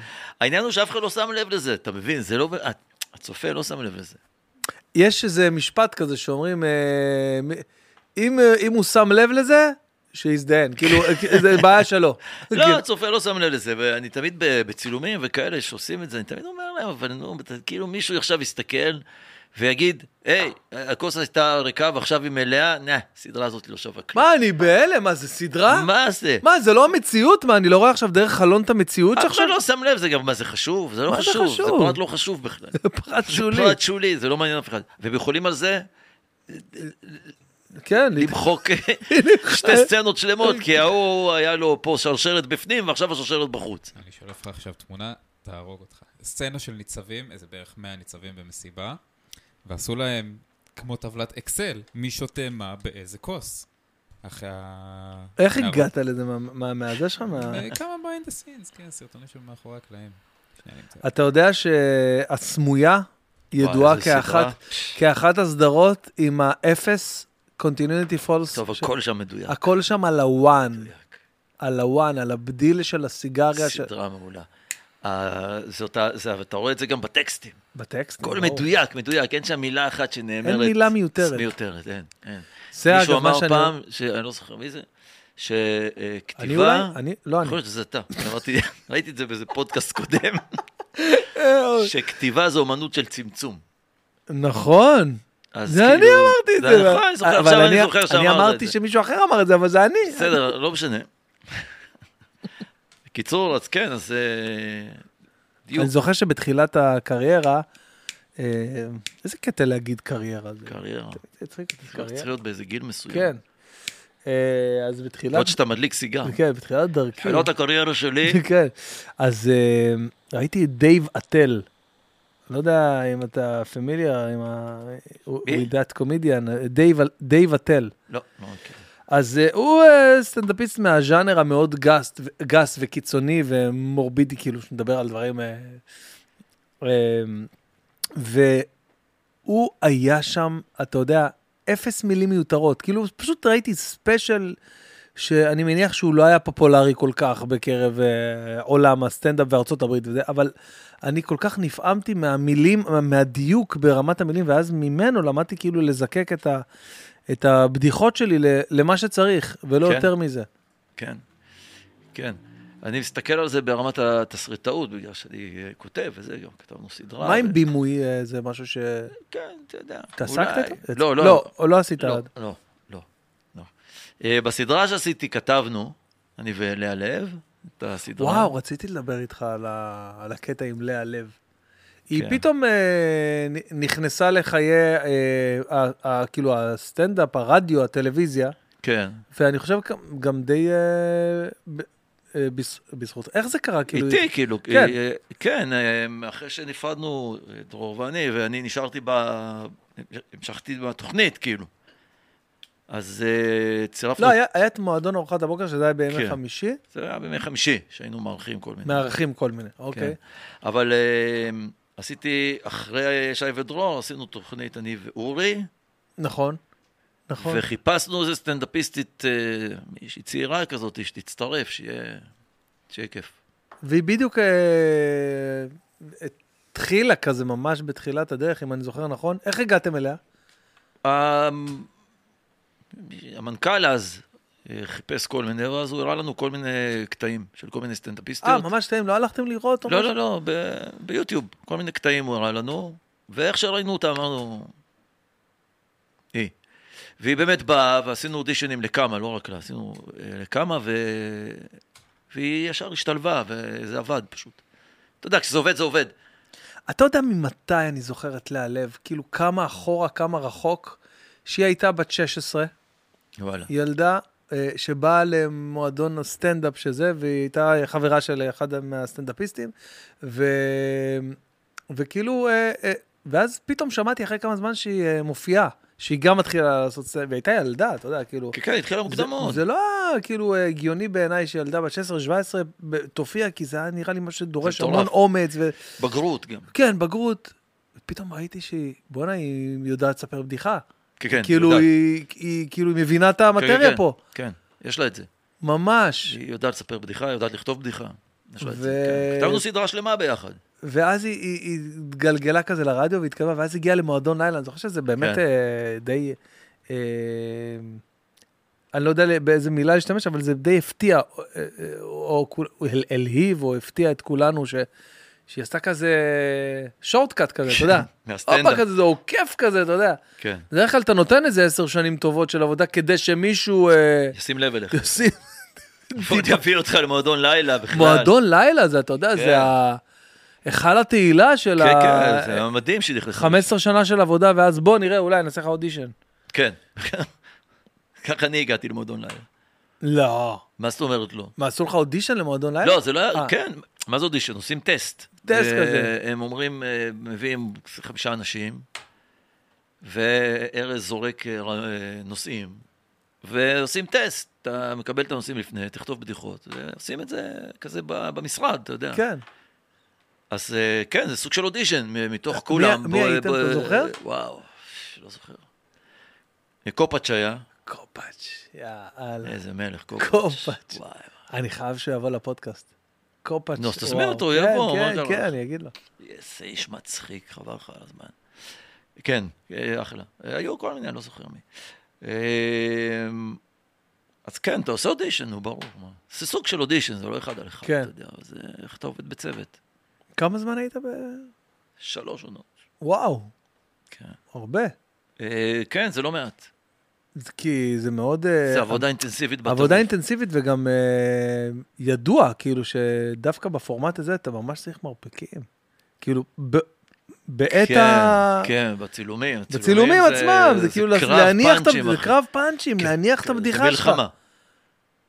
Speaker 2: העניין הוא שאף אחד לא שם לב לזה, אתה מבין? זה לא... את- הצופה לא שם לב לזה.
Speaker 1: יש איזה משפט כזה שאומרים, אה, מ- אם, אה, אם הוא שם לב לזה, שיזדיין. כאילו, אה, זה בעיה שלו.
Speaker 2: לא,
Speaker 1: כאילו,
Speaker 2: הצופה לא שם לב לזה, ואני תמיד ב- בצילומים וכאלה שעושים את זה, אני תמיד אומר להם, אבל נו, אתה- כאילו מישהו עכשיו יסתכל ויגיד, היי, הכוס הייתה ריקה ועכשיו היא מלאה, נה, הסדרה הזאת לא שווה כלום.
Speaker 1: מה, אני בהלם? מה, זה סדרה?
Speaker 2: מה זה?
Speaker 1: מה, זה לא המציאות? מה, אני לא רואה עכשיו דרך חלון את המציאות
Speaker 2: אף אחד
Speaker 1: שעכשיו?
Speaker 2: לא שם לב, זה גם, מה זה חשוב? זה לא
Speaker 1: מה זה
Speaker 2: חשוב, זה
Speaker 1: חשוב?
Speaker 2: פרט לא חשוב בכלל.
Speaker 1: זה פרט שולי.
Speaker 2: זה פרט שולי, זה לא מעניין אף אחד. והם יכולים על זה
Speaker 1: כן,
Speaker 2: למחוק שתי סצנות שלמות, כי ההוא היה לו פה שרשרת בפנים ועכשיו השרשרת בחוץ.
Speaker 3: אני שולף לך עכשיו תמונה, תהרוג אותך. סצנה של ניצבים, איזה בערך 100 ניצבים במסיבה, ועשו להם כמו טבלת אקסל, מי שותה מה באיזה כוס. אחרי ה...
Speaker 1: איך הגעת לזה? מה- מה, מהזה שלך? מה-
Speaker 3: אה, כמה ביינד הסינס, כן, סרטונים של מאחורי הקלעים. שנייה, אני אמצא.
Speaker 1: אתה יודע שהסמויה ידועה
Speaker 2: וואי, איזה
Speaker 1: כאחת, כאחת הסדרות עם האפס continuity false.
Speaker 2: טוב,
Speaker 1: ש-
Speaker 2: הכל שם מדויק.
Speaker 1: הכל שם על הוואן,
Speaker 2: מדויק.
Speaker 1: על הוואן, על הבדיל של הסיגריה ש-
Speaker 2: סדרה מעולה. אה, זאת ה- זה- אתה רואה את זה גם בטקסטים.
Speaker 1: בטקסט.
Speaker 2: הכל
Speaker 1: ברור.
Speaker 2: מדויק, מדויק, אין שם מילה אחת שנאמרת.
Speaker 1: אין מילה מיותרת.
Speaker 2: מיותרת, אין, אין.
Speaker 1: זה
Speaker 2: מישהו
Speaker 1: אגב מה
Speaker 2: אמר
Speaker 1: שאני...
Speaker 2: פעם, ש- אני לא זוכר מי זה, אה,
Speaker 1: אני אולי,
Speaker 2: שכתיבה,
Speaker 1: אני, לא אני.
Speaker 2: יכול להיות שזה אתה, אמרתי, ראיתי את זה באיזה פודקאסט קודם, שכתיבה זה אומנות של צמצום.
Speaker 1: נכון.
Speaker 2: אז
Speaker 1: זה אני
Speaker 2: כאילו-
Speaker 1: אמרתי את זה.
Speaker 2: נכון, אני זוכר,
Speaker 1: אבל
Speaker 2: עכשיו אני זוכר
Speaker 1: אני
Speaker 2: שאמרת את
Speaker 1: אמרתי
Speaker 2: זה.
Speaker 1: שמישהו אחר אמר את זה, אבל זה אני.
Speaker 2: בסדר, לא משנה. בקיצור, אז כן, אז... אה, דיוק,
Speaker 1: אני זוכר שבתחילת הקריירה, אה, איזה קטע להגיד קריירה זה?
Speaker 2: קריירה.
Speaker 1: זה הצחיק אותי,
Speaker 2: צריך
Speaker 1: קריירה.
Speaker 2: להיות באיזה גיל מסוים.
Speaker 1: כן. אה, אז בתחילת...
Speaker 2: עוד לא שאתה מדליק סיגר.
Speaker 1: כן, בתחילת דרכי.
Speaker 2: חילות הקריירה שלי,
Speaker 1: כן. אז אה, ראיתי את דייב אטל. לא יודע אם אתה פמיליאר עם ה...
Speaker 2: מי?
Speaker 1: with that comedian, דייב- דייב אטל.
Speaker 2: לא, לא מכיר.
Speaker 1: אז אה, הוא אה, סטנדאפיסט מהז'אנר המאוד גס, ו- גס וקיצוני ומורבידי, כאילו, שמדבר על דברים... אה, אה, והוא היה שם, אתה יודע, אפס מילים מיותרות. כאילו, פשוט ראיתי ספיישל שאני מניח שהוא לא היה פופולרי כל כך בקרב אה, עולם הסטנדאפ וארצות הברית וזה, אבל אני כל כך נפעמתי מהמילים, מהדיוק ברמת המילים, ואז ממנו למדתי כאילו לזקק את, ה, את הבדיחות שלי ל- למה שצריך, ולא
Speaker 2: כן.
Speaker 1: יותר מזה.
Speaker 2: כן, כן. אני מסתכל על זה ברמת התסריטאות, בגלל שאני אה, כותב וזה, גם כתבנו סדרה.
Speaker 1: מה עם
Speaker 2: ו-
Speaker 1: בימוי, אה, זה משהו שהתעסקת
Speaker 2: כן, אתה יודע.
Speaker 1: איתו?
Speaker 2: אולי. לא, לא.
Speaker 1: לא, או לא עשית
Speaker 2: לא,
Speaker 1: עד.
Speaker 2: לא, לא, לא. אה, בסדרה שעשיתי כתבנו, אני ולאה לב, את הסדרה.
Speaker 1: וואו, רציתי לדבר איתך על, ה... על הקטע עם לאה לב. היא
Speaker 2: כן.
Speaker 1: פתאום אה, נ- נכנסה לחיי, אה, ה, ה, כאילו, הסטנדאפ, הרדיו, הטלוויזיה,
Speaker 2: כן.
Speaker 1: ואני חושב גם- גם די אה, ב, אה, בז, בזכות. איך זה קרה? כאילו,
Speaker 2: איתי, כאילו,
Speaker 1: כן.
Speaker 2: כן, כן אה, אחרי שנפרדנו, אה, דרור ואני, ואני נשארתי ב... המשכתי בתוכנית, כאילו. אז אה, צירפנו...
Speaker 1: לא, היה, היה את מועדון ארוחת הבוקר, שזה היה בימי
Speaker 2: כן.
Speaker 1: חמישי,
Speaker 2: זה היה בימי חמישי, שהיינו מארחים כל מיני.
Speaker 1: מארחים כל מיני, אוקיי.
Speaker 2: כן. אבל אה, עשיתי, אחרי שי ודרור, עשינו תוכנית, אני ואורי, כן.
Speaker 1: נכון, נכון.
Speaker 2: וחיפשנו איזה סטנדאפיסטית, אה, מישהי צעירה כזאת, שתצטרף, שיהיה שיהיה כיף.
Speaker 1: והיא בדיוק אה, התחילה כזה ממש בתחילת הדרך, אם אני זוכר נכון. איך הגעתם אליה?
Speaker 2: ה- אמ, המנכ"ל אז אה, חיפש כל מיני, ואז הוא הראה לנו כל מיני קטעים של כל מיני
Speaker 1: אה,
Speaker 2: סטנדאפיסטיות.
Speaker 1: ממש טעים, לא הלכתם לראות? או
Speaker 2: כאילו- לא,
Speaker 1: משהו?
Speaker 2: לא, לא, ב- ביוטיוב, כל מיני קטעים הוא הראה לנו, ואיך שראינו אותה אמרנו... היא. והיא באמת באה, ועשינו אודישנים לכמה, לא רק לה, עשינו אה, לכמה, ו... והיא ישר השתלבה, וזה עבד פשוט. אתה יודע, כשזה עובד, זה עובד.
Speaker 1: אתה יודע ממתי אני זוכר את לאה לב? כאילו, כמה אחורה, כמה רחוק, שהיא הייתה בת 16,
Speaker 2: וואלה.
Speaker 1: ילדה אה, שבאה למועדון הסטנדאפ שזה, והיא הייתה חברה של אחד מהסטנדאפיסטים, ו... וכאילו, אה, אה, ואז פתאום שמעתי אחרי כמה זמן שהיא אה, מופיעה, שהיא גם מתחילה לעשות סטנדאפ, והיא הייתה ילדה, אתה יודע, כאילו...
Speaker 2: כן, כן, התחילה
Speaker 1: זה,
Speaker 2: מוקדם מאוד.
Speaker 1: זה לא כאילו אה, הגיוני בעיניי שילדה בת 16-17 ב- תופיע, כי זה היה נראה לי מה שדורש
Speaker 2: זה מטורף.
Speaker 1: המון אומץ. ו...
Speaker 2: בגרות גם.
Speaker 1: כן, בגרות. פתאום ראיתי שהיא, בואנה, היא יודעת לספר בדיחה.
Speaker 2: כן, כן,
Speaker 1: כאילו,
Speaker 2: יודעת.
Speaker 1: היא, היא, כאילו, היא מבינה את
Speaker 2: כן, כן,
Speaker 1: המטריה
Speaker 2: כן.
Speaker 1: פה.
Speaker 2: כן, יש לה את זה.
Speaker 1: ממש.
Speaker 2: היא יודעת לספר בדיחה, היא יודעת לכתוב בדיחה. יש לה את
Speaker 1: ו-
Speaker 2: זה. כן. כתבנו סדרה שלמה ביחד.
Speaker 1: ואז היא, היא, היא התגלגלה כזה לרדיו והתקרבה, ואז הגיעה למועדון לילה. אני זוכר שזה באמת
Speaker 2: כן.
Speaker 1: אה, די... אה, אני לא יודע באיזה מילה להשתמש, אבל זה די הפתיע, אה, אה, או, או, כול- או הל- הלהיב, או הפתיע את כולנו, ש, שהיא עשתה כזה שורטקאט כזה, אתה יודע.
Speaker 2: מהסטנדאפ.
Speaker 1: הופה כזה, זה עוקף כזה, אתה יודע.
Speaker 2: כן.
Speaker 1: בדרך כלל אתה נותן איזה עשר שנים טובות של עבודה כדי שמישהו אה,
Speaker 2: ישים לב אליך.
Speaker 1: ישים
Speaker 2: עוד יביא אותך למועדון לילה בכלל.
Speaker 1: מועדון לילה, זה, אתה יודע,
Speaker 2: כן.
Speaker 1: זה ה- היכל התהילה של
Speaker 2: כן,
Speaker 1: ה...
Speaker 2: כן, זה היה מדהים שנכנסו.
Speaker 1: 15 שנה של עבודה, ואז בוא נראה, אולי נעשה לך אודישן.
Speaker 2: כן. ככה אני הגעתי למועדון לילה.
Speaker 1: לא.
Speaker 2: מה זאת אומרת לא?
Speaker 1: מה, עשו לך אודישן למועדון לילה?
Speaker 2: לא, זה לא היה,
Speaker 1: אה.
Speaker 2: כן, מה זה אודישן? עושים טסט.
Speaker 1: טסט
Speaker 2: אה,
Speaker 1: כזה.
Speaker 2: הם אומרים, אה, מביאים חמישה אנשים, וארז זורק אה, ר- אה, נושאים, ועושים טסט. אתה מקבל את הנושאים לפני, תכתוב בדיחות, ועושים את זה כזה ב- במשרד, אתה יודע.
Speaker 1: כן.
Speaker 2: אז אה, כן, זה סוג של אודישן, מ- מתוך
Speaker 1: מי-
Speaker 2: כולם.
Speaker 1: מי
Speaker 2: בוא-
Speaker 1: הייתם,
Speaker 2: בוא-
Speaker 1: אתה זוכר?
Speaker 2: וואו, לא זוכר. קופאץ' היה,
Speaker 1: קופאץ', יאללה.
Speaker 2: איזה מלך, קופאץ'.
Speaker 1: כן. קופאץ'.
Speaker 2: וואי,
Speaker 1: אני חייב שיבוא לפודקאסט. קופאץ'.
Speaker 2: נו, אז תזמין
Speaker 1: וואו.
Speaker 2: אותו, הוא
Speaker 1: כן,
Speaker 2: יבוא, מה
Speaker 1: כן,
Speaker 2: קרה?
Speaker 1: כן, אני אגיד לו.
Speaker 2: איזה איש מצחיק, חבל לך על הזמן. כן, אה, אחלה. אה, היו כל מיני, אני לא זוכר מי. אה, אז כן, אתה עושה אודישן, נו, ברור. מה. זה סוג של אודישן, זה לא אחד על אחד,
Speaker 1: כן.
Speaker 2: אתה יודע, זה איך אתה עובד בצוות.
Speaker 1: כמה זמן היית ב...
Speaker 2: שלוש עונות.
Speaker 1: וואו,
Speaker 2: כן.
Speaker 1: הרבה.
Speaker 2: אה, כן, זה לא מעט.
Speaker 1: זה- כי זה מאוד... אה,
Speaker 2: זה עבודה אינטנסיבית בטרוף.
Speaker 1: עבודה אינטנסיבית וגם אה, ידוע, כאילו, שדווקא בפורמט הזה אתה ממש צריך מרפקים. כאילו, ב- בעת
Speaker 2: כן,
Speaker 1: ה...
Speaker 2: כן, בצילומים.
Speaker 1: בצילומים
Speaker 2: זה-
Speaker 1: עצמם, זה כאילו
Speaker 2: קרב
Speaker 1: להניח את ה...
Speaker 2: פאנצ'ים,
Speaker 1: זה
Speaker 2: אחי.
Speaker 1: קרב פאנצ'ים, להניח את
Speaker 2: כן, זה
Speaker 1: הבדיחה שלך.
Speaker 2: מלחמה.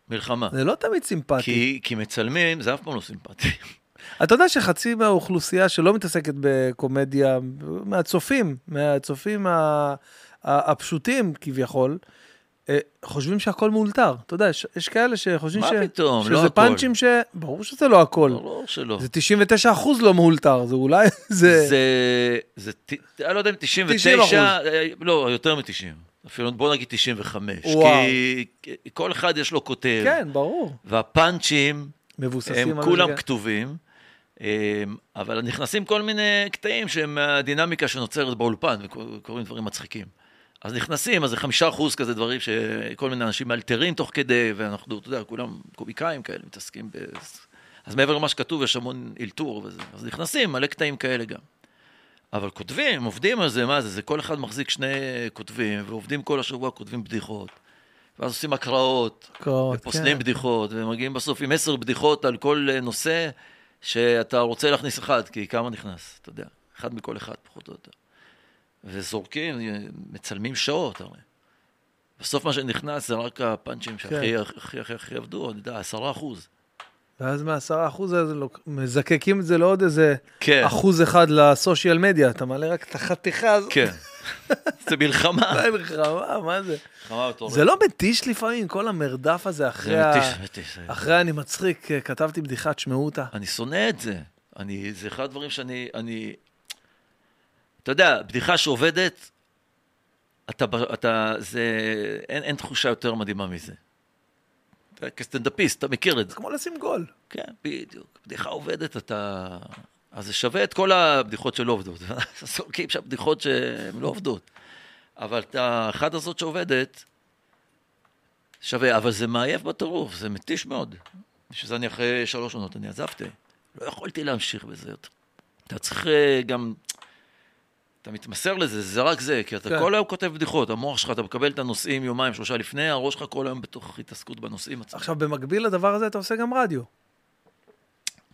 Speaker 2: מלחמה.
Speaker 1: זה לא תמיד סימפטי.
Speaker 2: כי- כי מצלמים, זה אף פעם לא סימפטי.
Speaker 1: אתה יודע שחצי מהאוכלוסייה שלא מתעסקת בקומדיה, מהצופים, מהצופים ה- ה- הפשוטים כביכול, אה, חושבים שהכל מאולתר. אתה יודע, יש, יש כאלה שחושבים
Speaker 2: מה
Speaker 1: ש...
Speaker 2: פתאום?
Speaker 1: שזה
Speaker 2: לא הכל.
Speaker 1: פאנצ'ים ש... ברור שזה לא הכל.
Speaker 2: ברור שלא.
Speaker 1: זה 99 אחוז לא מאולתר, זה אולי... זה... זה...
Speaker 2: זה, זה, ט- אני לא יודע אם
Speaker 1: 90%.
Speaker 2: 99, אה, לא, יותר מ-90, אפילו בוא נגיד 95,
Speaker 1: וואו.
Speaker 2: כי כי כל אחד יש לו כותב,
Speaker 1: כן, ברור.
Speaker 2: והפאנצ'ים
Speaker 1: מבוססים
Speaker 2: הם
Speaker 1: על
Speaker 2: כולם
Speaker 1: זה.
Speaker 2: כתובים, אה, אבל נכנסים כל מיני קטעים שהם מהדינמיקה שנוצרת באולפן, וקורים דברים מצחיקים. אז נכנסים, אז זה חמישה אחוז כזה דברים שכל מיני אנשים מאלתרים תוך כדי, ואנחנו, אתה יודע, כולם קומיקאים כאלה מתעסקים ב... אז מעבר למה שכתוב יש המון אלתור וזה, אז נכנסים מלא קטעים כאלה גם. אבל כותבים, עובדים על זה, מה זה, זה כל אחד מחזיק שני כותבים, ועובדים כל השבוע, כותבים בדיחות. ואז עושים הקראות,
Speaker 1: הקראות,
Speaker 2: ופוסלים
Speaker 1: כן.
Speaker 2: בדיחות, ומגיעים בסוף עם עשר בדיחות על כל אה, נושא שאתה רוצה להכניס אחד, כי כמה נכנס, אתה יודע, אחד מכל אחד, פחות או יותר. וזורקים, אה, מצלמים שעות הרי. בסוף מה שנכנס זה רק הפאנצ'ים
Speaker 1: כן.
Speaker 2: שהכי הכי הכי הכי עבדו, אני יודע, עשרה אחוז.
Speaker 1: ואז מהעשרה אחוז הזה לוק- מזקקים את זה לעוד איזה
Speaker 2: כן,
Speaker 1: אחוז אחד לסושיאל מדיה, אתה מעלה רק את החתיכה הזאת.
Speaker 2: כן. זה מלחמה.
Speaker 1: זה לא מלחמה, מה זה?
Speaker 2: מלחמה מטורפת.
Speaker 1: זה לא מתיש לפעמים, כל המרדף הזה אחרי
Speaker 2: זה
Speaker 1: ה...
Speaker 2: מתיש, מתיש. זה-
Speaker 1: אחרי אני מצחיק, אה, כתבתי בדיחה, תשמעו אותה.
Speaker 2: אני שונא את זה. אני, זה אחד הדברים שאני, אני... אתה יודע, בדיחה שעובדת, אתה, ב- אתה, זה, אין, אין תחושה יותר מדהימה מזה. אתה כסטנדאפיסט, אתה מכיר את זה.
Speaker 1: זה כמו לשים גול.
Speaker 2: כן, בדיוק. בדיחה עובדת, אתה... אז זה שווה את כל הבדיחות שלא עובדות. סורקים שם בדיחות שהן לא עובדות. אבל את האחת הזאת שעובדת, שווה. אבל זה מעייף בטירוף, זה מתיש מאוד. בשביל זה אני אחרי שלוש עונות, אני עזבתי. לא יכולתי להמשיך בזה יותר. אתה צריך אה, גם... אתה מתמסר לזה, זה רק זה, כי אתה
Speaker 1: כן.
Speaker 2: כן. כל היום כותב בדיחות, המוח שלך, אתה מקבל את הנושאים יומיים, שלושה לפני, הראש שלך כל היום בתוך התעסקות בנושאים עצמם.
Speaker 1: עכשיו, במקביל לדבר הזה אתה עושה גם רדיו.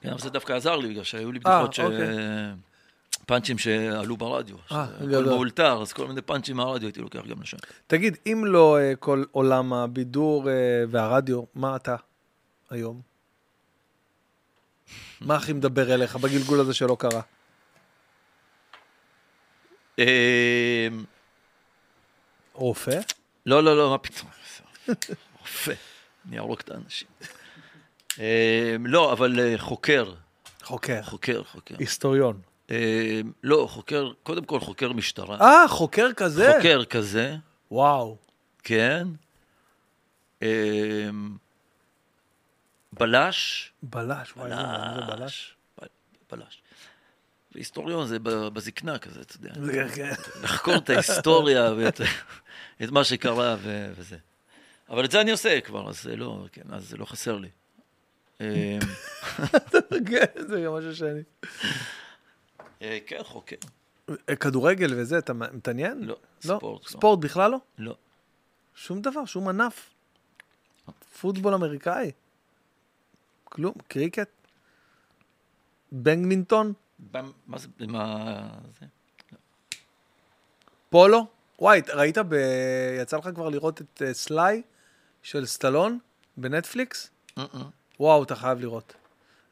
Speaker 2: כן, אבל זה דווקא עזר לי, בגלל שהיו לי
Speaker 1: אה,
Speaker 2: בדיחות ש...
Speaker 1: אוקיי.
Speaker 2: פאנצ'ים שעלו ברדיו.
Speaker 1: אה,
Speaker 2: הכל
Speaker 1: גדול.
Speaker 2: מאולתר, אז כל מיני פאנצ'ים מהרדיו הייתי לוקח גם לשם.
Speaker 1: תגיד, אם לא אה, כל עולם הבידור אה, והרדיו, מה אתה היום? מה הכי מדבר אליך בגלגול הזה שלא קרה?
Speaker 2: אה,
Speaker 1: רופא?
Speaker 2: לא, לא, לא, מה פתאום? רופא, אני ארוג את האנשים. אה, לא, אבל אה, חוקר,
Speaker 1: חוקר.
Speaker 2: חוקר, חוקר.
Speaker 1: היסטוריון.
Speaker 2: אה, לא, חוקר, קודם כל חוקר משטרה.
Speaker 1: אה, חוקר כזה?
Speaker 2: חוקר כזה,
Speaker 1: וואו.
Speaker 2: כן. אה, בלש.
Speaker 1: בלש, וואי, איזה מעניין זה בלש.
Speaker 2: ב- בלש. והיסטוריון זה ב- בזקנה כזה, אתה יודע.
Speaker 1: זה- כן.
Speaker 2: לחקור את ההיסטוריה ואת את מה שקרה ו- וזה. אבל את זה אני עושה כבר, אז זה לא, כן, אז זה לא חסר לי. אה,
Speaker 1: כן, זה גם משהו שאני...
Speaker 2: אה, כן, חוקר.
Speaker 1: אה, כדורגל וזה, אתה מתעניין?
Speaker 2: לא, ספורט לא.
Speaker 1: ספורט בכלל לא?
Speaker 2: לא.
Speaker 1: שום דבר, שום ענף. פוטבול אמריקאי. כלום, קריקט. בנגמינטון,
Speaker 2: במ- מה זה, מה זה?
Speaker 1: פולו. וואי, ראית ב... יצא לך כבר לראות את אה, סליי של סטלון בנטפליקס?
Speaker 2: אה, אה.
Speaker 1: וואו, אתה חייב לראות.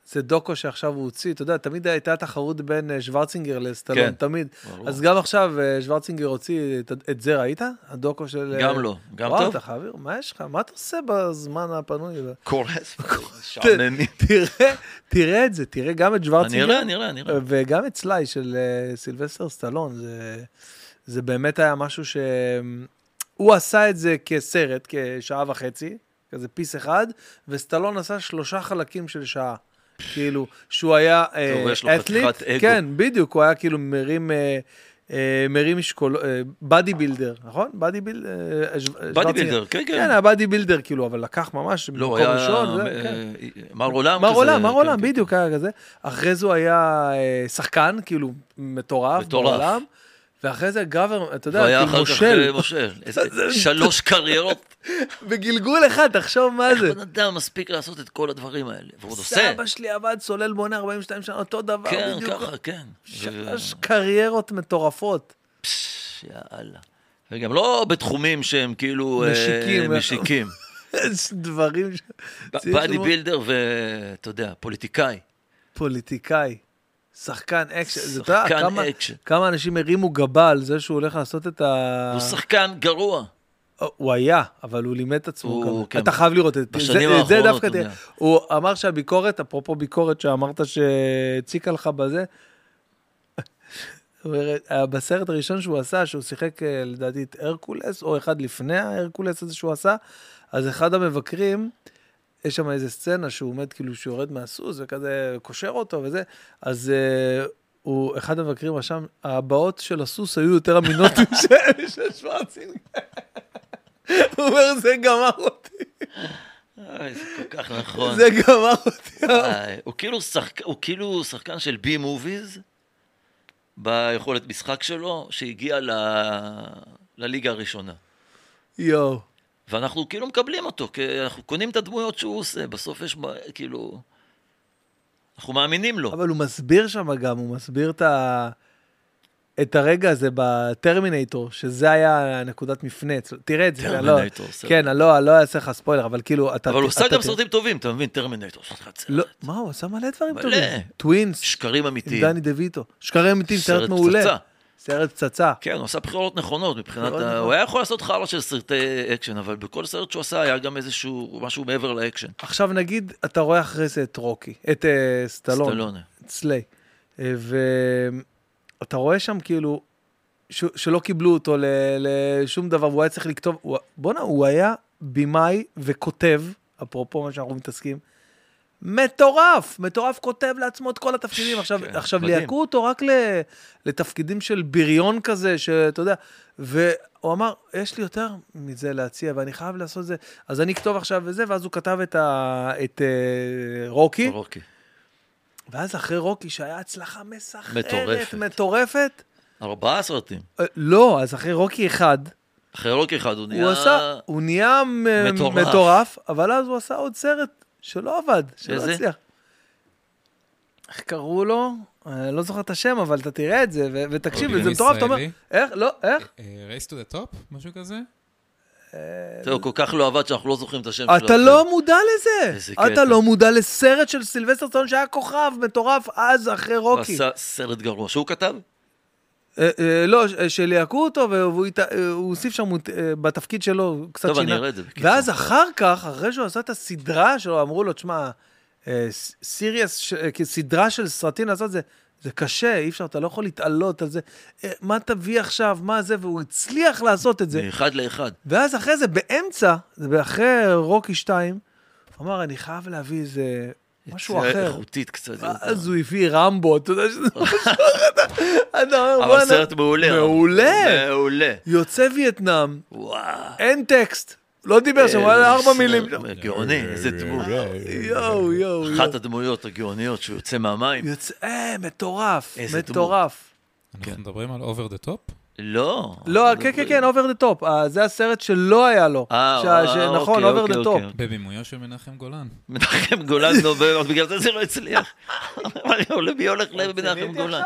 Speaker 1: זה דוקו שעכשיו הוא הוציא, אתה יודע, תמיד הייתה תחרות בין אה, שוורצינגר לסטלון,
Speaker 2: כן,
Speaker 1: תמיד.
Speaker 2: ברור.
Speaker 1: אז גם עכשיו אה, שוורצינגר הוציא, את, את זה ראית? הדוקו של... אה,
Speaker 2: גם לא. גם
Speaker 1: וואו,
Speaker 2: טוב?
Speaker 1: אתה חייב לראות, מה יש לך? מה אתה עושה בזמן הפנוי הזה?
Speaker 2: קורס, שעננים.
Speaker 1: תראה, תראה את זה, תראה גם את
Speaker 2: אני
Speaker 1: שוורצינגר.
Speaker 2: אראה, אני אראה, אני
Speaker 1: אה,
Speaker 2: אראה.
Speaker 1: וגם את סליי של אה, סילבסטר סטלון, זה, זה באמת היה משהו ש... הוא עשה את זה כסרט, כשעה וחצי, כזה פיס אחד, וסטלון עשה שלושה חלקים של שעה. כאילו, שהוא היה אה,
Speaker 2: טוב, יש לו
Speaker 1: אתלית.
Speaker 2: חתיכת אגו.
Speaker 1: כן, בדיוק, הוא היה כאילו מרים... אה, אה, מרים משקול, בדי בילדר, נכון? אה, בדי בילדר.
Speaker 2: באדי בילדר, כן, כן.
Speaker 1: כן, הבאדי בילדר, כאילו, אבל לקח ממש
Speaker 2: לא,
Speaker 1: במקום
Speaker 2: היה
Speaker 1: ראשון. זה,
Speaker 2: אה,
Speaker 1: כן.
Speaker 2: מר עולם כזה.
Speaker 1: מר עולם, מר
Speaker 2: כן,
Speaker 1: עולם,
Speaker 2: כן.
Speaker 1: בדיוק היה כזה. אחרי זה הוא היה אה, שחקן, כאילו, מטורף,
Speaker 2: מטורף.
Speaker 1: מר עולם. ואחרי זה גובר, אתה יודע,
Speaker 2: והיה
Speaker 1: כאילו
Speaker 2: אחר כך אה,
Speaker 1: מושל,
Speaker 2: מושל. איזה- שלוש קריירות.
Speaker 1: בגלגול אחד, תחשוב מה זה.
Speaker 2: בן אדם מספיק לעשות את כל הדברים האלה. והוא עוד עושה.
Speaker 1: סבא שלי עבד סולל בונה 42 שנה, אותו דבר,
Speaker 2: כן,
Speaker 1: בדיוק.
Speaker 2: ככה, כן.
Speaker 1: שלוש קריירות מטורפות.
Speaker 2: פש, יאללה. וגם לא בתחומים שהם כאילו... אה,
Speaker 1: משיקים.
Speaker 2: משיקים.
Speaker 1: יש דברים ש... צריך
Speaker 2: באדי
Speaker 1: ללמוד.
Speaker 2: בילדר ואתה יודע, פוליטיקאי.
Speaker 1: אה. פוליטיקאי, שחקן אקשן. זה, אתה יודע,
Speaker 2: שחקן
Speaker 1: כמה-
Speaker 2: אקשן.
Speaker 1: כמה אנשים הרימו גבה על זה שהוא הולך לעשות את ה...
Speaker 2: הוא שחקן גרוע.
Speaker 1: הוא היה, אבל הוא לימד את עצמו
Speaker 2: הוא-
Speaker 1: כמה.
Speaker 2: כן.
Speaker 1: אתה חייב לראות את
Speaker 2: בשנים
Speaker 1: זה, את זה
Speaker 2: האחרונות,
Speaker 1: דווקא
Speaker 2: אתה
Speaker 1: תראה.
Speaker 2: יודע.
Speaker 1: הוא אמר שהביקורת, אפרופו ביקורת שאמרת שהציקה לך בזה, הוא הראה- בסרט הראשון שהוא עשה, שהוא שיחק אה, לדעתי את הרקולס, או אחד לפני ההרקולס הזה שהוא עשה, אז אחד המבקרים, יש שם איזה סצנה שהוא עומד, כאילו, שהוא יורד מהסוס וכזה קושר אותו וזה, אז... אה, הוא, אחד המבקרים רשם, הבאות של הסוס היו יותר אמינות משל שוורצינגר. הוא אומר, זה גמר אותי,
Speaker 2: אוי, אה, זה כל כך נכון.
Speaker 1: זה גמר אותי.
Speaker 2: אה, הוא כאילו שחק- הוא כאילו שחקן של בי מוביז ביכולת משחק שלו, שהגיע ל- לליגה הראשונה.
Speaker 1: יואו,
Speaker 2: ואנחנו כאילו מקבלים אותו, כי אנחנו קונים את הדמויות שהוא עושה, בסוף יש מה- כאילו... אנחנו מאמינים לו.
Speaker 1: אבל הוא מסביר שם גם, הוא מסביר את, ה... את הרגע הזה בטרמינטור, שזה היה נקודת מפנה. אצלו. תראה את זה, אני לא,
Speaker 2: טרמינטור, בסדר.
Speaker 1: כן, אני לא, אני לא אעשה לך ספוילר, אבל כאילו, אתה...
Speaker 2: אבל הוא עושה
Speaker 1: אתה
Speaker 2: גם
Speaker 1: תראה-
Speaker 2: סרטים טובים, אתה מבין? טרמינטור, עושה לך
Speaker 1: לא,
Speaker 2: סרט.
Speaker 1: מה, הוא עשה מלא דברים
Speaker 2: מלא.
Speaker 1: טובים. טווינס,
Speaker 2: שקרים
Speaker 1: עם
Speaker 2: אמיתיים.
Speaker 1: דני דה ויטו. שקרים אמיתיים, סרט
Speaker 2: סרט
Speaker 1: מעולה.
Speaker 2: פצצה.
Speaker 1: סרט פצצה.
Speaker 2: כן, הוא עשה בחירות נכונות מבחינת...
Speaker 1: בחירות
Speaker 2: ה...
Speaker 1: נכונות.
Speaker 2: הוא היה יכול לעשות חרא של סרטי אקשן, אבל בכל סרט שהוא עשה היה גם איזשהו משהו מעבר לאקשן.
Speaker 1: עכשיו נגיד, אתה רואה אחרי זה את רוקי, את אה, סטלון.
Speaker 2: סטלונה.
Speaker 1: סליי. אה, ואתה רואה שם כאילו, ש... שלא קיבלו אותו ל... לשום דבר, והוא היה צריך לכתוב, הוא... בואנה, הוא היה במאי וכותב, אפרופו מה שאנחנו מתעסקים, מטורף, מטורף כותב לעצמו את כל התפקידים. עכשיו,
Speaker 2: כן,
Speaker 1: עכשיו
Speaker 2: מדהים.
Speaker 1: ליהקו אותו רק ל... לתפקידים של בריון כזה, שאתה יודע, והוא אמר, יש לי יותר מזה להציע, ואני חייב לעשות זה, אז אני אכתוב עכשיו וזה, ואז הוא כתב את, ה... את אה, רוקי.
Speaker 2: רוקי.
Speaker 1: ואז אחרי רוקי, שהיה הצלחה מסחררת, מטורפת.
Speaker 2: מטורפת.
Speaker 1: מטורפת
Speaker 2: ארבעה סרטים.
Speaker 1: אה, לא, אז אחרי רוקי אחד,
Speaker 2: אחרי רוקי אחד הוא נהיה...
Speaker 1: הוא עשה, הוא נהיה מ-
Speaker 2: מטורף.
Speaker 1: מטורף, אבל אז הוא עשה עוד סרט שלא עבד, שלא
Speaker 2: איזה?
Speaker 1: הצליח. איך קראו לו? אני לא זוכר את השם, אבל אתה תראה את זה, ו- ותקשיב,
Speaker 3: אוקיי.
Speaker 1: זה מטורף, אתה אומר,
Speaker 3: ישראלי?
Speaker 1: איך, לא, איך?
Speaker 3: רייס טו דה טופ? משהו כזה?
Speaker 2: זהו, כל כך לא עבד שאנחנו לא זוכרים את השם שלו.
Speaker 1: אתה לא מודע לזה,
Speaker 2: איזה
Speaker 1: אתה
Speaker 2: קטע.
Speaker 1: לא מודע לסרט של סילבסטר סטון שהיה כוכב מטורף אז אחרי
Speaker 2: הוא
Speaker 1: רוקי.
Speaker 2: עשה סרט גרוע. שהוא כתב?
Speaker 1: אה, אה, לא, ש- שליהקו אותו, והוא הת- אה, הוא הוסיף שם מות- אה, בתפקיד שלו קצת שינה.
Speaker 2: טוב, אני אראה את זה, בקיצור.
Speaker 1: ואז אחר כך, אחרי שהוא עשה את הסדרה שלו, אמרו לו, תשמע, אה, ס- סיריאס, ש- אה, כסדרה של סרטים לעשות זה, זה קשה, אי אפשר, אתה לא יכול להתעלות על זה. אה, מה תביא עכשיו, מה זה, והוא הצליח לעשות את זה.
Speaker 2: מאחד לאחד.
Speaker 1: ואז אחרי זה, באמצע, זה אחרי רוקי 2, הוא אמר, אני חייב להביא איזה משהו
Speaker 2: יצירה
Speaker 1: אחר.
Speaker 2: איכותית קצת. יותר.
Speaker 1: ואז הוא הביא רמבו, אתה יודע שזה משהו אחר. אתה אומר,
Speaker 2: אבל
Speaker 1: "בואנה,
Speaker 2: סרט מעולה.
Speaker 1: מעולה.
Speaker 2: מעולה.
Speaker 1: יוצא וייטנאם,
Speaker 2: וואו.
Speaker 1: אין טקסט, לא דיבר שם, הוא היה ארבע
Speaker 2: אה,
Speaker 1: מילים.
Speaker 2: גאוני, איזה
Speaker 3: אה,
Speaker 2: דמות.
Speaker 1: אה, יואו, יואו, יואו.
Speaker 2: אחת הדמויות הגאוניות שהוא יוצא מהמים.
Speaker 1: יוצא, אה, מטורף,
Speaker 2: איזה דמות. אה,
Speaker 1: מטורף.
Speaker 3: אנחנו מדברים על אובר דה טופ?
Speaker 2: לא.
Speaker 1: לא, כן, כן, כן, אובר דה טופ. זה הסרט שלא היה לו.
Speaker 2: אה,
Speaker 1: שה-
Speaker 2: אה,
Speaker 1: ש-
Speaker 2: אוקיי,
Speaker 1: נכון,
Speaker 2: אוקיי,
Speaker 1: אובר דה טופ.
Speaker 2: אוקיי, אוקיי.
Speaker 3: בבימויו של מנחם גולן.
Speaker 2: מנחם גולן נובל, בגלל זה זה לא הצליח. אבל אני עולה בי הולך למנחם גולן.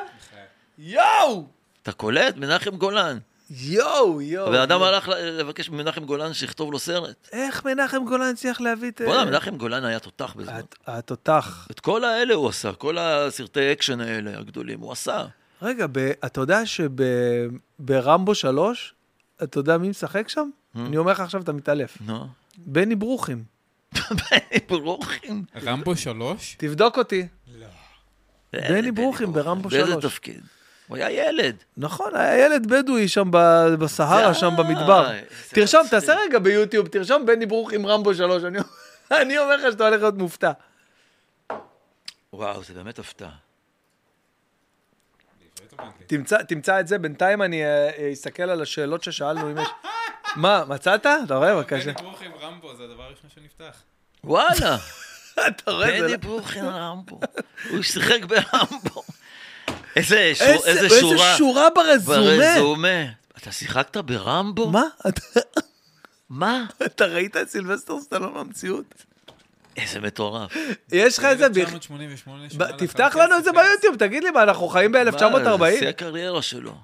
Speaker 1: יואו!
Speaker 2: אתה קולט? מנחם גולן.
Speaker 1: יואו, יואו.
Speaker 2: הבן אדם
Speaker 1: יואו.
Speaker 2: הלך ל- לבקש ממנחם גולן שיכתוב לו סרט.
Speaker 1: איך מנחם גולן הצליח להביא את... אה,
Speaker 2: בוא'נה, מנחם גולן היה תותח בזמן.
Speaker 1: הת- התותח.
Speaker 2: את כל האלה הוא עשה, כל הסרטי אקשן האלה הגדולים, הוא עשה.
Speaker 1: רגע, ב- אתה יודע שברמבו 3, אתה יודע מי משחק שם? אני אומר לך עכשיו, אתה מתעלף.
Speaker 2: נו.
Speaker 1: בני ברוכים.
Speaker 2: בני ברוכים.
Speaker 3: רמבו שלוש?
Speaker 1: תבדוק אותי.
Speaker 2: אה,
Speaker 1: ברוכים ברמבו
Speaker 2: באיזה
Speaker 1: שלוש.
Speaker 2: תפקיד? הוא היה ילד.
Speaker 1: נכון, היה ילד בדואי שם ב- בסהרה,
Speaker 2: אה,
Speaker 1: שם במדבר.
Speaker 2: איזה
Speaker 1: תרשום,
Speaker 2: מצחיק.
Speaker 1: תעשה רגע ביוטיוב, תרשום בני ברוך עם רמבו 3, אני- אני אומר לך שאתה הולך להיות מופתע.
Speaker 2: וואו, זה באמת הפתעה.
Speaker 1: תמצא- תמצא את זה, בינתיים אני אה, אה, אסתכל על השאלות ששאלנו אם יש... מה, מצאת? אתה רואה? בבקשה.
Speaker 3: עם רמבו, זה הדבר הראשון שנפתח.
Speaker 2: וואלה,
Speaker 1: אתה רואה? זה
Speaker 2: בני
Speaker 1: לא-
Speaker 2: ברוכים רמבו. הוא שיחק ברמבו. איזה שור-
Speaker 1: איזה
Speaker 2: איזה
Speaker 1: איזה
Speaker 2: שורה.
Speaker 1: שורה ברזומה.
Speaker 2: ברזומה. אתה שיחקת ברמבו?
Speaker 1: מה? אתה-
Speaker 2: מה?
Speaker 1: אתה ראית את סילבסטר סטלון במציאות?
Speaker 2: איזה מטורף.
Speaker 1: יש לך איזה... בכ-
Speaker 3: 1988
Speaker 1: ב- תפתח לנו
Speaker 3: כן.
Speaker 1: את זה ביוטיוב, תגיד לי מה, אנחנו חיים
Speaker 2: מה, זה
Speaker 1: ב-1940?
Speaker 2: הקריירה שלו.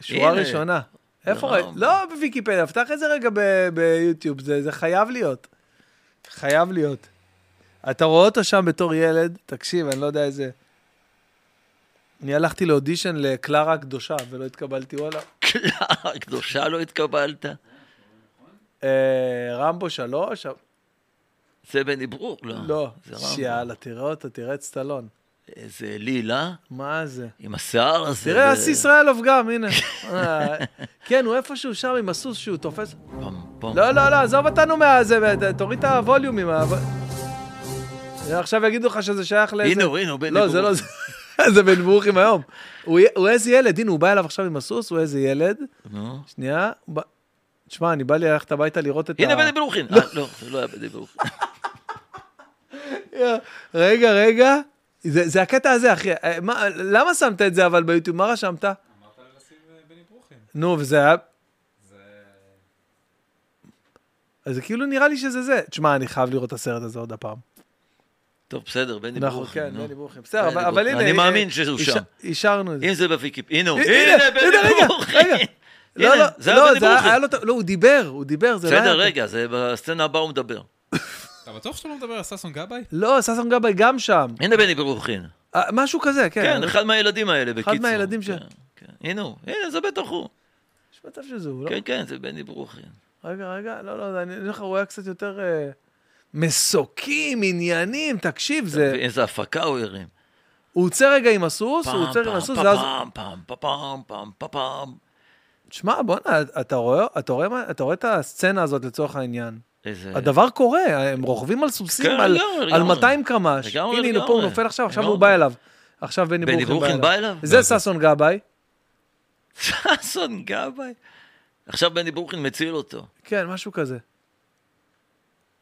Speaker 1: שורה
Speaker 2: הנה.
Speaker 1: ראשונה. איפה
Speaker 2: לא.
Speaker 1: ראית? לא בוויקיפדיה, פתח את זה רגע ב- ביוטיוב, זה זה חייב להיות. חייב להיות. אתה רואה אותו שם בתור ילד, תקשיב, אני לא יודע איזה... אני הלכתי לאודישן לקלרה הקדושה ולא התקבלתי, וואלה.
Speaker 2: קללה הקדושה לא התקבלת.
Speaker 1: אה, רמבו שלוש?
Speaker 2: זה בני ברור? לא.
Speaker 1: לא.
Speaker 2: זה רמבו.
Speaker 1: שיאללה, תראה אותו, תראה את סטלון.
Speaker 2: איזה ליל, אה?
Speaker 1: מה זה?
Speaker 2: עם השיער הזה.
Speaker 1: תראה,
Speaker 2: ו-
Speaker 1: אס ישראלוב גם, הנה. אה, כן, הוא איפשהו שם עם הסוס שהוא תופס.
Speaker 2: פם, פם.
Speaker 1: לא, לא, לא, עזוב אותנו מהזה, תוריד את הווליומים. אה, עכשיו יגידו לך שזה שייך לאיזה...
Speaker 2: הנה הוא, הנה הוא בני
Speaker 1: לא, זה
Speaker 2: ברוך.
Speaker 1: לא זה. זה בן ברוכים היום. הוא י- הוא איזה ילד, הנה, הוא בא אליו עכשיו עם הסוס, הוא איזה ילד.
Speaker 2: נו.
Speaker 1: שנייה. הוא בא- תשמע, אני בא לי ללכת הביתה לראות את ה...
Speaker 2: הנה בני ברוכין. אה, לא, זה לא היה בני ברוכין.
Speaker 1: יא, רגע, רגע. זה זה הקטע הזה, אחי. אה, מה- למה שמת את זה אבל ביוטיוב? מה רשמת?
Speaker 3: אמרת לשים בני ברוכים.
Speaker 1: נו, וזה היה...
Speaker 3: זה...
Speaker 1: אז זה כאילו נראה לי שזה זה. תשמע, אני חייב לראות את הסרט הזה עוד הפעם.
Speaker 2: טוב, בסדר, בני
Speaker 1: נכון,
Speaker 2: ברוכין.
Speaker 1: כן,
Speaker 2: נו.
Speaker 1: בני ברוכים. בסדר,
Speaker 2: בני
Speaker 1: אבל- אבל
Speaker 2: ברוכין.
Speaker 1: הנה...
Speaker 2: אני
Speaker 1: אה,
Speaker 2: מאמין שהוא
Speaker 1: איש-
Speaker 2: שם.
Speaker 1: אישרנו את זה.
Speaker 2: אם זה בוויקיפ... הנה הוא.
Speaker 1: הנה,
Speaker 2: הנה,
Speaker 1: הנה, רגע,
Speaker 2: בני
Speaker 1: רגע.
Speaker 2: ברוכין.
Speaker 1: לא,
Speaker 2: הנה,
Speaker 1: לא,
Speaker 2: זה היה
Speaker 1: לא,
Speaker 2: בני
Speaker 1: זה היה-
Speaker 2: ברוכין.
Speaker 1: היה לו... לא, הוא דיבר, הוא דיבר, זה לא היה...
Speaker 2: בסדר, רגע, זה בסצנה הבאה הוא מדבר.
Speaker 3: אתה בטוח שאתה לא מדבר על ששון גבאי?
Speaker 1: לא, ששון גבאי גם שם.
Speaker 2: הנה בני ברוכין.
Speaker 1: אה, משהו כזה, כן.
Speaker 2: כן,
Speaker 1: אני-
Speaker 2: אחד מהילדים האלה, בקיצור.
Speaker 1: מהילדים ש-
Speaker 2: כן, כן. הנה הוא. הנה, זה בטח הוא.
Speaker 1: יש מצב שזה הוא, לא?
Speaker 2: כן, כן, זה בני ברוכין.
Speaker 1: רגע, רגע, לא, לא, אני אני אומר לך, הוא היה קצת יותר... אה, מסוקים, עניינים, תקשיב, זה...
Speaker 2: איזה הפקה הוא הרים.
Speaker 1: הוא עוצר רגע עם הסוס,
Speaker 2: פעם,
Speaker 1: הוא עוצר עם
Speaker 2: פעם,
Speaker 1: הסוס,
Speaker 2: פעם,
Speaker 1: ואז...
Speaker 2: פעם, פעם, פעם, פעם, פעם, פעם.
Speaker 1: שמע, בואנה, אתה רואה, אתה רואה, מה- אתה רואה את הסצנה הזאת לצורך העניין.
Speaker 2: איזה...
Speaker 1: הדבר קורה, הם רוכבים על
Speaker 2: אה. כן,
Speaker 1: סוסים, על-
Speaker 2: לגמרי,
Speaker 1: על
Speaker 2: לגמרי.
Speaker 1: 200 קמ"ש.
Speaker 2: לגמרי,
Speaker 1: הנה, הנה, פה הוא
Speaker 2: לגמרי.
Speaker 1: נופל עכשיו, עכשיו
Speaker 2: לגמרי.
Speaker 1: הוא בא אליו. עכשיו בני
Speaker 2: בני ברוכין בא אליו?
Speaker 1: זה ששון גבאי.
Speaker 2: ששון גבאי. עכשיו בני ברוכין מציל אותו.
Speaker 1: כן, משהו כזה.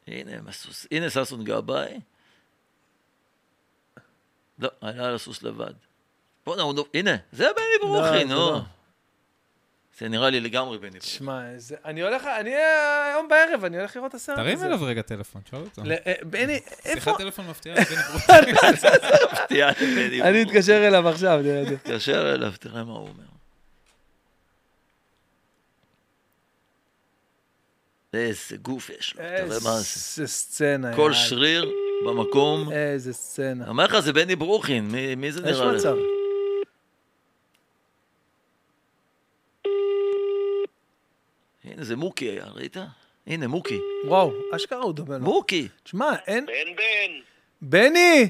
Speaker 2: הנה, עם הסוס. הנה ששון גבאי. לא, עלה על הסוס לבד. בוא'נה, הוא... נו- הנה, זה בני ברוכין,
Speaker 1: זה
Speaker 2: נו.
Speaker 1: לא.
Speaker 2: זה נראה לי לגמרי בני ברוכין.
Speaker 1: שמע, איזה- אני הולך, אני אה, היום בערב, אני הולך לראות את הסרט הזה.
Speaker 3: תרים אליו רגע טלפון, שאל אותו.
Speaker 1: ל- אה, בני, איפה?
Speaker 3: שיחת טלפון מפתיעה לבני ברוכים.
Speaker 2: תהיה בני ברוכין.
Speaker 1: אני לא אתקשר אליו עכשיו, נראה את זה.
Speaker 2: תתקשר אליו, תראה מה הוא אומר. איזה גוף יש לו, תראה מה זה.
Speaker 1: איזה סצנה.
Speaker 2: כל
Speaker 1: יאללה.
Speaker 2: שריר במקום.
Speaker 1: איזה סצנה.
Speaker 2: אומר לך, זה בני ברוכין, מי- מי זה
Speaker 1: יש
Speaker 2: נראה לך?
Speaker 1: מצב.
Speaker 2: הנה, זה מוקי היה, ראית? הנה, מוקי.
Speaker 1: וואו, אשכרה הוא דומה לו.
Speaker 2: מוקי!
Speaker 1: תשמע, אין...
Speaker 4: בן בן,
Speaker 1: בני!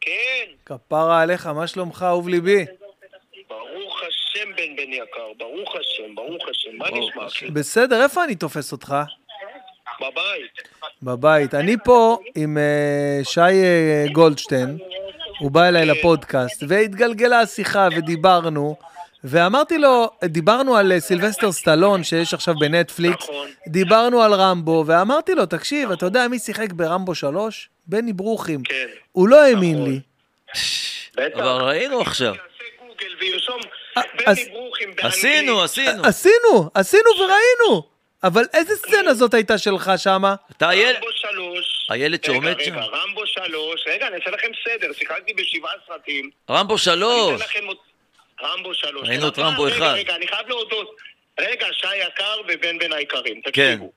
Speaker 4: כן,
Speaker 1: כפרה עליך, מה שלומך, אהוב ליבי?
Speaker 4: ברוך השם בן בן יקר, ברוך השם, ברוך השם, מה
Speaker 2: ברוך
Speaker 4: נשמע אחי?
Speaker 1: בסדר, איפה אני תופס אותך?
Speaker 4: בבית.
Speaker 1: בבית. אני פה עם אה, שי אה, גולדשטיין, הוא בא אליי לפודקאסט, והתגלגלה השיחה ודיברנו, ואמרתי לו, דיברנו על אה, סילבסטר סטלון שיש עכשיו בנטפליקס,
Speaker 4: נכון.
Speaker 1: דיברנו על רמבו, ואמרתי לו, תקשיב, אתה יודע מי שיחק ברמבו 3? בני ברוכים.
Speaker 4: כן.
Speaker 1: הוא לא האמין
Speaker 4: נכון.
Speaker 1: לי.
Speaker 4: בטח.
Speaker 2: אבל ראינו עכשיו.
Speaker 4: יעשה גוגל וירשום
Speaker 1: אה,
Speaker 4: בני
Speaker 1: אז-
Speaker 4: ברוכים באנגלית.
Speaker 2: עשינו, עשינו.
Speaker 1: עשינו, עשינו וראינו. אבל איזה סצנה זאת הייתה שלך שמה?
Speaker 2: אתה הילד...
Speaker 4: רמבו שלוש.
Speaker 2: הילד
Speaker 4: רגע,
Speaker 2: שעומד
Speaker 4: רגע,
Speaker 2: שם.
Speaker 4: רמבו שלוש. רגע, אני אעשה לכם סדר. שיחקתי בשבעה סרטים.
Speaker 2: רמבו
Speaker 4: אני אתן
Speaker 2: שלוש.
Speaker 4: לכם עוד- רמבו שלוש.
Speaker 2: ראינו את
Speaker 4: אבל-
Speaker 2: רמבו
Speaker 4: רגע,
Speaker 2: אחד.
Speaker 4: רגע, אני חייב להודות. רגע, שי יקר ובן בן היקרים.
Speaker 2: כן.
Speaker 4: תקשיבו.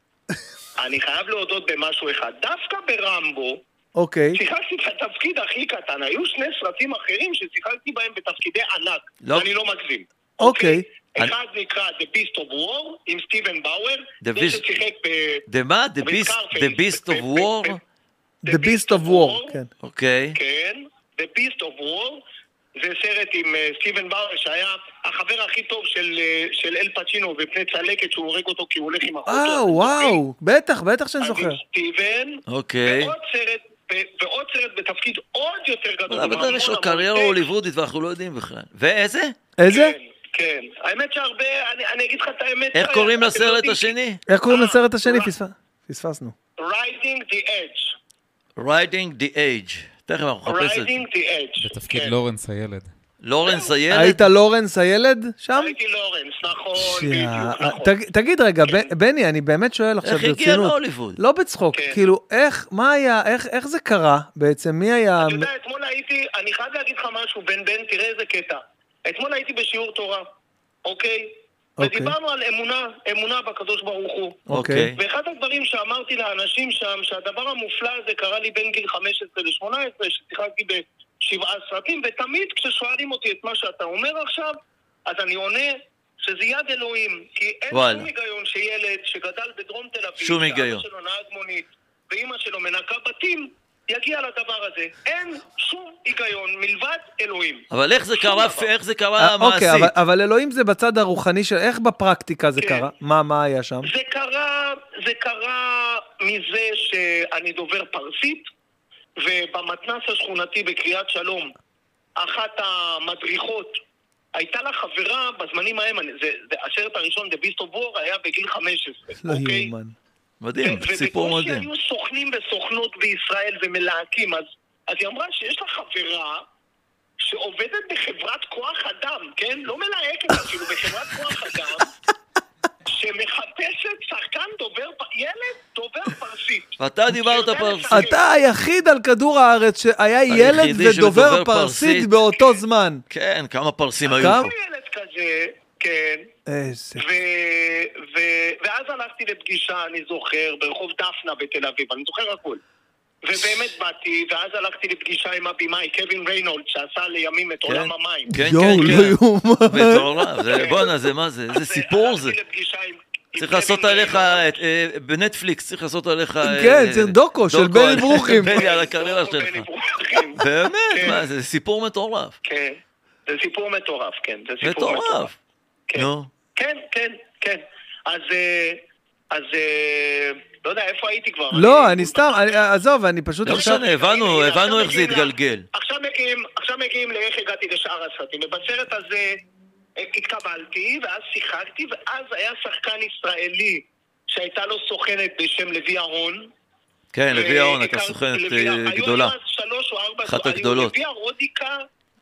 Speaker 4: אני חייב להודות במשהו אחד. דווקא ברמבו,
Speaker 1: אוקיי.
Speaker 4: שיחקתי את התפקיד הכי קטן. היו שני סרטים אחרים ששיחקתי בהם בתפקידי ענק.
Speaker 2: לא.
Speaker 4: אני לא מגזים.
Speaker 1: אוקיי.
Speaker 4: אחד נקרא The Beast of War עם סטיבן באואר.
Speaker 2: The
Speaker 4: זה
Speaker 2: Beast-
Speaker 4: ששיחק ב...
Speaker 2: The מה? The Beast-
Speaker 4: בסקארפייס.
Speaker 2: The Beast of
Speaker 4: ב- ב-
Speaker 2: War?
Speaker 4: ב-
Speaker 1: The Beast of War, כן.
Speaker 2: אוקיי.
Speaker 4: כן, The Beast of War, זה סרט עם אה, סטיבן באואר שהיה החבר הכי טוב של, אה, של אל פצ'ינו בפני צלקת שהוא הורג אותו כי הוא הולך עם אחותו.
Speaker 1: אה, וואו, בטח, בטח שאני
Speaker 4: אז עם
Speaker 1: זוכר.
Speaker 4: סטיבן,
Speaker 2: אוקיי.
Speaker 4: ועוד סרט, ו- ועוד סרט בתפקיד עוד יותר גדול. עם
Speaker 2: אבל
Speaker 4: המון
Speaker 2: אה, יש לו
Speaker 4: המון
Speaker 2: קריירה
Speaker 4: טקסט.
Speaker 2: הוליוודית ואנחנו לא יודעים בכלל. ואיזה?
Speaker 1: איזה?
Speaker 4: כן, כן. האמת שהרבה, אני, אני אגיד לך את האמת.
Speaker 2: איך
Speaker 4: שי,
Speaker 2: קוראים
Speaker 4: אתם
Speaker 2: לסרט
Speaker 4: יודעים,
Speaker 2: השני?
Speaker 1: איך קוראים
Speaker 4: אה,
Speaker 1: לסרט השני?
Speaker 4: אה.
Speaker 1: פספ- פספסנו.
Speaker 4: Riding the Edge.
Speaker 2: Riding the Age. תכף אנחנו נחפש את זה.
Speaker 4: Riding לא. the Edge.
Speaker 3: בתפקיד לא-
Speaker 4: כן.
Speaker 3: לורנס הילד.
Speaker 1: Mm.
Speaker 2: לורנס הילד?
Speaker 1: היית לורנס הילד שם?
Speaker 4: הייתי לורנס, נכון,
Speaker 1: שיה,
Speaker 4: כן,
Speaker 2: אה,
Speaker 1: אה,
Speaker 4: בדיוק, נכון.
Speaker 1: תג- תגיד רגע, ב- בני, אני באמת שואל עכשיו
Speaker 2: איך
Speaker 1: ברצינות.
Speaker 2: הגיע להוליווד?
Speaker 1: לא בצחוק,
Speaker 4: כן.
Speaker 1: כאילו, איך, מה היה, איך איך זה קרה בעצם? מי היה...
Speaker 4: אתה יודע, אתמול הייתי, אני חייב להגיד לך משהו, בן בן, תראה איזה קטע. אתמול הייתי בשיעור תורה, אוקיי?
Speaker 1: אוקיי.
Speaker 4: ודיברנו על אמונה, אמונה בקדוש ברוך הוא.
Speaker 1: אוקיי.
Speaker 4: ואחד הדברים שאמרתי לאנשים שם, שהדבר המופלא הזה קרה לי בין גיל 15 ל-18, ששיחקתי בשבעה סרטים, ותמיד כששואלים אותי את מה שאתה אומר עכשיו, אז אני עונה שזה יד אלוהים. כי אין
Speaker 2: וואלה.
Speaker 4: שום היגיון שילד שגדל בדרום תל אביב,
Speaker 2: שום היגיון.
Speaker 4: שאבא שלו נהג מונית, ואימא שלו מנקה בתים, יגיע לדבר הזה. אין שום היגיון מלבד אלוהים.
Speaker 2: אבל איך זה קרה,
Speaker 4: דבר.
Speaker 2: איך זה
Speaker 1: אה,
Speaker 2: קרה
Speaker 1: אוקיי,
Speaker 2: מעשית?
Speaker 1: אבל- אבל אלוהים זה בצד הרוחני של... איך בפרקטיקה זה
Speaker 4: כן.
Speaker 1: קרה? מה, מה היה שם?
Speaker 4: זה קרה, זה קרה מזה שאני דובר פרסית, ובמתנ"ס השכונתי בקריאת שלום, אחת המדריכות, הייתה לה חברה בזמנים ההם, אני- זה, זה, הסרט הראשון, The Beast of War, היה בגיל 15,
Speaker 1: לא
Speaker 4: אוקיי?
Speaker 1: יאומן.
Speaker 2: מדהים,
Speaker 4: ו-
Speaker 2: כן, סיפור
Speaker 4: ובקושי
Speaker 2: מדהים.
Speaker 4: היו סוכנים וסוכנות בישראל ומלהקים, אז, אז היא אמרה שיש לה חברה שעובדת בחברת כוח אדם, כן? לא מלהקת אפילו, בחברת כוח אדם, שמחפשת שחקן דובר, פ- ילד דובר פרסית.
Speaker 2: ואתה דיברת
Speaker 4: שיודע
Speaker 2: פרסית.
Speaker 4: לשחק.
Speaker 1: אתה היחיד על כדור הארץ שהיה ילד
Speaker 2: היחידי
Speaker 1: ודובר
Speaker 2: שדובר
Speaker 1: פרסית
Speaker 2: פרסית.
Speaker 1: באותו זמן.
Speaker 2: כן, כמה פרסים היו
Speaker 1: אה, כמה?
Speaker 2: פה.
Speaker 4: היה ילד כזה, כן,
Speaker 1: איזה...
Speaker 4: ו... ו... ואז הלכתי לפגישה, אני זוכר, ברחוב דפנה בתל אביב, אני זוכר הכול. ובאמת באתי, ואז הלכתי לפגישה עם הבמאי, קווין ריינולד, שעשה לימים את
Speaker 2: כן.
Speaker 4: עולם המים.
Speaker 2: כן,
Speaker 1: יואו,
Speaker 2: כן,
Speaker 1: לא
Speaker 2: כן.
Speaker 1: יאומן.
Speaker 2: מטורף, זה- בואנה, זה מה זה? איזה
Speaker 4: אז
Speaker 2: סיפור זה.
Speaker 4: הלכתי לפגישה עם- עם
Speaker 2: צריך
Speaker 4: קווין
Speaker 2: לעשות עליך,
Speaker 4: ריינולדס.
Speaker 2: את- אה, בנטפליקס צריך לעשות עליך... אה,
Speaker 1: כן, צריך דוקו של בני
Speaker 2: על-
Speaker 1: ברוכים.
Speaker 2: בני, על הקריירה
Speaker 4: דוקו לא בני
Speaker 2: שלך.
Speaker 4: ברוכים.
Speaker 2: באמת,
Speaker 4: כן.
Speaker 2: מה, זה סיפור מטורף.
Speaker 4: כן, זה סיפור מטורף, כן, זה סיפור מטורף.
Speaker 2: מטורף.
Speaker 4: כן.
Speaker 2: נו,
Speaker 4: כן, כן, כן. אז... אה, אז... אה, לא יודע, איפה הייתי כבר?
Speaker 1: לא, אני סתם, אני- עזוב, אני פשוט
Speaker 2: לא
Speaker 1: עכשיו...
Speaker 2: משנה, הבנו,
Speaker 4: הנה,
Speaker 2: הבנו
Speaker 4: עכשיו
Speaker 2: איך זה
Speaker 4: מגיעים ל-
Speaker 2: התגלגל.
Speaker 4: עכשיו מגיעים, עכשיו מגיעים לאיך הגעתי לשאר הסרטים. ובסרט הזה אה, התקבלתי, ואז שיחקתי, ואז היה שחקן ישראלי שהייתה לו סוכנת בשם לוי אהרון.
Speaker 2: כן, לוי אהרון,
Speaker 4: והכרתי-
Speaker 2: הייתה סוכנת
Speaker 4: אה, לוי-
Speaker 2: אה,
Speaker 4: היו
Speaker 2: גדולה.
Speaker 4: אז שלוש או ארבע,
Speaker 2: אחת
Speaker 4: היו
Speaker 2: הגדולות.
Speaker 4: לוי הרודיקה,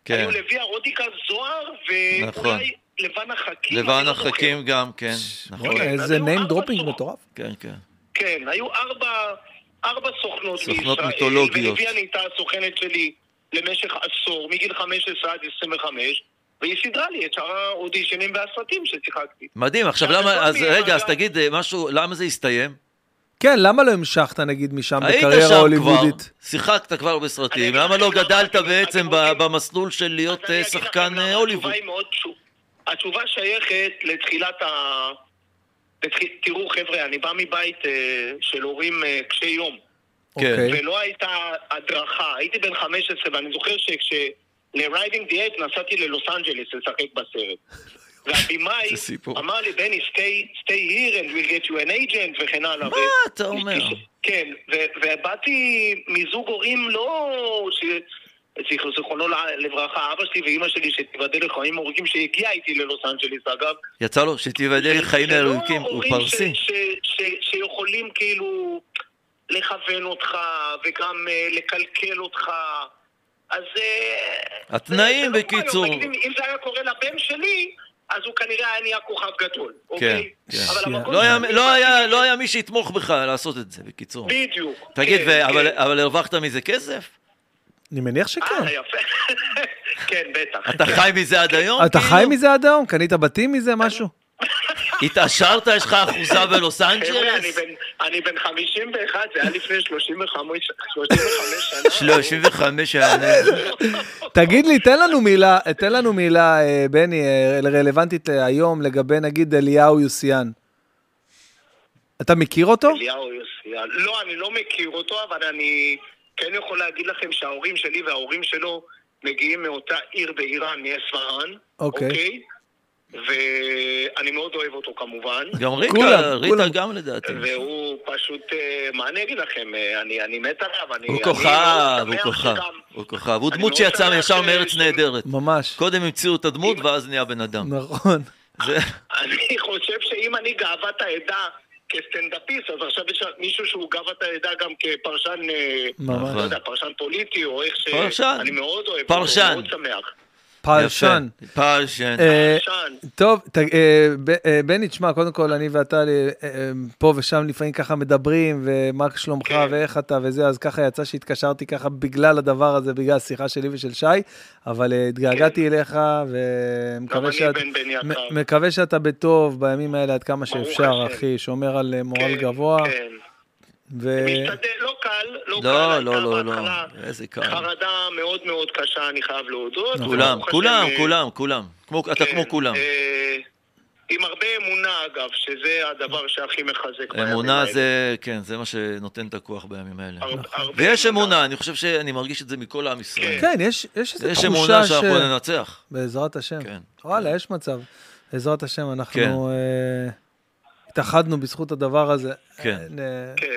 Speaker 2: כן.
Speaker 4: היו לוי הרודיקה זוהר,
Speaker 2: נכון.
Speaker 4: ואולי לבן החכים. אני
Speaker 2: לבן
Speaker 4: לא זוכר.
Speaker 2: החכים גם, כן. נכון,
Speaker 1: בוא'נה, איזה
Speaker 4: אז היו
Speaker 1: name
Speaker 4: ארבע
Speaker 1: dropping
Speaker 4: צורות.
Speaker 1: מטורף.
Speaker 2: כן, כן.
Speaker 4: כן, היו ארבע, ארבע סוכנות בישראל.
Speaker 2: סוכנות מיתולוגיות.
Speaker 4: ולביאן הייתה הסוכנת שלי למשך עשור, מגיל 15 עד 25, והיא סידרה לי את שאר האודישנים והסרטים ששיחקתי.
Speaker 2: מדהים, עכשיו
Speaker 4: אבל
Speaker 2: למה,
Speaker 4: כל
Speaker 2: אז
Speaker 4: מיני
Speaker 2: רגע, אז
Speaker 4: מעגל-
Speaker 2: תגיד אה, משהו, למה זה הסתיים?
Speaker 1: כן, למה לא המשכת נגיד משם
Speaker 2: היית
Speaker 1: בקריירה
Speaker 2: שם כבר,
Speaker 1: הוליוודית?
Speaker 2: שיחקת כבר בסרטים,
Speaker 4: אני אגיד
Speaker 2: למה לא
Speaker 4: לכם למה,
Speaker 2: גדלת
Speaker 4: אתם-
Speaker 2: בעצם
Speaker 4: אתם
Speaker 2: ב-
Speaker 4: רוצים-
Speaker 2: במסלול של
Speaker 4: אז
Speaker 2: להיות
Speaker 4: אני
Speaker 2: אה,
Speaker 4: אגיד לכם
Speaker 2: שחקן
Speaker 4: למה,
Speaker 2: אה,
Speaker 4: התשובה
Speaker 2: הוליווד?
Speaker 4: היא מאוד פשוטה. התשובה שייכת לתחילת ה... לתח- תראו חבר'ה, אני בא מבית אה, של הורים אה, קשי יום.
Speaker 2: כן.
Speaker 1: אוקיי.
Speaker 4: ולא הייתה הדרכה. הייתי בן 15, ואני זוכר שכשל-Riding the Ape נסעתי ללוס אנג'לס לשחק בסרט. והבמאי
Speaker 2: זה סיפור.
Speaker 4: אמר לי, בני, stay, stay here and we'll get you an agent וכן הלאה.
Speaker 2: מה
Speaker 4: ו-
Speaker 2: אתה אומר?
Speaker 4: כן, ו- ובאתי מזוג הורים לא... ש- זכר- זיכרונו ל- לברכה, אבא שלי ואימא שלי, שתיבדל לחיים ארוכים, שהגיעה איתי ללוס אנג'ליס, אגב.
Speaker 2: יצא לו שתיבדל לחיים
Speaker 4: זה לא
Speaker 2: ארוכים, הוא
Speaker 4: הורים
Speaker 2: פרסי.
Speaker 4: ש- ש- ש- שיכולים כאילו לכוון אותך, וגם אה, לקלקל אותך. אז... אה,
Speaker 2: התנאים,
Speaker 4: זה- זה לא כמו
Speaker 2: בקיצור.
Speaker 4: היום. נגיד, אם זה היה קורה לבן שלי, אז הוא כנראה היה נהיה כוכב גדול, אוקיי?
Speaker 2: כן.
Speaker 4: אבל
Speaker 1: שיע-
Speaker 4: המקום
Speaker 2: לא היה-
Speaker 4: שאני
Speaker 2: לא היה-
Speaker 4: באתי-
Speaker 2: לא היה מי שיתמוך בך לעשות את זה, בקיצור.
Speaker 4: בדיוק.
Speaker 2: תגיד,
Speaker 4: כן,
Speaker 2: ו-
Speaker 4: כן.
Speaker 2: אבל- אבל הרווחת מזה כסף?
Speaker 1: אני מניח שכן.
Speaker 4: אה, יפה. כן, בטח.
Speaker 2: אתה חי מזה
Speaker 4: כן.
Speaker 2: עד היום?
Speaker 1: אה, אתה
Speaker 2: כאילו?
Speaker 1: חי מזה עד היום? קנית בתים מזה, משהו?
Speaker 2: התעשרת? יש לך אחוזה בלוס
Speaker 4: חבר'ה, אני
Speaker 2: אנג'לס?
Speaker 4: בן- אני בן 51, זה היה לפני 35 35 שנה.
Speaker 2: 35 שנה.
Speaker 1: תגיד לי, תן לנו מילה, תן לנו מילה, אה, בני, אה, רלוונטית להיום לגבי נגיד אליהו יוסיאן. אתה מכיר אותו?
Speaker 4: אליהו יוסיאל. לא, אני לא מכיר אותו, אבל אני כן יכול להגיד לכם שההורים שלי וההורים שלו מגיעים מאותה עיר באיראן, מאספהאן.
Speaker 1: אוקיי.
Speaker 4: ואני מאוד אוהב אותו כמובן.
Speaker 2: גם
Speaker 1: כולם,
Speaker 2: ריטה, ריטה
Speaker 1: כולם.
Speaker 2: גם לדעתי.
Speaker 4: והוא פשוט, אה, מה אני אגיד לכם, אה, אני, אני מת עליו, אני...
Speaker 2: הוא
Speaker 4: אני
Speaker 2: כוכב,
Speaker 4: מאוד
Speaker 2: הוא
Speaker 4: שמח
Speaker 2: כוכב,
Speaker 4: שגם-
Speaker 2: הוא כוכב. הוא
Speaker 4: אני
Speaker 2: דמות
Speaker 4: מאוד
Speaker 2: שיצאה
Speaker 4: שמח
Speaker 2: ישר
Speaker 4: ש-
Speaker 2: מארץ
Speaker 4: ש-
Speaker 2: נהדרת.
Speaker 1: ממש.
Speaker 2: קודם המציאו את הדמות ואז נהיה בן אדם.
Speaker 1: נכון.
Speaker 2: זה-
Speaker 4: אני חושב שאם אני גאוות העדה כסטנדאפיסט, אז עכשיו יש מישהו שהוא גאוות העדה גם כפרשן, אה,
Speaker 1: ממש.
Speaker 4: לא יודע, פרשן פוליטי, או איך ש...
Speaker 2: נכון. פרשן.
Speaker 4: אני מאוד אוהב
Speaker 2: פרשן.
Speaker 4: אותו, מאוד שמח.
Speaker 1: פרשן.
Speaker 2: יפה. פרשן.
Speaker 1: אה,
Speaker 4: פרשן.
Speaker 1: טוב, ת- אה, ב- אה, בני, תשמע, קודם כל, אני ואתה אה, אה, פה ושם לפעמים ככה מדברים, ומה שלומך
Speaker 4: כן.
Speaker 1: ואיך אתה וזה, אז ככה יצא שהתקשרתי ככה בגלל הדבר הזה, בגלל השיחה שלי ושל שי, אבל אה, התגעגעתי אליך,
Speaker 4: כן. גם
Speaker 1: ומקווה
Speaker 4: אני
Speaker 1: שאת...
Speaker 4: בן בן יקר.
Speaker 1: מ- מקווה שאתה בטוב בימים האלה עד כמה
Speaker 4: ברוך
Speaker 1: שאפשר,
Speaker 4: השם.
Speaker 1: אחי, שומר על אה, מורל
Speaker 4: כן,
Speaker 1: גבוה,
Speaker 4: כן.
Speaker 1: ו...
Speaker 4: משתדל, לא קל, לא קל.
Speaker 2: אה, לא,
Speaker 4: הייתה
Speaker 2: לא, לא, לא.
Speaker 4: בהתחלה אה,
Speaker 2: איזה קל.
Speaker 4: חרדה מאוד מאוד קשה, אני חייב להודות.
Speaker 2: כולם,
Speaker 4: ברוך השם,
Speaker 2: נכון. כולם,
Speaker 4: אה,
Speaker 2: כולם, כולם. כמו- אתה
Speaker 4: כן,
Speaker 2: כמו כולם.
Speaker 4: אה, עם הרבה אמונה, אגב, שזה הדבר שהכי מחזק. בימים
Speaker 2: אמונה
Speaker 4: האלה.
Speaker 2: זה, כן, זה מה שנותן את הכוח בימים האלה.
Speaker 1: נכון.
Speaker 4: הר- הרבה
Speaker 2: ויש אמונה, אני חושב שאני מרגיש את זה מכל עם ישראל.
Speaker 1: כן, יש יש איזו
Speaker 2: יש
Speaker 1: תחושה
Speaker 2: אמונה
Speaker 1: ש...
Speaker 2: שאנחנו ננצח.
Speaker 1: בעזרת השם.
Speaker 2: כן.
Speaker 1: וואלה, יש מצב. בעזרת השם,
Speaker 2: כן.
Speaker 1: אנחנו אה, התאחדנו בזכות הדבר הזה.
Speaker 2: כן.
Speaker 1: אה,
Speaker 4: כן.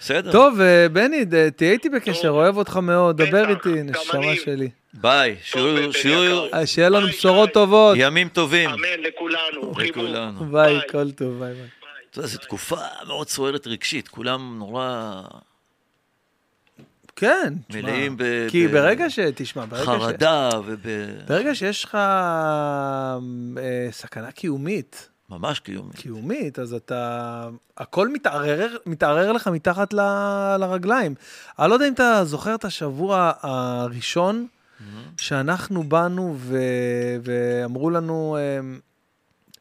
Speaker 2: בסדר?
Speaker 1: טוב, אה, בני, ד- תהיה איתי בקשר,
Speaker 4: טוב.
Speaker 1: אוהב אותך מאוד,
Speaker 4: בטח,
Speaker 1: דבר איתי,
Speaker 4: גם
Speaker 1: נשמה
Speaker 4: אני.
Speaker 1: שלי.
Speaker 2: ביי.
Speaker 4: בן
Speaker 2: שיהיו שיהיו
Speaker 4: יקר.
Speaker 1: אה, שיהיה לנו
Speaker 4: ביי,
Speaker 1: בשורות
Speaker 4: שי.
Speaker 1: טובות.
Speaker 2: ימים טובים
Speaker 4: אמן אוקיי, לכולנו. חיבור.
Speaker 2: כן. לכולנו.
Speaker 1: ביי,
Speaker 4: ביי.
Speaker 1: כל טוב, ביי ביי.
Speaker 2: אתה יודע, זו תקופה מאוד סוערת רגשית, כולם נורא
Speaker 1: כן, תשמע.
Speaker 2: מלאים ב...
Speaker 1: כי
Speaker 2: ב-
Speaker 1: ברגע ש... תשמע, ברגע ש...
Speaker 2: חרדה וב...
Speaker 1: ברגע שיש לך אה, סכנה קיומית,
Speaker 2: ממש קיומי.
Speaker 1: קיומית, אז אתה... הכל מתערער, מתערער לך מתחת ל, לרגליים. אני לא יודע אם אתה זוכר את השבוע הראשון
Speaker 2: Mm-hmm.
Speaker 1: שאנחנו באנו ו, ואמרו לנו אמ,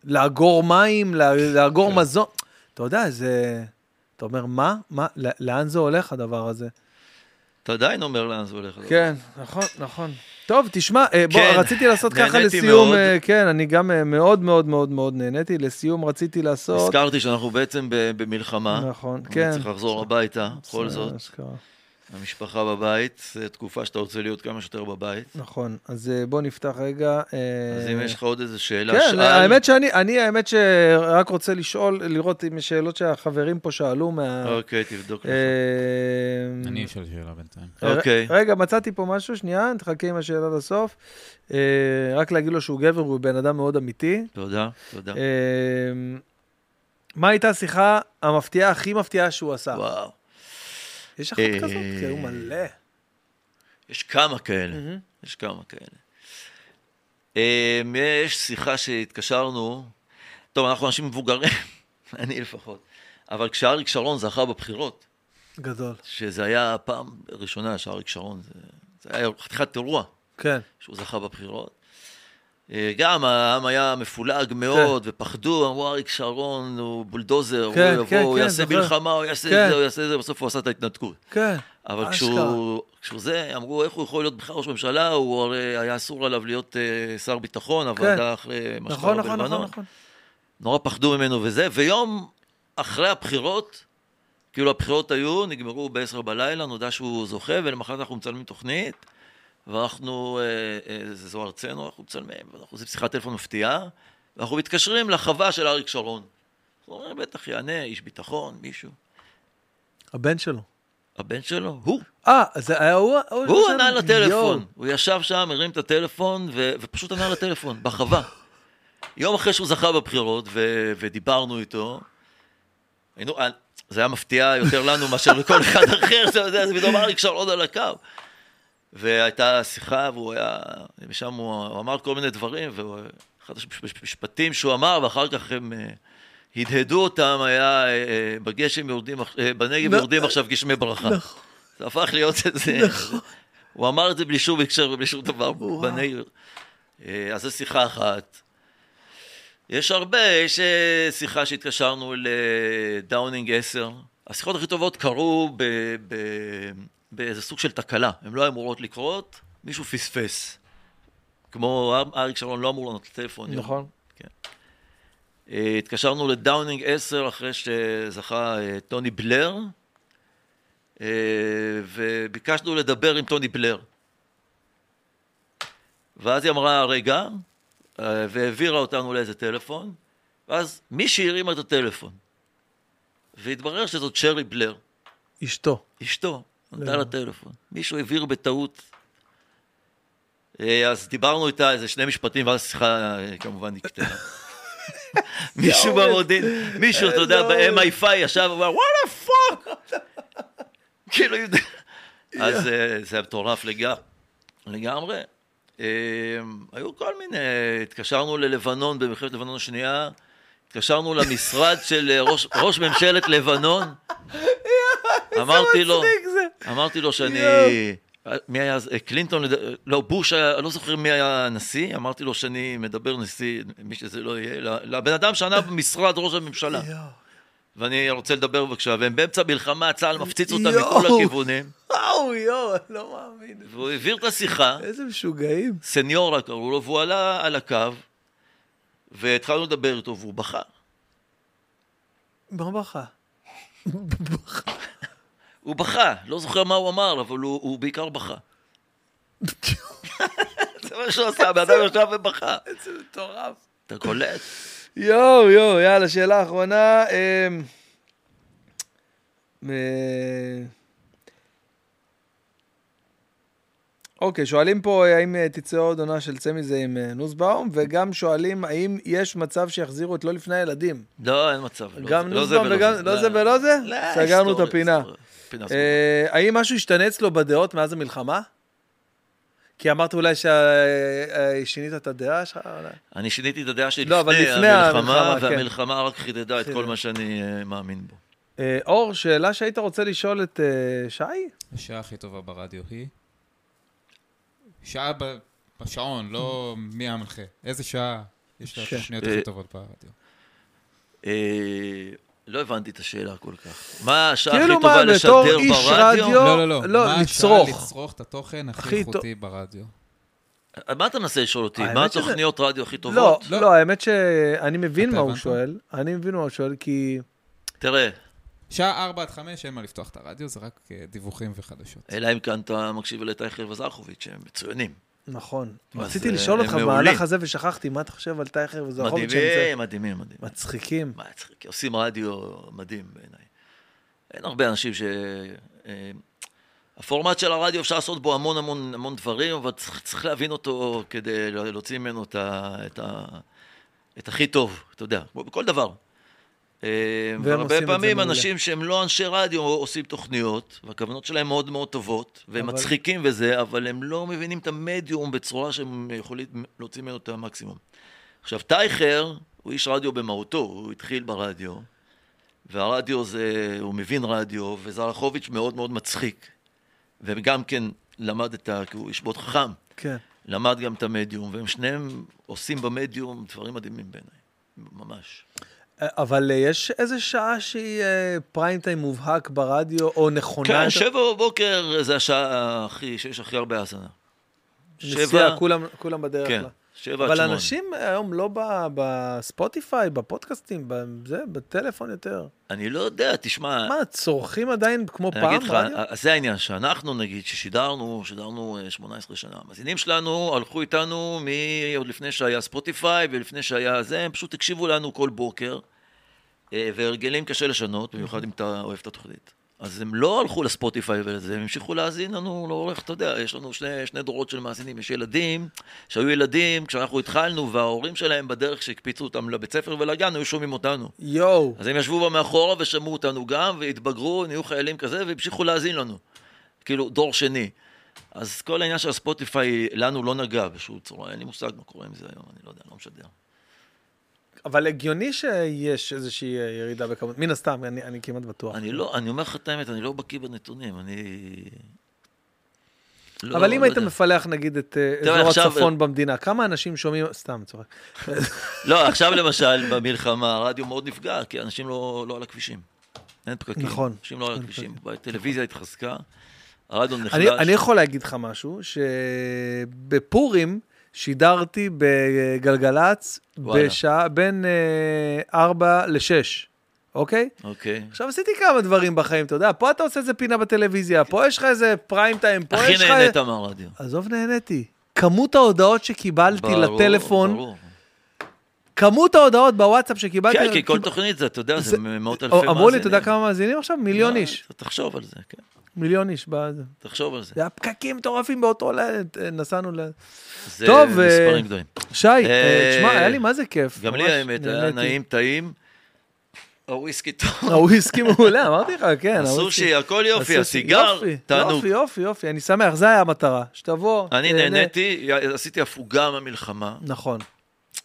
Speaker 1: לאגור מים, לה- לאגור
Speaker 2: כן.
Speaker 1: מזון. אתה יודע, זה... אתה אומר, מה? מה? לא- לאן זה הולך הדבר הזה?
Speaker 2: אתה עדיין אומר לאן זה הולך. לא?
Speaker 1: כן, נכון, נכון. טוב, תשמע, אה, בוא,
Speaker 2: כן,
Speaker 1: רציתי לעשות ככה
Speaker 2: נהניתי
Speaker 1: לסיום,
Speaker 2: מאוד.
Speaker 1: אה, כן, אני גם אה, מאוד מאוד מאוד מאוד נהניתי, לסיום רציתי לעשות...
Speaker 2: הזכרתי שאנחנו בעצם ב- במלחמה.
Speaker 1: נכון,
Speaker 2: אני
Speaker 1: כן.
Speaker 2: צריך לחזור הביתה, בכל
Speaker 1: זה
Speaker 2: זאת.
Speaker 1: אשכרה.
Speaker 2: המשפחה בבית, זו תקופה שאתה רוצה להיות כמה שיותר בבית.
Speaker 1: נכון, אז אה, בוא נפתח רגע. אה,
Speaker 2: אז אם יש לך עוד איזו שאלה,
Speaker 1: כן,
Speaker 2: שאל.
Speaker 1: האמת שאני, אני האמת שרק רוצה לשאול, לראות אם יש שאלות שהחברים פה שאלו מה...
Speaker 2: אוקיי, תבדוק. לך.
Speaker 1: אה,
Speaker 3: אני אשאל שאלה בינתיים.
Speaker 1: ר-
Speaker 2: אוקיי.
Speaker 1: רגע, מצאתי פה משהו, שנייה, תחכה עם השאלה לסוף. אה, רק להגיד לו שהוא גבר, הוא בן אדם מאוד אמיתי.
Speaker 2: תודה, תודה.
Speaker 1: אה, מה הייתה השיחה המפתיעה, הכי מפתיעה שהוא עשה?
Speaker 2: וואו.
Speaker 1: יש אחת
Speaker 2: אה,
Speaker 1: כזאת? כן, הוא מלא.
Speaker 2: יש כמה
Speaker 1: אה.
Speaker 2: כאלה, יש כמה כאלה. אה, יש שיחה שהתקשרנו, טוב, אנחנו אנשים מבוגרים, אני לפחות, אבל כשאריק שרון זכה בבחירות,
Speaker 1: גדול.
Speaker 2: שזה היה הפעם הראשונה שאריק שרון, זה, זה היה חתיכת אירוע
Speaker 1: כן.
Speaker 2: שהוא זכה בבחירות. אה, גם העם היה מפולג מאוד, ופחדו, אמרו אריק שרון הוא בולדוזר,
Speaker 1: כן,
Speaker 2: הוא יבוא,
Speaker 1: כן,
Speaker 2: הוא
Speaker 1: כן,
Speaker 2: יעשה
Speaker 1: זוכר.
Speaker 2: מלחמה, הוא יעשה
Speaker 1: כן.
Speaker 2: את זה, הוא יעשה את זה, בסוף הוא עשה את ההתנתקות.
Speaker 1: כן.
Speaker 2: אבל
Speaker 1: אשכרה.
Speaker 2: כשהוא, כשהוא זה, אמרו, איך הוא יכול להיות בכלל ראש ממשלה? הוא הרי היה אסור עליו להיות אה, שר ביטחון, הוועדה אחרי מה שקרה
Speaker 1: כן. נכון, נכון, נכון,
Speaker 2: בלבנון.
Speaker 1: נכון.
Speaker 2: נורא פחדו ממנו וזה, ויום אחרי הבחירות, כאילו הבחירות היו, נגמרו ב-10 בלילה, נודע שהוא זוכה, ולמחרת אנחנו מצלמים תוכנית, ואנחנו, אה, אה, זו ארצנו, אנחנו מצלמים, ואנחנו עושים שיחת טלפון מפתיעה, ואנחנו מתקשרים לחווה של אריק שרון. אנחנו אומרים, בטח יענה, איש ביטחון, מישהו.
Speaker 1: הבן שלו.
Speaker 2: הבן שלו, הוא.
Speaker 1: אה, זה היה הוא?
Speaker 2: הוא
Speaker 1: שם?
Speaker 2: ענה לטלפון,
Speaker 1: יואו.
Speaker 2: הוא ישב שם, הרים את הטלפון, ו- ופשוט ענה לטלפון, בחווה. יום אחרי שהוא זכה בבחירות, ו- ודיברנו איתו, היינו, אה, זה היה מפתיע יותר לנו מאשר לכל אחד אחר, אתה יודע, זה פתאום אריק שם עוד על הקו. והייתה שיחה, והוא היה, משם הוא, הוא אמר כל מיני דברים, ואחד המשפטים שהוא אמר, ואחר כך הם... אה, הדהדו אותם, היה אה, אה, בגשם יורדים, עכ- אה, בנגב
Speaker 1: נ-
Speaker 2: יורדים עכשיו גשמי ברכה.
Speaker 1: נכון.
Speaker 2: זה הפך להיות איזה...
Speaker 1: נכון.
Speaker 2: הוא אמר את זה בלי שום הקשר ובלי שום דבר
Speaker 1: וואו.
Speaker 2: בנגב. אה, אז זו שיחה אחת. יש הרבה, יש אה, שיחה שהתקשרנו לדאונינג 10. השיחות הכי טובות קרו ב, ב, באיזה סוג של תקלה. הן לא היו אמורות לקרות, מישהו פספס. כמו אריק שרון לא אמור לענות לטלפון. יום.
Speaker 1: נכון.
Speaker 2: אה, התקשרנו לדאונינג 10 אחרי שזכה אה, טוני בלר, אה, וביקשנו לדבר עם טוני בלר. ואז היא אמרה, רגע, אה, והעבירה אותנו לאיזה טלפון, ואז מישהי הרימה את הטלפון. והתברר שזאת שרי בלר,
Speaker 1: אשתו.
Speaker 2: אשתו, ענתה
Speaker 1: לא.
Speaker 2: לטלפון. מישהו העביר בטעות. אה, אז דיברנו איתה איזה שני משפטים, ואז השיחה אה, כמובן נקטעה. מישהו
Speaker 1: איזה-
Speaker 2: במודיעין, מישהו, אתה יודע,
Speaker 1: איזה
Speaker 2: ב-MI5 ישב ואמר, וואלה פאק! כאילו, אז אה, זה היה מטורף לגמרי. לגמרי. אה, היו כל מיני, התקשרנו ללבנון במלחמת לבנון השנייה, התקשרנו למשרד של אה, ראש- ראש ממשלת לבנון. אמרתי לו,
Speaker 1: מצחיק זה.
Speaker 2: אמרתי לו שאני... מי היה אז? אה, קלינטון? לד- לא, בוש היה, אני לא זוכר מי היה הנשיא, אמרתי לו שאני מדבר נשיא, מי שזה לא יהיה, ל- לבן אדם שענה במשרד ראש הממשלה.
Speaker 1: יואו.
Speaker 2: ואני רוצה לדבר בבקשה, והם באמצע מלחמה, צה"ל מפציץ אותם
Speaker 1: יואו.
Speaker 2: מכל הכיוונים,
Speaker 1: וואו, יואו, אני לא מאמין.
Speaker 2: והוא העביר את השיחה,
Speaker 1: איזה משוגעים.
Speaker 2: סניורה קראו לו, והוא עלה על הקו, והתחלנו לדבר איתו, והוא בכה.
Speaker 1: מה בכה?
Speaker 2: הוא בכה, לא זוכר מה הוא אמר, אבל הוא, הוא בעיקר בכה. זה מה שהוא עשה, הבן אדם ישב ובכה.
Speaker 1: איזה מטורף.
Speaker 2: אתה קולט?
Speaker 1: יואו, יואו, יאללה, שאלה אחרונה. אמ, אה, אוקיי, שואלים פה אה, האם אה, תצא עוד עונה של צא מזה עם אה, נוסבאום, וגם שואלים האם יש מצב שיחזירו את לא לפני הילדים.
Speaker 2: לא, אין מצב. לא
Speaker 1: גם
Speaker 2: זה- לא זה
Speaker 1: נוסבאום
Speaker 2: ולא
Speaker 1: וגם-
Speaker 2: זה.
Speaker 1: לא זה ולא זה?
Speaker 2: לא,
Speaker 1: סגרנו את
Speaker 2: היסטוריה,
Speaker 1: הפינה.
Speaker 2: היסטוריה. פינה סגורה.
Speaker 1: אה, האם משהו השתנה אצלו בדעות מאז המלחמה? כי אמרת אולי ששינית את הדעה שלך? אה, אולי.
Speaker 2: אני שיניתי את הדעה שלי
Speaker 1: לא, אבל לפני
Speaker 2: לפני
Speaker 1: המלחמה,
Speaker 2: המלחמה,
Speaker 1: כן.
Speaker 2: והמלחמה רק חידדה את
Speaker 1: בסדר.
Speaker 2: כל מה שאני אה, מאמין בו.
Speaker 1: אה, אור, שאלה שהיית רוצה לשאול את אה, שי?
Speaker 3: השעה הכי טובה ברדיו היא? שעה ב- בשעון, לא מי המנחה. איזה שעה? יש לה את
Speaker 1: שעה.
Speaker 3: השניות
Speaker 2: אה,
Speaker 3: הכי טובות ברדיו.
Speaker 2: אה, לא הבנתי את השאלה כל כך. מה השעה הכי
Speaker 1: כאילו מה,
Speaker 2: טובה לשדר
Speaker 1: בתור איש רדיו-
Speaker 2: ברדיו?
Speaker 3: לא, לא, לא.
Speaker 1: לא,
Speaker 3: מה
Speaker 1: לצרוך.
Speaker 3: השעה לצרוך את התוכן הכי
Speaker 1: הכי טוב.
Speaker 3: איכותי ברדיו?
Speaker 2: אה, מה אתה מנסה לשאול אותי?
Speaker 1: האמת
Speaker 2: מה
Speaker 1: שזה-
Speaker 2: התוכניות רדיו הכי
Speaker 1: לא,
Speaker 2: טובות?
Speaker 3: לא.
Speaker 1: לא, האמת שאני מבין
Speaker 3: אתה
Speaker 1: מה הוא
Speaker 3: הבנת?
Speaker 1: שואל. אני מבין מה הוא שואל, כי...
Speaker 2: תראה,
Speaker 3: שעה 4 עד 5 אין מה לפתוח את הרדיו, זה רק אה, דיווחים וחדשות.
Speaker 2: אלא אם כאן אתה מקשיב לטייכר וזרחוביץ', שהם מצוינים.
Speaker 1: נכון.
Speaker 2: אז,
Speaker 1: רציתי
Speaker 2: אה,
Speaker 1: לשאול
Speaker 2: הם
Speaker 1: אותך
Speaker 2: מעולים.
Speaker 1: במהלך הזה ושכחתי, מה אתה חושב על טייכר וזרחוביץ' שהם זה?
Speaker 2: מדהימים, מדהימים, מדהימים.
Speaker 1: מצחיקים.
Speaker 2: מה, צריך- עושים רדיו מדהים בעיניי. אין הרבה אנשים ש... אה, הפורמט של הרדיו, אפשר לעשות בו המון המון המון דברים, אבל צריך, צריך להבין אותו כדי לה- להוציא ממנו את, ה, את, ה, את הכי טוב, אתה יודע, כמו בכל דבר. אה,
Speaker 1: עושים את
Speaker 2: והרבה
Speaker 1: זה
Speaker 2: פעמים
Speaker 1: מעולה.
Speaker 2: אנשים שהם לא אנשי רדיו עושים תוכניות, והכוונות שלהם מאוד מאוד טובות, והם
Speaker 1: אבל-
Speaker 2: אבל... מצחיקים וזה, אבל הם לא מבינים את המדיום בצורה שהם יכולים להוציא ממנו את המקסימום. עכשיו, טייכר הוא איש רדיו במהותו, הוא התחיל ברדיו, והרדיו זה, הוא מבין רדיו, וזרחוביץ' מאוד מאוד מצחיק. וגם כן למד את ה... כי הוא איש מאוד חכם,
Speaker 1: כן.
Speaker 2: למד גם את המדיום, והם שניהם עושים במדיום דברים מדהימים בעיניי, ממש.
Speaker 1: אה, אבל אה, יש איזה שעה שהיא אה, פריים טיים מובהק ברדיו, או נכונה?
Speaker 2: כן,
Speaker 1: יותר?
Speaker 2: שבע בבוקר זה השעה הכי, שיש הכי הרבה האזנה.
Speaker 1: נסיעה,
Speaker 2: שבע,
Speaker 1: כולם- כולם בדרך
Speaker 2: כן,
Speaker 1: לה.
Speaker 2: שבע עד
Speaker 1: אבל
Speaker 2: שמונה.
Speaker 1: אנשים היום לא ב- בספוטיפיי, בפודקאסטים, בזה, בטלפון יותר.
Speaker 2: אני לא יודע, תשמע,
Speaker 1: מה, צורכים עדיין כמו
Speaker 2: אני
Speaker 1: פעם
Speaker 2: אגיד לך, אה,
Speaker 1: רדיו?
Speaker 2: אז זה העניין, שאנחנו נגיד, ששידרנו, שידרנו אה, 18 שנה, המאזינים שלנו הלכו איתנו מ- עוד לפני שהיה ספוטיפיי ולפני שהיה זה, הם פשוט הקשיבו לנו כל בוקר, אה, והרגלים קשה לשנות, במיוחד אם אתה אוהב את התוכנית. אז הם לא הלכו לספוטיפיי ולזה, הם המשיכו להאזין לנו לאורך, אתה יודע, יש לנו שני, שני דורות של מאזינים, יש ילדים שהיו ילדים כשאנחנו התחלנו, וההורים שלהם בדרך שהקפיצו אותם לבית ספר ולגן, היו שומעים אותנו.
Speaker 1: יואו.
Speaker 2: אז הם ישבו בה מאחורה ושמעו אותנו גם, והתבגרו, נהיו חיילים כזה, והמשיכו להאזין לנו. כאילו, דור שני. אז כל העניין של הספוטיפיי, לנו לא נגע בשום צורה, אין לי מושג מה קורה עם זה היום, אני לא יודע, אני לא משדר.
Speaker 1: אבל הגיוני שיש איזושהי אה, ירידה בכמות, מן הסתם, אני, אני כמעט בטוח.
Speaker 2: אני לא, אני אומר לך את האמת, אני לא בקיא בנתונים, אני... לא,
Speaker 1: אבל אם
Speaker 2: לא
Speaker 1: היית
Speaker 2: יודע.
Speaker 1: מפלח נגיד את אה,
Speaker 2: תראה,
Speaker 1: אזור
Speaker 2: עכשיו-
Speaker 1: הצפון במדינה, כמה אנשים שומעים, סתם צוחק.
Speaker 2: לא, עכשיו למשל, במלחמה, הרדיו מאוד נפגע, כי אנשים לא, לא על הכבישים. אין פקקים.
Speaker 1: נכון.
Speaker 2: אנשים לא על
Speaker 1: אין
Speaker 2: הכבישים. הטלוויזיה התחזקה, הרדיו נחלש.
Speaker 1: אני, אני יכול להגיד לך משהו, שבפורים שידרתי בגלגלצ
Speaker 2: וואלה.
Speaker 1: בשעה בין אה, 4 ל-6, אוקיי?
Speaker 2: אוקיי.
Speaker 1: עכשיו עשיתי כמה דברים בחיים, אתה יודע, פה אתה עושה איזה פינה בטלוויזיה, פה יש לך איזה פריים טיים, פה
Speaker 2: הכי
Speaker 1: יש לך...
Speaker 2: נהנית מהרדיו.
Speaker 1: עזוב, נהניתי. כמות ההודעות שקיבלתי
Speaker 2: ברור,
Speaker 1: לטלפון,
Speaker 2: ברור.
Speaker 1: כמות ההודעות בוואטסאפ שקיבלתי...
Speaker 2: כן, כי כל
Speaker 1: קיב-
Speaker 2: תוכנית זה, אתה יודע, זה
Speaker 1: כאילו- זה-
Speaker 2: מאות אלפי מאזינים.
Speaker 1: אמרו לי, אתה יודע כמה מאזינים עכשיו? מיליון
Speaker 2: לא,
Speaker 1: איש.
Speaker 2: אתה תחשוב על זה, כן.
Speaker 1: מיליון איש. בזה.
Speaker 2: תחשוב על זה.
Speaker 1: זה היה פקקים מטורפים באותו לילה, נסענו ל...
Speaker 2: זה
Speaker 1: טוב,
Speaker 2: מספרים
Speaker 1: אה,
Speaker 2: גדולים.
Speaker 1: שי,
Speaker 2: אה,
Speaker 1: אה, תשמע, היה לי מה זה כיף.
Speaker 2: גם לי
Speaker 1: ממש
Speaker 2: האמת, היה
Speaker 1: נהניתי.
Speaker 2: נעים, טעים. הוויסקי טוב.
Speaker 1: הוויסקי מעולה, אמרתי לך, כן.
Speaker 2: הסושי,
Speaker 1: הוויסקי.
Speaker 2: הכל יופי,
Speaker 1: הסושי,
Speaker 2: הסיגר,
Speaker 1: יופי,
Speaker 2: תענוג.
Speaker 1: יופי, יופי, יופי, אני שמח, זה היה המטרה, שתבוא.
Speaker 2: אני
Speaker 1: תהנה.
Speaker 2: נהניתי, עשיתי הפוגה מהמלחמה,
Speaker 1: נכון,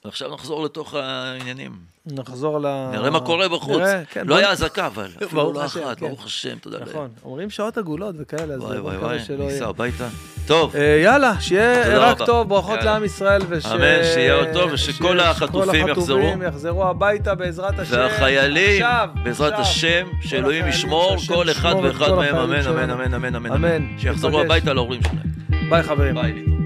Speaker 2: ועכשיו נחזור לתוך העניינים.
Speaker 1: נחזור ל...
Speaker 2: נראה מה קורה בחוץ.
Speaker 1: אה, נראה, כן,
Speaker 2: לא
Speaker 1: בוא-
Speaker 2: היה אזעקה, אבל. אפילו
Speaker 1: ברוך
Speaker 2: לא
Speaker 1: השם,
Speaker 2: אחת,
Speaker 1: כן.
Speaker 2: ברוך השם, תודה לאל.
Speaker 1: נכון, אומרים שעות עגולות וכאלה, אז
Speaker 2: וואי
Speaker 1: בוא
Speaker 2: וואי
Speaker 1: נקווה
Speaker 2: וואי,
Speaker 1: שלא
Speaker 2: ניסע
Speaker 1: יהיה.
Speaker 2: הביתה. טוב,
Speaker 1: אה, יאללה, שיהיה
Speaker 2: תודה
Speaker 1: רק
Speaker 2: רבה.
Speaker 1: טוב, ברכות
Speaker 2: יאללה.
Speaker 1: לעם ישראל. וש-
Speaker 2: אמן, שיהיה עוד טוב, ושכל
Speaker 1: שכל
Speaker 2: החטופים יחזרו.
Speaker 1: החטופים יחזרו הביתה בעזרת השם.
Speaker 2: והחיילים,
Speaker 1: עכשיו,
Speaker 2: בעזרת
Speaker 1: עכשיו.
Speaker 2: השם, שאלוהים
Speaker 1: החיילים,
Speaker 2: ישמור
Speaker 1: שהשם
Speaker 2: כל אחד
Speaker 1: ישמור את
Speaker 2: ואחד
Speaker 1: כל
Speaker 2: מהם,
Speaker 1: החיילים
Speaker 2: אמן, אמן,
Speaker 1: שלנו.
Speaker 2: אמן, אמן, אמן,
Speaker 1: אמן.
Speaker 2: אמן. שיחזרו
Speaker 1: ניפגש.
Speaker 2: הביתה להורים שלהם.
Speaker 1: ביי חברים.
Speaker 2: ביי, ליטון.